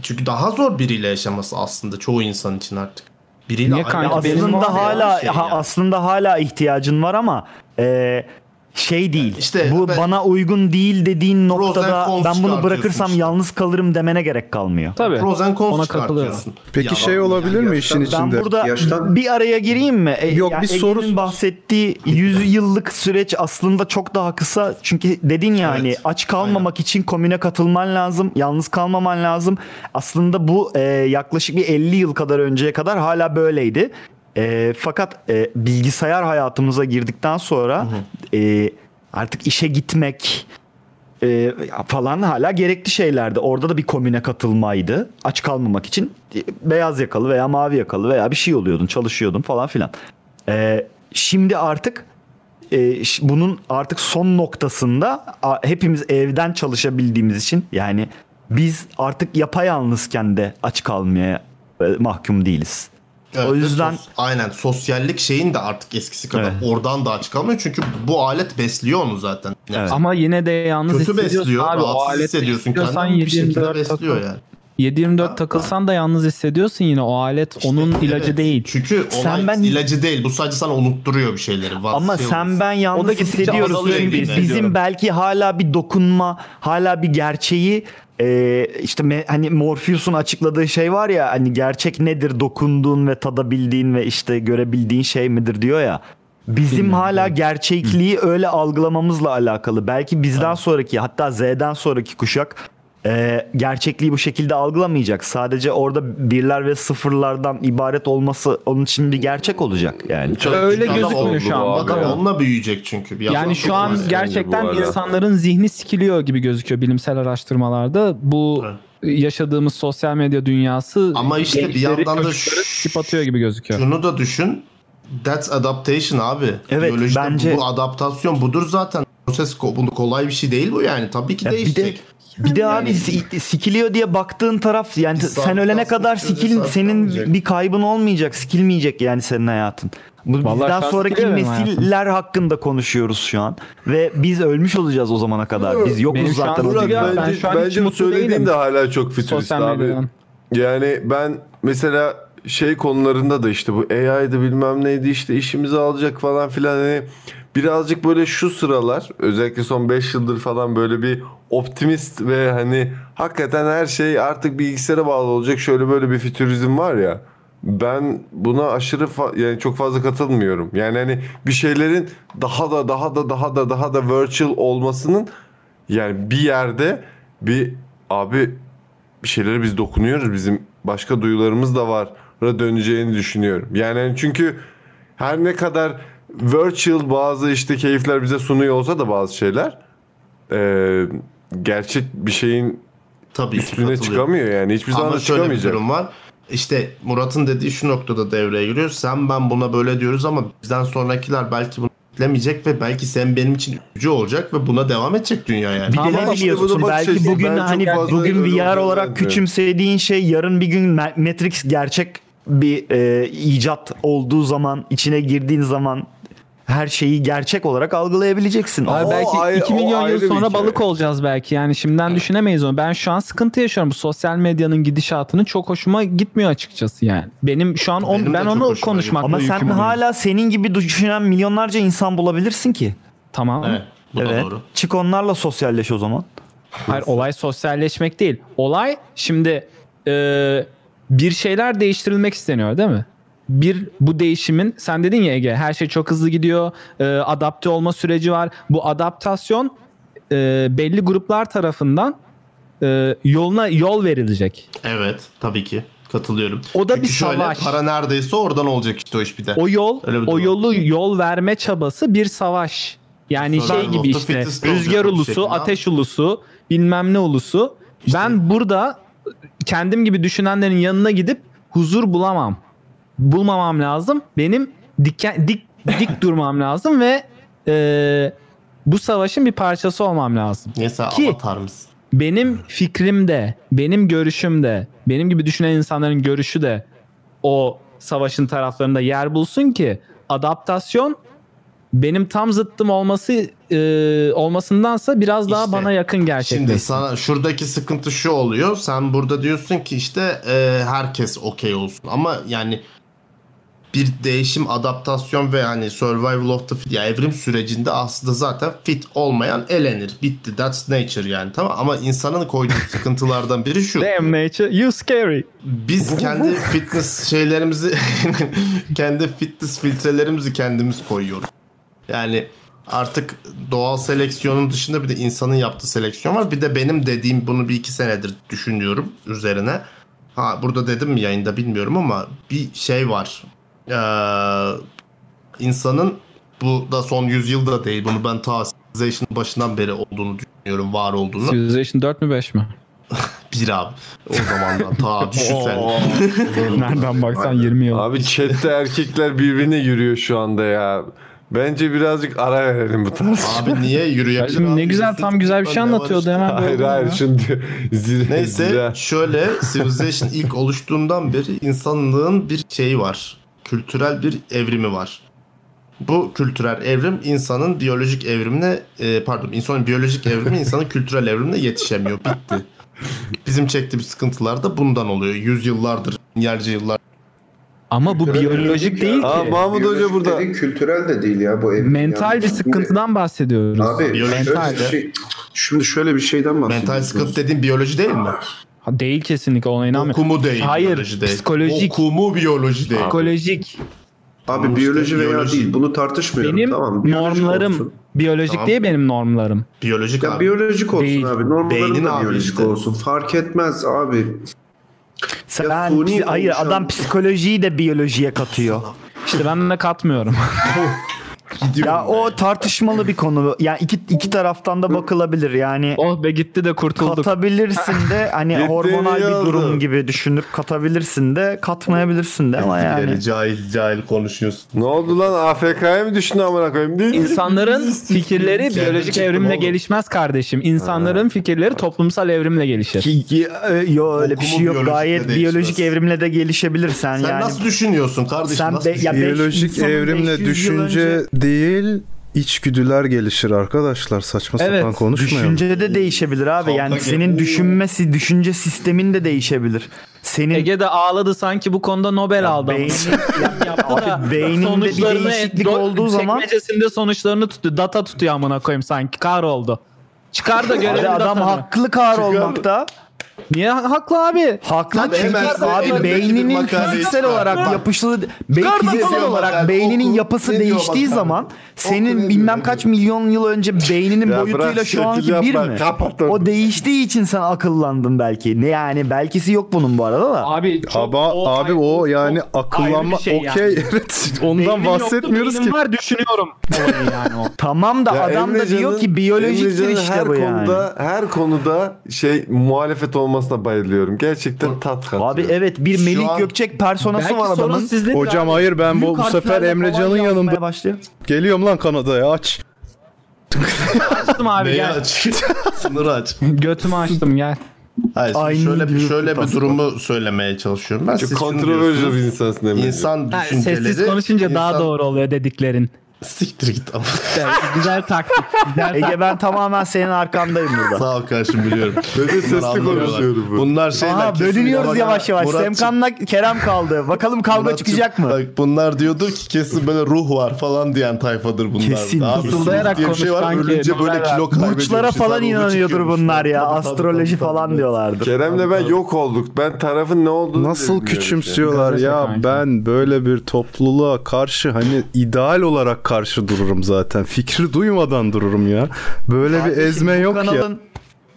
Speaker 11: Çünkü daha zor biriyle yaşaması aslında çoğu insan için artık. Biriyle
Speaker 8: Niye kanka?
Speaker 2: Ya
Speaker 11: Benim var
Speaker 2: aslında
Speaker 11: ya
Speaker 2: hala
Speaker 11: bir şey
Speaker 2: ha-
Speaker 11: ya.
Speaker 2: aslında hala ihtiyacın var ama e, şey değil. bu bana uygun değil dediğin noktada
Speaker 11: cons
Speaker 2: ben bunu bırakırsam
Speaker 11: çıkartıyorsun işte.
Speaker 2: yalnız kalırım demene gerek kalmıyor.
Speaker 8: Tabii.
Speaker 11: Pros and cons çıkartıyorsun.
Speaker 4: Peki şey olabilir mi işin içinde?
Speaker 2: Ben burada bir araya gireyim mi? E, Yok
Speaker 4: bir soru-
Speaker 2: bahsettiği 100 yıllık süreç aslında çok daha kısa. Çünkü dedin ya hani aç kalmamak için komüne katılman lazım. Yalnız kalmaman lazım. Aslında bu e, yaklaşık bir 50 yıl kadar önceye kadar hala böyleydi. E, fakat e, bilgisayar hayatımıza girdikten sonra e, artık işe gitmek, e, falan hala gerekli şeylerdi. Orada da bir komüne katılmaydı. Aç kalmamak için e, beyaz yakalı veya mavi yakalı veya bir şey oluyordun, çalışıyordun falan filan. E, şimdi artık e, ş- bunun artık son noktasında a- hepimiz evden çalışabildiğimiz için yani biz artık yapayalnızken de aç kalmaya e, mahkum değiliz.
Speaker 11: Evet,
Speaker 2: o yüzden
Speaker 11: sos- aynen sosyallik şeyin de artık eskisi kadar oradan da açık kalmıyor çünkü bu alet besliyor onu zaten. Yani
Speaker 8: Ama yine de yalnız
Speaker 11: Kötü
Speaker 8: hissediyorsun
Speaker 11: besliyor,
Speaker 8: abi.
Speaker 11: rahatsız
Speaker 8: o aleti
Speaker 11: hissediyorsun
Speaker 8: istiyorsan
Speaker 11: kendini, bir şekilde
Speaker 8: 7/24
Speaker 11: besliyor
Speaker 8: takıl.
Speaker 11: yani.
Speaker 8: 7/24 takılsan da yalnız hissediyorsun yine o alet onun ilacı değil.
Speaker 11: Çünkü olay ilacı değil. Bu sadece sana unutturuyor bir şeyleri. şey-
Speaker 2: Ama
Speaker 11: vasıtasıyla
Speaker 2: sen ben
Speaker 11: unutturuyor.
Speaker 2: yalnız hissediyoruz. Çünkü
Speaker 11: Çünkü
Speaker 2: bizim belki hala bir dokunma, hala bir gerçeği e, işte me- hani Morpheus'un açıkladığı şey var ya hani gerçek nedir dokunduğun ve tadabildiğin ve işte görebildiğin şey midir diyor ya. Bizim hala gerçekliği öyle algılamamızla alakalı. Belki bizden sonraki hatta Z'den sonraki kuşak e, gerçekliği bu şekilde algılamayacak. Sadece orada birler ve sıfırlardan ibaret olması onun için bir gerçek olacak yani.
Speaker 8: Öyle gözükmüyor şu an.
Speaker 11: Adam onunla büyüyecek çünkü. Bir yandan
Speaker 8: Yani şu
Speaker 11: çok
Speaker 8: an
Speaker 11: önemli
Speaker 8: gerçekten
Speaker 11: bu arada.
Speaker 8: insanların zihni sikiliyor gibi gözüküyor bilimsel araştırmalarda. Bu yaşadığımız sosyal medya dünyası
Speaker 11: Ama işte bir
Speaker 8: gençleri,
Speaker 11: yandan da
Speaker 8: çocukları sikip atıyor gibi gözüküyor.
Speaker 11: Şunu da düşün. That's adaptation abi.
Speaker 2: Evet,
Speaker 11: Biyolojide
Speaker 2: bence-
Speaker 11: bu adaptasyon budur zaten. Proses ko- bunu kolay bir şey değil bu yani. Tabii ki
Speaker 2: Ya bir de-
Speaker 11: değişecek.
Speaker 2: Bir de abi si- sikiliyor diye baktığın taraf yani sen ölene kadar sikil senin bir kaybın olmayacak, sikilmeyecek yani senin hayatın. Bu
Speaker 8: Vallahi
Speaker 2: bizden
Speaker 8: şu an
Speaker 2: sonraki
Speaker 8: sikiliyor benim hayatım.
Speaker 2: nesiller hakkında konuşuyoruz şu an ve biz ölmüş olacağız o zamana kadar. Biz yokuz zaten. o
Speaker 1: Burak,
Speaker 2: dünyada.
Speaker 1: bence, bence bu söylediğin de hala çok fütürist
Speaker 8: Sosyal
Speaker 1: abi.
Speaker 8: medyadan.
Speaker 1: Yani ben mesela şey konularında da işte bu AI'dı bilmem neydi işte işimizi alacak falan filan hani birazcık böyle şu sıralar özellikle son 5 yıldır falan böyle bir optimist ve hani hakikaten her şey artık bilgisayara bağlı olacak şöyle böyle bir fütürizm var ya ben buna aşırı fa- yani çok fazla katılmıyorum. Yani hani bir şeylerin daha da daha da daha da daha da virtual olmasının yani bir yerde bir abi bir şeylere biz dokunuyoruz. Bizim başka duyularımız da var. Ra döneceğini düşünüyorum. Yani hani çünkü her ne kadar virtual bazı işte keyifler bize sunuyor olsa da bazı şeyler eee, gerçek bir şeyin
Speaker 11: Tabii ki
Speaker 1: üstüne
Speaker 11: katılıyorum.
Speaker 1: çıkamıyor yani. Hiçbir zaman da
Speaker 11: Ama şöyle bir
Speaker 1: çıkamayacak.
Speaker 11: durum var. İşte Murat'ın dediği şu noktada devreye giriyor. Sen ben buna böyle diyoruz ama bizden sonrakiler belki bunu bilemeyecek ve belki sen benim için üzücü olacak ve buna devam edecek dünya yani.
Speaker 2: Bir de ne biliyorsun belki bugün hani bugün VR olarak küçümsediğin şey yarın bir gün Ma- Matrix gerçek bir e, icat olduğu zaman içine girdiğin zaman her şeyi gerçek olarak algılayabileceksin.
Speaker 8: Abi belki 2 milyon yıl sonra balık olacağız belki. Yani şimdiden düşünemeyiz onu. Ben şu an sıkıntı yaşıyorum. Bu sosyal medyanın gidişatının çok hoşuma gitmiyor açıkçası yani. Benim şu an on, ben onu konuşmakla
Speaker 2: Ama sen
Speaker 8: yükümlüyüm.
Speaker 2: hala senin gibi düşünen milyonlarca insan bulabilirsin ki.
Speaker 8: Tamam. Evet, bu da doğru.
Speaker 2: Çık onlarla sosyalleş o zaman.
Speaker 8: Hayır olay sosyalleşmek değil. Olay şimdi e, bir şeyler değiştirilmek isteniyor değil mi? Bir bu değişimin sen dedin ya Ege her şey çok hızlı gidiyor. e, adapte olma süreci var. Bu adaptasyon e, belli gruplar tarafından e, yoluna yol verilecek.
Speaker 11: Evet tabii ki katılıyorum.
Speaker 8: O da
Speaker 11: Çünkü
Speaker 8: bir
Speaker 11: şöyle,
Speaker 8: savaş.
Speaker 11: para neredeyse oradan olacak işte o iş bir de.
Speaker 8: O yol
Speaker 11: Öyle bir
Speaker 8: o
Speaker 11: durum.
Speaker 8: yolu yol verme çabası bir savaş. Yani
Speaker 11: Survival
Speaker 8: şey gibi
Speaker 11: of the
Speaker 8: işte
Speaker 11: fittest olacak
Speaker 8: rüzgar
Speaker 11: bir
Speaker 8: ulusu,
Speaker 11: şekilde.
Speaker 8: ateş ulusu, bilmem ne ulusu. Ben burada kendim gibi düşünenlerin yanına gidip huzur bulamam. Bulmamam lazım. Benim dikken, dik dik durmam lazım ve e, bu savaşın bir parçası olmam lazım.
Speaker 11: Mesela
Speaker 8: Ki-
Speaker 11: avatar mısın?
Speaker 8: benim fikrim de, benim görüşüm de, benim gibi düşünen insanların görüşü de o savaşın taraflarında yer bulsun ki adaptasyon benim tam zıttım olması e, olmasındansa biraz daha bana yakın gerçekleşsin.
Speaker 11: Şimdi sana şuradaki sıkıntı şu oluyor. Sen burada diyorsun ki işte e, herkes okey olsun. Ama yani bir değişim, adaptasyon ve hani survival of the fit ya evrim sürecinde aslında zaten fit olmayan elenir. Bitti. That's nature yani. Tamam ama insanın koyduğu sıkıntılardan biri şu.
Speaker 8: Damn nature, you scary.
Speaker 11: Biz kendi fitness şeylerimizi kendi fitness filtrelerimizi kendimiz koyuyoruz. Yani artık doğal seleksiyonun dışında bir de insanın yaptığı seleksiyon var. Bir de benim dediğim bunu bir iki senedir düşünüyorum üzerine. Ha burada dedim mi yayında bilmiyorum ama bir şey var. Ee, insanın bu da son yüzyılda değil. Bunu ben ta Civilization'ın başından beri olduğunu düşünüyorum. Var olduğunu.
Speaker 8: Civilization 4 mü 5 mi?
Speaker 11: Bir abi. O zamandan ta düşün sen.
Speaker 8: Nereden baksan 20 yıl.
Speaker 1: Abi chatte erkekler birbirine yürüyor şu anda ya. Bence birazcık ara verelim bu tarz.
Speaker 11: Abi niye yürüyor?
Speaker 8: Şimdi ne güzel tam güzel bir şey anlatıyordu hemen. böyle
Speaker 1: Hayır
Speaker 8: oldu
Speaker 1: hayır
Speaker 8: ya.
Speaker 1: şimdi zile,
Speaker 11: Neyse
Speaker 1: zile-
Speaker 11: şöyle Civilization ilk oluştuğundan beri insanlığın bir şeyi var. Kültürel bir evrimi var. Bu kültürel evrim insanın biyolojik evrimine e, pardon insanın biyolojik evrimi insanın kültürel evrimine yetişemiyor. Bitti. Bizim çektiğimiz sıkıntılar da bundan oluyor. Yüzyıllardır, milyarca yıllar.
Speaker 8: Ama bu biyolojik değil ki.
Speaker 3: Biyolojik dediğin kültürel de değil ya bu evrim.
Speaker 8: Mental
Speaker 3: yani.
Speaker 8: bir sıkıntıdan bahsediyoruz.
Speaker 3: Abi
Speaker 8: mental.
Speaker 3: şöyle bir şey, şimdi şöyle bir şeyden bahsediyoruz.
Speaker 11: Mental sıkıntı dediğin biyoloji değil mi?
Speaker 8: Ha, değil kesinlikle ona inanmıyorum.
Speaker 11: Okumu değil.
Speaker 8: Hayır,
Speaker 11: biyoloji değil.
Speaker 8: psikolojik.
Speaker 11: Okumu biyoloji değil.
Speaker 8: Psikolojik.
Speaker 3: Abi
Speaker 11: Tamam
Speaker 3: biyoloji
Speaker 11: işte,
Speaker 3: veya
Speaker 11: biyoloji.
Speaker 3: değil bunu tartışmıyorum
Speaker 8: Benim
Speaker 3: tamam.
Speaker 8: normlarım biyolojik
Speaker 3: Tamam.
Speaker 8: değil benim normlarım.
Speaker 11: Biyolojik
Speaker 3: Ya
Speaker 11: abi.
Speaker 3: biyolojik olsun
Speaker 8: Değil.
Speaker 3: abi. Normların
Speaker 11: Beynin
Speaker 3: da
Speaker 11: abi
Speaker 3: biyolojik
Speaker 11: işte.
Speaker 3: olsun. Fark etmez abi.
Speaker 2: Sen,
Speaker 3: Ya suni
Speaker 2: psi- hayır
Speaker 3: konuşan-
Speaker 2: adam psikolojiyi de biyolojiye katıyor.
Speaker 8: İşte ben de katmıyorum.
Speaker 2: ya o tartışmalı bir konu. Yani iki iki taraftan da bakılabilir. Yani
Speaker 8: oh be gitti de kurtulduk.
Speaker 2: katabilirsin de hani
Speaker 1: Gitti,
Speaker 2: hormonal
Speaker 1: iyi
Speaker 2: bir
Speaker 1: oldu.
Speaker 2: durum gibi düşünüp katabilirsin de katmayabilirsin de ama yani.
Speaker 11: Yani cahil cahil konuşuyorsun.
Speaker 1: Ne oldu lan AFK'ya mı düştün amına koyayım değil mi?
Speaker 8: İnsanların fikirleri
Speaker 11: Kendimi
Speaker 8: biyolojik
Speaker 11: çektim
Speaker 8: evrimle
Speaker 11: oğlum.
Speaker 8: gelişmez kardeşim. İnsanların fikirleri toplumsal evrimle gelişir.
Speaker 2: Ki, ki- e, yo öyle bir
Speaker 11: Okumu
Speaker 2: şey yok.
Speaker 11: biyolojikle
Speaker 2: Gayet
Speaker 11: değişmez.
Speaker 2: biyolojik evrimle de gelişebilir sen,
Speaker 11: Sen
Speaker 2: yani.
Speaker 11: nasıl düşünüyorsun kardeşim?
Speaker 2: Sen
Speaker 11: nasıl
Speaker 2: be- ya beş-
Speaker 4: Biyolojik
Speaker 2: insanın
Speaker 4: evrimle
Speaker 2: 500 yıl
Speaker 4: düşünce
Speaker 2: önce-
Speaker 4: değil içgüdüler gelişir arkadaşlar. Saçma
Speaker 8: Evet,
Speaker 4: sapan konuşmayalım.
Speaker 2: Düşünce de değişebilir abi. Yani
Speaker 11: Kavga
Speaker 2: senin
Speaker 11: geliyor.
Speaker 2: düşünmesi, düşünce sistemin de değişebilir. Senin
Speaker 8: Ege de ağladı sanki bu konuda Nobel aldı. ama.
Speaker 2: beynin,
Speaker 8: Yaptı da
Speaker 2: abi beyninde bir
Speaker 8: sonuçlarını
Speaker 2: değişiklik
Speaker 8: do-
Speaker 2: olduğu zaman
Speaker 8: çekmecesinde sonuçlarını tutuyor. Data tutuyor amına koyayım sanki. Kar oldu. Çıkar da görelim
Speaker 2: Abi adam
Speaker 8: datanı.
Speaker 2: haklı kar olmakta.
Speaker 8: Niye haklı abi?
Speaker 2: Haklı
Speaker 11: Abi
Speaker 2: çünkü
Speaker 11: hemen
Speaker 2: abi
Speaker 11: elindeki bir
Speaker 2: beyninin
Speaker 11: makaleyi
Speaker 2: fiziksel
Speaker 11: çıkar.
Speaker 2: olarak
Speaker 11: Bak.
Speaker 2: yapışlı beyin
Speaker 8: Çıkar
Speaker 2: fiziksel
Speaker 8: bakalım.
Speaker 2: olarak
Speaker 11: Yani
Speaker 2: beynin
Speaker 11: oku,
Speaker 2: yapısı
Speaker 11: ne diyor
Speaker 2: değiştiği
Speaker 11: bakalım.
Speaker 2: zaman senin
Speaker 11: ne diyor,
Speaker 2: bilmem
Speaker 11: ne
Speaker 2: kaç
Speaker 11: diyor?
Speaker 2: milyon yıl önce beyninin
Speaker 1: Ya
Speaker 2: boyutuyla
Speaker 1: bırak
Speaker 2: şu anki
Speaker 1: şekil
Speaker 2: bir
Speaker 1: yapma,
Speaker 2: mi?
Speaker 1: kapat onu.
Speaker 2: O değiştiği için sen akıllandın belki. Ne yani belkisi yok bunun bu arada da.
Speaker 8: Abi, çok-
Speaker 4: Aba
Speaker 8: o-
Speaker 4: abi o yani akıllanma
Speaker 8: ayrı bir şey yani.
Speaker 4: okey evet ondan
Speaker 8: Beynim yoktu,
Speaker 4: bahsetmiyoruz
Speaker 8: beynim
Speaker 4: ki.
Speaker 8: var düşünüyorum. Olayı yani o.
Speaker 2: Tamam da
Speaker 1: Ya
Speaker 2: adam da
Speaker 1: Emrecan'ın-
Speaker 2: diyor ki biyolojiktir
Speaker 1: Emrecan'ın
Speaker 2: işte
Speaker 1: her
Speaker 2: bu yani.
Speaker 1: konuda, Her konuda şey muhalefet olmasına bayılıyorum. Gerçekten tat katıyor.
Speaker 2: Abi evet bir
Speaker 11: Şu
Speaker 2: Melih
Speaker 11: an-
Speaker 2: Gökçek personası
Speaker 8: Belki
Speaker 2: var
Speaker 8: sorun
Speaker 2: adamın.
Speaker 8: sizdedir
Speaker 4: Hocam
Speaker 8: abi.
Speaker 4: hayır ben bu, bu
Speaker 2: Büyük
Speaker 4: sefer
Speaker 2: harflerle
Speaker 4: Emrecan'ın
Speaker 2: falan yazmaya
Speaker 4: yanında
Speaker 2: başlıyor.
Speaker 4: geliyorum lan Kanada'ya aç.
Speaker 8: açtım abi
Speaker 11: Neyi
Speaker 8: gel.
Speaker 11: aç? Sınırı aç.
Speaker 8: Götümü açtım gel.
Speaker 11: Hayır, şimdi
Speaker 2: Aynı
Speaker 11: şöyle bir
Speaker 2: gibi
Speaker 11: şöyle bir
Speaker 2: tasma.
Speaker 11: durumu söylemeye çalışıyorum. Ben siz
Speaker 1: Çok
Speaker 11: şunu
Speaker 1: kontroversil
Speaker 11: diyorsunuz,
Speaker 1: bir insansın Emrecan.
Speaker 11: İnsan
Speaker 8: Ha,
Speaker 11: düşünceleri...
Speaker 8: sessiz konuşunca daha
Speaker 11: insan-
Speaker 8: doğru oluyor dediklerin.
Speaker 11: Siktir git ama.
Speaker 8: Evet, güzel taktik. Güzel taktik.
Speaker 2: Ege ben tamamen senin arkandayım burada.
Speaker 11: Sağ ol kardeşim biliyorum.
Speaker 1: Ben de sesli
Speaker 11: Bunlar anlamıyorlar.
Speaker 1: konuşuyorum bu.
Speaker 11: Bunlar
Speaker 4: Şey,
Speaker 11: şeyler
Speaker 2: Aha
Speaker 11: kesin
Speaker 2: bölünüyoruz
Speaker 11: bak-
Speaker 2: yavaş yavaş.
Speaker 11: Muratçı-
Speaker 2: Semkan'la Kerem kaldı. Bakalım kavga
Speaker 11: Muratçı-
Speaker 2: çıkacak mı?
Speaker 11: Bak bunlar diyordu ki kesin böyle ruh var falan diyen tayfadır bunlar.
Speaker 2: Kesin,
Speaker 11: Daha
Speaker 2: kesin.
Speaker 11: fısıldayarak diye bir şey var.
Speaker 8: konuşan
Speaker 11: Ölünce
Speaker 8: ki-
Speaker 11: böyle kilo kaybediyor.
Speaker 2: Burçlara falan inanıyordur bunlar ya. Astroloji falan diyorlardır.
Speaker 1: Kerem'le ben yok olduk. Ben tarafın ne olduğunu
Speaker 4: Nasıl
Speaker 1: bilmiyorum
Speaker 4: küçümsüyorlar ya
Speaker 8: kanka.
Speaker 4: ben böyle bir topluluğa karşı hani ideal olarak karşı dururum zaten. Fikri duymadan dururum ya. Böyle bir ezme
Speaker 2: Bu
Speaker 4: yok ya.
Speaker 2: kanalın,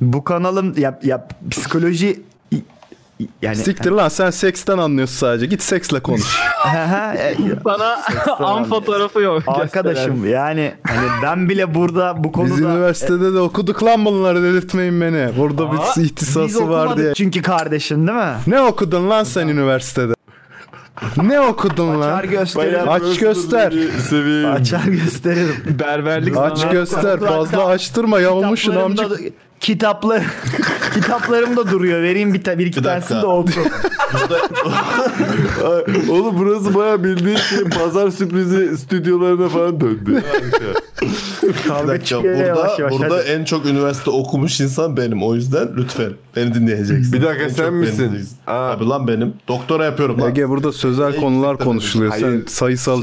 Speaker 2: Bu kanalın ya, ya psikoloji yani
Speaker 4: Siktir lan sen seksten anlıyorsun sadece. Git seksle konuş.
Speaker 8: Sana an fotoğrafı yok.
Speaker 2: e, arkadaşım yani hani ben bile burada bu konuda
Speaker 4: Biz üniversitede de okuduk lan bunları delirtmeyin beni. Burada bir
Speaker 2: Biz
Speaker 4: ihtisası var
Speaker 2: okumadık
Speaker 4: diye.
Speaker 2: çünkü kardeşim değil mi?
Speaker 4: Ne okudun lan sen üniversitede? Ne okudun
Speaker 2: Açar
Speaker 4: lan?
Speaker 2: gösterir.
Speaker 4: Aç göster.
Speaker 1: Seveyim.
Speaker 2: Açar gösteririm.
Speaker 8: Berberlik
Speaker 4: Aç
Speaker 8: sana-
Speaker 4: göster.
Speaker 2: Kulakta-
Speaker 4: Fazla açtırma yamulmuşsun
Speaker 2: Kitaplarım
Speaker 4: amcık.
Speaker 2: da- kitaplar kitaplarım da duruyor. Vereyim bir, ta- bir iki
Speaker 11: Bir dakika.
Speaker 2: tanesini de oku.
Speaker 1: Ay, Oğlum burası baya bildiğin şey pazar sürprizi stüdyolarına falan döndü.
Speaker 11: Bir dakika
Speaker 2: çıkıyor
Speaker 11: burada,
Speaker 2: yavaş yavaş,
Speaker 11: burada
Speaker 2: hadi.
Speaker 11: en çok üniversite okumuş insan benim. O yüzden lütfen beni dinleyeceksin.
Speaker 1: Bir dakika,
Speaker 11: En
Speaker 1: sen
Speaker 11: çok beni
Speaker 1: misin? şey
Speaker 11: dinleyeceksin. Abi lan benim. Doktora yapıyorum lan.
Speaker 4: Ege burada
Speaker 2: şey
Speaker 4: sözel konular konuşuluyor. Sen
Speaker 11: Hayır,
Speaker 4: sayısal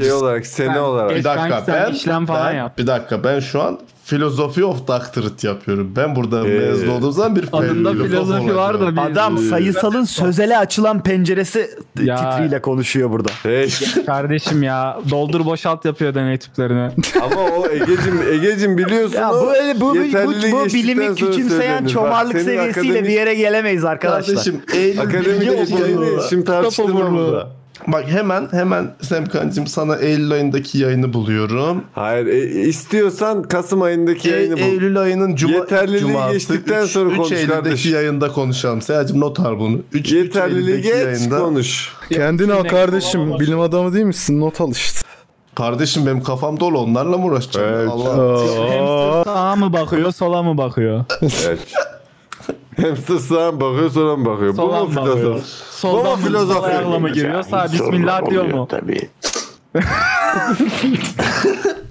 Speaker 11: Bir dakika ben, ben- Bir dakika ben şu an Philosophy of Doctorate yapıyorum. Ben burada mezun olduğum zaman bir
Speaker 2: Adında
Speaker 11: filozof
Speaker 2: filozofi var da
Speaker 11: olacağım.
Speaker 2: bir- Adam sayısalın sözele açılan penceresi
Speaker 8: Ya.
Speaker 2: titriyle konuşuyor burada.
Speaker 8: Kardeşim ya doldur boşalt yapıyor deney tüplerini.
Speaker 1: Ama o Egecim, Egecim biliyorsun
Speaker 2: Ya
Speaker 1: o
Speaker 2: bu, bu, bu,
Speaker 1: yeterliliği
Speaker 2: bu, bu
Speaker 1: geçtikten
Speaker 2: bilimi
Speaker 1: sonra
Speaker 2: küçümseyen
Speaker 1: söylenir. Bak,
Speaker 2: çomarlık
Speaker 1: senin
Speaker 2: seviyesiyle
Speaker 1: akademik-
Speaker 2: bir yere gelemeyiz arkadaşlar.
Speaker 11: Kardeşim Eylül
Speaker 1: Akademik
Speaker 11: bilgi
Speaker 1: ilişkilerini
Speaker 11: okurluğu.
Speaker 1: şimdi tartıştırma
Speaker 11: Kitap okurluğu.
Speaker 1: burada.
Speaker 11: Bak hemen hemen Semkancığım sana Eylül ayındaki yayını buluyorum.
Speaker 1: Hayır e- istiyorsan Kasım ayındaki
Speaker 11: E-
Speaker 1: yayını bul.
Speaker 11: Eylül ayının cuma,
Speaker 1: Yeterliliği
Speaker 11: cuması,
Speaker 1: geçtikten sonra konuş
Speaker 11: Eylül'deki
Speaker 1: kardeşim.
Speaker 11: yayında konuşalım. Seyacım not al bunu. 3,
Speaker 1: Yeterliliği geç, konuş.
Speaker 4: Kendini al kardeşim. Bilim adamı değil misin? Not al işte.
Speaker 11: Kardeşim benim kafam dolu onlarla mı uğraşacağım? Allah.
Speaker 8: Sağa mı bakıyor sola mı bakıyor?
Speaker 1: Evet. Hamster sağa mı bakıyor sola mı bakıyor?
Speaker 8: Sola
Speaker 1: Bu mu
Speaker 8: mı bakıyor?
Speaker 1: filozof? Bu mu
Speaker 8: Soldan mı
Speaker 1: filozof?
Speaker 8: sol ayağıyla mı giriyor? Sağ bismillah diyor mu?
Speaker 14: Tabii.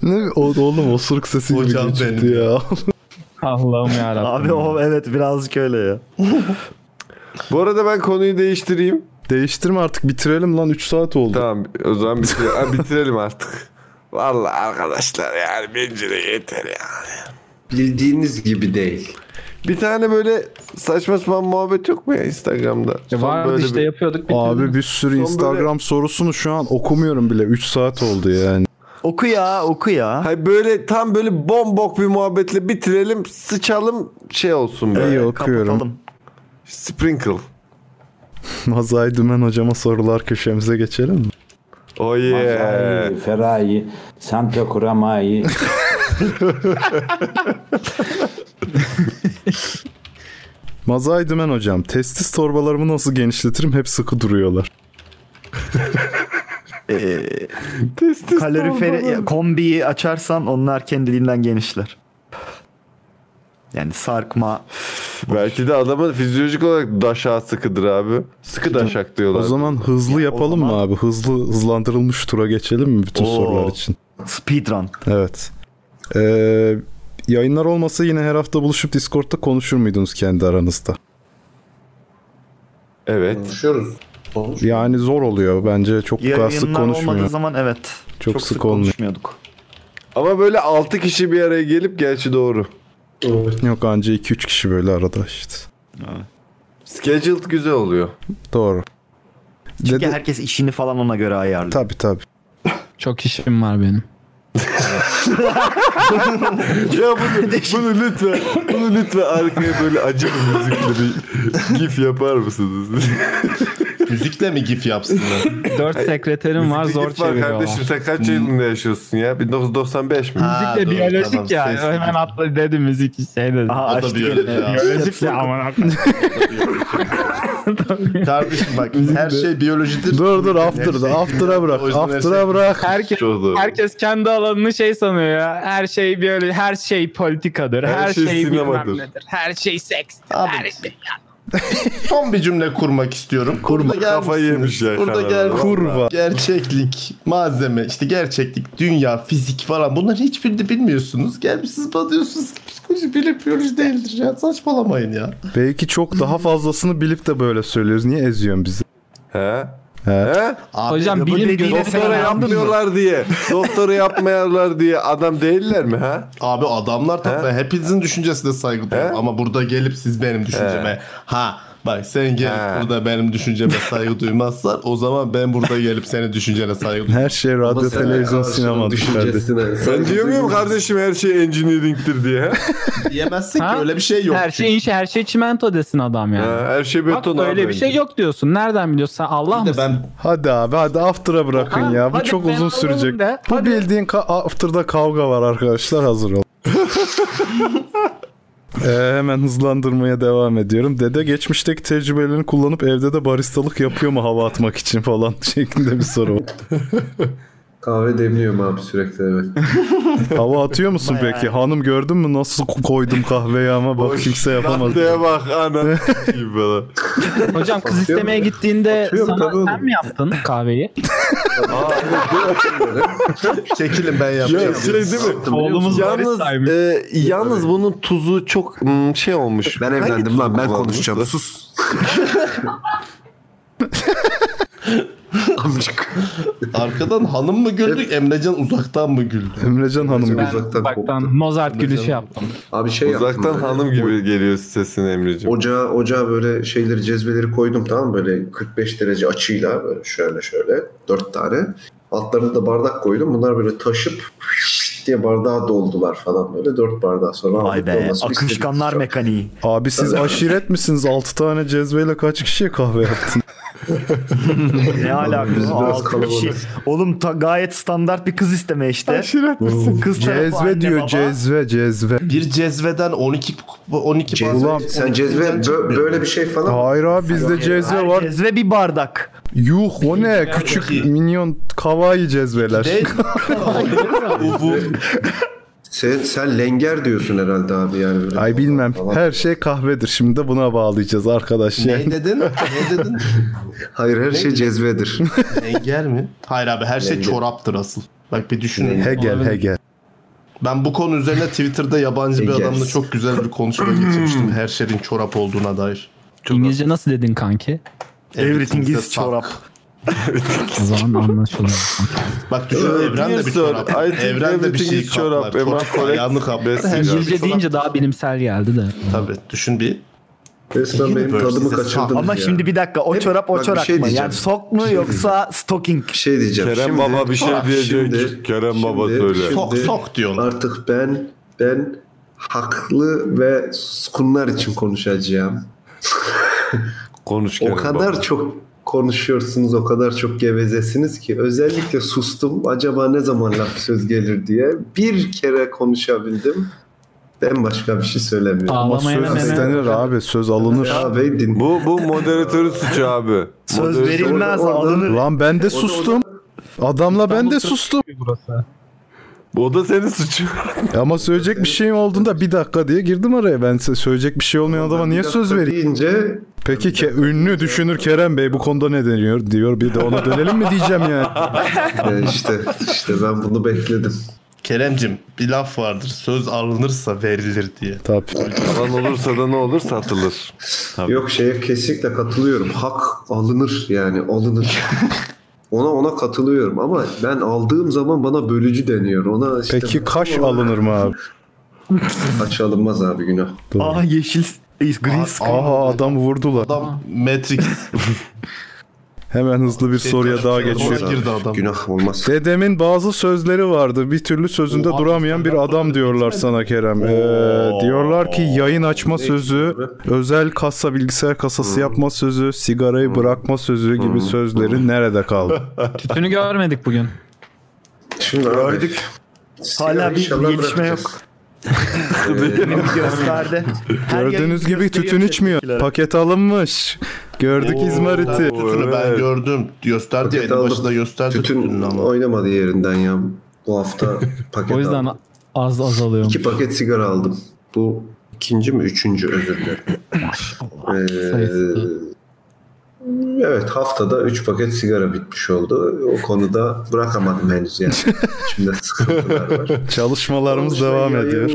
Speaker 4: Ne o, oğlum osuruk sesi gibi geçti ya.
Speaker 8: Allah'ım E, yarabbim.
Speaker 2: Abi o evet birazcık öyle ya.
Speaker 1: Bu arada ben konuyu değiştireyim.
Speaker 4: Değiştirme artık bitirelim lan 3 saat oldu.
Speaker 1: Tamam o zaman bitirelim, ha, bitirelim artık. Vallahi arkadaşlar yani bence de yeter yani.
Speaker 3: Bildiğiniz gibi değil.
Speaker 1: Bir tane böyle saçma sapan muhabbet yok mu ya Instagram'da?
Speaker 11: E,
Speaker 1: Son böyle bir-
Speaker 4: Abi bir sürü
Speaker 1: Son
Speaker 4: Instagram sorusunu şu an okumuyorum bile. 3 saat oldu yani.
Speaker 2: Oku ya oku ya.
Speaker 1: Hayır böyle tam böyle bombok bir muhabbetle bitirelim, sıçalım şey
Speaker 11: E,
Speaker 1: olsun böyle.
Speaker 4: İyi okuyorum.
Speaker 2: kapatalım.
Speaker 1: Sprinkle.
Speaker 4: Mazay Dümen hocama sorular köşemize geçelim mi?
Speaker 1: Oh yeah.
Speaker 13: Ferrari, Santa Kuramai.
Speaker 4: Mazay Dümen hocam testis torbalarımı nasıl genişletirim hep sıkı duruyorlar.
Speaker 2: Kaloriferi
Speaker 1: tamam.
Speaker 2: kombiyi açarsan onlar kendiliğinden genişler. Yani sarkma.
Speaker 1: Belki de adamın fizyolojik olarak daşağı sıkıdır abi. Sıkı daşak diyorlar.
Speaker 4: O zaman hızlı yapalım mı abi? Hızlı hızlandırılmış tura geçelim mi bütün
Speaker 1: Oo.
Speaker 4: sorular için?
Speaker 2: Speedrun.
Speaker 4: Evet. Ee, yayınlar olmasa yine her hafta buluşup Discord'da konuşur muydunuz kendi aranızda?
Speaker 1: Evet.
Speaker 3: Konuşuyoruz.
Speaker 4: Yani zor oluyor bence çok daha sık
Speaker 2: Yayınlar
Speaker 4: konuşmuyor.
Speaker 2: olmadığı zaman evet.
Speaker 4: çok, sık, olmuyor.
Speaker 1: Ama böyle 6 kişi bir araya gelip gerçi doğru.
Speaker 4: Yok anca 2-3 kişi böyle arada işte.
Speaker 1: Scheduled güzel oluyor.
Speaker 4: Doğru.
Speaker 2: Çünkü herkes işini falan ona göre ayarlıyor.
Speaker 4: Tabii tabii.
Speaker 8: Çok işim var benim.
Speaker 1: ya bunu, bunu lütfen, bunu lütfen arkaya böyle acı bir müzikle bir gif yapar mısınız?
Speaker 11: Müzikle mi gif yapsınlar?
Speaker 8: 4 sekreterim var zor
Speaker 1: gif var
Speaker 8: çeviriyorlar.
Speaker 1: kardeşim sen kaç yılında yaşıyorsun ya? 1995 mi?
Speaker 8: Müzik de biyolojik ya. Hemen atla dedi müzik şey dedi.
Speaker 2: Aha,
Speaker 1: açtı biyolojik yine. ya.
Speaker 8: Biyolojik ya aman atla.
Speaker 11: Kardeşim bak her şey biyolojidir.
Speaker 4: Dur dur
Speaker 11: Her şey-
Speaker 4: after'da after'a bırak.
Speaker 11: O yüzden her
Speaker 4: After'a
Speaker 11: şey-
Speaker 4: bırak.
Speaker 8: Herkes,
Speaker 1: Çok doğru.
Speaker 8: herkes kendi alanını şey sanıyor ya. Her şey böyle her şey politikadır. Her,
Speaker 11: Her
Speaker 8: şey,
Speaker 11: şey
Speaker 8: bilmem
Speaker 11: sinemadır.
Speaker 8: nedir. Her şey seks.
Speaker 11: Abi.
Speaker 8: Her şey.
Speaker 11: şey- Son bir cümle kurmak istiyorum. Kurma.
Speaker 1: Kafayı yemiş ya
Speaker 11: Burada
Speaker 1: Şahin
Speaker 11: gel
Speaker 1: abi.
Speaker 11: Gerçeklik, malzeme, işte gerçeklik, dünya, fizik falan bunların hiçbirini bilmiyorsunuz. Gelmişsiniz bana diyorsunuz ki psikoloji bilim biyoloji değildir ya. Saçmalamayın ya.
Speaker 4: Belki çok daha fazlasını bilip de böyle söylüyoruz. Niye eziyorsun bizi?
Speaker 1: He?
Speaker 4: He?
Speaker 1: He?
Speaker 8: Hocam bilim gözüyle sen
Speaker 1: Doktora
Speaker 8: anladın mı?
Speaker 1: yapmıyorlar diye. Doktora yapmayanlar diye adam değiller mi ha?
Speaker 11: Abi adamlar tabii ben hepinizin düşüncesine saygı duyuyorum.
Speaker 1: He?
Speaker 11: Ama burada gelip siz benim düşünceme ha bak sen gel
Speaker 1: He.
Speaker 11: burada benim düşünceme saygı duymazsan o zaman ben burada gelip senin düşüncene saygı duyarım.
Speaker 4: Her şey radyo,
Speaker 11: sen
Speaker 4: televizyon,
Speaker 11: arkadaşının
Speaker 4: sinema.
Speaker 11: düşüncesine
Speaker 4: dışarıda.
Speaker 1: Ben diyor muyum kardeşim her şey engineering'tir diye? he?
Speaker 11: Diyemezsin
Speaker 8: Ha?
Speaker 11: ki öyle bir şey yok.
Speaker 8: Her şey inşa, her şey çimento desin adam yani.
Speaker 1: Ha, her şey
Speaker 8: Bak
Speaker 1: beton
Speaker 8: öyle
Speaker 1: abi.
Speaker 8: bir şey yok diyorsun. Nereden biliyorsun? Sen Allah mısın?
Speaker 4: Hadi abi hadi after'a bırakın
Speaker 8: Ha,
Speaker 4: ya. Bu
Speaker 8: hadi
Speaker 4: çok
Speaker 8: ben
Speaker 4: uzun
Speaker 8: alalım
Speaker 4: sürecek.
Speaker 8: de.
Speaker 4: Bu bildiğin ka- after'da kavga var arkadaşlar. Hazır ol. Ee, hemen hızlandırmaya devam ediyorum. Dede geçmişteki tecrübelerini kullanıp evde de baristalık yapıyor mu hava atmak için falan şeklinde bir soru var.
Speaker 3: Kahve demliyorum abi sürekli evet.
Speaker 4: Hava atıyor musun peki? Hanım gördün mü nasıl koydum kahveye ama bak kimse yapamaz.
Speaker 1: Raddeye bak ana. gibi falan.
Speaker 8: Hocam kız istemeye gittiğinde sana sen mi yaptın kahveyi?
Speaker 11: Çekilin ben
Speaker 1: Ya,
Speaker 11: yapacağım.
Speaker 1: şey değil mi? yalnız, e, yalnız bunun tuzu çok mm, şey olmuş.
Speaker 3: Ben evlendim lan ben konuşacağım sus.
Speaker 11: Amcık. Arkadan hanım mı güldü, Emrecan uzaktan mı güldü?
Speaker 4: Emrecan hanım
Speaker 8: Ben uzaktan Mozart gülüşü yaptım.
Speaker 3: Abi şey yaptım
Speaker 1: Uzaktan
Speaker 3: böyle.
Speaker 1: hanım gibi geliyor sesin Emre'cim.
Speaker 3: Ocağa, ocağa böyle şeyleri cezveleri koydum tamam mı? Böyle 45 derece açıyla böyle şöyle şöyle dört tane. Altlarına da bardak koydum. Bunlar böyle taşıp diye bardağa doldular falan böyle. Dört bardağı sonra.
Speaker 2: Vay
Speaker 3: aldık
Speaker 2: be
Speaker 3: dolmasını istedik.
Speaker 2: akışkanlar mekaniği.
Speaker 4: Abi siz aşiret misiniz? 6 tane cezveyle kaç kişiye kahve yaptın?
Speaker 2: ne alakası
Speaker 4: Biz
Speaker 2: var?
Speaker 4: biraz
Speaker 2: Altı kişi.
Speaker 4: kalabalık.
Speaker 2: Oğlum ta, gayet standart bir kız isteme işte. Kız tarafı anne,
Speaker 4: cezve diyor
Speaker 2: baba.
Speaker 4: cezve cezve.
Speaker 11: Bir cezveden 12 12
Speaker 4: Ulan,
Speaker 3: Sen cezve bö- böyle bir şey falan.
Speaker 4: Hayır abi bizde
Speaker 3: Hayır,
Speaker 4: cezve
Speaker 3: her
Speaker 4: var.
Speaker 2: Cezve bir bardak.
Speaker 4: Yuh o ne? Küçük minyon kawaii cezveler.
Speaker 3: Sen, sen lenger diyorsun herhalde abi yani. Böyle
Speaker 4: Ay bilmem. Her şey kahvedir. Şimdi de buna bağlayacağız arkadaş.
Speaker 11: Ne
Speaker 4: yani.
Speaker 11: dedin? Ne dedin?
Speaker 3: Hayır her şey cezvedir.
Speaker 11: Hegel mi? Hayır abi her şey
Speaker 3: Hegel.
Speaker 11: çoraptır asıl. Bak bir düşünün.
Speaker 4: Hegel Hegel.
Speaker 11: Ben bu konu üzerine Twitter'da yabancı bir
Speaker 8: Hegel.
Speaker 11: adamla çok güzel bir konuşma geçirmiştim. Her şeyin çorap olduğuna dair.
Speaker 8: İngilizce nasıl dedin kanki?
Speaker 11: Everything is çorap.
Speaker 8: O zaman anlaşılıyor.
Speaker 11: Bak düşün evren de bir çorap. Evren de bir şey çorap. Çorap yanlı kaplar. Her şey bir
Speaker 8: İngilizce
Speaker 11: çorap.
Speaker 8: deyince daha bilimsel geldi de.
Speaker 11: Tabii düşün bir.
Speaker 3: Resmen benim tadımı kaçırdınız
Speaker 2: Ama
Speaker 3: ya.
Speaker 2: şimdi bir dakika o çorap o
Speaker 3: bak bir
Speaker 2: çorap
Speaker 3: şey
Speaker 2: mı?
Speaker 3: diyeceğim.
Speaker 2: Yani sok mu yoksa stocking?
Speaker 3: Bir şey diyeceğim.
Speaker 1: Kerem
Speaker 3: Şimdi-
Speaker 1: Baba bir şey
Speaker 3: Bak,
Speaker 1: diyecek.
Speaker 3: şimdi-
Speaker 1: Kerem Baba
Speaker 3: şimdi-
Speaker 1: söyle.
Speaker 3: şimdi
Speaker 1: Sok,
Speaker 11: sok diyorlar.
Speaker 3: Artık ben ben haklı ve suskunlar için konuşacağım.
Speaker 1: Konuş
Speaker 3: O
Speaker 1: Kerem
Speaker 3: kadar
Speaker 1: Baba.
Speaker 3: çok konuşuyorsunuz, o kadar çok gevezesiniz ki özellikle sustum. Acaba ne zaman laf söz gelir diye bir kere konuşabildim. Ben başka bir şey söylemiyorum.
Speaker 4: Ama söz istenir abi. Söz alınır.
Speaker 3: Abi din.
Speaker 1: Bu bu moderatörün suçu abi. Moderatör-
Speaker 4: Lan ben de sustum. Adamla ben de sustum.
Speaker 1: O da senin suçun.
Speaker 4: E Ama söyleyecek bir şeyim olduğunda bir dakika diye girdim araya. Ben size söyleyecek bir şey olmayan adama niye söz vereyim?
Speaker 3: Deyince
Speaker 4: Peki ke- ünlü düşünür Kerem Bey bu konuda ne deniyor diyor. Bir de ona dönelim mi diyeceğim yani.
Speaker 3: E, işte işte ben bunu bekledim.
Speaker 11: Keremcim bir laf vardır. Söz alınırsa verilir diye.
Speaker 4: Tabii.
Speaker 1: Yalan olursa da ne olur satılır.
Speaker 3: Yok şeye kesinlikle katılıyorum. Hak alınır yani alınır. ona ona katılıyorum ama ben aldığım zaman bana bölücü deniyor. Ona işte
Speaker 4: Peki kaş alınır mı abi?
Speaker 3: kaç alınmaz abi günah.
Speaker 2: Aa yeşil green screen.
Speaker 4: Aha adam vurdular.
Speaker 11: Adam Matrix.
Speaker 4: Hemen hızlı bir soruya daha geçiyorum.
Speaker 3: Günah olmaz.
Speaker 4: Dedemin bazı sözleri vardı. Bir türlü sözünde duramayan bir adam diyorlar sana Kerem. Ee, diyorlar ki yayın açma sözü, özel kasa bilgisayar kasası yapma sözü, sigarayı bırakma sözü gibi sözleri nerede kaldı?
Speaker 8: Tütünü görmedik bugün.
Speaker 3: Şimdi abi,
Speaker 2: Gördük. Hala bir
Speaker 3: inşallah
Speaker 2: gelişme yok. Benim gösterdi. Her
Speaker 4: Gördüğünüz
Speaker 2: yayın
Speaker 4: gibi
Speaker 2: gösteriyor
Speaker 4: tütün içmiyor.
Speaker 2: chat'tekiler.
Speaker 4: Paket alınmış. Gördük izmariti.
Speaker 11: Tütünü ben gördüm. Gösterdi ya,
Speaker 3: Paket
Speaker 11: elin
Speaker 3: aldım.
Speaker 11: başında gösterdi
Speaker 3: Tütün
Speaker 11: tütününü ama.
Speaker 3: oynamadı yerinden ya. Bu hafta paket
Speaker 8: O yüzden
Speaker 3: aldım.
Speaker 8: az azalıyorum.
Speaker 3: İki paket sigara aldım. Bu ikinci mi üçüncü özür dilerim. Ee, evet haftada üç paket sigara bitmiş oldu. O konuda bırakamadım henüz yani. İçimde sıkıntılar var.
Speaker 4: Çalışmalarımız devam
Speaker 3: Yayın-
Speaker 4: ediyor.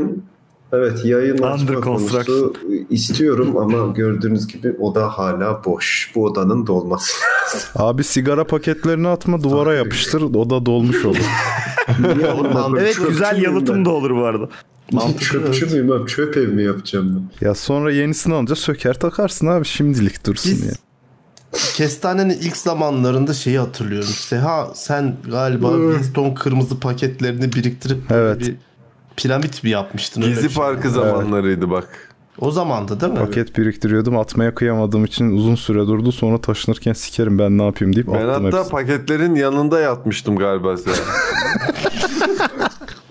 Speaker 3: Evet yayın
Speaker 2: Under
Speaker 3: açma konusu istiyorum ama gördüğünüz gibi oda hala boş. Bu odanın dolması lazım.
Speaker 4: Abi sigara paketlerini atma duvara yapıştır. O da dolmuş olur.
Speaker 3: Niye olmadı?
Speaker 2: Evet güzel
Speaker 3: Çöpçüyüm ben.
Speaker 2: yalıtım da olur bu arada.
Speaker 3: Çöpçü müyüm abi? Çöp ev mi yapacağım
Speaker 4: Ya sonra yenisini alınca söker takarsın abi şimdilik dursun ya.
Speaker 11: Kestanenin ilk zamanlarında şeyi hatırlıyorum. Seha sen galiba Winston kırmızı paketlerini biriktirip böyle
Speaker 4: Evet.
Speaker 11: bir piramit mi yapmıştın? öyle bir
Speaker 1: Gezi
Speaker 11: şey?
Speaker 1: Parkı zamanlarıydı bak.
Speaker 11: O zamandı değil mi?
Speaker 4: Paket biriktiriyordum atmaya kıyamadığım için uzun süre durdu. Sonra taşınırken sikerim ben ne yapayım deyip
Speaker 1: Ben
Speaker 4: attım
Speaker 1: hatta
Speaker 4: hepsini.
Speaker 1: paketlerin yanında yatmıştım galiba sen.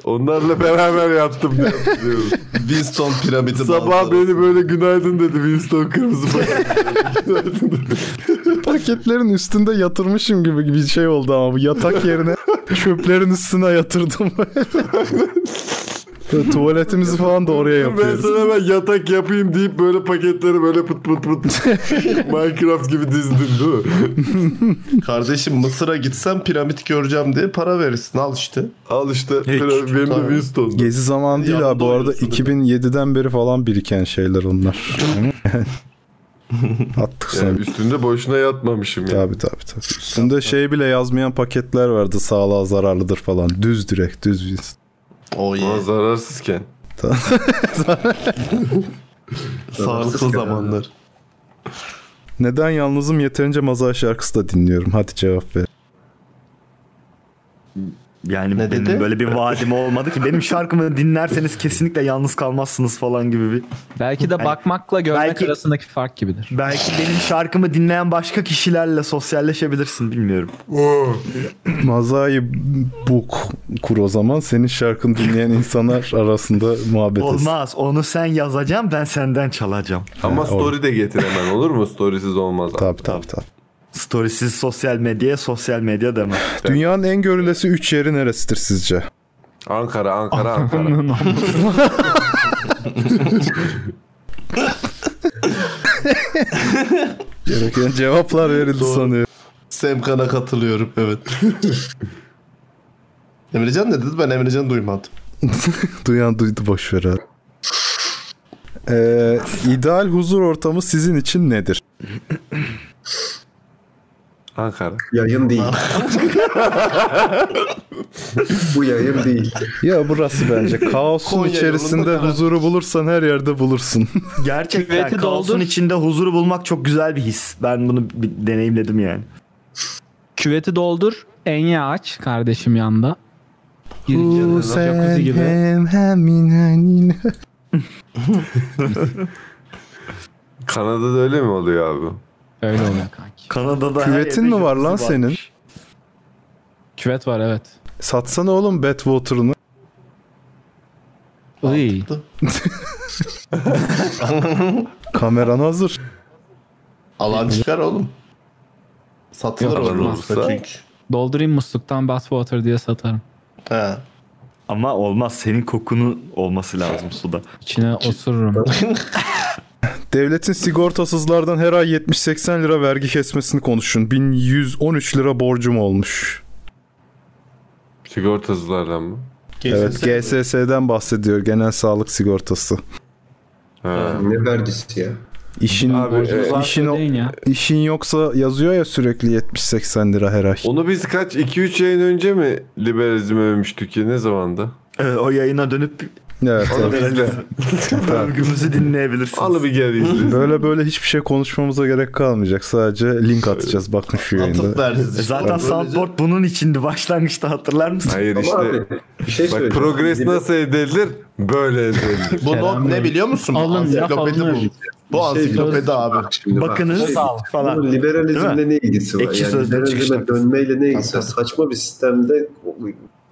Speaker 1: Onlarla beraber yattım diye hatırlıyorum.
Speaker 11: Winston piramidi
Speaker 1: Sabah beni böyle günaydın dedi Winston kırmızı paket.
Speaker 4: Paketlerin üstünde yatırmışım gibi bir şey oldu ama bu yatak yerine çöplerin üstüne yatırdım. Tuvaletimizi falan da oraya
Speaker 1: Ben
Speaker 4: yapıyoruz.
Speaker 1: sana hemen yatak yapayım deyip böyle paketleri böyle pıt pıt pıt Minecraft gibi dizdin değil mi?
Speaker 11: Kardeşim Mısır'a gitsem piramit göreceğim diye para verirsin. Al işte.
Speaker 1: Al işte.
Speaker 11: piramit- benim de Tamam. Winston'du.
Speaker 4: Gezi zaman değil abi bu arada 2007'den beri falan biriken şeyler onlar. Attık sonra.
Speaker 1: Yani üstünde boşuna yatmamışım ya.
Speaker 4: Tabii tabii tabii. Üstünde şey bile yazmayan paketler vardı sağlığa zararlıdır falan. Düz direkt düz biz.
Speaker 11: O
Speaker 1: Ama zararsızken.
Speaker 11: Sağlıklı zamanlar.
Speaker 4: Neden yalnızım yeterince mazar şarkısı da dinliyorum. Hadi cevap ver.
Speaker 2: Yani benim böyle bir vaadim olmadı ki. Benim şarkımı dinlerseniz kesinlikle yalnız kalmazsınız falan gibi bir.
Speaker 8: Belki de
Speaker 2: Yani
Speaker 8: bakmakla görmek
Speaker 2: belki-
Speaker 8: arasındaki fark gibidir.
Speaker 2: Belki benim şarkımı dinleyen başka kişilerle sosyalleşebilirsin bilmiyorum.
Speaker 1: Oh.
Speaker 4: Mazai Buk kur o zaman. Senin şarkını dinleyen insanlar arasında muhabbet etsin.
Speaker 2: Olmaz. Onu sen yazacaksın ben senden çalacağım.
Speaker 1: Ama
Speaker 4: Ha,
Speaker 1: story de getir hemen olur mu? Storysiz olmaz.
Speaker 4: Tabii tabii tabii.
Speaker 2: Storysiz sosyal medyaya sosyal medya deme.
Speaker 4: Dünyanın en görülesi 3 yeri neresidir sizce?
Speaker 1: Ankara, Ankara, Ankara.
Speaker 4: Gereken cevaplar verildi sanıyorum.
Speaker 11: Semkan'a katılıyorum evet. Emrecan ne dedi? Ben Emrecan'ı duymadım.
Speaker 4: Duyan duydu boşver abi. Ee, ideal huzur ortamı sizin için nedir?
Speaker 1: Ankara.
Speaker 3: Yayın değil. Bu yayın değil.
Speaker 4: Ya burası bence kaosun
Speaker 2: Konya
Speaker 4: içerisinde
Speaker 2: yolunda karar.
Speaker 4: huzuru bulursan her yerde bulursun.
Speaker 2: Gerçekten
Speaker 4: Küveti
Speaker 2: kaosun
Speaker 4: doldur.
Speaker 2: içinde huzuru bulmak çok güzel bir his. Ben bunu bir deneyimledim yani.
Speaker 8: Küveti doldur, enye aç kardeşim yanda. Girince de jacuzzi gibi.
Speaker 1: Kanada'da öyle mi oluyor abi?
Speaker 8: Öyle oluyor kanki.
Speaker 2: Kanada'da
Speaker 4: Küvetin mi var lan senin?
Speaker 8: Küvet var evet.
Speaker 4: Satsana oğlum Badwater'ını.
Speaker 8: Iy.
Speaker 4: Kameran hazır.
Speaker 11: Alan çıkar oğlum. Satılır
Speaker 8: Yok,
Speaker 11: oğlum.
Speaker 8: olmazsa Doldurayım musluktan bathwater diye satarım.
Speaker 11: He.
Speaker 2: Ama olmaz. Senin kokunu olması lazım suda.
Speaker 8: İçine osururum.
Speaker 4: Devletin sigortasızlardan her ay 70-80 lira vergi kesmesini konuşun. 1113 lira borcum olmuş.
Speaker 1: Sigortasızlardan mı?
Speaker 4: evet GSS'den bahsediyor. Genel sağlık sigortası.
Speaker 1: Ha.
Speaker 3: Ne vergisi ya?
Speaker 4: İşin
Speaker 1: Abi, e,
Speaker 4: işin, işin yoksa yazıyor ya sürekli 70-80 lira her ay.
Speaker 1: Onu biz kaç 2-3 yayın önce mi liberalizm övmüştük ki ne zamanda?
Speaker 2: Evet, o yayına dönüp
Speaker 4: Evet,
Speaker 1: Onu
Speaker 4: evet.
Speaker 1: izle.
Speaker 2: övgümüzü dinleyebilirsiniz.
Speaker 1: Alı bir geri izle.
Speaker 4: Böyle böyle hiçbir şey konuşmamıza gerek kalmayacak. Sadece link atacağız bakın şu yayında.
Speaker 2: E Zaten soundboard bunun içindi. Başlangıçta hatırlar mısın?
Speaker 1: Hayır işte.
Speaker 3: bir şey
Speaker 1: Bak
Speaker 3: söyleyeceğim.
Speaker 1: progres
Speaker 3: Bir de-
Speaker 1: nasıl edilir? Böyle edilir.
Speaker 11: Bu not ne biliyor musun?
Speaker 8: Alın, laf
Speaker 11: ansiklopedi bu.
Speaker 8: alınır.
Speaker 11: Bu
Speaker 3: Bir şey
Speaker 11: ansiklopedi abi.
Speaker 3: Şimdi bak,
Speaker 2: Bakınız
Speaker 3: şey-
Speaker 2: falan.
Speaker 3: Bunun
Speaker 2: Değil
Speaker 3: liberalizmle
Speaker 2: mi?
Speaker 3: ne ilgisi var?
Speaker 2: Ekşi
Speaker 3: yani
Speaker 2: sözlüğe
Speaker 3: liberalizme
Speaker 2: çıkış
Speaker 3: dönmeyle ne ilgisi var? Saçma bir sistemde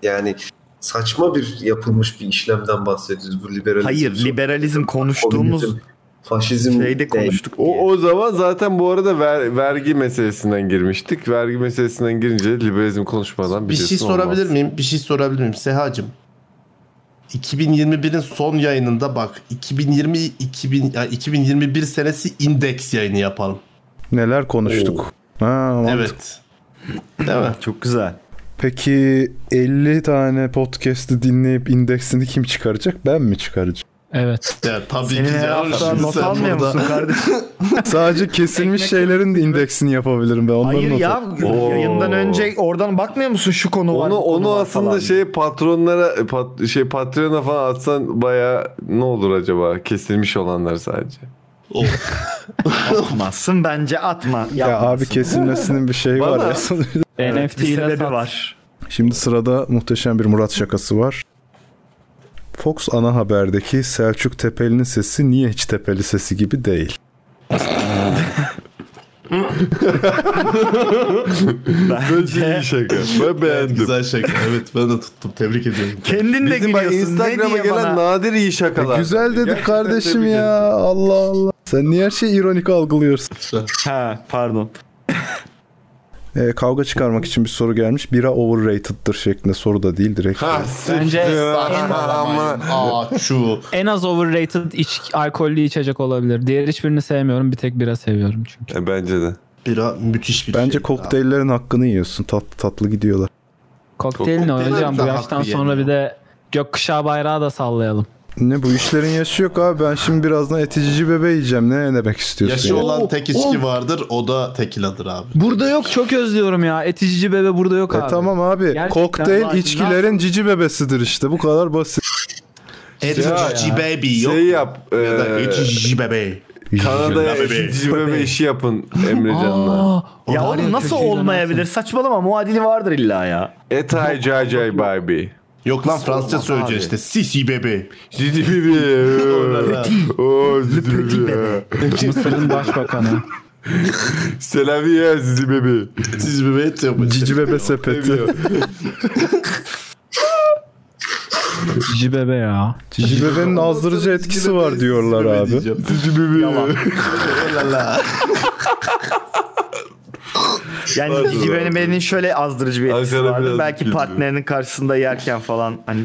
Speaker 3: yani saçma bir yapılmış bir işlemden bahsediyoruz bu liberalizm.
Speaker 2: Hayır liberalizm konuştuğumuz
Speaker 3: faşizm
Speaker 2: şeyde konuştuk.
Speaker 1: O, o zaman zaten bu arada ver- vergi meselesinden girmiştik. Vergi meselesinden girince liberalizm konuşmadan
Speaker 11: Bir şey
Speaker 1: biliyorsun
Speaker 11: sorabilir
Speaker 1: olmaz.
Speaker 11: miyim? Bir şey sorabilir miyim? Sehacım. 2021'in son yayınında bak 2020 2000 yani 2021 senesi indeks yayını yapalım.
Speaker 4: Neler konuştuk? Ha, mantıklı.
Speaker 11: Evet. Değil mi?
Speaker 2: Çok güzel.
Speaker 4: Peki 50 tane podcast'i dinleyip indeksini kim çıkaracak? Ben mi çıkaracağım?
Speaker 8: Evet.
Speaker 11: Ya, tabii
Speaker 2: Senin
Speaker 11: ki
Speaker 2: her
Speaker 11: canım,
Speaker 2: hafta
Speaker 11: şimdi
Speaker 2: not
Speaker 11: sen
Speaker 2: almıyor
Speaker 11: burada-
Speaker 2: musun kardeşim?
Speaker 4: Sadece kesilmiş şeylerin de indeksini yapabilirim ben. Onların
Speaker 2: Hayır
Speaker 4: not-
Speaker 2: ya yayından önce oradan bakmıyor musun şu konu var.
Speaker 1: Onu
Speaker 2: bu konu
Speaker 1: onu
Speaker 2: var
Speaker 1: aslında
Speaker 2: falan.
Speaker 1: şey patronlara pat- şey Patreon'a falan atsan baya ne olur acaba kesilmiş olanlar sadece.
Speaker 11: Oh,
Speaker 2: atmazsın bence atma.
Speaker 4: Ya
Speaker 2: yapmazsın.
Speaker 4: abi kesilmesinin bir şeyi var ya.
Speaker 8: NFT
Speaker 2: bir
Speaker 8: ile
Speaker 2: sebebi
Speaker 8: sat.
Speaker 2: var.
Speaker 4: Şimdi sırada muhteşem bir Murat şakası var. Fox ana haberdeki Selçuk Tepeli'nin sesi niye hiç Tepeli sesi gibi değil?
Speaker 1: Bence iyi şaka. Ben beğendim.
Speaker 11: Güzel şaka. Evet ben de tuttum. Tebrik ediyorum.
Speaker 2: Kendin de
Speaker 1: Bizim bak
Speaker 2: gülüyorsun.
Speaker 1: Instagram'a
Speaker 2: ne diye
Speaker 1: gelen
Speaker 2: bana?
Speaker 1: nadir iyi şakalar.
Speaker 4: E, Güzel dedik
Speaker 1: Gerçekten
Speaker 4: kardeşim
Speaker 1: tebrik
Speaker 4: ya. Allah Allah. Sen niye her şeyi ironik algılıyorsun?
Speaker 2: Ha pardon.
Speaker 4: Ee, kavga çıkarmak için bir soru gelmiş. Bira overrated'dır şeklinde soru da değil direkt.
Speaker 11: Bence en Aa şu.
Speaker 8: En az overrated iç, alkollü içecek olabilir. Diğer hiçbirini sevmiyorum. Bir tek bira seviyorum çünkü.
Speaker 4: E,
Speaker 1: bence de.
Speaker 11: Bira müthiş bir şey.
Speaker 4: Bence kokteyllerin hakkını yiyorsun. Tatlı tatlı gidiyorlar.
Speaker 8: Kokteyl ne
Speaker 4: Kokteyl
Speaker 8: hocam? Bu
Speaker 4: hakkı
Speaker 8: yaştan
Speaker 4: yemeyelim.
Speaker 8: sonra bir de gökkuşağı bayrağı da sallayalım.
Speaker 4: Ne bu işlerin yaşı yok abi. Ben şimdi birazdan eticici bebe yiyeceğim. Ne demek istiyorsun?
Speaker 11: Yaşı
Speaker 4: yani?
Speaker 11: olan tek içki
Speaker 8: Oo.
Speaker 11: vardır o da tekiladır abi.
Speaker 8: Burada yok çok özlüyorum ya. Eticici bebe burada yok
Speaker 4: E
Speaker 8: abi.
Speaker 4: tamam abi.
Speaker 8: Gerçekten
Speaker 4: Kokteyl
Speaker 8: var.
Speaker 4: içkilerin cici bebesidir işte. Bu kadar basit.
Speaker 11: Şey Etici baby yok.
Speaker 1: Şey yap.
Speaker 11: Ya da
Speaker 1: eee,
Speaker 11: etici bebe.
Speaker 1: Kanada'ya
Speaker 11: Bebe.
Speaker 1: etici bebe işi yapın Emrecan'la.
Speaker 2: Ya oğlum nasıl olmayabilir? Saçmalama muadili vardır illa ya.
Speaker 1: Etay cacay baby.
Speaker 11: Yok lan Fransızca
Speaker 1: Olmaz
Speaker 11: söyleyeceksin
Speaker 1: abi.
Speaker 11: işte. Sisi bebe.
Speaker 1: Cici bebe. Oo, cici bebe.
Speaker 8: Mısır'ın başbakanı.
Speaker 1: Selaviye cici bebe.
Speaker 11: Cici bebe et yapın.
Speaker 4: Cici bebe sepeti.
Speaker 8: Cici bebe ya.
Speaker 4: Cici bebenin azdırıcı etkisi var diyorlar abi. Cici bebe.
Speaker 2: Yani
Speaker 1: Vardır,
Speaker 2: cici
Speaker 1: vardır.
Speaker 2: benim şöyle azdırıcı bir etkisi
Speaker 1: Ankara
Speaker 2: vardır.
Speaker 1: biraz
Speaker 2: Belki
Speaker 1: güldü.
Speaker 2: partnerinin karşısında yerken falan hani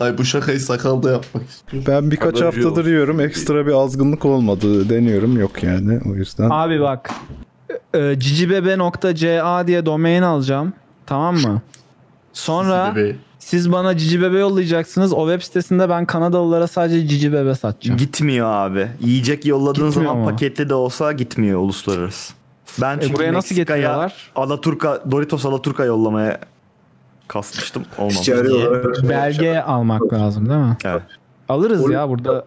Speaker 11: Ay bu şakayı sakalda yapmak istiyorum.
Speaker 4: Ben birkaç
Speaker 11: Haber
Speaker 4: haftadır yiyorum. Ekstra bir azgınlık olmadı. Deniyorum yok yani. O yüzden.
Speaker 2: Ah,
Speaker 8: Abi bak. E, cicibebe.ca diye domain alacağım. Tamam mı? Sonra
Speaker 11: Cicibebe.
Speaker 8: siz bana cicibebe yollayacaksınız. O web sitesinde ben Kanadalılara sadece cicibebe satacağım.
Speaker 2: gitmiyor abi. Yiyecek yolladığın
Speaker 8: Gitmiyor
Speaker 2: zaman
Speaker 8: mu?
Speaker 2: paketli de olsa gitmiyor uluslararası. Ben
Speaker 8: E,
Speaker 2: çünkü
Speaker 8: buraya nasıl
Speaker 2: Meksika'ya
Speaker 8: getiriyorlar?
Speaker 2: Alaturka, Doritos Alaturka yollamaya kasmıştım. Olmamış.
Speaker 3: Ticari olarak-
Speaker 8: Belge almak lazım değil mi?
Speaker 2: Evet.
Speaker 8: Alırız ya burada.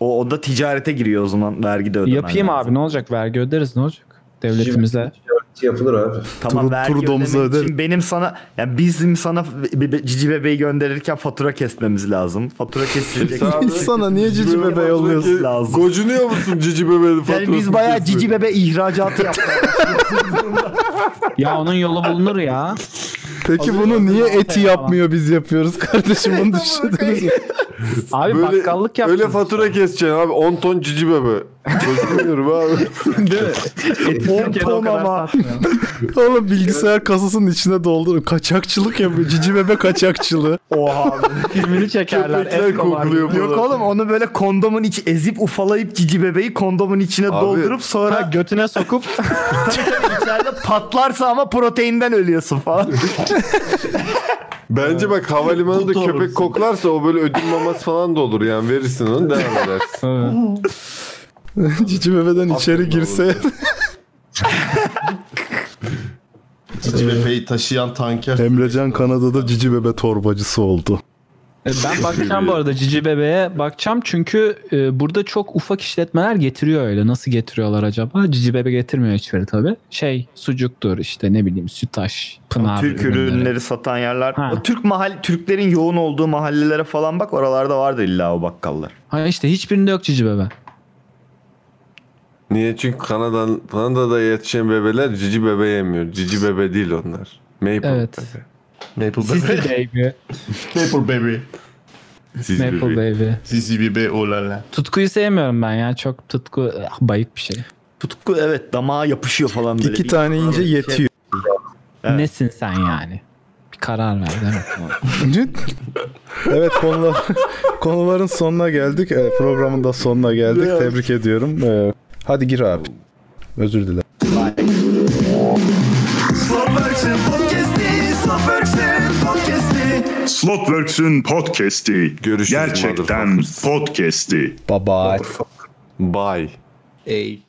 Speaker 2: O, o da ticarete giriyor o zaman. Vergi de ödemen
Speaker 8: Yapayım
Speaker 2: lazım.
Speaker 8: abi ne olacak? Vergi öderiz ne olacak? Devletimize.
Speaker 3: şey Yapılır abi.
Speaker 2: Tamam
Speaker 4: Turu-
Speaker 2: vergi
Speaker 4: turu domuzu
Speaker 2: ödemek için
Speaker 4: öderim.
Speaker 2: benim sana yani bizim sana be- be- cici bebeği gönderirken fatura kesmemiz lazım. Fatura kesilecek.
Speaker 4: Sana niye cici bebe
Speaker 2: Kesmemiz
Speaker 4: yolluyorsun?
Speaker 2: lazım.
Speaker 1: Gocunuyor musun cici bebenin faturasını?
Speaker 2: Yani biz bayağı
Speaker 1: kesmeye?
Speaker 2: cici bebe ihracatı yaptık.
Speaker 8: Ya onun yolu bulunur ya.
Speaker 4: Peki bunu niye eti yapmıyor biz yapıyoruz kardeşim bunu düşündünüz mü?
Speaker 8: Abi
Speaker 1: Böyle-
Speaker 8: bakkallık yaptın.
Speaker 1: Öyle fatura keseceksin abi 10 ton cici bebe. Gocunuyorum abi.
Speaker 2: Değil mi?
Speaker 8: Türkiye'de o kadar satmıyor.
Speaker 4: Oğlum bilgisayar kasasının içine doldur. Kaçakçılık yapıyor. Cici bebe kaçakçılığı.
Speaker 2: Oha. abi.
Speaker 8: Filmini çekerler.
Speaker 1: Köpekler
Speaker 8: Escobar gibi.
Speaker 1: kokluyor
Speaker 2: Yok oğlum onu böyle kondomun içi ezip ufalayıp cici bebeği kondomun içine
Speaker 1: Abi-
Speaker 2: doldurup sonra
Speaker 8: Ha, götüne sokup
Speaker 2: içeride patlarsa ama proteinden ölüyorsun falan.
Speaker 1: Bence bak havalimanında
Speaker 11: Mutlu
Speaker 1: köpek
Speaker 11: olursun.
Speaker 1: koklarsa o böyle ödül maması falan da olur yani verirsin onu devam edersin.
Speaker 4: Cici bebeden içeri
Speaker 1: Aferin
Speaker 4: girse.
Speaker 11: Cici bebeyi taşıyan tanker.
Speaker 4: Emrecan Kanada'da cici bebe torbacısı oldu.
Speaker 8: E, Ben bakacağım bu arada Cici Bebe'ye bakacağım çünkü e, burada çok ufak işletmeler getiriyor öyle. Nasıl getiriyorlar acaba? Cici Bebe getirmiyor hiçbiri tabii. Şey sucuktur işte ne bileyim sütaş, pınar
Speaker 2: Türk
Speaker 8: ürünleri.
Speaker 2: ürünleri satan yerler.
Speaker 8: Ha.
Speaker 2: O Türk mahal Türklerin yoğun olduğu mahallelere falan bak oralarda vardır illa o bakkallar.
Speaker 8: Ha işte hiçbirinde yok Cici Bebe.
Speaker 1: Niye? Çünkü Kanada'dan, Kanada'da yetişen bebeler cici bebe yemiyor. Cici bebe değil onlar. Maple
Speaker 8: Evet.
Speaker 1: bebe.
Speaker 11: Maple
Speaker 8: Sisli
Speaker 11: bebe.
Speaker 8: Baby,
Speaker 11: Maple baby.
Speaker 1: Cici
Speaker 8: Maple
Speaker 1: bebe.
Speaker 8: Baby.
Speaker 11: Sisi bebe olala.
Speaker 8: Tutkuyu sevmiyorum ben ya. Çok tutku ah, bayık bir şey.
Speaker 2: Tutku evet damağa yapışıyor falan böyle.
Speaker 4: İki
Speaker 2: Bir- şey
Speaker 4: tane ince yetiyor.
Speaker 2: Evet.
Speaker 8: Nesin sen yani? Bir karar ver değil mi?
Speaker 4: evet konular, konuların sonuna geldik. Ee, Programın da sonuna geldik. Tebrik ediyorum. Ee, Hadi gir abi. Özür dilerim.
Speaker 15: Slotworks'ün podcast'i.
Speaker 1: Görüşürüz
Speaker 15: Gerçekten podcast'i.
Speaker 4: Bye bye.
Speaker 1: Bye.
Speaker 8: Ey.